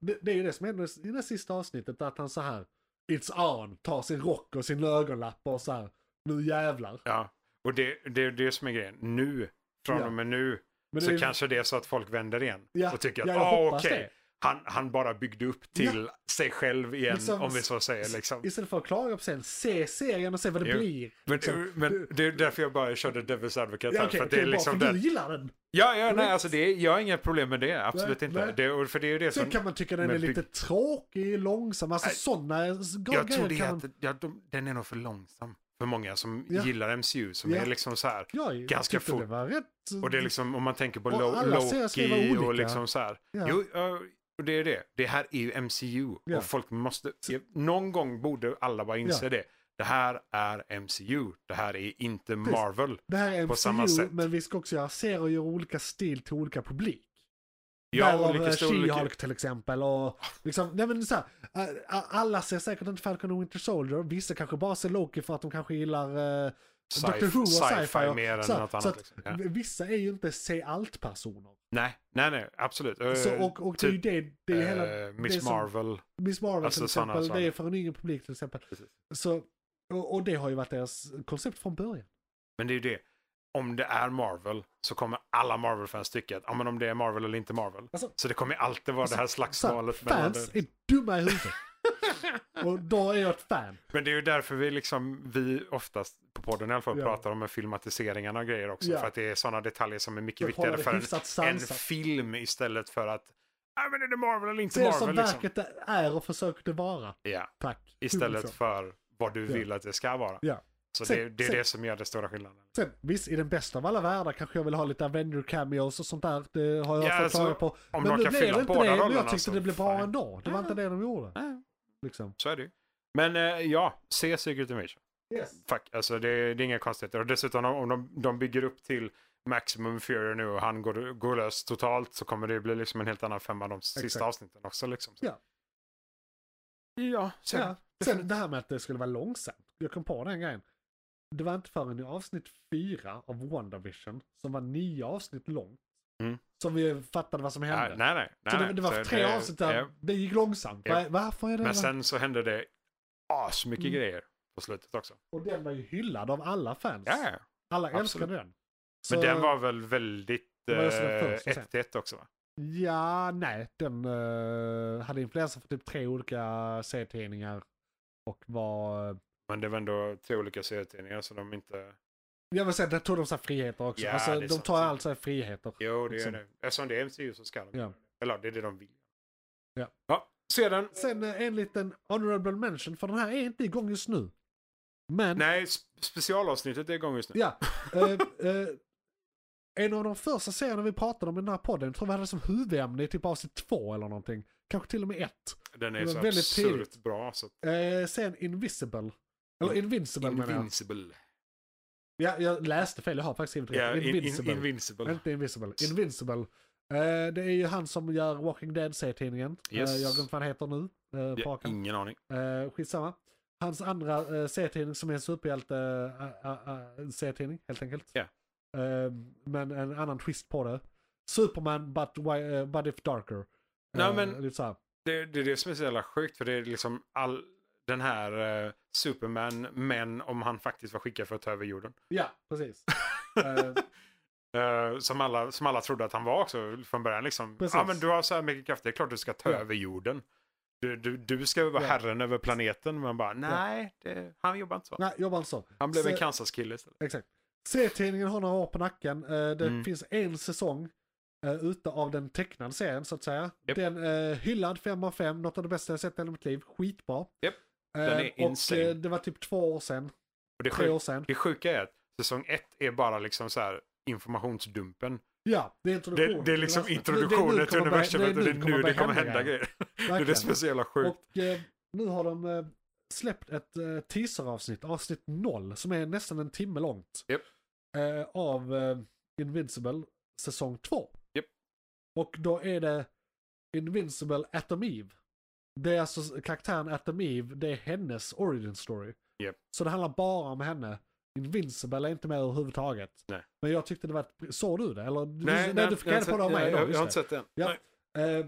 [SPEAKER 2] Det, det är ju det som händer i det sista avsnittet, att han så här, it's on, tar sin rock och sin ögonlapp och så här, nu jävlar.
[SPEAKER 3] Ja, och det, det är det som är grejen. Nu, från
[SPEAKER 2] Ja.
[SPEAKER 3] och med nu,
[SPEAKER 2] Men
[SPEAKER 3] så
[SPEAKER 2] det är-
[SPEAKER 3] kanske det är så att folk vänder igen
[SPEAKER 2] Ja,
[SPEAKER 3] och tycker att
[SPEAKER 2] ja, jag
[SPEAKER 3] ah,
[SPEAKER 2] hoppas
[SPEAKER 3] okej,
[SPEAKER 2] det."
[SPEAKER 3] han, han bara byggde upp till sig själv igen,
[SPEAKER 2] Liksom,
[SPEAKER 3] om vi så säger. Liksom.
[SPEAKER 2] Istället för att klaga på sen, se serien och se vad det
[SPEAKER 3] Jo.
[SPEAKER 2] blir.
[SPEAKER 3] Men,
[SPEAKER 2] liksom.
[SPEAKER 3] men det är därför jag bara körde Devil's Advocate
[SPEAKER 2] Ja,
[SPEAKER 3] här,
[SPEAKER 2] okej,
[SPEAKER 3] för att
[SPEAKER 2] okej,
[SPEAKER 3] det är
[SPEAKER 2] bra,
[SPEAKER 3] liksom
[SPEAKER 2] för
[SPEAKER 3] den,
[SPEAKER 2] du gillar den.
[SPEAKER 3] Ja, ja, nej,
[SPEAKER 2] Korrekt.
[SPEAKER 3] alltså det, jag har inga problem med det. Absolut
[SPEAKER 2] Nej,
[SPEAKER 3] inte.
[SPEAKER 2] nej.
[SPEAKER 3] Det, och för det är ju det
[SPEAKER 2] Sen
[SPEAKER 3] som...
[SPEAKER 2] kan man tycka den
[SPEAKER 3] men
[SPEAKER 2] är lite
[SPEAKER 3] bygg-
[SPEAKER 2] tråkig, långsam, alltså
[SPEAKER 3] Nej,
[SPEAKER 2] sådana
[SPEAKER 3] jag tror
[SPEAKER 2] grejer
[SPEAKER 3] det är
[SPEAKER 2] kan
[SPEAKER 3] att ja, de, den är nog för långsam för många som
[SPEAKER 2] Ja.
[SPEAKER 3] gillar MCU. Som
[SPEAKER 2] Ja.
[SPEAKER 3] är liksom så här.
[SPEAKER 2] Ja,
[SPEAKER 3] ganska
[SPEAKER 2] tyckte
[SPEAKER 3] fort.
[SPEAKER 2] det var rätt...
[SPEAKER 3] Och det är liksom om man tänker på
[SPEAKER 2] Och
[SPEAKER 3] Lo-
[SPEAKER 2] alla serier ska vara
[SPEAKER 3] Loki
[SPEAKER 2] olika.
[SPEAKER 3] och liksom så här.
[SPEAKER 2] Ja.
[SPEAKER 3] Jo, ja, och det är det. Det här är ju MCU.
[SPEAKER 2] Ja.
[SPEAKER 3] Och folk måste... Någon gång borde alla bara inse
[SPEAKER 2] Ja.
[SPEAKER 3] det. Det här är MCU. Det här är inte Marvel.
[SPEAKER 2] det här är MCU,
[SPEAKER 3] på samma sätt.
[SPEAKER 2] men vi ska också göra serier och göra olika stil till olika publik.
[SPEAKER 3] Ja,
[SPEAKER 2] Därav,
[SPEAKER 3] olika
[SPEAKER 2] eh,
[SPEAKER 3] storlekar.
[SPEAKER 2] She-Hulk till exempel och liksom, nej men så här, eh, alla ser säkert inte Falcon och Winter Soldier, vissa kanske bara ser Loki för att de kanske gillar eh,
[SPEAKER 3] Sci-
[SPEAKER 2] Doctor Who och sci-fi.
[SPEAKER 3] sci-fi
[SPEAKER 2] och-
[SPEAKER 3] mer än
[SPEAKER 2] så här,
[SPEAKER 3] något
[SPEAKER 2] så
[SPEAKER 3] annat,
[SPEAKER 2] att
[SPEAKER 3] liksom. Ja.
[SPEAKER 2] Vissa är ju inte se allt-personer.
[SPEAKER 3] Nej, nej, nej, absolut. Eh,
[SPEAKER 2] Så, och och
[SPEAKER 3] typ,
[SPEAKER 2] det är ju det, det är ju hela...
[SPEAKER 3] eh, Miss
[SPEAKER 2] det som-
[SPEAKER 3] Marvel.
[SPEAKER 2] Miss Marvel
[SPEAKER 3] Alltså,
[SPEAKER 2] till
[SPEAKER 3] sådana-
[SPEAKER 2] exempel, det
[SPEAKER 3] sådana.
[SPEAKER 2] är för en yngre publik till exempel.
[SPEAKER 3] Precis.
[SPEAKER 2] Så, och, och det har ju varit deras koncept från början.
[SPEAKER 3] Men det är ju det. Om det är Marvel så kommer alla Marvel-fans tycka att ja, men om det är Marvel eller inte Marvel.
[SPEAKER 2] Alltså-
[SPEAKER 3] så det kommer alltid vara det här
[SPEAKER 2] Så här,
[SPEAKER 3] slagsmålet. mellan
[SPEAKER 2] fans
[SPEAKER 3] det.
[SPEAKER 2] är dumma i huvudet. och då är jag ett fan.
[SPEAKER 3] Men det är ju därför vi, liksom, vi oftast på podden i alla fall
[SPEAKER 2] Ja.
[SPEAKER 3] pratar om filmatiseringarna och grejer också.
[SPEAKER 2] Ja.
[SPEAKER 3] För att det är sådana detaljer som är mycket
[SPEAKER 2] För att hålla
[SPEAKER 3] viktigare
[SPEAKER 2] det
[SPEAKER 3] för
[SPEAKER 2] hyfsat
[SPEAKER 3] en, en
[SPEAKER 2] sansat.
[SPEAKER 3] film istället för att ja, men är det Marvel eller inte
[SPEAKER 2] Det är som
[SPEAKER 3] Marvel? Liksom.
[SPEAKER 2] verket är och försöker det vara.
[SPEAKER 3] Ja,
[SPEAKER 2] Tack.
[SPEAKER 3] istället
[SPEAKER 2] Liksom.
[SPEAKER 3] för vad du
[SPEAKER 2] Ja.
[SPEAKER 3] vill att det ska vara.
[SPEAKER 2] Ja.
[SPEAKER 3] Så
[SPEAKER 2] Sen-
[SPEAKER 3] det, det är
[SPEAKER 2] sen-
[SPEAKER 3] det som gör den stora skillnaden.
[SPEAKER 2] Sen, visst, i den bästa av alla världar kanske jag vill ha lite Avenger-cameos och sånt där. Det har jag
[SPEAKER 3] Ja,
[SPEAKER 2] fått
[SPEAKER 3] alltså,
[SPEAKER 2] klaga på.
[SPEAKER 3] om
[SPEAKER 2] men
[SPEAKER 3] de
[SPEAKER 2] nu
[SPEAKER 3] kan
[SPEAKER 2] blev
[SPEAKER 3] fylla
[SPEAKER 2] det inte
[SPEAKER 3] båda
[SPEAKER 2] det, men jag
[SPEAKER 3] rollerna,
[SPEAKER 2] tyckte
[SPEAKER 3] så
[SPEAKER 2] det blev bra
[SPEAKER 3] fine.
[SPEAKER 2] ändå. Det var inte det de gjorde. Liksom.
[SPEAKER 3] Så är det ju. Men eh, ja, se Secret Invasion.
[SPEAKER 2] Yes.
[SPEAKER 3] Fuck, alltså det, det är inga konstigheter. Och dessutom om de, de bygger upp till Maximum Fury nu och han går, går lös totalt så kommer det bli liksom en helt annan femma de sista
[SPEAKER 2] Exakt.
[SPEAKER 3] avsnitten också. Liksom. Så-
[SPEAKER 2] Ja.
[SPEAKER 3] Ja, sen,
[SPEAKER 2] Ja. Sen det här med att det skulle vara långsamt. Jag kom på den grejen. Det var inte förrän i avsnitt fyra av WandaVision, som var nio avsnitt långt,
[SPEAKER 3] Mm.
[SPEAKER 2] som vi fattade vad som
[SPEAKER 3] Nej,
[SPEAKER 2] hände.
[SPEAKER 3] nej, nej. nej,
[SPEAKER 2] så det,
[SPEAKER 3] nej.
[SPEAKER 2] det var
[SPEAKER 3] Så
[SPEAKER 2] tre
[SPEAKER 3] det-
[SPEAKER 2] avsnitt där
[SPEAKER 3] ja.
[SPEAKER 2] det gick långsamt.
[SPEAKER 3] Ja.
[SPEAKER 2] Va- Varför är det?
[SPEAKER 3] Men sen så hände det asmycket
[SPEAKER 2] Mm.
[SPEAKER 3] grejer på slutet också.
[SPEAKER 2] Och den var ju hyllad av alla fans.
[SPEAKER 3] Ja, ja.
[SPEAKER 2] alla
[SPEAKER 3] absolut.
[SPEAKER 2] älskade den.
[SPEAKER 3] Men
[SPEAKER 2] Så-
[SPEAKER 3] den var väl väldigt
[SPEAKER 2] Det var ju som den
[SPEAKER 3] eh,
[SPEAKER 2] första sen.
[SPEAKER 3] 1 till 1 också va?
[SPEAKER 2] Ja, nej. Den eh, hade influenser för typ tre olika serietidningar. Och var... eh,
[SPEAKER 3] Men det var ändå tre olika serietidningar så de inte...
[SPEAKER 2] Jag vill säga, där tog de sig friheter också.
[SPEAKER 3] Ja,
[SPEAKER 2] alltså,
[SPEAKER 3] det är
[SPEAKER 2] de
[SPEAKER 3] sant.
[SPEAKER 2] tar alltså friheter.
[SPEAKER 3] Jo, det gör
[SPEAKER 2] Liksom.
[SPEAKER 3] det. Eftersom det är MCU så ska de
[SPEAKER 2] Ja.
[SPEAKER 3] göra det. Eller det är det de vill.
[SPEAKER 2] Ja.
[SPEAKER 3] ja sedan.
[SPEAKER 2] Sen eh, en liten honorable mention, för den här är inte igång just nu. Men,
[SPEAKER 3] Nej, sp- specialavsnittet är igång just nu.
[SPEAKER 2] ja. Eh, eh, en av de första serierna vi pratade om i den här podden, jag tror vi hade det som huvudämne i typ avsnitt två eller någonting. Kanske till och med ett.
[SPEAKER 3] Den är
[SPEAKER 2] Det
[SPEAKER 3] så
[SPEAKER 2] var väldigt
[SPEAKER 3] absurt
[SPEAKER 2] tidigt.
[SPEAKER 3] bra. Så att...
[SPEAKER 2] Eh, sen Invisible. Eller Invincible menar jag.
[SPEAKER 3] Invincible.
[SPEAKER 2] Ja, jag läste fel, jag har faktiskt skrivit
[SPEAKER 3] Ja,
[SPEAKER 2] rätt.
[SPEAKER 3] in, in,
[SPEAKER 2] Invincible.
[SPEAKER 3] invincible.
[SPEAKER 2] Inte Invisible. Invincible. Eh, det är ju han som gör Walking Dead-serietidningen.
[SPEAKER 3] Yes.
[SPEAKER 2] Eh, jag glömde vad han heter nu. Eh, på
[SPEAKER 3] Ja,
[SPEAKER 2] raken.
[SPEAKER 3] ingen aning.
[SPEAKER 2] Eh, skitsamma. Hans andra eh, serietidning som är en superhjälte eh, a- a- a- serietidning helt enkelt.
[SPEAKER 3] Ja.
[SPEAKER 2] Eh, men en annan twist på det. Superman but, why, eh, but if darker.
[SPEAKER 3] Nej,
[SPEAKER 2] Eh,
[SPEAKER 3] men-
[SPEAKER 2] lite så här.
[SPEAKER 3] Det, det är det som är så jävla sjukt för det är liksom all den här eh, Superman, men om han faktiskt var skickad för att ta över jorden.
[SPEAKER 2] Ja, precis. Eh,
[SPEAKER 3] Eh, som, alla, som alla trodde att han var också från början. Liksom.
[SPEAKER 2] Precis.
[SPEAKER 3] Ja men du har så här mycket kraft, det är klart du ska ta
[SPEAKER 2] Ja.
[SPEAKER 3] över jorden. Du, du, du ska vara
[SPEAKER 2] Ja.
[SPEAKER 3] herren över planeten. Men bara nej, det, han jobbar inte så.
[SPEAKER 2] nej, jobbar inte så.
[SPEAKER 3] Han blev
[SPEAKER 2] Så-
[SPEAKER 3] en Kansas-kille istället.
[SPEAKER 2] Exakt. Serietidningen har några år på nacken. Eh, det
[SPEAKER 3] Mm.
[SPEAKER 2] finns en säsong uh, ute av den tecknade serien så att säga.
[SPEAKER 3] Japp.
[SPEAKER 2] Den eh, hyllad 5 av 5, något av det bästa jag sett i hela mitt liv. Skitbra.
[SPEAKER 3] Japp.
[SPEAKER 2] Eh,
[SPEAKER 3] Den är
[SPEAKER 2] och
[SPEAKER 3] insane.
[SPEAKER 2] eh, det var typ två år sedan,
[SPEAKER 3] Och det,
[SPEAKER 2] tre år
[SPEAKER 3] sjuk,
[SPEAKER 2] sedan.
[SPEAKER 3] det sjuka är att säsong ett är bara liksom så här informationsdumpen.
[SPEAKER 2] Ja, det är
[SPEAKER 3] Det,
[SPEAKER 2] introduktionen.
[SPEAKER 3] det är liksom
[SPEAKER 2] alltså. Det- det är nu
[SPEAKER 3] introduktionen till
[SPEAKER 2] kommer börja-
[SPEAKER 3] universumet och det är nu det kommer hända grejer. Det är det
[SPEAKER 2] Verkligen.
[SPEAKER 3] som är så jävla sjukt.
[SPEAKER 2] Och eh, nu har de eh, släppt ett eh, teaseravsnitt, avsnitt 0, som är nästan en timme långt.
[SPEAKER 3] Japp.
[SPEAKER 2] Eh, av eh, Invincible säsong 2.
[SPEAKER 3] Japp.
[SPEAKER 2] Och då är det Invincible Atom Eve. Det är alltså karaktären Atom Eve, det är hennes origin story.
[SPEAKER 3] Japp.
[SPEAKER 2] Så det handlar bara om henne. Invincible är inte med överhuvudtaget.
[SPEAKER 3] Nej.
[SPEAKER 2] Men jag tyckte det var... ett- Såg du det? Eller, du, nej, du fick reda på det av mig
[SPEAKER 3] jag,
[SPEAKER 2] då,
[SPEAKER 3] jag,
[SPEAKER 2] just
[SPEAKER 3] jag har
[SPEAKER 2] det.
[SPEAKER 3] inte sett det än.
[SPEAKER 2] Ja.
[SPEAKER 3] Nej.
[SPEAKER 2] Eh,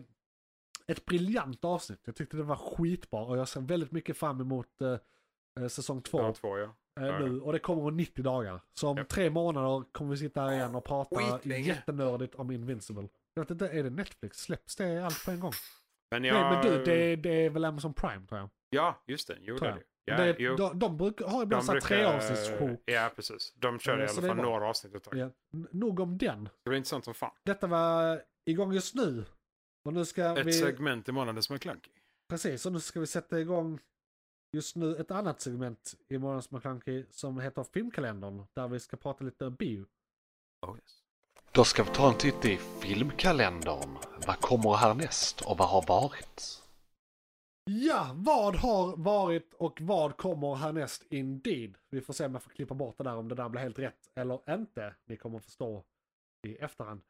[SPEAKER 2] ett briljant avsnitt. Jag tyckte det var skitbra och jag ser väldigt mycket fram emot eh, eh, säsong två
[SPEAKER 3] Ja, två ja.
[SPEAKER 2] eh, nu. Och det kommer om 90 dagar. Så om
[SPEAKER 3] Ja.
[SPEAKER 2] tre månader kommer vi sitta här igen och prata
[SPEAKER 3] Skitlänge.
[SPEAKER 2] jättenördigt om Invincible. Jag vet inte, är det Netflix? Släpps det allt på en gång?
[SPEAKER 3] Men
[SPEAKER 2] Nej
[SPEAKER 3] jag,
[SPEAKER 2] men du, det, det är väl Amazon Prime tror jag.
[SPEAKER 3] Ja, just det. Jo, det
[SPEAKER 2] Tror
[SPEAKER 3] är
[SPEAKER 2] jag.
[SPEAKER 3] det. Ja,
[SPEAKER 2] det,
[SPEAKER 3] jo.
[SPEAKER 2] de, de brukar ha ibland så här treavsnittssjok.
[SPEAKER 3] Ja, precis. De körde
[SPEAKER 2] Eh,
[SPEAKER 3] i
[SPEAKER 2] så
[SPEAKER 3] alla
[SPEAKER 2] det är
[SPEAKER 3] fall
[SPEAKER 2] bra.
[SPEAKER 3] några avsnitt ett tag.
[SPEAKER 2] Ja. N- Nog om den.
[SPEAKER 3] Det blir intressant som fan.
[SPEAKER 2] Detta var igång just nu. Och nu ska
[SPEAKER 3] Ett
[SPEAKER 2] vi...
[SPEAKER 3] segment i månaden som är klunky.
[SPEAKER 2] Precis, och nu ska vi sätta igång just nu ett annat segment i Morgons McClunky som heter Filmkalendern. Där vi ska prata lite bio.
[SPEAKER 3] Oh,
[SPEAKER 4] Då ska vi ta en titt i filmkalendern. Vad kommer härnäst och vad har varit?
[SPEAKER 2] Ja, vad har varit och vad kommer härnäst indeed? Vi får se om jag får klippa bort det där om det där blir helt rätt eller inte. Ni kommer förstå i efterhand.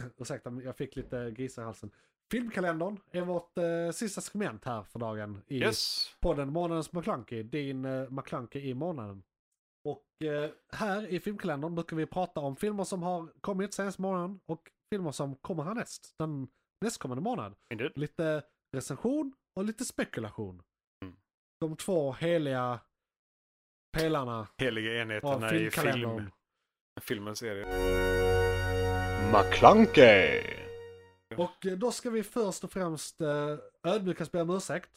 [SPEAKER 2] Ursäkta, men jag fick lite grisar i halsen. Filmkalendern är vårt eh, sista segment här för dagen i
[SPEAKER 3] Yes.
[SPEAKER 2] podden Månadens McKlunky, din uh, McKlunky i månaden. Och eh, här i filmkalendern brukar vi prata om filmer som har kommit senaste månaden och filmer som kommer härnäst, den nästkommande månad.
[SPEAKER 3] Indeed.
[SPEAKER 2] Lite recension och lite spekulation.
[SPEAKER 3] Mm.
[SPEAKER 2] De två heliga pelarna
[SPEAKER 3] Heliga
[SPEAKER 2] av
[SPEAKER 3] enheterna i
[SPEAKER 2] filmkalendern.
[SPEAKER 3] film, filmens serie.
[SPEAKER 4] McClunkey!
[SPEAKER 2] Och eh, då ska vi först och främst eh, ödmjukast be om ursäkt.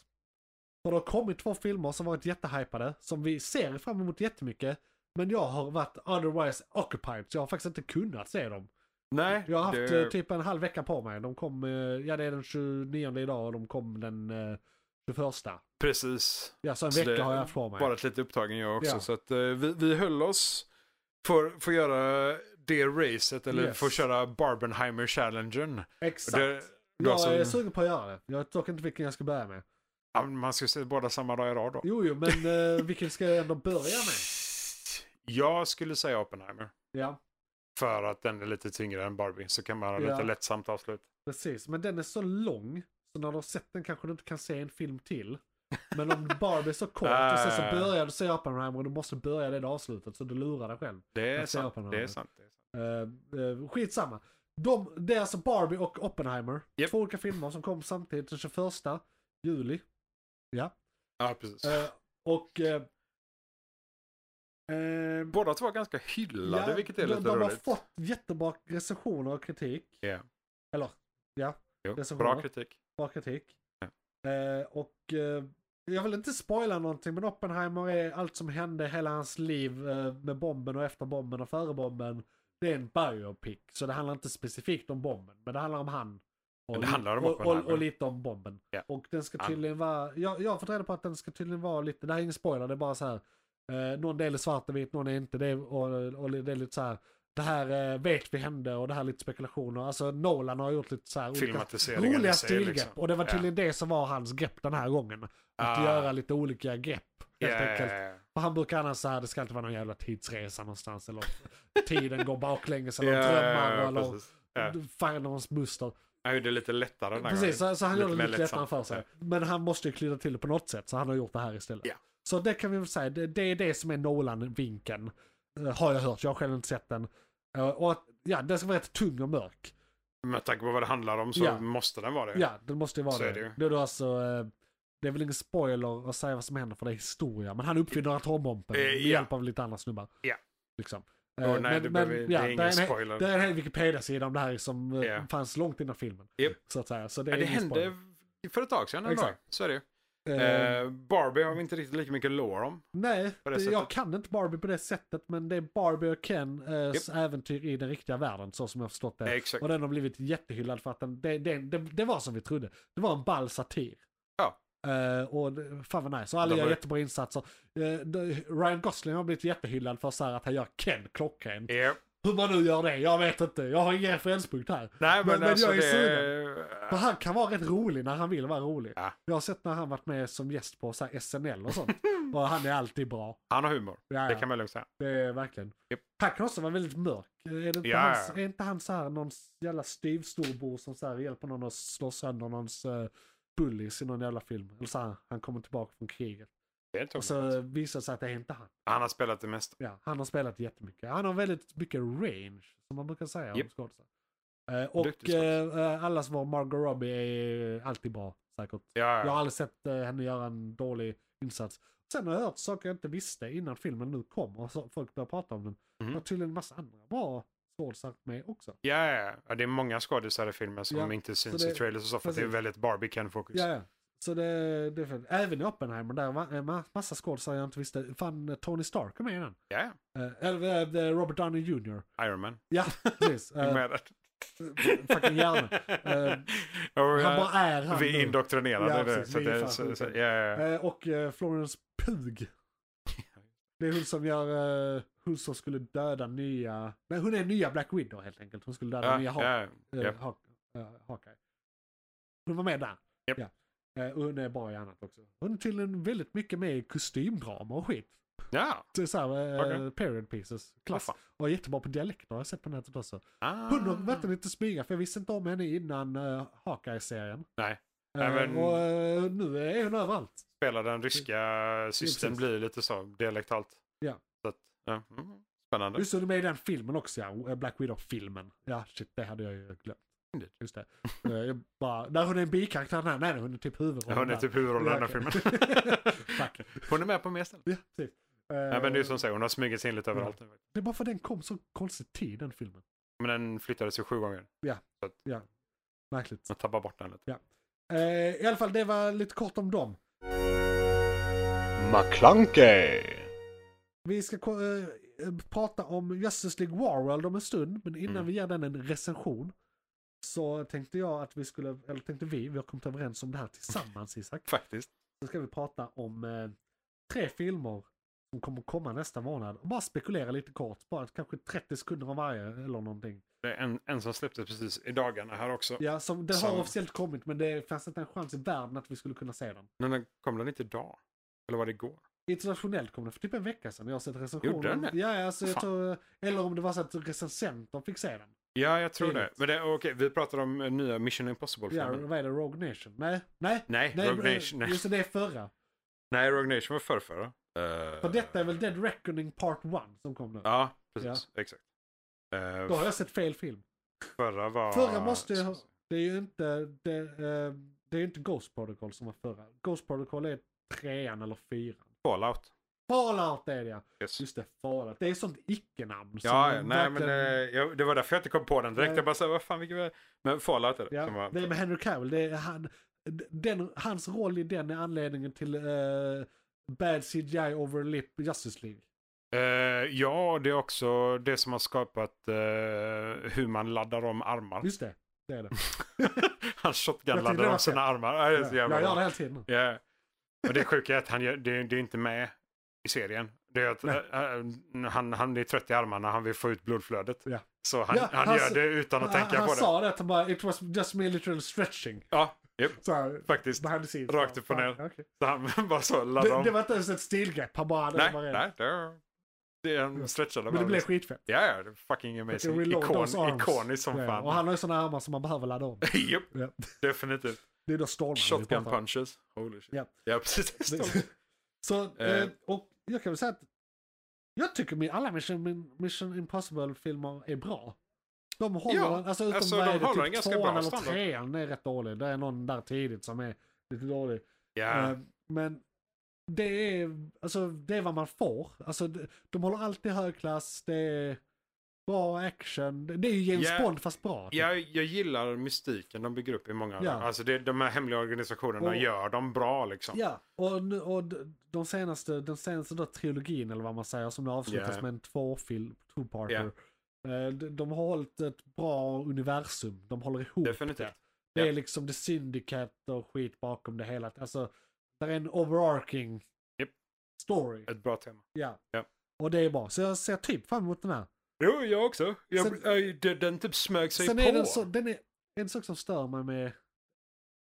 [SPEAKER 2] För det har kommit två filmer som varit jättehypade, som vi ser fram emot jättemycket. Men jag har varit otherwise occupied, så jag har faktiskt inte kunnat se dem.
[SPEAKER 3] Nej,
[SPEAKER 2] Jag har haft
[SPEAKER 3] det-
[SPEAKER 2] eh, typ en halv vecka på mig. De kom, eh, ja det är den 29 idag och de kom den eh, 21.
[SPEAKER 3] precis.
[SPEAKER 2] Ja, så en
[SPEAKER 3] Så
[SPEAKER 2] vecka
[SPEAKER 3] det-
[SPEAKER 2] har jag haft på mig.
[SPEAKER 3] Bara ett litet upptagen jag också.
[SPEAKER 2] Ja.
[SPEAKER 3] Så att eh, vi, vi höll oss för, för att göra det racet, eller
[SPEAKER 2] Yes.
[SPEAKER 3] för att köra Barbenheimer-challengen.
[SPEAKER 2] Exakt.
[SPEAKER 3] Det- alltså- det var
[SPEAKER 2] jag
[SPEAKER 3] som-
[SPEAKER 2] är sugen på att göra det. Jag vet dock inte vilken jag ska börja med.
[SPEAKER 3] Ja, men Man ska se båda samma dag i rad då.
[SPEAKER 2] Jo, jo, men eh, vilken ska jag ändå börja med?
[SPEAKER 3] Jag skulle säga Oppenheimer.
[SPEAKER 2] Ja.
[SPEAKER 3] För att den är lite tyngre än Barbie. Så kan man ha
[SPEAKER 2] Ja.
[SPEAKER 3] lite lättsamt avslut.
[SPEAKER 2] Precis, men den är så lång så när du har sett den kanske du inte kan se en film till. Men om Barbie är så kort och sen så
[SPEAKER 3] Ah.
[SPEAKER 2] börjar du se Oppenheimer och du måste börja det där avslutet så du lurar dig själv.
[SPEAKER 3] Det är
[SPEAKER 2] Jag ser
[SPEAKER 3] sant.
[SPEAKER 2] Oppenheimer.
[SPEAKER 3] Det är sant. Det är sant.
[SPEAKER 2] Uh, skitsamma. De, det är alltså Barbie och Oppenheimer.
[SPEAKER 3] Japp.
[SPEAKER 2] Två olika filmer som kom samtidigt den 21 juli.
[SPEAKER 3] Ja, precis.
[SPEAKER 2] Eh, och... eh, eh,
[SPEAKER 3] Båda två var ganska hyllade,
[SPEAKER 2] ja,
[SPEAKER 3] vilket är
[SPEAKER 2] de,
[SPEAKER 3] lite
[SPEAKER 2] de har
[SPEAKER 3] roligt.
[SPEAKER 2] fått jättebra recensioner och kritik.
[SPEAKER 3] Ja.
[SPEAKER 2] Eller, ja.
[SPEAKER 3] Jo,
[SPEAKER 2] det är så bra.
[SPEAKER 3] bra kritik.
[SPEAKER 2] bra kritik. Eh, och eh, jag vill inte spoila någonting men Oppenheimer är allt som hände hela hans liv eh, med bomben och efter bomben och före bomben. Det är en biopic så det handlar inte specifikt om bomben men det handlar om han. Och,
[SPEAKER 3] Men det
[SPEAKER 2] li-
[SPEAKER 3] handlar om
[SPEAKER 2] och, och,
[SPEAKER 3] Oppenheimer.
[SPEAKER 2] och lite om bomben.
[SPEAKER 3] Ja.
[SPEAKER 2] Och den ska
[SPEAKER 3] Han-
[SPEAKER 2] tydligen vara, jag, jag har fått reda på att den ska tydligen vara lite, det här är ingen spoiler, det är bara så här. Eh, någon del är svart och vit, någon är inte det och, och det är lite så här. det här eh, vet vi hände och det här är lite spekulationer. Alltså Nolan har gjort lite så här olika
[SPEAKER 3] Filmatiseringen
[SPEAKER 2] roliga
[SPEAKER 3] i sig,
[SPEAKER 2] stilgrepp.
[SPEAKER 3] liksom.
[SPEAKER 2] Och det var
[SPEAKER 3] Ja.
[SPEAKER 2] tydligen det som var hans grepp den här gången. Att
[SPEAKER 3] Ah.
[SPEAKER 2] göra lite olika grepp. Helt
[SPEAKER 3] Ja, ja,
[SPEAKER 2] enkelt.
[SPEAKER 3] ja, ja.
[SPEAKER 2] Och han brukar annars så här, det ska inte vara någon jävla tidsresa någonstans. Eller tiden går baklänges eller
[SPEAKER 3] Ja, ja,
[SPEAKER 2] drömmar.
[SPEAKER 3] ja,
[SPEAKER 2] eller
[SPEAKER 3] precis. Ja.
[SPEAKER 2] Farnors Buster.
[SPEAKER 3] Han gjorde det lite lättare den här
[SPEAKER 2] Precis, alltså-
[SPEAKER 3] gången.
[SPEAKER 2] så, så han gjorde det
[SPEAKER 3] mer
[SPEAKER 2] lite lättare för sig. Men han måste ju klydda till det på något sätt, så han har gjort det här istället.
[SPEAKER 3] Ja.
[SPEAKER 2] Så det kan vi väl säga, det, det är det som är Nolan-vinkeln. eh, Har jag hört, jag har själv inte sett den. Eh, Och att, ja, den ska vara rätt tung och mörk.
[SPEAKER 3] Ja. Med tanke på vad det handlar om så
[SPEAKER 2] Ja.
[SPEAKER 3] måste den vara det.
[SPEAKER 2] Ja, den måste ju vara
[SPEAKER 3] Så
[SPEAKER 2] det.
[SPEAKER 3] är det ju.
[SPEAKER 2] Det är då alltså, eh, det är väl ingen spoiler att säga vad som händer för det är historia, men han uppfinner atombomben
[SPEAKER 3] Eh,
[SPEAKER 2] med
[SPEAKER 3] ja.
[SPEAKER 2] hjälp av lite andra snubbar.
[SPEAKER 3] Ja.
[SPEAKER 2] Liksom.
[SPEAKER 3] Åh,
[SPEAKER 2] Eh,
[SPEAKER 3] nej, du behöver- det är ingen
[SPEAKER 2] där en hel-
[SPEAKER 3] spoiler.
[SPEAKER 2] Det är en hel Wikipedia-sida om det här som eh,
[SPEAKER 3] Ja.
[SPEAKER 2] fanns långt innan filmen.
[SPEAKER 3] Japp.
[SPEAKER 2] Så att säga, så det
[SPEAKER 3] Det,
[SPEAKER 2] är
[SPEAKER 3] ja, det
[SPEAKER 2] ingen
[SPEAKER 3] hände för ett tag sedan ändå.
[SPEAKER 2] Exakt.
[SPEAKER 3] Så är det ju.
[SPEAKER 2] spoiler. Eh,
[SPEAKER 3] Eh, Barbie har vi inte riktigt lika mycket lore om.
[SPEAKER 2] Nej,
[SPEAKER 3] på det
[SPEAKER 2] det- jag
[SPEAKER 3] sättet.
[SPEAKER 2] kan inte Barbie på det sättet men det är Barbie och Ken eh, s- äventyr i den riktiga världen så som jag har förstått det.
[SPEAKER 3] Exakt.
[SPEAKER 2] Eh, Och den har blivit jättehyllad för att den, det, det, det, det var som vi trodde. Det var en ball satir.
[SPEAKER 3] Ja.
[SPEAKER 2] Eh, och det- fan vad nice. Och alla
[SPEAKER 3] De
[SPEAKER 2] gör
[SPEAKER 3] var-
[SPEAKER 2] jättebra insatser. Eh, de- Ryan Gosling har blivit jättehyllad för så här att han gör Ken klockren.
[SPEAKER 3] Ja.
[SPEAKER 2] Hur man nu gör det, jag vet inte. Jag har ingen referenspunkt här.
[SPEAKER 3] Nej, men,
[SPEAKER 2] Men- men
[SPEAKER 3] alltså
[SPEAKER 2] jag är
[SPEAKER 3] det...
[SPEAKER 2] För han kan vara rätt rolig när han vill vara rolig.
[SPEAKER 3] Ja.
[SPEAKER 2] Jag har sett när han varit med som gäst på så här SNL och sånt. och han är alltid bra.
[SPEAKER 3] Han har humor.
[SPEAKER 2] Ja,
[SPEAKER 3] Det
[SPEAKER 2] ja.
[SPEAKER 3] kan man lugnt säga.
[SPEAKER 2] Det är verkligen.
[SPEAKER 3] Japp.
[SPEAKER 2] Han kan också vara väldigt mörk. Är, det inte,
[SPEAKER 3] Ja.
[SPEAKER 2] hans, är inte han så här någon jävla styvstorbror som så här hjälper någon att slå sönder någons uh, bullies i någon jävla film? Eller så här, han kommer tillbaka från kriget.
[SPEAKER 3] Det är inte
[SPEAKER 2] Och så visar det sig att det är inte han.
[SPEAKER 3] Han har spelat det mesta.
[SPEAKER 2] Ja, han har spelat jättemycket. Han har väldigt mycket range, som man brukar säga om
[SPEAKER 3] Japp.
[SPEAKER 2] skådisar. Eh, och
[SPEAKER 3] Duktig skådis.
[SPEAKER 2] eh, eh, allas vår Margot Robbie är eh, alltid bra, säkert.
[SPEAKER 3] Ja,
[SPEAKER 2] Jag har
[SPEAKER 3] ja.
[SPEAKER 2] aldrig sett eh, henne göra en dålig insats. Sen har jag hört saker jag inte visste innan filmen nu kom och så folk började prata om den.
[SPEAKER 3] Mhm.
[SPEAKER 2] Det var tydligen en massa andra bra skådisar med också.
[SPEAKER 3] Ja, ja. ja, det är många skådisar i filmen som
[SPEAKER 2] Ja,
[SPEAKER 3] inte syns
[SPEAKER 2] det-
[SPEAKER 3] i trailers och så, för att det är
[SPEAKER 2] precis.
[SPEAKER 3] väldigt Barbie-Ken-fokus.
[SPEAKER 2] Ja, ja. Så det, det är för... Även i Oppenheimer, där var en ma- massa skådisar jag inte visste. Fan, eh, Tony Stark är med i den.
[SPEAKER 3] Ja,
[SPEAKER 2] Eh, Eller eh, det är Robert Downey Jr.
[SPEAKER 3] ja. Iron Man.
[SPEAKER 2] Ja, precis. Eh,
[SPEAKER 3] Med det.
[SPEAKER 2] fucking hjärna. Eh,
[SPEAKER 3] Och,
[SPEAKER 2] han
[SPEAKER 3] eh,
[SPEAKER 2] bara är han
[SPEAKER 3] vi är
[SPEAKER 2] nu.
[SPEAKER 3] indoktrinerade.
[SPEAKER 2] Ja,
[SPEAKER 3] det,
[SPEAKER 2] precis.
[SPEAKER 3] så att
[SPEAKER 2] Vi är
[SPEAKER 3] det,
[SPEAKER 2] fan
[SPEAKER 3] så, så,
[SPEAKER 2] sjuka.
[SPEAKER 3] ja, ja. ja.
[SPEAKER 2] Eh, Och eh, Florence Pug. Det är hon som gör, eh, hon som skulle döda nya, nej hon är nya Black Widow helt enkelt. Hon skulle döda
[SPEAKER 3] Ja,
[SPEAKER 2] nya ha-
[SPEAKER 3] ja,
[SPEAKER 2] eh,
[SPEAKER 3] ja.
[SPEAKER 2] ha- eh, Hawkeye. Hon var med där.
[SPEAKER 3] Japp.
[SPEAKER 2] Ja. Eh, Och hon är bra i annat också. Hon är tydligen väldigt mycket med i kostymdrama och skit.
[SPEAKER 3] Ja.
[SPEAKER 2] Det är så här, eh,
[SPEAKER 3] Okej.
[SPEAKER 2] period pieces. Klass.
[SPEAKER 3] Vad
[SPEAKER 2] Och är jättebra på dialekter har jag sett på nätet också.
[SPEAKER 3] Ah.
[SPEAKER 2] Hon har verkligen lite smyga för jag visste inte om henne innan uh, Hawkeye-serien.
[SPEAKER 3] Nej.
[SPEAKER 2] Eh,
[SPEAKER 3] Nej, men-
[SPEAKER 2] Och eh, nu är hon överallt.
[SPEAKER 3] Spelar den ryska systern
[SPEAKER 2] precis.
[SPEAKER 3] blir lite så dialektalt.
[SPEAKER 2] Ja.
[SPEAKER 3] Så att, ja. mm. Spännande.
[SPEAKER 2] Just det, de är i den filmen också ja. Eh, Black Widow-filmen. Ja, shit, det hade jag ju glömt.
[SPEAKER 3] Fyndigt.
[SPEAKER 2] Just det. Eh, Jag bara, nej, hon är en bikaraktär. Nej, nej, hon är typ huvudrollen.
[SPEAKER 3] Hon är
[SPEAKER 2] där.
[SPEAKER 3] typ huvudrollen i den här
[SPEAKER 2] Ja,
[SPEAKER 3] filmen.
[SPEAKER 2] okej. Tack.
[SPEAKER 3] Hon är med på mer ställen.
[SPEAKER 2] Ja, precis.
[SPEAKER 3] Nej, men det är
[SPEAKER 2] Eh,
[SPEAKER 3] som säger, hon har smugit sig in lite
[SPEAKER 2] ja.
[SPEAKER 3] överallt nu.
[SPEAKER 2] det är bara för att den kom så konstig tid, den filmen.
[SPEAKER 3] Men den flyttades ju sju gånger.
[SPEAKER 2] Märkligt.
[SPEAKER 3] Man tappar bort den lite.
[SPEAKER 2] Eh, I alla fall, det var lite kort om dem.
[SPEAKER 4] McClunkey!
[SPEAKER 2] Vi ska ko- eh, eh, prata om Justice League Warworld om en stund, men innan
[SPEAKER 3] Mm.
[SPEAKER 2] vi ger den en recension så tänkte jag att vi skulle, eller tänkte vi, vi har kommit överens om det här tillsammans Isak.
[SPEAKER 3] Faktiskt.
[SPEAKER 2] Så ska vi prata om eh, tre filmer som kommer komma nästa månad. Och bara spekulera lite kort, bara kanske 30 sekunder om varje eller någonting.
[SPEAKER 3] Det är en, en som släpptes precis i dagarna här också.
[SPEAKER 2] Ja, som, den har
[SPEAKER 3] Som-
[SPEAKER 2] officiellt kommit men det fanns inte en chans i världen att vi skulle kunna se den.
[SPEAKER 3] Men den kom den inte idag? Eller var det igår?
[SPEAKER 2] Internationellt kom den för typ en vecka sedan. Jag har sett recensioner.
[SPEAKER 3] Gjorde den det?
[SPEAKER 2] Ja, ja, alltså, jag
[SPEAKER 3] Fan.
[SPEAKER 2] tror, eller om det var så att recensenter fick se den.
[SPEAKER 3] Ja, jag tror det.
[SPEAKER 2] Tidigt.
[SPEAKER 3] Men det, okej, vi pratar om eh, nya Mission
[SPEAKER 2] Ja,
[SPEAKER 3] Impossible-filmen.
[SPEAKER 2] vad är det? Rogue Nation? Nej, nej.
[SPEAKER 3] nej,
[SPEAKER 2] nej
[SPEAKER 3] Rogue
[SPEAKER 2] eh,
[SPEAKER 3] Nation. Nej.
[SPEAKER 2] Just det, det är förra.
[SPEAKER 3] nej, Rogue Nation var förrförra. Eh,
[SPEAKER 2] För detta är väl Dead Reckoning Part 1 som kom nu?
[SPEAKER 3] Ja, precis. Exakt. Eh,
[SPEAKER 2] Då har jag sett fel film.
[SPEAKER 3] Förra var...
[SPEAKER 2] Förra måste ju ha- Det är ju inte, det, eh, det är ju inte Ghost Protocol som var förra. Ghost Protocol är trean eller fyran.
[SPEAKER 3] Fallout.
[SPEAKER 2] Fallout är det ja.
[SPEAKER 3] Yes.
[SPEAKER 2] Just det, Fallout. Det är ett sånt icke-namn. som
[SPEAKER 3] Ja, ja, nej,
[SPEAKER 2] verkligen-
[SPEAKER 3] men eh, jag, det var därför jag inte kom på den direkt.
[SPEAKER 2] Nej.
[SPEAKER 3] Jag bara så här, vad fan, vilken... var- Men Fallout är det. som
[SPEAKER 2] ja,
[SPEAKER 3] var-
[SPEAKER 2] det är med Henry Cavill. Det är han, den, hans roll i den är anledningen till eh, Bad CGI Overlip Justice League.
[SPEAKER 3] Eh, ja, det är också det som har skapat eh, hur man laddar om armar.
[SPEAKER 2] Just det, det är det.
[SPEAKER 3] han shotgun
[SPEAKER 2] Jag tyckte det
[SPEAKER 3] laddar
[SPEAKER 2] var
[SPEAKER 3] om sina armar. Ja, det är så
[SPEAKER 2] jag
[SPEAKER 3] jävla
[SPEAKER 2] gör det
[SPEAKER 3] bra.
[SPEAKER 2] hela tiden.
[SPEAKER 3] Ja. Och det sjuka är att han gör, det, det är inte med i serien. Det är att eh, eh, han, han är trött i armarna, han vill få ut blodflödet.
[SPEAKER 2] Ja.
[SPEAKER 3] Så han,
[SPEAKER 2] Ja,
[SPEAKER 3] han,
[SPEAKER 2] han
[SPEAKER 3] gör
[SPEAKER 2] s-
[SPEAKER 3] det utan att
[SPEAKER 2] han
[SPEAKER 3] tänka
[SPEAKER 2] han
[SPEAKER 3] på det.
[SPEAKER 2] sa det, att han bara, it was just me literally stretching.
[SPEAKER 3] Ja, japp,
[SPEAKER 2] Så här,
[SPEAKER 3] faktiskt.
[SPEAKER 2] behind the scenes.
[SPEAKER 3] Rakt upp och
[SPEAKER 2] Ja,
[SPEAKER 3] ner.
[SPEAKER 2] okej.
[SPEAKER 3] Så han bara så laddade
[SPEAKER 2] Det, det
[SPEAKER 3] om.
[SPEAKER 2] var inte ens ett stilgrepp, han bara...
[SPEAKER 3] Nej,
[SPEAKER 2] bara-
[SPEAKER 3] nej. Det är, det är en stretchade
[SPEAKER 2] Men det
[SPEAKER 3] bara.
[SPEAKER 2] blev
[SPEAKER 3] liksom.
[SPEAKER 2] skitfett.
[SPEAKER 3] Ja, ja, det är fucking amazing.
[SPEAKER 2] Fucking reload those
[SPEAKER 3] Ikon,
[SPEAKER 2] arms.
[SPEAKER 3] ikonisk som
[SPEAKER 2] Ja,
[SPEAKER 3] fan.
[SPEAKER 2] Och han har ju sådana armar som man behöver ladda om.
[SPEAKER 3] Japp,
[SPEAKER 2] Ja.
[SPEAKER 3] definitivt.
[SPEAKER 2] Det är då Stålman vi
[SPEAKER 3] Shotgun
[SPEAKER 2] pratar om.
[SPEAKER 3] punches. Holy shit.
[SPEAKER 2] Ja.
[SPEAKER 3] Ja, precis.
[SPEAKER 2] Det- Så, eh,
[SPEAKER 3] Eh.
[SPEAKER 2] och jag kan väl säga att jag tycker min, alla Mission, min- Mission Impossible-filmer är bra. De håller,
[SPEAKER 3] Ja,
[SPEAKER 2] den- alltså utom
[SPEAKER 3] alltså,
[SPEAKER 2] vad
[SPEAKER 3] de
[SPEAKER 2] är det,
[SPEAKER 3] håller
[SPEAKER 2] typ
[SPEAKER 3] en ganska
[SPEAKER 2] tvåan
[SPEAKER 3] bra
[SPEAKER 2] eller
[SPEAKER 3] standard.
[SPEAKER 2] trean är rätt dålig. Det är någon där tidigt som är lite dålig.
[SPEAKER 3] Ja,
[SPEAKER 2] Eh, Men det är, alltså, det är vad man får. Alltså, de, de håller alltid hög klass, det är bra action. Det, det är ju James
[SPEAKER 3] Ja.
[SPEAKER 2] Bond fast bra. typ.
[SPEAKER 3] jag, jag gillar mystiken de bygger upp i många av
[SPEAKER 2] Ja.
[SPEAKER 3] dem. Alltså det, de här hemliga organisationerna
[SPEAKER 2] Och-
[SPEAKER 3] gör dem bra liksom.
[SPEAKER 2] typ. Ja, och, nu, och d- de senaste, den senaste då trilogin eller vad man säger som nu avslutas
[SPEAKER 3] Ja.
[SPEAKER 2] med en tvåfilm, two-parter. Eh, De, de har hållit ett bra universum, de håller ihop
[SPEAKER 3] Definitivt.
[SPEAKER 2] det. Det
[SPEAKER 3] ja.
[SPEAKER 2] är liksom det syndikat och skit bakom det hela. Alltså, det är en overarching
[SPEAKER 3] Japp.
[SPEAKER 2] story.
[SPEAKER 3] Ett bra tema.
[SPEAKER 2] Ja.
[SPEAKER 3] Ja.
[SPEAKER 2] Och det är bra. Så jag ser typ fram emot den här.
[SPEAKER 3] Jo, jag också. Jag,
[SPEAKER 2] Sen-
[SPEAKER 3] aj, den, den typ smög sig
[SPEAKER 2] Sen
[SPEAKER 3] på.
[SPEAKER 2] är den, så, den är en sak som stör mig med...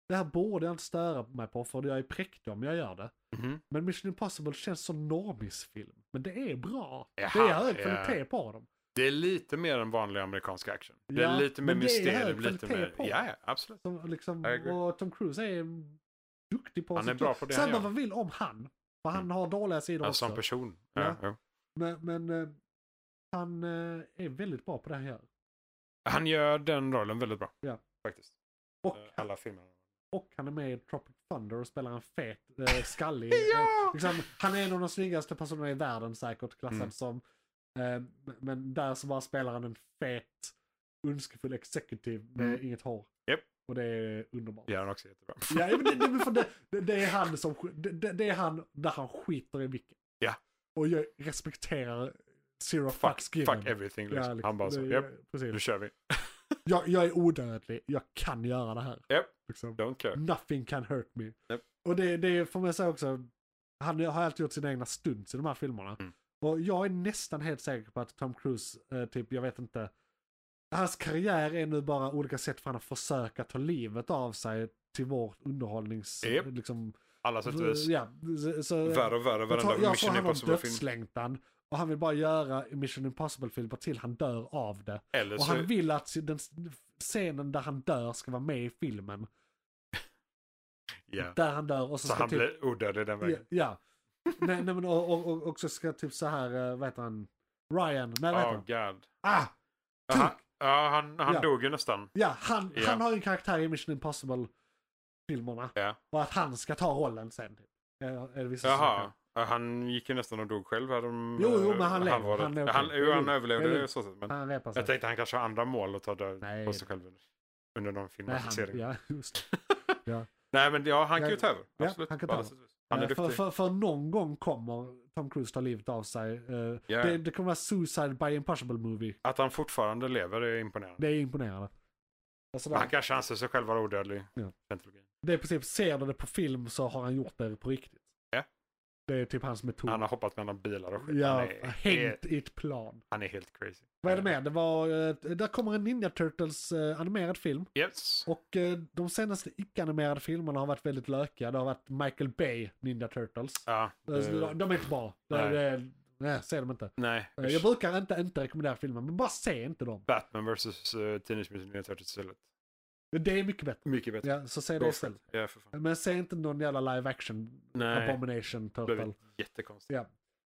[SPEAKER 2] Det här borde jag inte störa mig på för jag är präktig om jag gör det.
[SPEAKER 3] Mhm.
[SPEAKER 2] Men Mission Impossible känns som normisfilm. Men det är bra. det är
[SPEAKER 3] Jaha,
[SPEAKER 2] hög
[SPEAKER 3] ja.
[SPEAKER 2] kvalitet på dem.
[SPEAKER 3] Det är lite mer än vanlig amerikansk action. det
[SPEAKER 2] Ja,
[SPEAKER 3] är lite mer
[SPEAKER 2] men det är
[SPEAKER 3] mysterium.
[SPEAKER 2] hög
[SPEAKER 3] Lite
[SPEAKER 2] kvalitet
[SPEAKER 3] mer...
[SPEAKER 2] på.
[SPEAKER 3] Ja, ja, absolut.
[SPEAKER 2] Som, liksom,
[SPEAKER 3] I agree.
[SPEAKER 2] och Tom Cruise är duktig på
[SPEAKER 3] Han är
[SPEAKER 2] sitt-
[SPEAKER 3] bra på det han
[SPEAKER 2] Säg vad
[SPEAKER 3] gör. Mm.
[SPEAKER 2] man vill om han. För han har dåliga sidor
[SPEAKER 3] Ja, Alltså, som
[SPEAKER 2] också.
[SPEAKER 3] person.
[SPEAKER 2] Ja.
[SPEAKER 3] Ja. Ja.
[SPEAKER 2] Men, men eh, han eh, är väldigt bra på det han gör.
[SPEAKER 3] Han gör den rollen väldigt bra.
[SPEAKER 2] Ja.
[SPEAKER 3] Faktiskt.
[SPEAKER 2] Och,
[SPEAKER 3] Eh, Alla filmer.
[SPEAKER 2] och han är med i Tropic Thunder och spelar en fet, eh, skallig...
[SPEAKER 3] Ja!
[SPEAKER 2] eh, liksom, han är en av de snyggaste personerna i världen säkert, klassad
[SPEAKER 3] Mm.
[SPEAKER 2] som. Eh, men där så bara spelar han en fet, ondskefull executive med
[SPEAKER 3] Mm.
[SPEAKER 2] inget hår.
[SPEAKER 3] Japp.
[SPEAKER 2] Och det är underbart.
[SPEAKER 3] Gör han också jättebra.
[SPEAKER 2] Ja, men det, det, men för det, det, det är han som, sk- det- det, det är han där han skiter i vilken.
[SPEAKER 3] Ja.
[SPEAKER 2] Och jag respekterar zero
[SPEAKER 3] Fuck,
[SPEAKER 2] fucks given.
[SPEAKER 3] fuck everything liksom.
[SPEAKER 2] Ja, liksom,
[SPEAKER 3] Han bara så,
[SPEAKER 2] det-
[SPEAKER 3] japp, nu
[SPEAKER 2] precis.
[SPEAKER 3] kör vi.
[SPEAKER 2] Jag, jag är odödlig, jag kan göra det här.
[SPEAKER 3] Japp.
[SPEAKER 2] Liksom.
[SPEAKER 3] Don't care.
[SPEAKER 2] Nothing can hurt me.
[SPEAKER 3] Japp.
[SPEAKER 2] Och det, det får man säga också, han har alltid gjort sina egna stunts i de här filmerna.
[SPEAKER 3] Mm.
[SPEAKER 2] Och jag är nästan helt säker på att Tom Cruise, eh, typ, jag vet inte, hans karriär är nu bara olika sätt för han att försöka ta livet av sig till vår underhållnings...
[SPEAKER 3] Japp. Alltså,
[SPEAKER 2] Liksom,
[SPEAKER 3] Alla sätt och vis.
[SPEAKER 2] ja, så, så, eh,
[SPEAKER 3] Värre och värre
[SPEAKER 2] jag tror,
[SPEAKER 3] varenda
[SPEAKER 2] jag tror
[SPEAKER 3] Mission
[SPEAKER 2] han har
[SPEAKER 3] Impossible-film.
[SPEAKER 2] dödslängtan och han vill bara göra Mission Impossible-filmer till han dör av det.
[SPEAKER 3] Eller
[SPEAKER 2] Och
[SPEAKER 3] så...
[SPEAKER 2] han vill att den scenen där han dör ska vara med i filmen.
[SPEAKER 3] Ja.
[SPEAKER 2] Där han dör och så,
[SPEAKER 3] Så
[SPEAKER 2] ska
[SPEAKER 3] han
[SPEAKER 2] typ...
[SPEAKER 3] blir odödlig den
[SPEAKER 2] Ja.
[SPEAKER 3] vägen.
[SPEAKER 2] ja. nej, nej men och, och, och också ska typ så här, eh, vad heter han? Ryan, nej vad heter
[SPEAKER 3] Oh
[SPEAKER 2] han?
[SPEAKER 3] god.
[SPEAKER 2] Ah!
[SPEAKER 3] Ja,
[SPEAKER 2] Tuck!
[SPEAKER 3] han, ja, han, han
[SPEAKER 2] Ja.
[SPEAKER 3] dog ju nästan.
[SPEAKER 2] Ja, han,
[SPEAKER 3] Ja.
[SPEAKER 2] han har ju en karaktär i Mission Impossible-filmerna.
[SPEAKER 3] Ja.
[SPEAKER 2] Och att han ska ta rollen sen. Typ. Eh, Är det vissa som
[SPEAKER 3] Jaha.
[SPEAKER 2] snackar?
[SPEAKER 3] Ja, Han gick ju nästan och dog själv. Här de,
[SPEAKER 2] Jo, jo,
[SPEAKER 3] eh,
[SPEAKER 2] men han lever.
[SPEAKER 3] halvåret.
[SPEAKER 2] Han är okej.
[SPEAKER 3] han, jo,
[SPEAKER 2] Det
[SPEAKER 3] han
[SPEAKER 2] är lugnt. Det är
[SPEAKER 3] överlevde
[SPEAKER 2] lugnt.
[SPEAKER 3] och så. Men
[SPEAKER 2] Han repar sig.
[SPEAKER 3] jag tänkte han kanske har andra mål att ta död
[SPEAKER 2] Nej.
[SPEAKER 3] på sig själv under, under någon
[SPEAKER 2] Nej, han,
[SPEAKER 3] filmatisering. Nej,
[SPEAKER 2] ja, just det.
[SPEAKER 3] men ja, han kan ju
[SPEAKER 2] Ja.
[SPEAKER 3] ta över.
[SPEAKER 2] Ja,
[SPEAKER 3] Absolut.
[SPEAKER 2] han kan
[SPEAKER 3] På
[SPEAKER 2] ta
[SPEAKER 3] alla
[SPEAKER 2] över.
[SPEAKER 3] sätt och vis. Han är
[SPEAKER 2] Eh, för,
[SPEAKER 3] duktig.
[SPEAKER 2] för, för någon gång kommer Tom Cruise ta livet av sig. Eh,
[SPEAKER 3] Ja.
[SPEAKER 2] det, det kommer vara Suicide by Impossible Movie.
[SPEAKER 3] Att han fortfarande lever är imponerande.
[SPEAKER 2] Det är imponerande. Alltså,
[SPEAKER 3] Men Han
[SPEAKER 2] där,
[SPEAKER 3] kanske anser sig själv vara odödlig.
[SPEAKER 2] Ja.
[SPEAKER 3] Scientologin.
[SPEAKER 2] det är i princip, ser du det på film så har han gjort det på riktigt.
[SPEAKER 3] Ja.
[SPEAKER 2] Det är typ hans metod.
[SPEAKER 3] Han har hoppat mellan bilar och skit.
[SPEAKER 2] ja,
[SPEAKER 3] han, är, är,
[SPEAKER 2] hängt i ett plan.
[SPEAKER 3] han är helt crazy.
[SPEAKER 2] Vad är det med? Det var, eh, där kommer en Ninja Turtles eh, animerad film.
[SPEAKER 3] Yes.
[SPEAKER 2] Och eh, de senaste icke-animerade filmerna har varit väldigt lökiga. Det har varit Michael Bay Ninja Turtles.
[SPEAKER 3] Ja,
[SPEAKER 2] Alltså,
[SPEAKER 3] det-
[SPEAKER 2] de är inte bra. Nej,
[SPEAKER 3] nej.
[SPEAKER 2] det, nej se dem inte. Eh,
[SPEAKER 3] nej.
[SPEAKER 2] Jag brukar inte, inte rekommendera filmer, men bara se inte dem.
[SPEAKER 3] Batman vs. eh, Teenage Mutant Ninja Turtles istället.
[SPEAKER 2] Det är mycket bättre.
[SPEAKER 3] Mycket bättre.
[SPEAKER 2] Ja, så
[SPEAKER 3] Go
[SPEAKER 2] se det
[SPEAKER 3] for it.
[SPEAKER 2] istället.
[SPEAKER 3] Ja, för fan.
[SPEAKER 2] Men se inte någon jävla live action
[SPEAKER 3] Nej.
[SPEAKER 2] abomination
[SPEAKER 3] Det
[SPEAKER 2] turtle.
[SPEAKER 3] blev jättekonstigt.
[SPEAKER 2] Ja.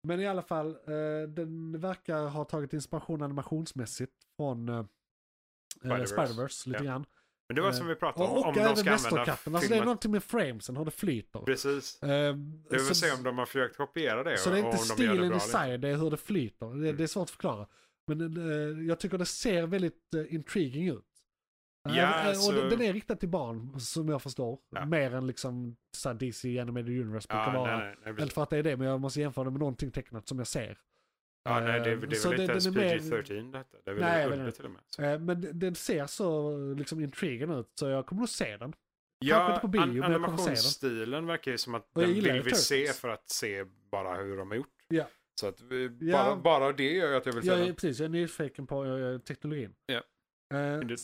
[SPEAKER 2] Men i alla fall, eh, den verkar ha tagit inspiration animationsmässigt från eh, eh,
[SPEAKER 3] Spider-Verse.
[SPEAKER 2] Spider-Verse lite
[SPEAKER 3] Ja.
[SPEAKER 2] grann.
[SPEAKER 3] Men det var
[SPEAKER 2] Eh,
[SPEAKER 3] som vi pratade om,
[SPEAKER 2] Och,
[SPEAKER 3] om
[SPEAKER 2] och
[SPEAKER 3] de
[SPEAKER 2] även
[SPEAKER 3] ska använda
[SPEAKER 2] Mästerkatten. Alltså det är
[SPEAKER 3] filmen.
[SPEAKER 2] någonting med framesen, hur det flyter.
[SPEAKER 3] Precis.
[SPEAKER 2] Eh,
[SPEAKER 3] Jag vill
[SPEAKER 2] så-
[SPEAKER 3] se om de har försökt kopiera det.
[SPEAKER 2] Så det är
[SPEAKER 3] och
[SPEAKER 2] inte
[SPEAKER 3] om de gör det
[SPEAKER 2] stilen
[SPEAKER 3] bra liksom.
[SPEAKER 2] i
[SPEAKER 3] eller inte.
[SPEAKER 2] sig, det är hur det flyter. Det,
[SPEAKER 3] Mm.
[SPEAKER 2] det är svårt att förklara. Men eh, jag tycker det ser väldigt eh, intriguing ut.
[SPEAKER 3] Ja,
[SPEAKER 2] Även- eh,
[SPEAKER 3] alltså-
[SPEAKER 2] Och den- den är riktad till barn, som jag förstår.
[SPEAKER 3] Ja.
[SPEAKER 2] Mer än liksom så här, DC Animated Universe brukar
[SPEAKER 3] Ja,
[SPEAKER 2] vara.
[SPEAKER 3] nej, nej, nej,
[SPEAKER 2] Eller
[SPEAKER 3] precis.
[SPEAKER 2] för att det är det, men jag måste jämföra det med någonting tecknat som jag ser.
[SPEAKER 3] ja, nej, det, är- det är
[SPEAKER 2] Ehm, så
[SPEAKER 3] väl inte
[SPEAKER 2] det-
[SPEAKER 3] ens
[SPEAKER 2] den är mer-
[SPEAKER 3] PG-13 detta. Det är väl
[SPEAKER 2] Nej, jag
[SPEAKER 3] nej,
[SPEAKER 2] vet
[SPEAKER 3] under
[SPEAKER 2] inte.
[SPEAKER 3] till och med. Så.
[SPEAKER 2] Eh, Men d- den ser så eh, liksom intriguing ut, så jag kommer nog se den.
[SPEAKER 3] ja,
[SPEAKER 2] inte på bio, men jag kommer se den.
[SPEAKER 3] animationsstilen verkar ju som att
[SPEAKER 2] jag
[SPEAKER 3] den
[SPEAKER 2] gillar
[SPEAKER 3] vill
[SPEAKER 2] ju
[SPEAKER 3] vi se
[SPEAKER 2] Turtles.
[SPEAKER 3] för att se bara hur de har gjort.
[SPEAKER 2] Ja.
[SPEAKER 3] Så att eh, bara,
[SPEAKER 2] Ja.
[SPEAKER 3] bara det gör ju att jag vill
[SPEAKER 2] Jag
[SPEAKER 3] säga
[SPEAKER 2] är,
[SPEAKER 3] den.
[SPEAKER 2] precis, jag är nyfiken på eh, teknologin.
[SPEAKER 3] Ja.
[SPEAKER 2] Eh,
[SPEAKER 3] Det-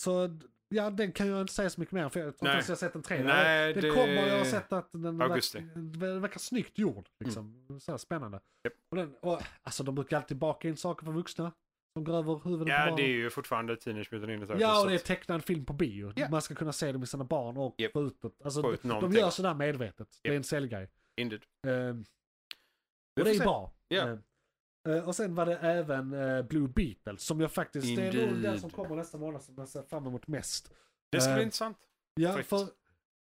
[SPEAKER 2] så d- ja, den kan jag inte säga så mycket mer om, för jag tror inte
[SPEAKER 3] Nej.
[SPEAKER 2] ens jag har sett en trailer.
[SPEAKER 3] Nej,
[SPEAKER 2] det,
[SPEAKER 3] det-
[SPEAKER 2] kommer, jag har sett att den
[SPEAKER 3] Augusti. Mm.
[SPEAKER 2] verkar, den verkar snyggt gjord. Liksom. Så här spännande.
[SPEAKER 3] Japp.
[SPEAKER 2] Och den, och, alltså de brukar alltid baka in saker för vuxna. Som går över huvudet på
[SPEAKER 3] Ja,
[SPEAKER 2] barnen.
[SPEAKER 3] det är ju fortfarande Teenage Mutant Ninja Turtles.
[SPEAKER 2] Ja,
[SPEAKER 3] så
[SPEAKER 2] och det är
[SPEAKER 3] att-
[SPEAKER 2] tecknad film på bio.
[SPEAKER 3] Ja.
[SPEAKER 2] Man ska kunna se det med sina barn och
[SPEAKER 3] Japp.
[SPEAKER 2] få ut det. Alltså,
[SPEAKER 3] Få ut
[SPEAKER 2] de
[SPEAKER 3] någonting.
[SPEAKER 2] gör sådär medvetet. Det är
[SPEAKER 3] Japp.
[SPEAKER 2] en säljgrej.
[SPEAKER 3] Indeed.
[SPEAKER 2] Ehm,
[SPEAKER 3] Vi
[SPEAKER 2] och det
[SPEAKER 3] får
[SPEAKER 2] är
[SPEAKER 3] se.
[SPEAKER 2] bra.
[SPEAKER 3] Ja.
[SPEAKER 2] Ehm, eh, och sen var det även eh, Blue Beetle som jag faktiskt, det är nog den
[SPEAKER 3] Indeed.
[SPEAKER 2] som kommer nästa månad som jag ser fram emot mest.
[SPEAKER 3] Det ska
[SPEAKER 2] Eh,
[SPEAKER 3] bli intressant.
[SPEAKER 2] Ja,
[SPEAKER 3] Faktiskt.
[SPEAKER 2] för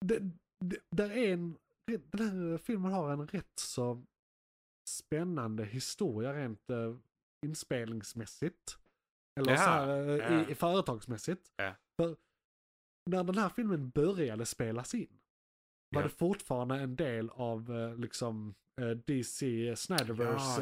[SPEAKER 2] det, det, där är en, den här filmen har en rätt så spännande historia rent eh, inspelningsmässigt. Eller
[SPEAKER 3] Ja,
[SPEAKER 2] så här, eh,
[SPEAKER 3] ja.
[SPEAKER 2] i, i företagsmässigt.
[SPEAKER 3] Ja.
[SPEAKER 2] För när den här filmen började spelas in var
[SPEAKER 3] Ja.
[SPEAKER 2] det fortfarande en del av eh, liksom eh, DC Snyderverse.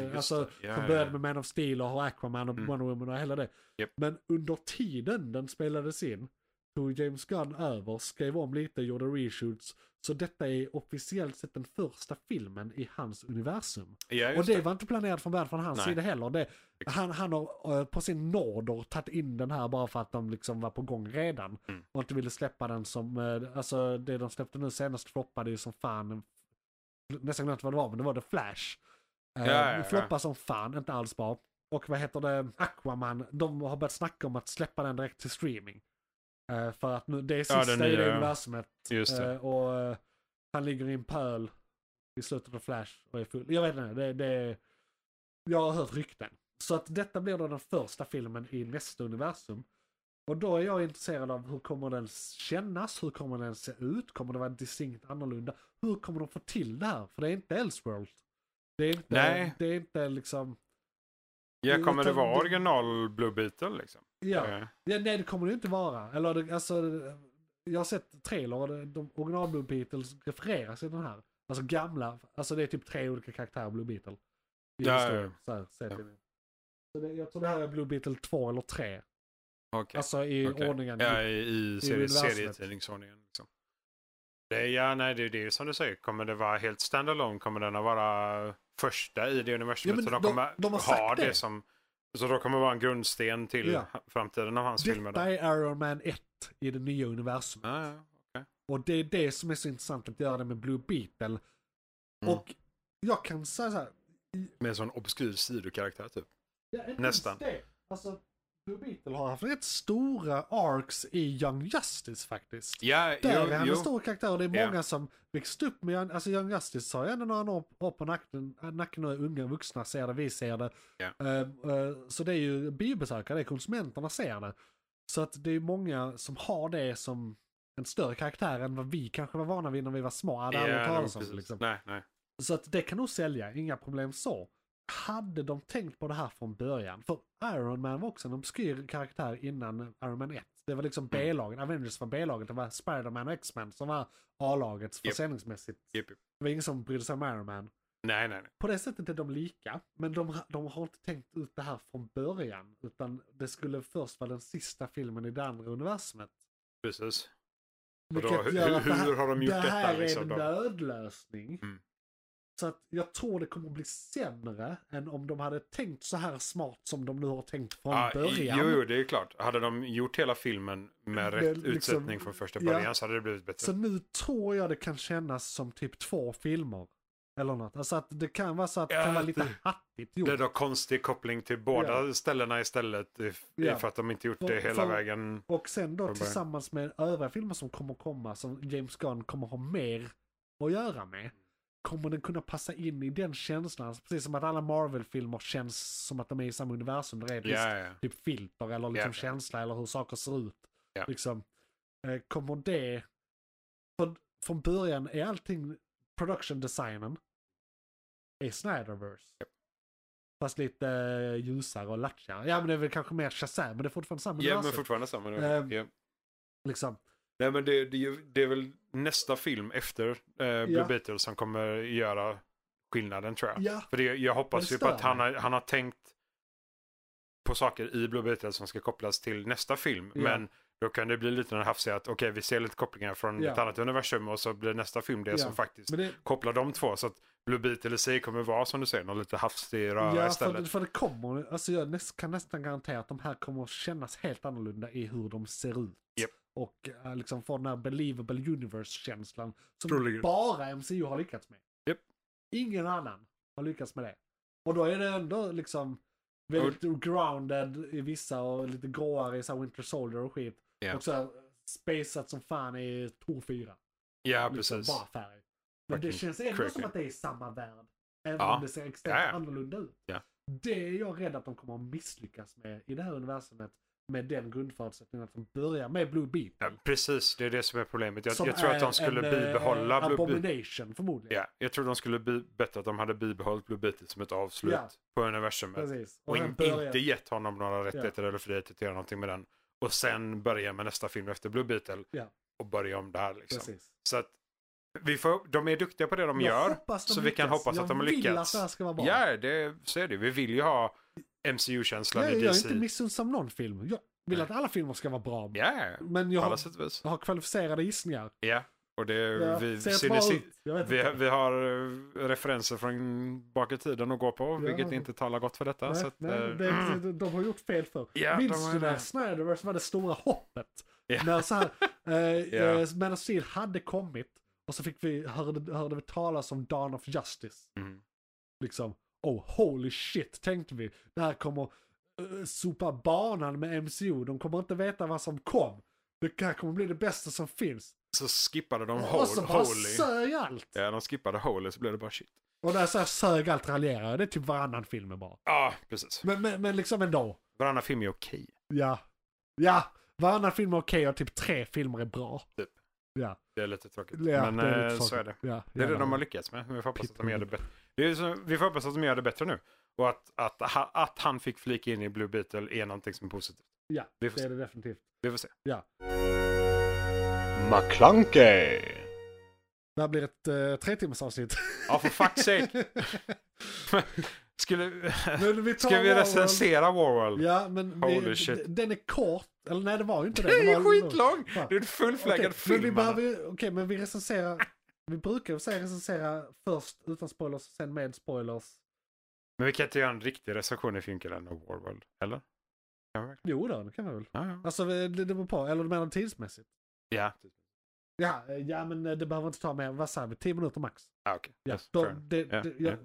[SPEAKER 3] Ja,
[SPEAKER 2] eh,
[SPEAKER 3] just
[SPEAKER 2] alltså,
[SPEAKER 3] det. Ja,
[SPEAKER 2] som
[SPEAKER 3] ja,
[SPEAKER 2] började
[SPEAKER 3] ja.
[SPEAKER 2] med Man of Steel och har Aquaman och
[SPEAKER 3] Mm.
[SPEAKER 2] Wonder Woman och hela det.
[SPEAKER 3] Japp.
[SPEAKER 2] Men under tiden den spelades in tog James Gunn över, skrev om lite, gjorde reshoots. Så detta är officiellt sett den första filmen i hans universum.
[SPEAKER 3] Ja,
[SPEAKER 2] och
[SPEAKER 3] just
[SPEAKER 2] det,
[SPEAKER 3] det.
[SPEAKER 2] var inte planerat från början från hans
[SPEAKER 3] Nej.
[SPEAKER 2] sida heller. Det, han, han har eh, på sin nåder tagit in den här bara för att de liksom var på gång redan.
[SPEAKER 3] Mm.
[SPEAKER 2] Och inte ville släppa den som, eh, alltså det de släppte nu senast floppade ju som fan. Nästan glömt vad det var, men det var The Flash. Eh,
[SPEAKER 3] Ja, ja, ja.
[SPEAKER 2] Floppade som fan, inte alls bra. Och vad heter det, Aquaman, de har börjat snacka om att släppa den direkt till streaming. Eh, för att nu, det är
[SPEAKER 3] Ja,
[SPEAKER 2] sista
[SPEAKER 3] den
[SPEAKER 2] i
[SPEAKER 3] nya,
[SPEAKER 2] det
[SPEAKER 3] ja.
[SPEAKER 2] universumet.
[SPEAKER 3] Just det.
[SPEAKER 2] Eh, och eh, han ligger i en pöl i slutet av Flash och är full. Jag vet inte, det, det Jag har hört rykten. Så att detta blir då den första filmen i nästa universum. Och då är jag intresserad av hur kommer den kännas, hur kommer den se ut, kommer det vara distinkt annorlunda, hur kommer de få till det här? För det är inte Elseworld. Det är inte,
[SPEAKER 3] Nej.
[SPEAKER 2] Det är inte liksom,
[SPEAKER 3] Ja,
[SPEAKER 2] det-
[SPEAKER 3] kommer det
[SPEAKER 2] det-
[SPEAKER 3] vara original Blue Beetle liksom?
[SPEAKER 2] ja.
[SPEAKER 3] Eh,
[SPEAKER 2] Ja, nej, det kommer det ju inte vara. Eller, det- alltså, det- jag har sett trailer och det- de original Blue Beatles refereras i den här. Alltså gamla, alltså det är typ tre olika karaktärer Blue Beetle. I
[SPEAKER 3] Ja,
[SPEAKER 2] historien,
[SPEAKER 3] ja.
[SPEAKER 2] Så här, sett
[SPEAKER 3] Ja.
[SPEAKER 2] i det. Så det, jag tror det här är Blue Beetle 2 eller 3.
[SPEAKER 3] Okej.
[SPEAKER 2] Alltså i
[SPEAKER 3] Okej.
[SPEAKER 2] ordningen.
[SPEAKER 3] Ja, i, i serie,
[SPEAKER 2] universumet.
[SPEAKER 3] serietidningsordningen. Liksom. Det, ja, nej, det, det är ju som du säger. Kommer det vara helt standalone? Kommer den att vara första i det
[SPEAKER 2] Ja,
[SPEAKER 3] universumet?
[SPEAKER 2] men
[SPEAKER 3] så de
[SPEAKER 2] de-
[SPEAKER 3] kommer
[SPEAKER 2] de har
[SPEAKER 3] ha
[SPEAKER 2] sagt
[SPEAKER 3] det.
[SPEAKER 2] det.
[SPEAKER 3] som... Så då kommer det vara en grundsten till
[SPEAKER 2] Ja.
[SPEAKER 3] framtiden av hans filmer. Då.
[SPEAKER 2] Detta är Iron Man 1 i det nya universumet.
[SPEAKER 3] Ja, ja.
[SPEAKER 2] Och det är det som är så intressant att göra det med Blue Beetle.
[SPEAKER 3] Mm.
[SPEAKER 2] Och jag kan säga så här,
[SPEAKER 3] Med en sån obskyr sidokaraktär typ.
[SPEAKER 2] Ja, inte
[SPEAKER 3] Nästan.
[SPEAKER 2] ens Det. Alltså, Blue Beetle har haft rätt stora arcs i Young Justice faktiskt.
[SPEAKER 3] Ja,
[SPEAKER 2] Där är
[SPEAKER 3] jo,
[SPEAKER 2] han
[SPEAKER 3] jo.
[SPEAKER 2] en stor karaktär och det är
[SPEAKER 3] Ja.
[SPEAKER 2] många som växt upp med Young, alltså Young Justice har ju ändå några år år på nacken, nacken och är unga vuxna ser det, vi ser det.
[SPEAKER 3] Ja.
[SPEAKER 2] Eh, eh, så det är ju biobesökare, det är konsumenterna ser det. Så att det är många som har det som en större karaktär än vad vi kanske var vana vid när vi var små, hade aldrig
[SPEAKER 3] Ja,
[SPEAKER 2] hört
[SPEAKER 3] nej,
[SPEAKER 2] talas om det,
[SPEAKER 3] precis.
[SPEAKER 2] liksom.
[SPEAKER 3] Nej, nej.
[SPEAKER 2] Så att det kan nog sälja, inga problem så. Hade de tänkt på det här från början? För Iron Man var också en obskyr karaktär innan Iron Man 1. Det var
[SPEAKER 3] Mm.
[SPEAKER 2] liksom B-laget, Avengers var B-laget, det var Spider-Man och X-Men som var A-laget
[SPEAKER 3] Japp.
[SPEAKER 2] försäljningsmässigt.
[SPEAKER 3] Japp, japp.
[SPEAKER 2] Det var ingen som brydde sig om Iron Man.
[SPEAKER 3] nej, nej, nej.
[SPEAKER 2] På det sättet är de lika, men de, ha- de har inte tänkt ut det här från början. Utan det skulle först vara den sista filmen i det andra universumet.
[SPEAKER 3] Precis. Och då,
[SPEAKER 2] Vilket
[SPEAKER 3] hur,
[SPEAKER 2] gör att det
[SPEAKER 3] hur,
[SPEAKER 2] här-
[SPEAKER 3] hur har de gjort
[SPEAKER 2] det
[SPEAKER 3] detta?
[SPEAKER 2] här
[SPEAKER 3] liksom,
[SPEAKER 2] är en
[SPEAKER 3] då?
[SPEAKER 2] nödlösning.
[SPEAKER 3] Mm.
[SPEAKER 2] Så att jag tror det kommer bli sämre än om de hade tänkt så här smart som de nu har tänkt från
[SPEAKER 3] Ja,
[SPEAKER 2] början.
[SPEAKER 3] Ah, Jo, jo, det är klart. Hade de gjort hela filmen med
[SPEAKER 2] Det-
[SPEAKER 3] rätt
[SPEAKER 2] liksom-
[SPEAKER 3] utsättning från första
[SPEAKER 2] ja.
[SPEAKER 3] början så hade det blivit bättre.
[SPEAKER 2] Så nu tror jag det kan kännas som typ två filmer. Eller något. Alltså att det kan vara så att det
[SPEAKER 3] Ja,
[SPEAKER 2] kan vara lite
[SPEAKER 3] det-
[SPEAKER 2] hattigt gjort.
[SPEAKER 3] det är då konstig koppling till båda ställena istället i-
[SPEAKER 2] Ja.
[SPEAKER 3] för att de inte gjort
[SPEAKER 2] För-
[SPEAKER 3] det hela
[SPEAKER 2] för-
[SPEAKER 3] vägen.
[SPEAKER 2] Och sen
[SPEAKER 3] Från
[SPEAKER 2] då
[SPEAKER 3] början.
[SPEAKER 2] tillsammans med övriga filmer som kommer komma, som James Gunn kommer ha mer att göra med. Kommer den kunna passa in i den känslan? Alltså, Precis som att alla Marvel-filmer känns som att de är i samma universum. Det är ett visst
[SPEAKER 3] Ja, ja.
[SPEAKER 2] typ filter eller liksom
[SPEAKER 3] Ja.
[SPEAKER 2] känsla eller hur saker ser ut.
[SPEAKER 3] Ja.
[SPEAKER 2] Liksom, eh, kommer det... För, från början är allting production designen är Snyderverse. Fast lite eh, ljusare och latchigare. Ja men det är väl kanske mer Shazam men det är fortfarande samma
[SPEAKER 3] ja, men
[SPEAKER 2] universum,
[SPEAKER 3] fortfarande samma.
[SPEAKER 2] Ehm.
[SPEAKER 3] ja.
[SPEAKER 2] liksom.
[SPEAKER 3] Nej, men det, det, är ju- det är väl nästa film efter eh, Blue
[SPEAKER 2] Ja.
[SPEAKER 3] Beetle som kommer göra skillnaden tror jag.
[SPEAKER 2] Ja,
[SPEAKER 3] För det, jag
[SPEAKER 2] Men
[SPEAKER 3] hoppas
[SPEAKER 2] det
[SPEAKER 3] ju på att
[SPEAKER 2] stör
[SPEAKER 3] han
[SPEAKER 2] mig.
[SPEAKER 3] har, han har tänkt på saker i Blue Beetle som ska kopplas till nästa film.
[SPEAKER 2] Ja.
[SPEAKER 3] Men Då kan det bli lite den här hafsiga att okej, vi ser lite kopplingar från
[SPEAKER 2] Ja.
[SPEAKER 3] ett annat universum och så blir nästa film det
[SPEAKER 2] Ja.
[SPEAKER 3] som faktiskt
[SPEAKER 2] Men det,
[SPEAKER 3] kopplar de två. Så att Blue Beetle i sig kommer vara som du säger, någon lite hafsig röra
[SPEAKER 2] ja, för,
[SPEAKER 3] istället.
[SPEAKER 2] för det kommer, alltså jag näst, kan nästan garantera att de här kommer att kännas helt annorlunda i hur de ser ut.
[SPEAKER 3] Japp.
[SPEAKER 2] Och eh, liksom få den här believable universe-känslan som
[SPEAKER 3] Troligen.
[SPEAKER 2] bara MCU har lyckats med.
[SPEAKER 3] Japp.
[SPEAKER 2] Ingen annan har lyckats med det. Och då är det ändå liksom väldigt grounded i vissa och lite gråare i så här Winter Soldier och skit.
[SPEAKER 3] Ja.
[SPEAKER 2] Och så här eh, spacat som fan i Tor 4.
[SPEAKER 3] Ja,
[SPEAKER 2] Liksom,
[SPEAKER 3] precis.
[SPEAKER 2] bara färg. Men det
[SPEAKER 3] Fucking
[SPEAKER 2] känns ändå
[SPEAKER 3] crazy.
[SPEAKER 2] som att det är samma värld. Även
[SPEAKER 3] Ja.
[SPEAKER 2] om det ser extremt
[SPEAKER 3] Ja, ja.
[SPEAKER 2] annorlunda ut.
[SPEAKER 3] Ja.
[SPEAKER 2] Det är jag rädd att de kommer att misslyckas med i det här universumet. Med den grundförutsättningen att de börjar med Blue Beetle.
[SPEAKER 3] Ja, precis, det är det som är problemet. Jag,
[SPEAKER 2] som
[SPEAKER 3] jag tror att
[SPEAKER 2] är
[SPEAKER 3] de skulle
[SPEAKER 2] en, eh,
[SPEAKER 3] bibehålla Blue Beetle.
[SPEAKER 2] Abomination förmodligen.
[SPEAKER 3] Ja, jag tror de skulle bli bättre att de hade bibehållit Blue Beetle som ett avslut
[SPEAKER 2] Ja.
[SPEAKER 3] på universumet.
[SPEAKER 2] Precis.
[SPEAKER 3] Och
[SPEAKER 2] sen
[SPEAKER 3] in,
[SPEAKER 2] börjar-
[SPEAKER 3] inte liksom. gett honom några rättigheter eller friheter att göra någonting med den. Och sen börja med nästa film efter Blue Beetle.
[SPEAKER 2] Ja.
[SPEAKER 3] Och börja om där liksom.
[SPEAKER 2] Precis.
[SPEAKER 3] Så att vi får, de är duktiga på det de
[SPEAKER 2] Jag
[SPEAKER 3] gör.
[SPEAKER 2] hoppas de
[SPEAKER 3] så vi kan
[SPEAKER 2] lyckas.
[SPEAKER 3] hoppas att de har
[SPEAKER 2] Jag vill att
[SPEAKER 3] lyckats.
[SPEAKER 2] det här ska vara bra.
[SPEAKER 3] Ja, det, så är det. Vi vill ju ha MCU-känslan
[SPEAKER 2] jag,
[SPEAKER 3] i
[SPEAKER 2] jag är
[SPEAKER 3] DC.
[SPEAKER 2] inte missunnsam någon film. Jag vill att alla filmer ska vara bra.
[SPEAKER 3] Ja,
[SPEAKER 2] Men jag
[SPEAKER 3] på
[SPEAKER 2] har,
[SPEAKER 3] alla sätt och vis.
[SPEAKER 2] jag har kvalificerade gissningar.
[SPEAKER 3] Ja, och det,
[SPEAKER 2] Ja,
[SPEAKER 3] vi,
[SPEAKER 2] ser
[SPEAKER 3] ser
[SPEAKER 2] bra
[SPEAKER 3] ni,
[SPEAKER 2] ut. Jag vet
[SPEAKER 3] vi,
[SPEAKER 2] inte.
[SPEAKER 3] vi har eh, referenser från bak i tiden att gå på, vilket inte talar gott för detta.
[SPEAKER 2] Nej,
[SPEAKER 3] så att,
[SPEAKER 2] nej,
[SPEAKER 3] eh,
[SPEAKER 2] det, det, de har gjort fel för.
[SPEAKER 3] Ja, de
[SPEAKER 2] Minns
[SPEAKER 3] har
[SPEAKER 2] du
[SPEAKER 3] ju
[SPEAKER 2] när
[SPEAKER 3] det.
[SPEAKER 2] Snyderverse var det stora hoppet?
[SPEAKER 3] Ja.
[SPEAKER 2] När så här, eh,
[SPEAKER 3] Ja.
[SPEAKER 2] eh, Man of Steel hade kommit och så fick vi, hörde, hörde vi talas om Dawn of Justice.
[SPEAKER 3] Mm.
[SPEAKER 2] Liksom, oh holy shit tänkte vi. Det här kommer eh, sopa banan med MCU. De kommer inte veta vad som kom. Det här kommer bli det bästa som finns.
[SPEAKER 3] Så skippade de
[SPEAKER 2] och så
[SPEAKER 3] hol-
[SPEAKER 2] bara
[SPEAKER 3] Oh, Holy.
[SPEAKER 2] sög allt.
[SPEAKER 3] Ja, de skippade Holy så blev det bara shit.
[SPEAKER 2] Och när jag säger sög allt raljerar jag. Det är typ varannan film bara.
[SPEAKER 3] Ja, precis.
[SPEAKER 2] Men, men, men liksom ändå.
[SPEAKER 3] Varannan film är okej.
[SPEAKER 2] Ja. Ja, varannan film är okej och typ tre filmer är bra.
[SPEAKER 3] Typ.
[SPEAKER 2] Ja,
[SPEAKER 3] Det är lite tråkigt.
[SPEAKER 2] ja
[SPEAKER 3] Men
[SPEAKER 2] det är
[SPEAKER 3] eh,
[SPEAKER 2] lite
[SPEAKER 3] så är det.
[SPEAKER 2] Ja,
[SPEAKER 3] Det är det
[SPEAKER 2] jävlar.
[SPEAKER 3] de har lyckats med. men Vi får hoppas att de
[SPEAKER 2] Pippen.
[SPEAKER 3] gör det bättre. Det är så, vi får hoppas att de gör det bättre nu. Och att, att, ha- att han fick flika in i Blue Beetle är någonting som är positivt.
[SPEAKER 2] Ja,
[SPEAKER 3] Vi får
[SPEAKER 2] det
[SPEAKER 3] se.
[SPEAKER 2] är det definitivt.
[SPEAKER 3] Vi får se.
[SPEAKER 4] McClunkey!
[SPEAKER 2] Det här blir ett eh, tre timmars avsnitt.
[SPEAKER 3] Ja, för fuck's sake. Skulle,
[SPEAKER 2] men vi tar
[SPEAKER 3] ska vi
[SPEAKER 2] Warworld.
[SPEAKER 3] recensera Warworld?
[SPEAKER 2] Ja, men vi,
[SPEAKER 3] Holy shit.
[SPEAKER 2] d- den är kort. Eller nej, det var ju inte det.
[SPEAKER 3] Det är
[SPEAKER 2] det
[SPEAKER 3] ju
[SPEAKER 2] var,
[SPEAKER 3] skitlång! Det är en
[SPEAKER 2] Okej,
[SPEAKER 3] fullflaggad
[SPEAKER 2] men
[SPEAKER 3] film.
[SPEAKER 2] vi
[SPEAKER 3] man.
[SPEAKER 2] behöver ju, okej, men vi recenserar. Vi brukar ju säga recensera först utan spoilers, sen med spoilers.
[SPEAKER 3] Men vi kan inte göra en riktig recension i filmkalendern av Warworld, eller? Kan vi?
[SPEAKER 2] Jo då, det kan vi väl.
[SPEAKER 3] Ja, ja.
[SPEAKER 2] Alltså, det, det beror på. Eller du menar tidsmässigt?
[SPEAKER 3] Ja,
[SPEAKER 2] Ja, eh, ja, men eh, det behöver inte ta mer. Vad säger vi? 10 minuter max.
[SPEAKER 3] ah, okej.
[SPEAKER 2] Ja,
[SPEAKER 3] Yes,
[SPEAKER 2] då,
[SPEAKER 3] fair enough.
[SPEAKER 2] det,
[SPEAKER 3] Ja,
[SPEAKER 2] det,
[SPEAKER 3] ja.
[SPEAKER 2] ja,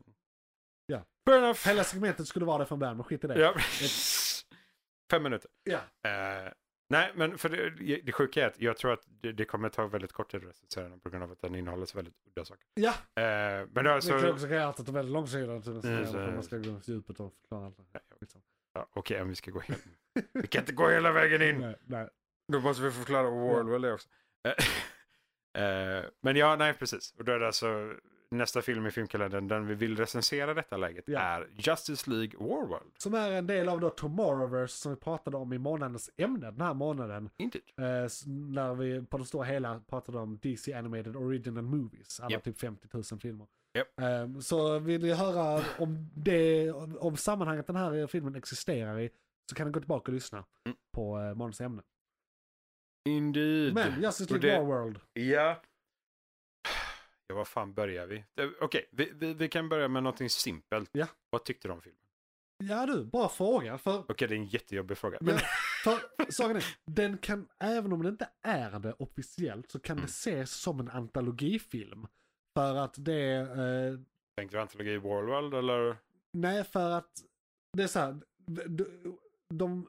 [SPEAKER 2] ja.
[SPEAKER 3] Fair enough.
[SPEAKER 2] Hela segmentet skulle vara det från början, men skit i det.
[SPEAKER 3] Ja. Fem minuter.
[SPEAKER 2] Ja.
[SPEAKER 3] Eh, nej, men för det, det sjuka är att jag tror att det, det kommer ta väldigt kort tid att recensera den på grund av att den innehåller så väldigt udda saker.
[SPEAKER 2] ja.
[SPEAKER 3] Eh, men det
[SPEAKER 2] Vilket
[SPEAKER 3] alltså,
[SPEAKER 2] också kan göra att det är väldigt långsidigt. Så
[SPEAKER 3] Mm, så-
[SPEAKER 2] man ska gå på djupet och förklara allt. det här, Liksom.
[SPEAKER 3] ja, okej, om vi ska gå hem. Vi kan inte gå hela vägen in.
[SPEAKER 2] Nej, nej.
[SPEAKER 3] Då måste vi förklara Warwell det också. Eh, eh, men ja, nej, precis. Och då är det alltså nästa film i filmkalendern, den vi vill recensera i detta läget,
[SPEAKER 2] Ja.
[SPEAKER 3] är Justice League Warworld.
[SPEAKER 2] Som är en del av då Tomorrowverse som vi pratade om i månadens ämne den här månaden.
[SPEAKER 3] Inte.
[SPEAKER 2] Eh, s- när vi på det stora hela pratade om DC Animated Original Movies. Alla
[SPEAKER 3] Japp.
[SPEAKER 2] typ 50 000 filmer.
[SPEAKER 3] Japp.
[SPEAKER 2] Eh, så vill ni höra om, det, om, om sammanhanget den här filmen existerar i så kan ni gå tillbaka och lyssna
[SPEAKER 3] Mm.
[SPEAKER 2] på eh, månadens ämne.
[SPEAKER 3] Indeed.
[SPEAKER 2] Men Justice
[SPEAKER 3] Och
[SPEAKER 2] League
[SPEAKER 3] det-
[SPEAKER 2] War World.
[SPEAKER 3] Ja. Ja, var fan börjar vi? Eh, Okej, vi, vi, vi kan börja med någonting simpelt.
[SPEAKER 2] Ja.
[SPEAKER 3] Vad tyckte du om filmen?
[SPEAKER 2] Ja du, bra fråga. För,
[SPEAKER 3] Okej, det är en jättejobbig fråga.
[SPEAKER 2] men, för saken är, den kan, även om den inte är det officiellt, så
[SPEAKER 3] Mm.
[SPEAKER 2] kan det ses som en antologifilm. För att det, eh,
[SPEAKER 3] Tänkte du antologi Warworld eller?
[SPEAKER 2] nej för att, det är så här, de, de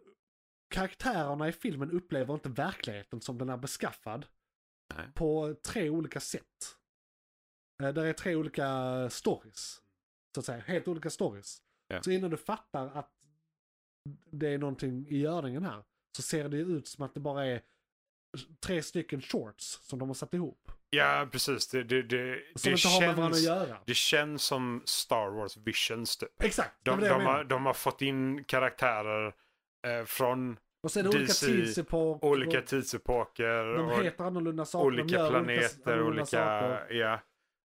[SPEAKER 2] karaktärerna i filmen upplever inte verkligheten som den är beskaffad.
[SPEAKER 3] Nej.
[SPEAKER 2] På tre olika sätt. Eh, där är tre olika stories. Så att säga, helt olika stories.
[SPEAKER 3] Ja.
[SPEAKER 2] Så innan du fattar att det är någonting i görningen här så ser det ju ut som att det bara är tre stycken shorts som de har satt ihop.
[SPEAKER 3] Ja, precis. Det, det, det, det,
[SPEAKER 2] Som inte har med varandra att
[SPEAKER 3] känns,
[SPEAKER 2] göra.
[SPEAKER 3] det känns som Star Wars Visions typ.
[SPEAKER 2] Exakt,
[SPEAKER 3] De,
[SPEAKER 2] det var det jag
[SPEAKER 3] de,
[SPEAKER 2] menar.
[SPEAKER 3] har, de har fått in karaktärer eh, från
[SPEAKER 2] Och så är det olika
[SPEAKER 3] DC,
[SPEAKER 2] tidsepoker.
[SPEAKER 3] olika
[SPEAKER 2] och
[SPEAKER 3] tidsepoker
[SPEAKER 2] de
[SPEAKER 3] och
[SPEAKER 2] heter annorlunda saker. de
[SPEAKER 3] olika
[SPEAKER 2] gör
[SPEAKER 3] planeter,
[SPEAKER 2] annorlunda
[SPEAKER 3] olika...
[SPEAKER 2] saker.
[SPEAKER 3] Ja.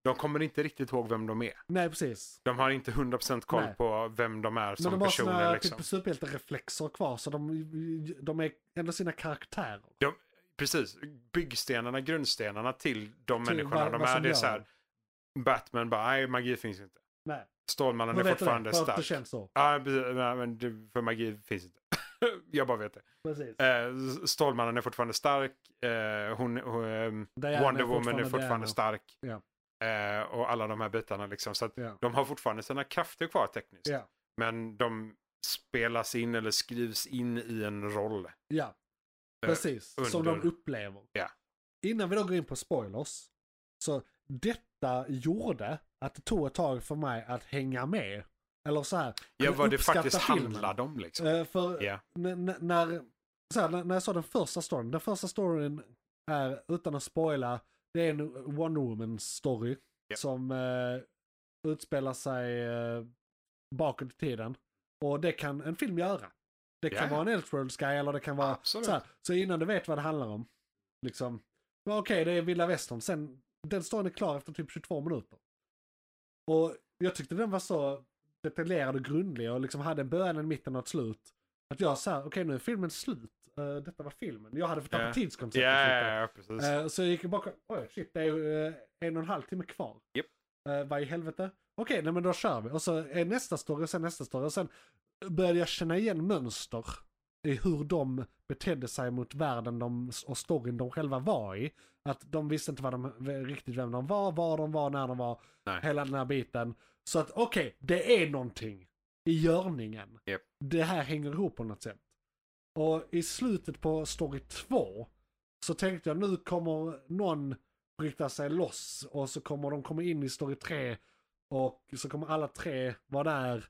[SPEAKER 3] De kommer inte riktigt ihåg vem de är.
[SPEAKER 2] Nej, precis.
[SPEAKER 3] De har inte 100% koll
[SPEAKER 2] Nej.
[SPEAKER 3] på vem de är
[SPEAKER 2] Men
[SPEAKER 3] som
[SPEAKER 2] de har
[SPEAKER 3] personer.
[SPEAKER 2] sina
[SPEAKER 3] liksom.
[SPEAKER 2] typ, superhjältereflexer kvar, så de, de är ändå sina karaktärer. Typ
[SPEAKER 3] de, precis, byggstenarna, grundstenarna till de
[SPEAKER 2] Till
[SPEAKER 3] människorna
[SPEAKER 2] vad-
[SPEAKER 3] de
[SPEAKER 2] vad
[SPEAKER 3] är.
[SPEAKER 2] som
[SPEAKER 3] Det är
[SPEAKER 2] gör
[SPEAKER 3] så här,
[SPEAKER 2] dem.
[SPEAKER 3] Batman bara, nej magi finns inte.
[SPEAKER 2] Nej,
[SPEAKER 3] Stålmannen
[SPEAKER 2] men
[SPEAKER 3] är
[SPEAKER 2] vet du det?
[SPEAKER 3] fortfarande
[SPEAKER 2] För att det
[SPEAKER 3] stark.
[SPEAKER 2] känns så.
[SPEAKER 3] Ja, precis, nej, men det- för magi finns inte. Jag bara vet det.
[SPEAKER 2] Precis.
[SPEAKER 3] Eh, Stålmannen är fortfarande stark. Eh, hon, hon, ehm,
[SPEAKER 2] Diana
[SPEAKER 3] Wonder Woman är
[SPEAKER 2] Diana.
[SPEAKER 3] fortfarande stark.
[SPEAKER 2] Ja.
[SPEAKER 3] Eh, och alla de här bitarna liksom. Så att
[SPEAKER 2] Ja.
[SPEAKER 3] de har fortfarande sina krafter kvar tekniskt.
[SPEAKER 2] Ja.
[SPEAKER 3] Men de spelas in eller skrivs in i en roll.
[SPEAKER 2] ja, precis. som de
[SPEAKER 3] under-
[SPEAKER 2] upplever.
[SPEAKER 3] Eh, Ja.
[SPEAKER 2] Innan vi då går in på spoilers. Så detta gjorde att det tog ett tag för mig att hänga med. Eller så här.
[SPEAKER 3] Ja,
[SPEAKER 2] kunna
[SPEAKER 3] vad det
[SPEAKER 2] uppskatta
[SPEAKER 3] faktiskt
[SPEAKER 2] filmen.
[SPEAKER 3] handlade om liksom.
[SPEAKER 2] Eh, för
[SPEAKER 3] Ja.
[SPEAKER 2] n- n- när, så här, när, när jag sa den första storyn, den första storyn är, utan att spoila, det är en Wonder Woman story
[SPEAKER 3] Ja.
[SPEAKER 2] som eh, utspelar sig eh, bakåt i tiden. Och det kan en film göra. Det kan
[SPEAKER 3] Ja.
[SPEAKER 2] vara en Elseworlds guy eller det kan vara
[SPEAKER 3] Absolut.
[SPEAKER 2] så här. Så innan du vet vad det handlar om, liksom, ja, okej det är vilda västern, sen den storyn är klar efter typ 22 minuter. Och jag tyckte den var så detaljerad och grundlig och liksom hade en början, en mitten och ett slut. Att jag sa, okej nu är filmen slut. Eh, detta var filmen. Jag hade fått tappa
[SPEAKER 3] Ja.
[SPEAKER 2] tidskonceptet.
[SPEAKER 3] Ja,
[SPEAKER 2] lite.
[SPEAKER 3] ja, ja, precis.
[SPEAKER 2] Eh, så jag gick bakom, oj shit, det är ju, eh, en och en halv timme kvar.
[SPEAKER 3] Japp.
[SPEAKER 2] Eh, vad i helvete? Okej, nej men då kör vi. Och så är nästa story och sen nästa story. Och sen började jag känna igen mönster i hur de betedde sig mot världen de, och storyn de själva var i. Att de visste inte vad de, riktigt vem de var, var de var, när de var,
[SPEAKER 3] Nej.
[SPEAKER 2] hela den här biten. Så att okej, det är någonting i görningen.
[SPEAKER 3] Japp.
[SPEAKER 2] Det här hänger ihop på något sätt. Och i slutet på story 2 så tänkte jag nu kommer någon bryta sig loss och så kommer de komma in i story 3 och så kommer alla tre vara där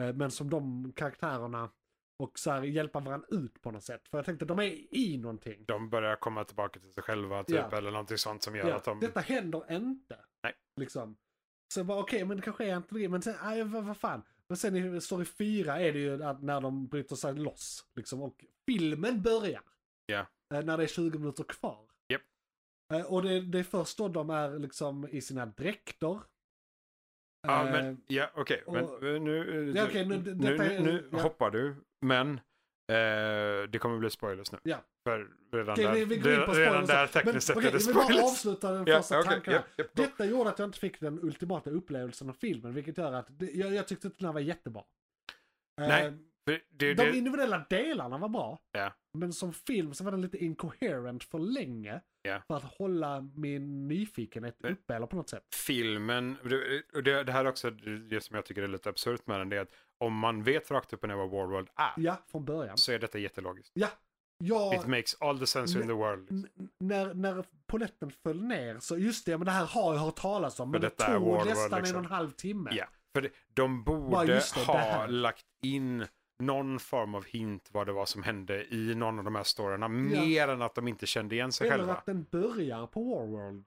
[SPEAKER 2] eh, men som de karaktärerna och så här hjälpa varandra ut på något sätt. För jag tänkte de är i någonting.
[SPEAKER 3] De börjar komma tillbaka till sig själva typ,
[SPEAKER 2] Ja.
[SPEAKER 3] eller någonting sånt som gör
[SPEAKER 2] Ja,
[SPEAKER 3] att de...
[SPEAKER 2] Detta händer inte.
[SPEAKER 3] Nej.
[SPEAKER 2] Liksom. Så jag bara okej, men det kanske är inte det. Men sen, aj, vad, vad fan. Men sen i story 4 är det ju att när de bryter sig loss. Liksom, och filmen börjar.
[SPEAKER 3] Ja.
[SPEAKER 2] Eh, När det är 20 minuter kvar.
[SPEAKER 3] Japp.
[SPEAKER 2] Eh, Och det, det är först då de är liksom i sina dräkter.
[SPEAKER 3] Ja,
[SPEAKER 2] Eh,
[SPEAKER 3] men ja, okej.
[SPEAKER 2] och-
[SPEAKER 3] men eh, nu, eh,
[SPEAKER 2] Ja, okej, nu-
[SPEAKER 3] nu,
[SPEAKER 2] d-
[SPEAKER 3] nu,
[SPEAKER 2] detta är-
[SPEAKER 3] nu
[SPEAKER 2] ja.
[SPEAKER 3] hoppar du, men eh, det kommer bli spoilers nu.
[SPEAKER 2] Ja.
[SPEAKER 3] För redan
[SPEAKER 2] Okej,
[SPEAKER 3] där,
[SPEAKER 2] vi, vi går in på
[SPEAKER 3] redan- redan
[SPEAKER 2] spoilers.
[SPEAKER 3] där tekniskt sett
[SPEAKER 2] okej,
[SPEAKER 3] är det
[SPEAKER 2] vi bara
[SPEAKER 3] spoilers.
[SPEAKER 2] avsluta den
[SPEAKER 3] Ja,
[SPEAKER 2] första
[SPEAKER 3] okej,
[SPEAKER 2] tanken.
[SPEAKER 3] japp, japp, då.
[SPEAKER 2] Detta gjorde att jag inte fick den ultimata upplevelsen av filmen, vilket gör att det, jag, jag tyckte inte den här var jättebra. Eh,
[SPEAKER 3] Nej, för det, det,
[SPEAKER 2] De individuella delarna var bra.
[SPEAKER 3] Ja.
[SPEAKER 2] Men som film så var den lite incoherent för länge.
[SPEAKER 3] Ja.
[SPEAKER 2] För att hålla min nyfikenhet
[SPEAKER 3] Men-
[SPEAKER 2] uppe eller på något sätt.
[SPEAKER 3] filmen, och det, och det, det här är också det som jag tycker är lite absurt med den, det är att om man vet rakt upp och ner vad Warworld är,
[SPEAKER 2] Ja, från början.
[SPEAKER 3] så är detta jättelogiskt.
[SPEAKER 2] Ja, jag...
[SPEAKER 3] It makes all the sense in
[SPEAKER 2] Men-
[SPEAKER 3] the world. liksom.
[SPEAKER 2] n- När, när poletten föll ner så just det, men det här har jag hört talas om. Men det
[SPEAKER 3] detta är
[SPEAKER 2] tog
[SPEAKER 3] Warworld,
[SPEAKER 2] nästan en
[SPEAKER 3] liksom.
[SPEAKER 2] och en halv timme.
[SPEAKER 3] Ja, för det- de
[SPEAKER 2] Bara,
[SPEAKER 3] borde
[SPEAKER 2] just det, det
[SPEAKER 3] ha
[SPEAKER 2] här.
[SPEAKER 3] lagt in någon form av hint vad det var som hände i någon av de här storyerna. Mer än att de inte kände igen sig
[SPEAKER 2] Eller
[SPEAKER 3] själva.
[SPEAKER 2] att den börjar på Warworld.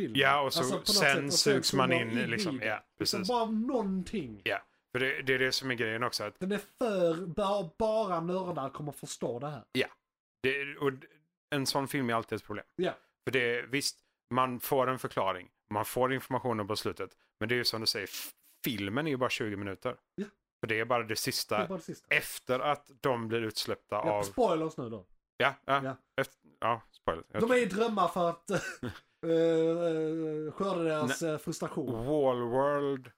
[SPEAKER 2] filmen.
[SPEAKER 3] Ja, och så
[SPEAKER 2] Alltså, på något sätt,
[SPEAKER 3] sen
[SPEAKER 2] och
[SPEAKER 3] sugs
[SPEAKER 2] så
[SPEAKER 3] man
[SPEAKER 2] bara
[SPEAKER 3] in
[SPEAKER 2] i
[SPEAKER 3] liksom.
[SPEAKER 2] bilden.
[SPEAKER 3] Ja,
[SPEAKER 2] Liksom
[SPEAKER 3] precis.
[SPEAKER 2] bara någonting.
[SPEAKER 3] Ja, för det, det är det som är grejen också. Att
[SPEAKER 2] Den är för, bara, bara nördar kommer förstå det här.
[SPEAKER 3] det, och d- en sån film är alltid ett problem.
[SPEAKER 2] Ja.
[SPEAKER 3] För det, visst, man får en förklaring. Man får informationen på slutet. Men det är ju som du säger, f- filmen är ju bara 20 minuter.
[SPEAKER 2] Ja.
[SPEAKER 3] För det är bara det sista.
[SPEAKER 2] Det är bara det sista.
[SPEAKER 3] Efter att de blir utsläppta
[SPEAKER 2] Ja,
[SPEAKER 3] av...
[SPEAKER 2] spoilers nu då.
[SPEAKER 3] Ja, ja.
[SPEAKER 2] Ja.
[SPEAKER 3] Efter, ja spoiler. Jag
[SPEAKER 2] De är i drömmar för att eh, eh, skörda deras eh, frustration.
[SPEAKER 3] Wallworld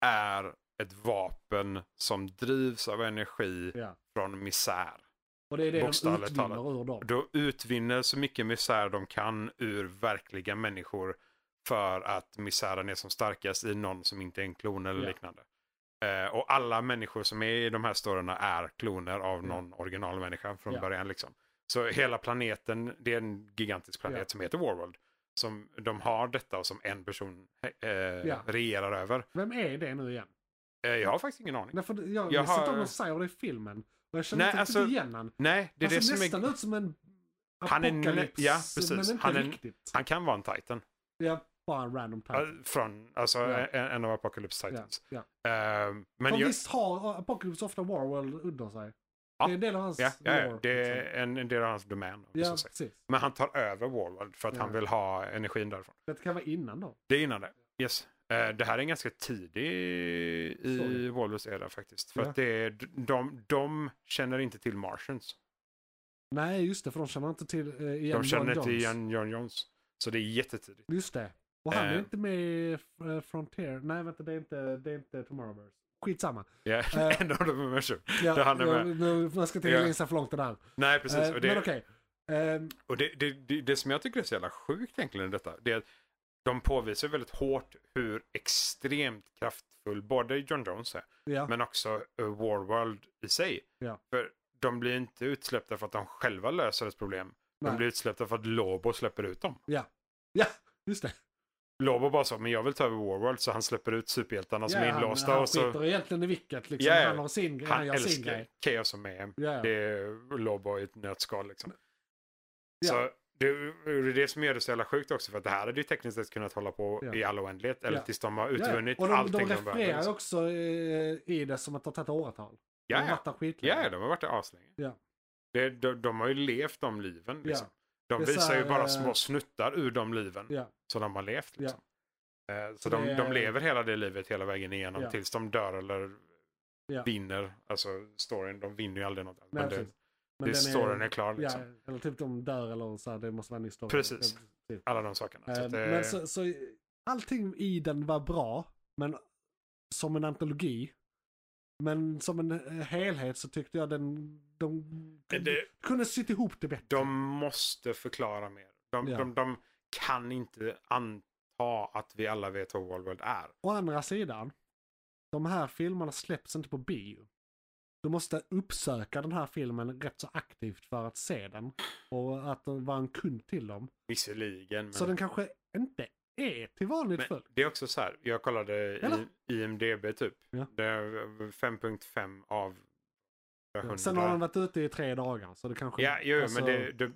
[SPEAKER 3] är ett vapen som drivs av energi
[SPEAKER 2] Ja.
[SPEAKER 3] från misär.
[SPEAKER 2] Och det är det de
[SPEAKER 3] Bokstavligt
[SPEAKER 2] utvinner
[SPEAKER 3] talat.
[SPEAKER 2] ur dem.
[SPEAKER 3] De utvinner så mycket misär de kan ur verkliga människor för att misären är som starkast i någon som inte är en klon eller
[SPEAKER 2] Ja.
[SPEAKER 3] liknande. Eh, och alla människor som är i de här storyna är kloner av någon originalmänniska från
[SPEAKER 2] Mm. Ja.
[SPEAKER 3] början. Liksom. Så hela planeten, det är en gigantisk planet
[SPEAKER 2] Ja.
[SPEAKER 3] som heter Warworld. Som de har detta och som en person eh, regerar över.
[SPEAKER 2] Vem är det nu igen?
[SPEAKER 3] Eh, jag har faktiskt ingen aning.
[SPEAKER 2] Därför att jag
[SPEAKER 3] Jag
[SPEAKER 2] jag har...
[SPEAKER 3] har-
[SPEAKER 2] inte om de säger det i filmen. Och jag känner
[SPEAKER 3] Nej,
[SPEAKER 2] inte
[SPEAKER 3] alltså,
[SPEAKER 2] riktigt igen han.
[SPEAKER 3] Nej, det är
[SPEAKER 2] Han ser
[SPEAKER 3] det som
[SPEAKER 2] Alltså, nästan
[SPEAKER 3] är...
[SPEAKER 2] ut som en
[SPEAKER 3] Han är nä-
[SPEAKER 2] apokalyps,
[SPEAKER 3] ja, precis.
[SPEAKER 2] men inte
[SPEAKER 3] Han är-
[SPEAKER 2] riktigt.
[SPEAKER 3] Han kan vara en titan.
[SPEAKER 2] Ja, bara en random type.
[SPEAKER 3] Ja, Från, alltså
[SPEAKER 2] Ja.
[SPEAKER 3] en, en av Apocalypse
[SPEAKER 2] ja,
[SPEAKER 3] Titans.
[SPEAKER 2] ja.
[SPEAKER 3] Eh, men
[SPEAKER 2] Men
[SPEAKER 3] jag,
[SPEAKER 2] eh, visst har Apocalypse ofta Warworld under sig?
[SPEAKER 3] Ja.
[SPEAKER 2] Det är en del av hans
[SPEAKER 3] Ja, ja, ja.
[SPEAKER 2] lore,
[SPEAKER 3] Det
[SPEAKER 2] liksom.
[SPEAKER 3] är en, en del av hans domän. om vi
[SPEAKER 2] Ja,
[SPEAKER 3] så säger.
[SPEAKER 2] precis.
[SPEAKER 3] Men han tar över Warworld för att han
[SPEAKER 2] Ja.
[SPEAKER 3] vill ha energin därifrån.
[SPEAKER 2] Det kan vara innan då.
[SPEAKER 3] Det är innan det. Yes. Eh, Det här är ganska tidig i
[SPEAKER 2] Sorry.
[SPEAKER 3] Warlords era faktiskt. För
[SPEAKER 2] Ja.
[SPEAKER 3] att det är, de, de känner inte till Martians.
[SPEAKER 2] Nej, just det, för de känner inte till eh, igen
[SPEAKER 3] De känner
[SPEAKER 2] Don
[SPEAKER 3] inte
[SPEAKER 2] Jones.
[SPEAKER 3] igen John Jones. Så det är jättetidigt.
[SPEAKER 2] Just det. Och han är
[SPEAKER 3] Eh.
[SPEAKER 2] inte med i eh, Frontier. Nej, vänta, det är inte, det är inte Tomorrowverse. Skitsamma.
[SPEAKER 3] Ja,
[SPEAKER 2] Eh.
[SPEAKER 3] en av dem är med.
[SPEAKER 2] Ja,
[SPEAKER 3] Det handlar
[SPEAKER 2] jag-
[SPEAKER 3] med.
[SPEAKER 2] Nu, man ska inte
[SPEAKER 3] Ja.
[SPEAKER 2] yeah. gissa för långt det där.
[SPEAKER 3] Nej, precis.
[SPEAKER 2] Eh,
[SPEAKER 3] Och det,
[SPEAKER 2] Men okej. Ehm,
[SPEAKER 3] och det, det, det, det som jag tycker är så jävla sjukt egentligen i detta, det är att de påvisar väldigt hårt hur extremt kraftfull både John Jones är,
[SPEAKER 2] ja.
[SPEAKER 3] men också eh, Warworld i sig.
[SPEAKER 2] Ja.
[SPEAKER 3] För de blir inte utsläppta för att de själva löser ett problem.
[SPEAKER 2] Nej.
[SPEAKER 3] De blir utsläppta för att Lobo släpper ut dem.
[SPEAKER 2] ja, just det.
[SPEAKER 3] Lobo bara så, men jag vill ta över Warworld, så han släpper ut superhjältarna som
[SPEAKER 2] ja,
[SPEAKER 3] är inlåsta.
[SPEAKER 2] han, han
[SPEAKER 3] och så,
[SPEAKER 2] skiter egentligen i vilket. Liksom.
[SPEAKER 3] Ja, ja.
[SPEAKER 2] Han har sin grej, han,
[SPEAKER 3] han
[SPEAKER 2] gör sin
[SPEAKER 3] älskar
[SPEAKER 2] grej.
[SPEAKER 3] Chaos och Mayhem.
[SPEAKER 2] Ja,
[SPEAKER 3] Det är Lobo i ett nötskal liksom.
[SPEAKER 2] Ja.
[SPEAKER 3] Så det det är det som gör det så jävla sjukt också för att det här hade ju tekniskt sett kunnat hålla på
[SPEAKER 2] Ja.
[SPEAKER 3] i all oändlighet eller
[SPEAKER 2] Ja.
[SPEAKER 3] tills de har
[SPEAKER 2] Ja, ja.
[SPEAKER 3] utvunnit
[SPEAKER 2] Och de,
[SPEAKER 3] allting
[SPEAKER 2] de
[SPEAKER 3] de,
[SPEAKER 2] refererar
[SPEAKER 3] behöver.
[SPEAKER 2] ju
[SPEAKER 3] liksom.
[SPEAKER 2] också eh, i det som att det har tagit åratal. De
[SPEAKER 3] Ja,
[SPEAKER 2] har
[SPEAKER 3] ja.
[SPEAKER 2] varit där skitlänge.
[SPEAKER 3] ja, ja, de har varit där aslänge.
[SPEAKER 2] Ja.
[SPEAKER 3] Det, de, de har ju levt de liven
[SPEAKER 2] Ja.
[SPEAKER 3] liksom. De
[SPEAKER 2] Det är så
[SPEAKER 3] visar ju
[SPEAKER 2] här,
[SPEAKER 3] bara
[SPEAKER 2] eh,
[SPEAKER 3] små snuttar ur de liven
[SPEAKER 2] Ja.
[SPEAKER 3] som de har levt. Liksom. Eh, Så
[SPEAKER 2] Det
[SPEAKER 3] de,
[SPEAKER 2] är-
[SPEAKER 3] de lever hela det livet hela vägen igenom
[SPEAKER 2] Ja.
[SPEAKER 3] tills de dör eller
[SPEAKER 2] Ja.
[SPEAKER 3] vinner. Alltså storyn, de vinner ju aldrig något.
[SPEAKER 2] Nej,
[SPEAKER 3] men det,
[SPEAKER 2] precis. Men
[SPEAKER 3] det,
[SPEAKER 2] den
[SPEAKER 3] storyn är klar liksom.
[SPEAKER 2] Ja, eller typ de dör eller så här, det måste vara en ny story.
[SPEAKER 3] Precis.
[SPEAKER 2] Ja,
[SPEAKER 3] Alla de sakerna. så
[SPEAKER 2] Eh,
[SPEAKER 3] att det,
[SPEAKER 2] Men så, så allting i den var bra, men som en antologi. Men som en eh, helhet så tyckte jag den, de kunde,
[SPEAKER 3] Det-
[SPEAKER 2] kunde sitta ihop det bättre.
[SPEAKER 3] De måste förklara mer. De,
[SPEAKER 2] Ja.
[SPEAKER 3] de, de kan inte anta att vi alla vet vad Wallworld är.
[SPEAKER 2] Å andra sidan, de här filmerna släpps inte på bio. Du måste uppsöka den här filmen rätt så aktivt för att se den. Och att vara en kund till dem.
[SPEAKER 3] Visserligen, men,
[SPEAKER 2] Så den kanske inte är till vanligt
[SPEAKER 3] men
[SPEAKER 2] folk.
[SPEAKER 3] det är också så här. Jag kollade
[SPEAKER 2] Eller?
[SPEAKER 3] i, IMDB typ.
[SPEAKER 2] Ja.
[SPEAKER 3] Det är 5.5 av 100.
[SPEAKER 2] Sen har den varit ute i tre dagar så det kanske...
[SPEAKER 3] Ja, jo,
[SPEAKER 2] alltså,
[SPEAKER 3] men det, det,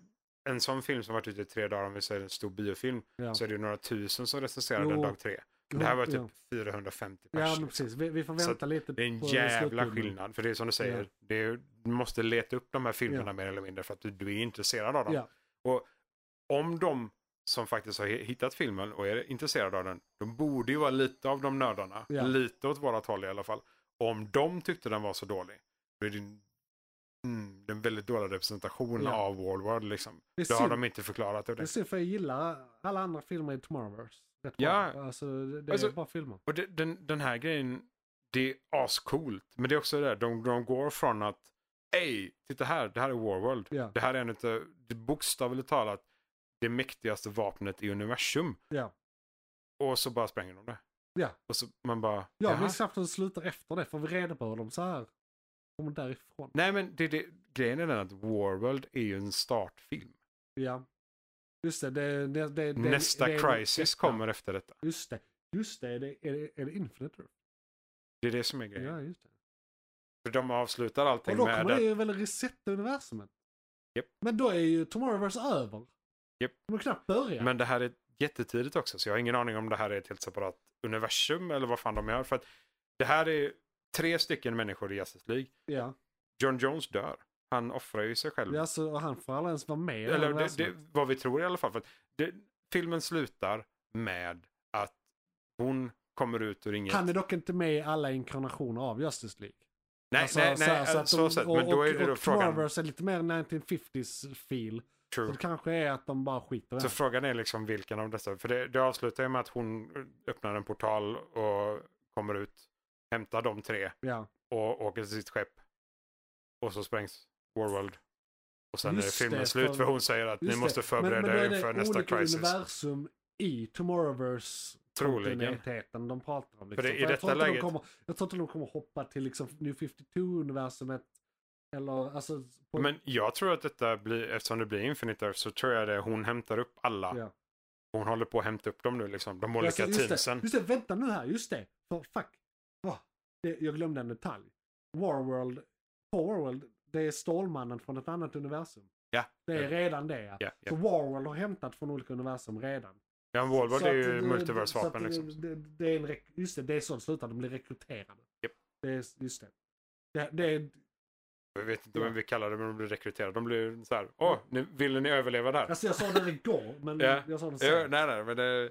[SPEAKER 3] en sån film som varit ute i tre dagar, om vi säger en stor biofilm,
[SPEAKER 2] ja.
[SPEAKER 3] så är det ju några tusen som recenserar den
[SPEAKER 2] Jo.
[SPEAKER 3] dag tre. Det här var typ
[SPEAKER 2] Ja,
[SPEAKER 3] 450
[SPEAKER 2] ja
[SPEAKER 3] personer.
[SPEAKER 2] men precis. Vi, vi får
[SPEAKER 3] Så
[SPEAKER 2] vänta lite.
[SPEAKER 3] Det är en
[SPEAKER 2] på
[SPEAKER 3] jävla
[SPEAKER 2] slutbilden.
[SPEAKER 3] skillnad. För det är som du säger,
[SPEAKER 2] Ja.
[SPEAKER 3] det är, du måste leta upp de här filmerna
[SPEAKER 2] Ja.
[SPEAKER 3] mer eller mindre för att du, du är intresserad av dem.
[SPEAKER 2] Ja.
[SPEAKER 3] Och om de som faktiskt har hi- hittat filmen och är intresserade av den, de borde ju vara lite av de nördarna.
[SPEAKER 2] Ja.
[SPEAKER 3] Lite åt vårat håll i alla fall. Om de tyckte den var så dålig, då är det en, mm, det är en väldigt dålig representation
[SPEAKER 2] Ja.
[SPEAKER 3] av World World. Liksom.
[SPEAKER 2] Det är
[SPEAKER 3] Då har
[SPEAKER 2] synd,
[SPEAKER 3] de inte förklarat det.
[SPEAKER 2] det är synd för jag gillar alla andra filmer i Tomorrowverse. Rätt
[SPEAKER 3] Ja.
[SPEAKER 2] bra. Alltså, det, det
[SPEAKER 3] Alltså-
[SPEAKER 2] är bra filmer.
[SPEAKER 3] Och det, den, den här grejen, det är ascoolt. Men det är också det, där, de, de går från att Ey, titta här, det här är Warworld.
[SPEAKER 2] Ja.
[SPEAKER 3] Det här är en utav, det bokstavligt talat, det mäktigaste vapnet i universum.
[SPEAKER 2] Ja.
[SPEAKER 3] Och så bara spränger de det.
[SPEAKER 2] Ja.
[SPEAKER 3] Och så man bara,
[SPEAKER 2] Jag
[SPEAKER 3] "Jaha."
[SPEAKER 2] minns knappt hur det slutar efter det. Får vi reda på hur de så här kommer därifrån?
[SPEAKER 3] Nej men det, det, grejen är den att Warworld är ju en startfilm.
[SPEAKER 2] Ja. Just det. det, det, det, det
[SPEAKER 3] Nästa
[SPEAKER 2] det,
[SPEAKER 3] Crisis
[SPEAKER 2] detta.
[SPEAKER 3] kommer efter detta.
[SPEAKER 2] Just det. Just det. Är det, är det, är det Infinite Earth?
[SPEAKER 3] Det är det som är grejen.
[SPEAKER 2] Ja, just det.
[SPEAKER 3] För de avslutar allting
[SPEAKER 2] Och då
[SPEAKER 3] med
[SPEAKER 2] kommer det
[SPEAKER 3] att
[SPEAKER 2] ju väl resetta universumet?
[SPEAKER 3] Japp.
[SPEAKER 2] Men då är ju Tomorrowverse över.
[SPEAKER 3] Japp.
[SPEAKER 2] De har knappt börjat.
[SPEAKER 3] Men det här är jättetidigt också, så jag har ingen aning om det här är ett helt separat universum eller vad fan de gör. För att det här är tre stycken människor i Justice League.
[SPEAKER 2] Ja.
[SPEAKER 3] John Jones dör. Han offrar ju sig själv.
[SPEAKER 2] Ja, alltså, och han får aldrig ens vara med i det
[SPEAKER 3] eller det,
[SPEAKER 2] universumet.
[SPEAKER 3] det, vad vi tror i alla fall. För att det, filmen slutar med att hon kommer ut ur inget.
[SPEAKER 2] Han är dock inte med i alla inkarnationer av Justice League.
[SPEAKER 3] nej,
[SPEAKER 2] Alltså,
[SPEAKER 3] nej, nej,
[SPEAKER 2] här,
[SPEAKER 3] så,
[SPEAKER 2] att
[SPEAKER 3] sett.
[SPEAKER 2] och,
[SPEAKER 3] Men då är
[SPEAKER 2] och-
[SPEAKER 3] det då
[SPEAKER 2] och
[SPEAKER 3] frågan.
[SPEAKER 2] Tomorrowverse är lite mer 1950s feel. Så
[SPEAKER 3] True.
[SPEAKER 2] det kanske är att de bara skiter i
[SPEAKER 3] Så
[SPEAKER 2] det.
[SPEAKER 3] frågan är liksom vilken av dessa. För det, det avslutar ju med att hon öppnar en portal och kommer ut, hämtar de tre.
[SPEAKER 2] Ja.
[SPEAKER 3] och åker till sitt skepp. Och så sprängs Warworld. Och sen
[SPEAKER 2] Just
[SPEAKER 3] är filmen
[SPEAKER 2] det,
[SPEAKER 3] slut
[SPEAKER 2] för-
[SPEAKER 3] för hon säger att ni
[SPEAKER 2] Just det.
[SPEAKER 3] måste förbereda
[SPEAKER 2] men, men då är
[SPEAKER 3] er
[SPEAKER 2] det
[SPEAKER 3] för nästa
[SPEAKER 2] olika
[SPEAKER 3] crisis.
[SPEAKER 2] universum i Tomorrowverse
[SPEAKER 3] Troligen.
[SPEAKER 2] kontinuiteten de pratar om.
[SPEAKER 3] För
[SPEAKER 2] Liksom.
[SPEAKER 3] det- i
[SPEAKER 2] jag,
[SPEAKER 3] detta
[SPEAKER 2] tror inte de
[SPEAKER 3] läget-
[SPEAKER 2] kommer, jag tror inte de kommer hoppa till liksom New 52-universumet. Eller alltså... på-
[SPEAKER 3] Men jag tror att detta blir, eftersom det blir Infinite Earth så tror jag det hon hämtar upp alla.
[SPEAKER 2] Ja. Alltså,
[SPEAKER 3] Hon håller på att hämta upp dem nu liksom. De olika
[SPEAKER 2] just
[SPEAKER 3] teamsen.
[SPEAKER 2] Det, just det, vänta nu här, just det. För fuck. Åh, det, jag glömde en detalj. Warworld, på Warworld, det är Stålmannen från ett annat universum.
[SPEAKER 3] Ja.
[SPEAKER 2] Det är redan det ja.
[SPEAKER 3] ja, ja.
[SPEAKER 2] Så Warworld har hämtat från olika universum redan.
[SPEAKER 3] ja Warworld är
[SPEAKER 2] Så
[SPEAKER 3] ju
[SPEAKER 2] att, eh, så att,
[SPEAKER 3] multiversvapen
[SPEAKER 2] eh,
[SPEAKER 3] liksom.
[SPEAKER 2] Det, det är en rek- just det, det är så det slutar, de blir rekryterade.
[SPEAKER 3] Japp.
[SPEAKER 2] Det är, just det. Det, det är
[SPEAKER 3] Jag vet inte vem vi kallar det, men de blir rekryterade. De blir så här, åh, ni, ville ni överleva där?
[SPEAKER 2] Alltså jag sa det igår, men
[SPEAKER 3] Ja.
[SPEAKER 2] jag sa det
[SPEAKER 3] Ja,
[SPEAKER 2] sen.
[SPEAKER 3] nej, nej, men det...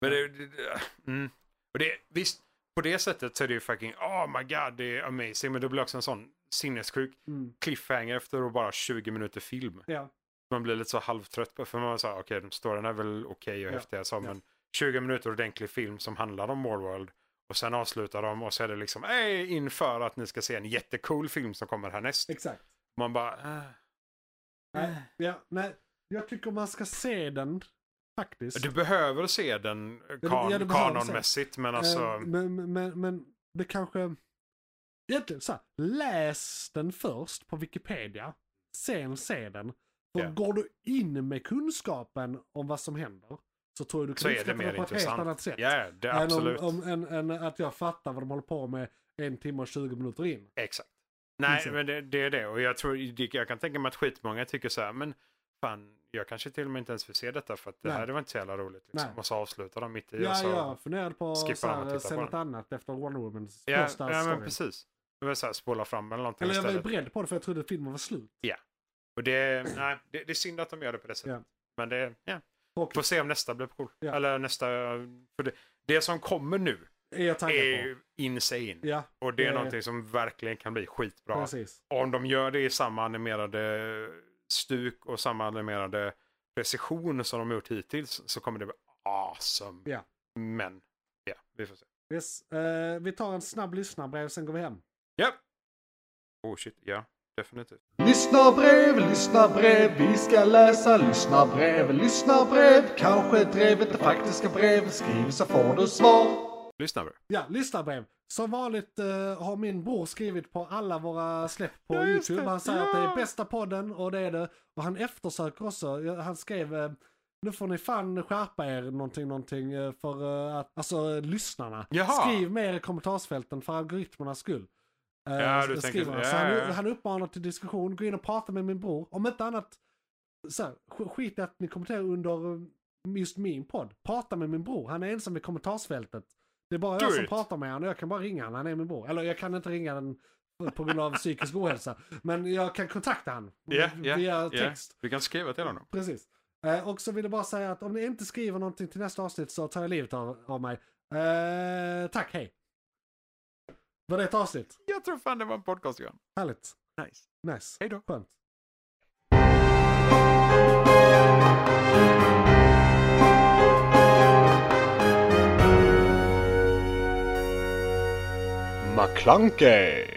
[SPEAKER 3] Men det, det, det mm. och det visst, på det sättet så är det ju fucking, oh my god, det är amazing. Men det blir också en sån sinnessjuk
[SPEAKER 2] Mm.
[SPEAKER 3] cliffhanger efter att bara 20 minuter film.
[SPEAKER 2] Ja.
[SPEAKER 3] Man blir lite så halvtrött på för man säger okej, de storyn är väl okej och
[SPEAKER 2] Ja.
[SPEAKER 3] häftiga så,
[SPEAKER 2] Ja.
[SPEAKER 3] men 20 minuter ordentlig film som handlar om Warworld och sen avslutar de och så är det liksom, hej, inför att ni ska se en jättecool film som kommer härnäst.
[SPEAKER 2] Exakt.
[SPEAKER 3] Man bara, "Ah."
[SPEAKER 2] Nej, ja, nej, jag tycker man ska se den faktiskt.
[SPEAKER 3] du behöver se den
[SPEAKER 2] du-
[SPEAKER 3] kan-
[SPEAKER 2] ja, du behöver se.
[SPEAKER 3] kanonmässigt, men alltså...
[SPEAKER 2] Eh, men, men- men, men det kanske... Egentligen så här, läs den först på Wikipedia, sen se den. För
[SPEAKER 3] Ja.
[SPEAKER 2] går du in med kunskapen om vad som händer så tror jag du
[SPEAKER 3] så
[SPEAKER 2] kan
[SPEAKER 3] är det
[SPEAKER 2] uppskatta
[SPEAKER 3] mer
[SPEAKER 2] det på ett helt annat
[SPEAKER 3] intressant.
[SPEAKER 2] sätt.
[SPEAKER 3] Ja, det
[SPEAKER 2] än, om,
[SPEAKER 3] absolut.
[SPEAKER 2] om, än, än att jag fattar vad de håller på med en timme och 20 minuter in.
[SPEAKER 3] Exakt. Nej,
[SPEAKER 2] Exakt.
[SPEAKER 3] men det, det är det. Och jag, tror, det- jag kan tänka mig att skitmånga tycker så här, men fan, jag kanske till och med inte ens vill se detta för att det
[SPEAKER 2] Nej.
[SPEAKER 3] här var inte så jävla roligt. Liksom.
[SPEAKER 2] Nej.
[SPEAKER 3] Och så avslutar de mitt i. och
[SPEAKER 2] Ja,
[SPEAKER 3] så,
[SPEAKER 2] jag funderade på
[SPEAKER 3] skippar
[SPEAKER 2] så
[SPEAKER 3] de att
[SPEAKER 2] här,
[SPEAKER 3] titta
[SPEAKER 2] se
[SPEAKER 3] på
[SPEAKER 2] något annat efter Wonder Womans
[SPEAKER 3] ja,
[SPEAKER 2] första
[SPEAKER 3] ja men
[SPEAKER 2] story.
[SPEAKER 3] precis. Det var så här, spola fram eller någonting
[SPEAKER 2] Eller jag var ju
[SPEAKER 3] istället.
[SPEAKER 2] beredd på det för jag trodde att filmen var slut.
[SPEAKER 3] Och det, nej, det, det är synd att de gör det på det sättet.
[SPEAKER 2] Ja.
[SPEAKER 3] Men det, ja. Får
[SPEAKER 2] Tråkigt.
[SPEAKER 3] se om nästa blir cool.
[SPEAKER 2] Ja.
[SPEAKER 3] Eller nästa, för det, det som kommer nu
[SPEAKER 2] Är
[SPEAKER 3] är
[SPEAKER 2] jag taggad på.
[SPEAKER 3] ju insane.
[SPEAKER 2] Ja,
[SPEAKER 3] Och det är
[SPEAKER 2] det-
[SPEAKER 3] någonting som verkligen kan bli skitbra.
[SPEAKER 2] precis.
[SPEAKER 3] Och om de gör det i samma animerade stuk och samma animerade precision som de gjort hittills så kommer det bli awesome.
[SPEAKER 2] Ja.
[SPEAKER 3] Men, ja, vi får se.
[SPEAKER 2] Yes. eh, vi tar en snabb lyssnarbrev, sen går vi hem.
[SPEAKER 3] Ja! Oh shit, ja. Definitivt.
[SPEAKER 5] Lyssna brev, lyssna brev, vi ska läsa lyssna brev, lyssna brev. Kanske drevet det faktiska brev, skriv så får du svar.
[SPEAKER 3] Lyssna bra.
[SPEAKER 2] Ja, lyssnarbrev. Som vanligt eh, har min bror skrivit på alla våra släpp på
[SPEAKER 3] Ja, just
[SPEAKER 2] YouTube.
[SPEAKER 3] det.
[SPEAKER 2] Han säger att det
[SPEAKER 3] Ja.
[SPEAKER 2] är bästa podden och det är det. Och han eftersöker också. Ja, Han skrev eh, nu får ni fan skärpa er någonting, någonting eh, för eh, att, alltså eh, lyssnarna.
[SPEAKER 3] Jaha.
[SPEAKER 2] Skriv mer i kommentarsfälten för algoritmernas skull. Eh,
[SPEAKER 3] Ja, du
[SPEAKER 2] s-
[SPEAKER 3] tänker
[SPEAKER 2] skriver
[SPEAKER 3] så.
[SPEAKER 2] han. Så han,
[SPEAKER 3] Ja, ja.
[SPEAKER 2] han uppmanar till diskussion, gå in och prata med min bror. Om inte annat, så här, sk- skit i att ni kommenterar under eh, just min podd. Prata med min bror, han är ensam i kommentarsfältet. Det är bara
[SPEAKER 3] Do
[SPEAKER 2] jag som
[SPEAKER 3] it.
[SPEAKER 2] pratar med honom, jag kan bara ringa honom, han är min bror. Eller jag kan inte ringa honom på grund av psykisk ohälsa. Men jag kan kontakta honom
[SPEAKER 3] Ja, ja,
[SPEAKER 2] via
[SPEAKER 3] ja.
[SPEAKER 2] text.
[SPEAKER 3] Vi kan skriva till honom.
[SPEAKER 2] Precis. Eh, och så vill jag bara säga att om ni inte skriver någonting till nästa avsnitt så tar jag livet av, av mig. Eh, tack, hej. Var det ett avsnitt?
[SPEAKER 3] Jag tror fan det var en podcast, Johan.
[SPEAKER 2] Härligt.
[SPEAKER 3] Nice.
[SPEAKER 2] Nice.
[SPEAKER 3] Hej då.
[SPEAKER 2] Skönt.
[SPEAKER 4] McClunkey!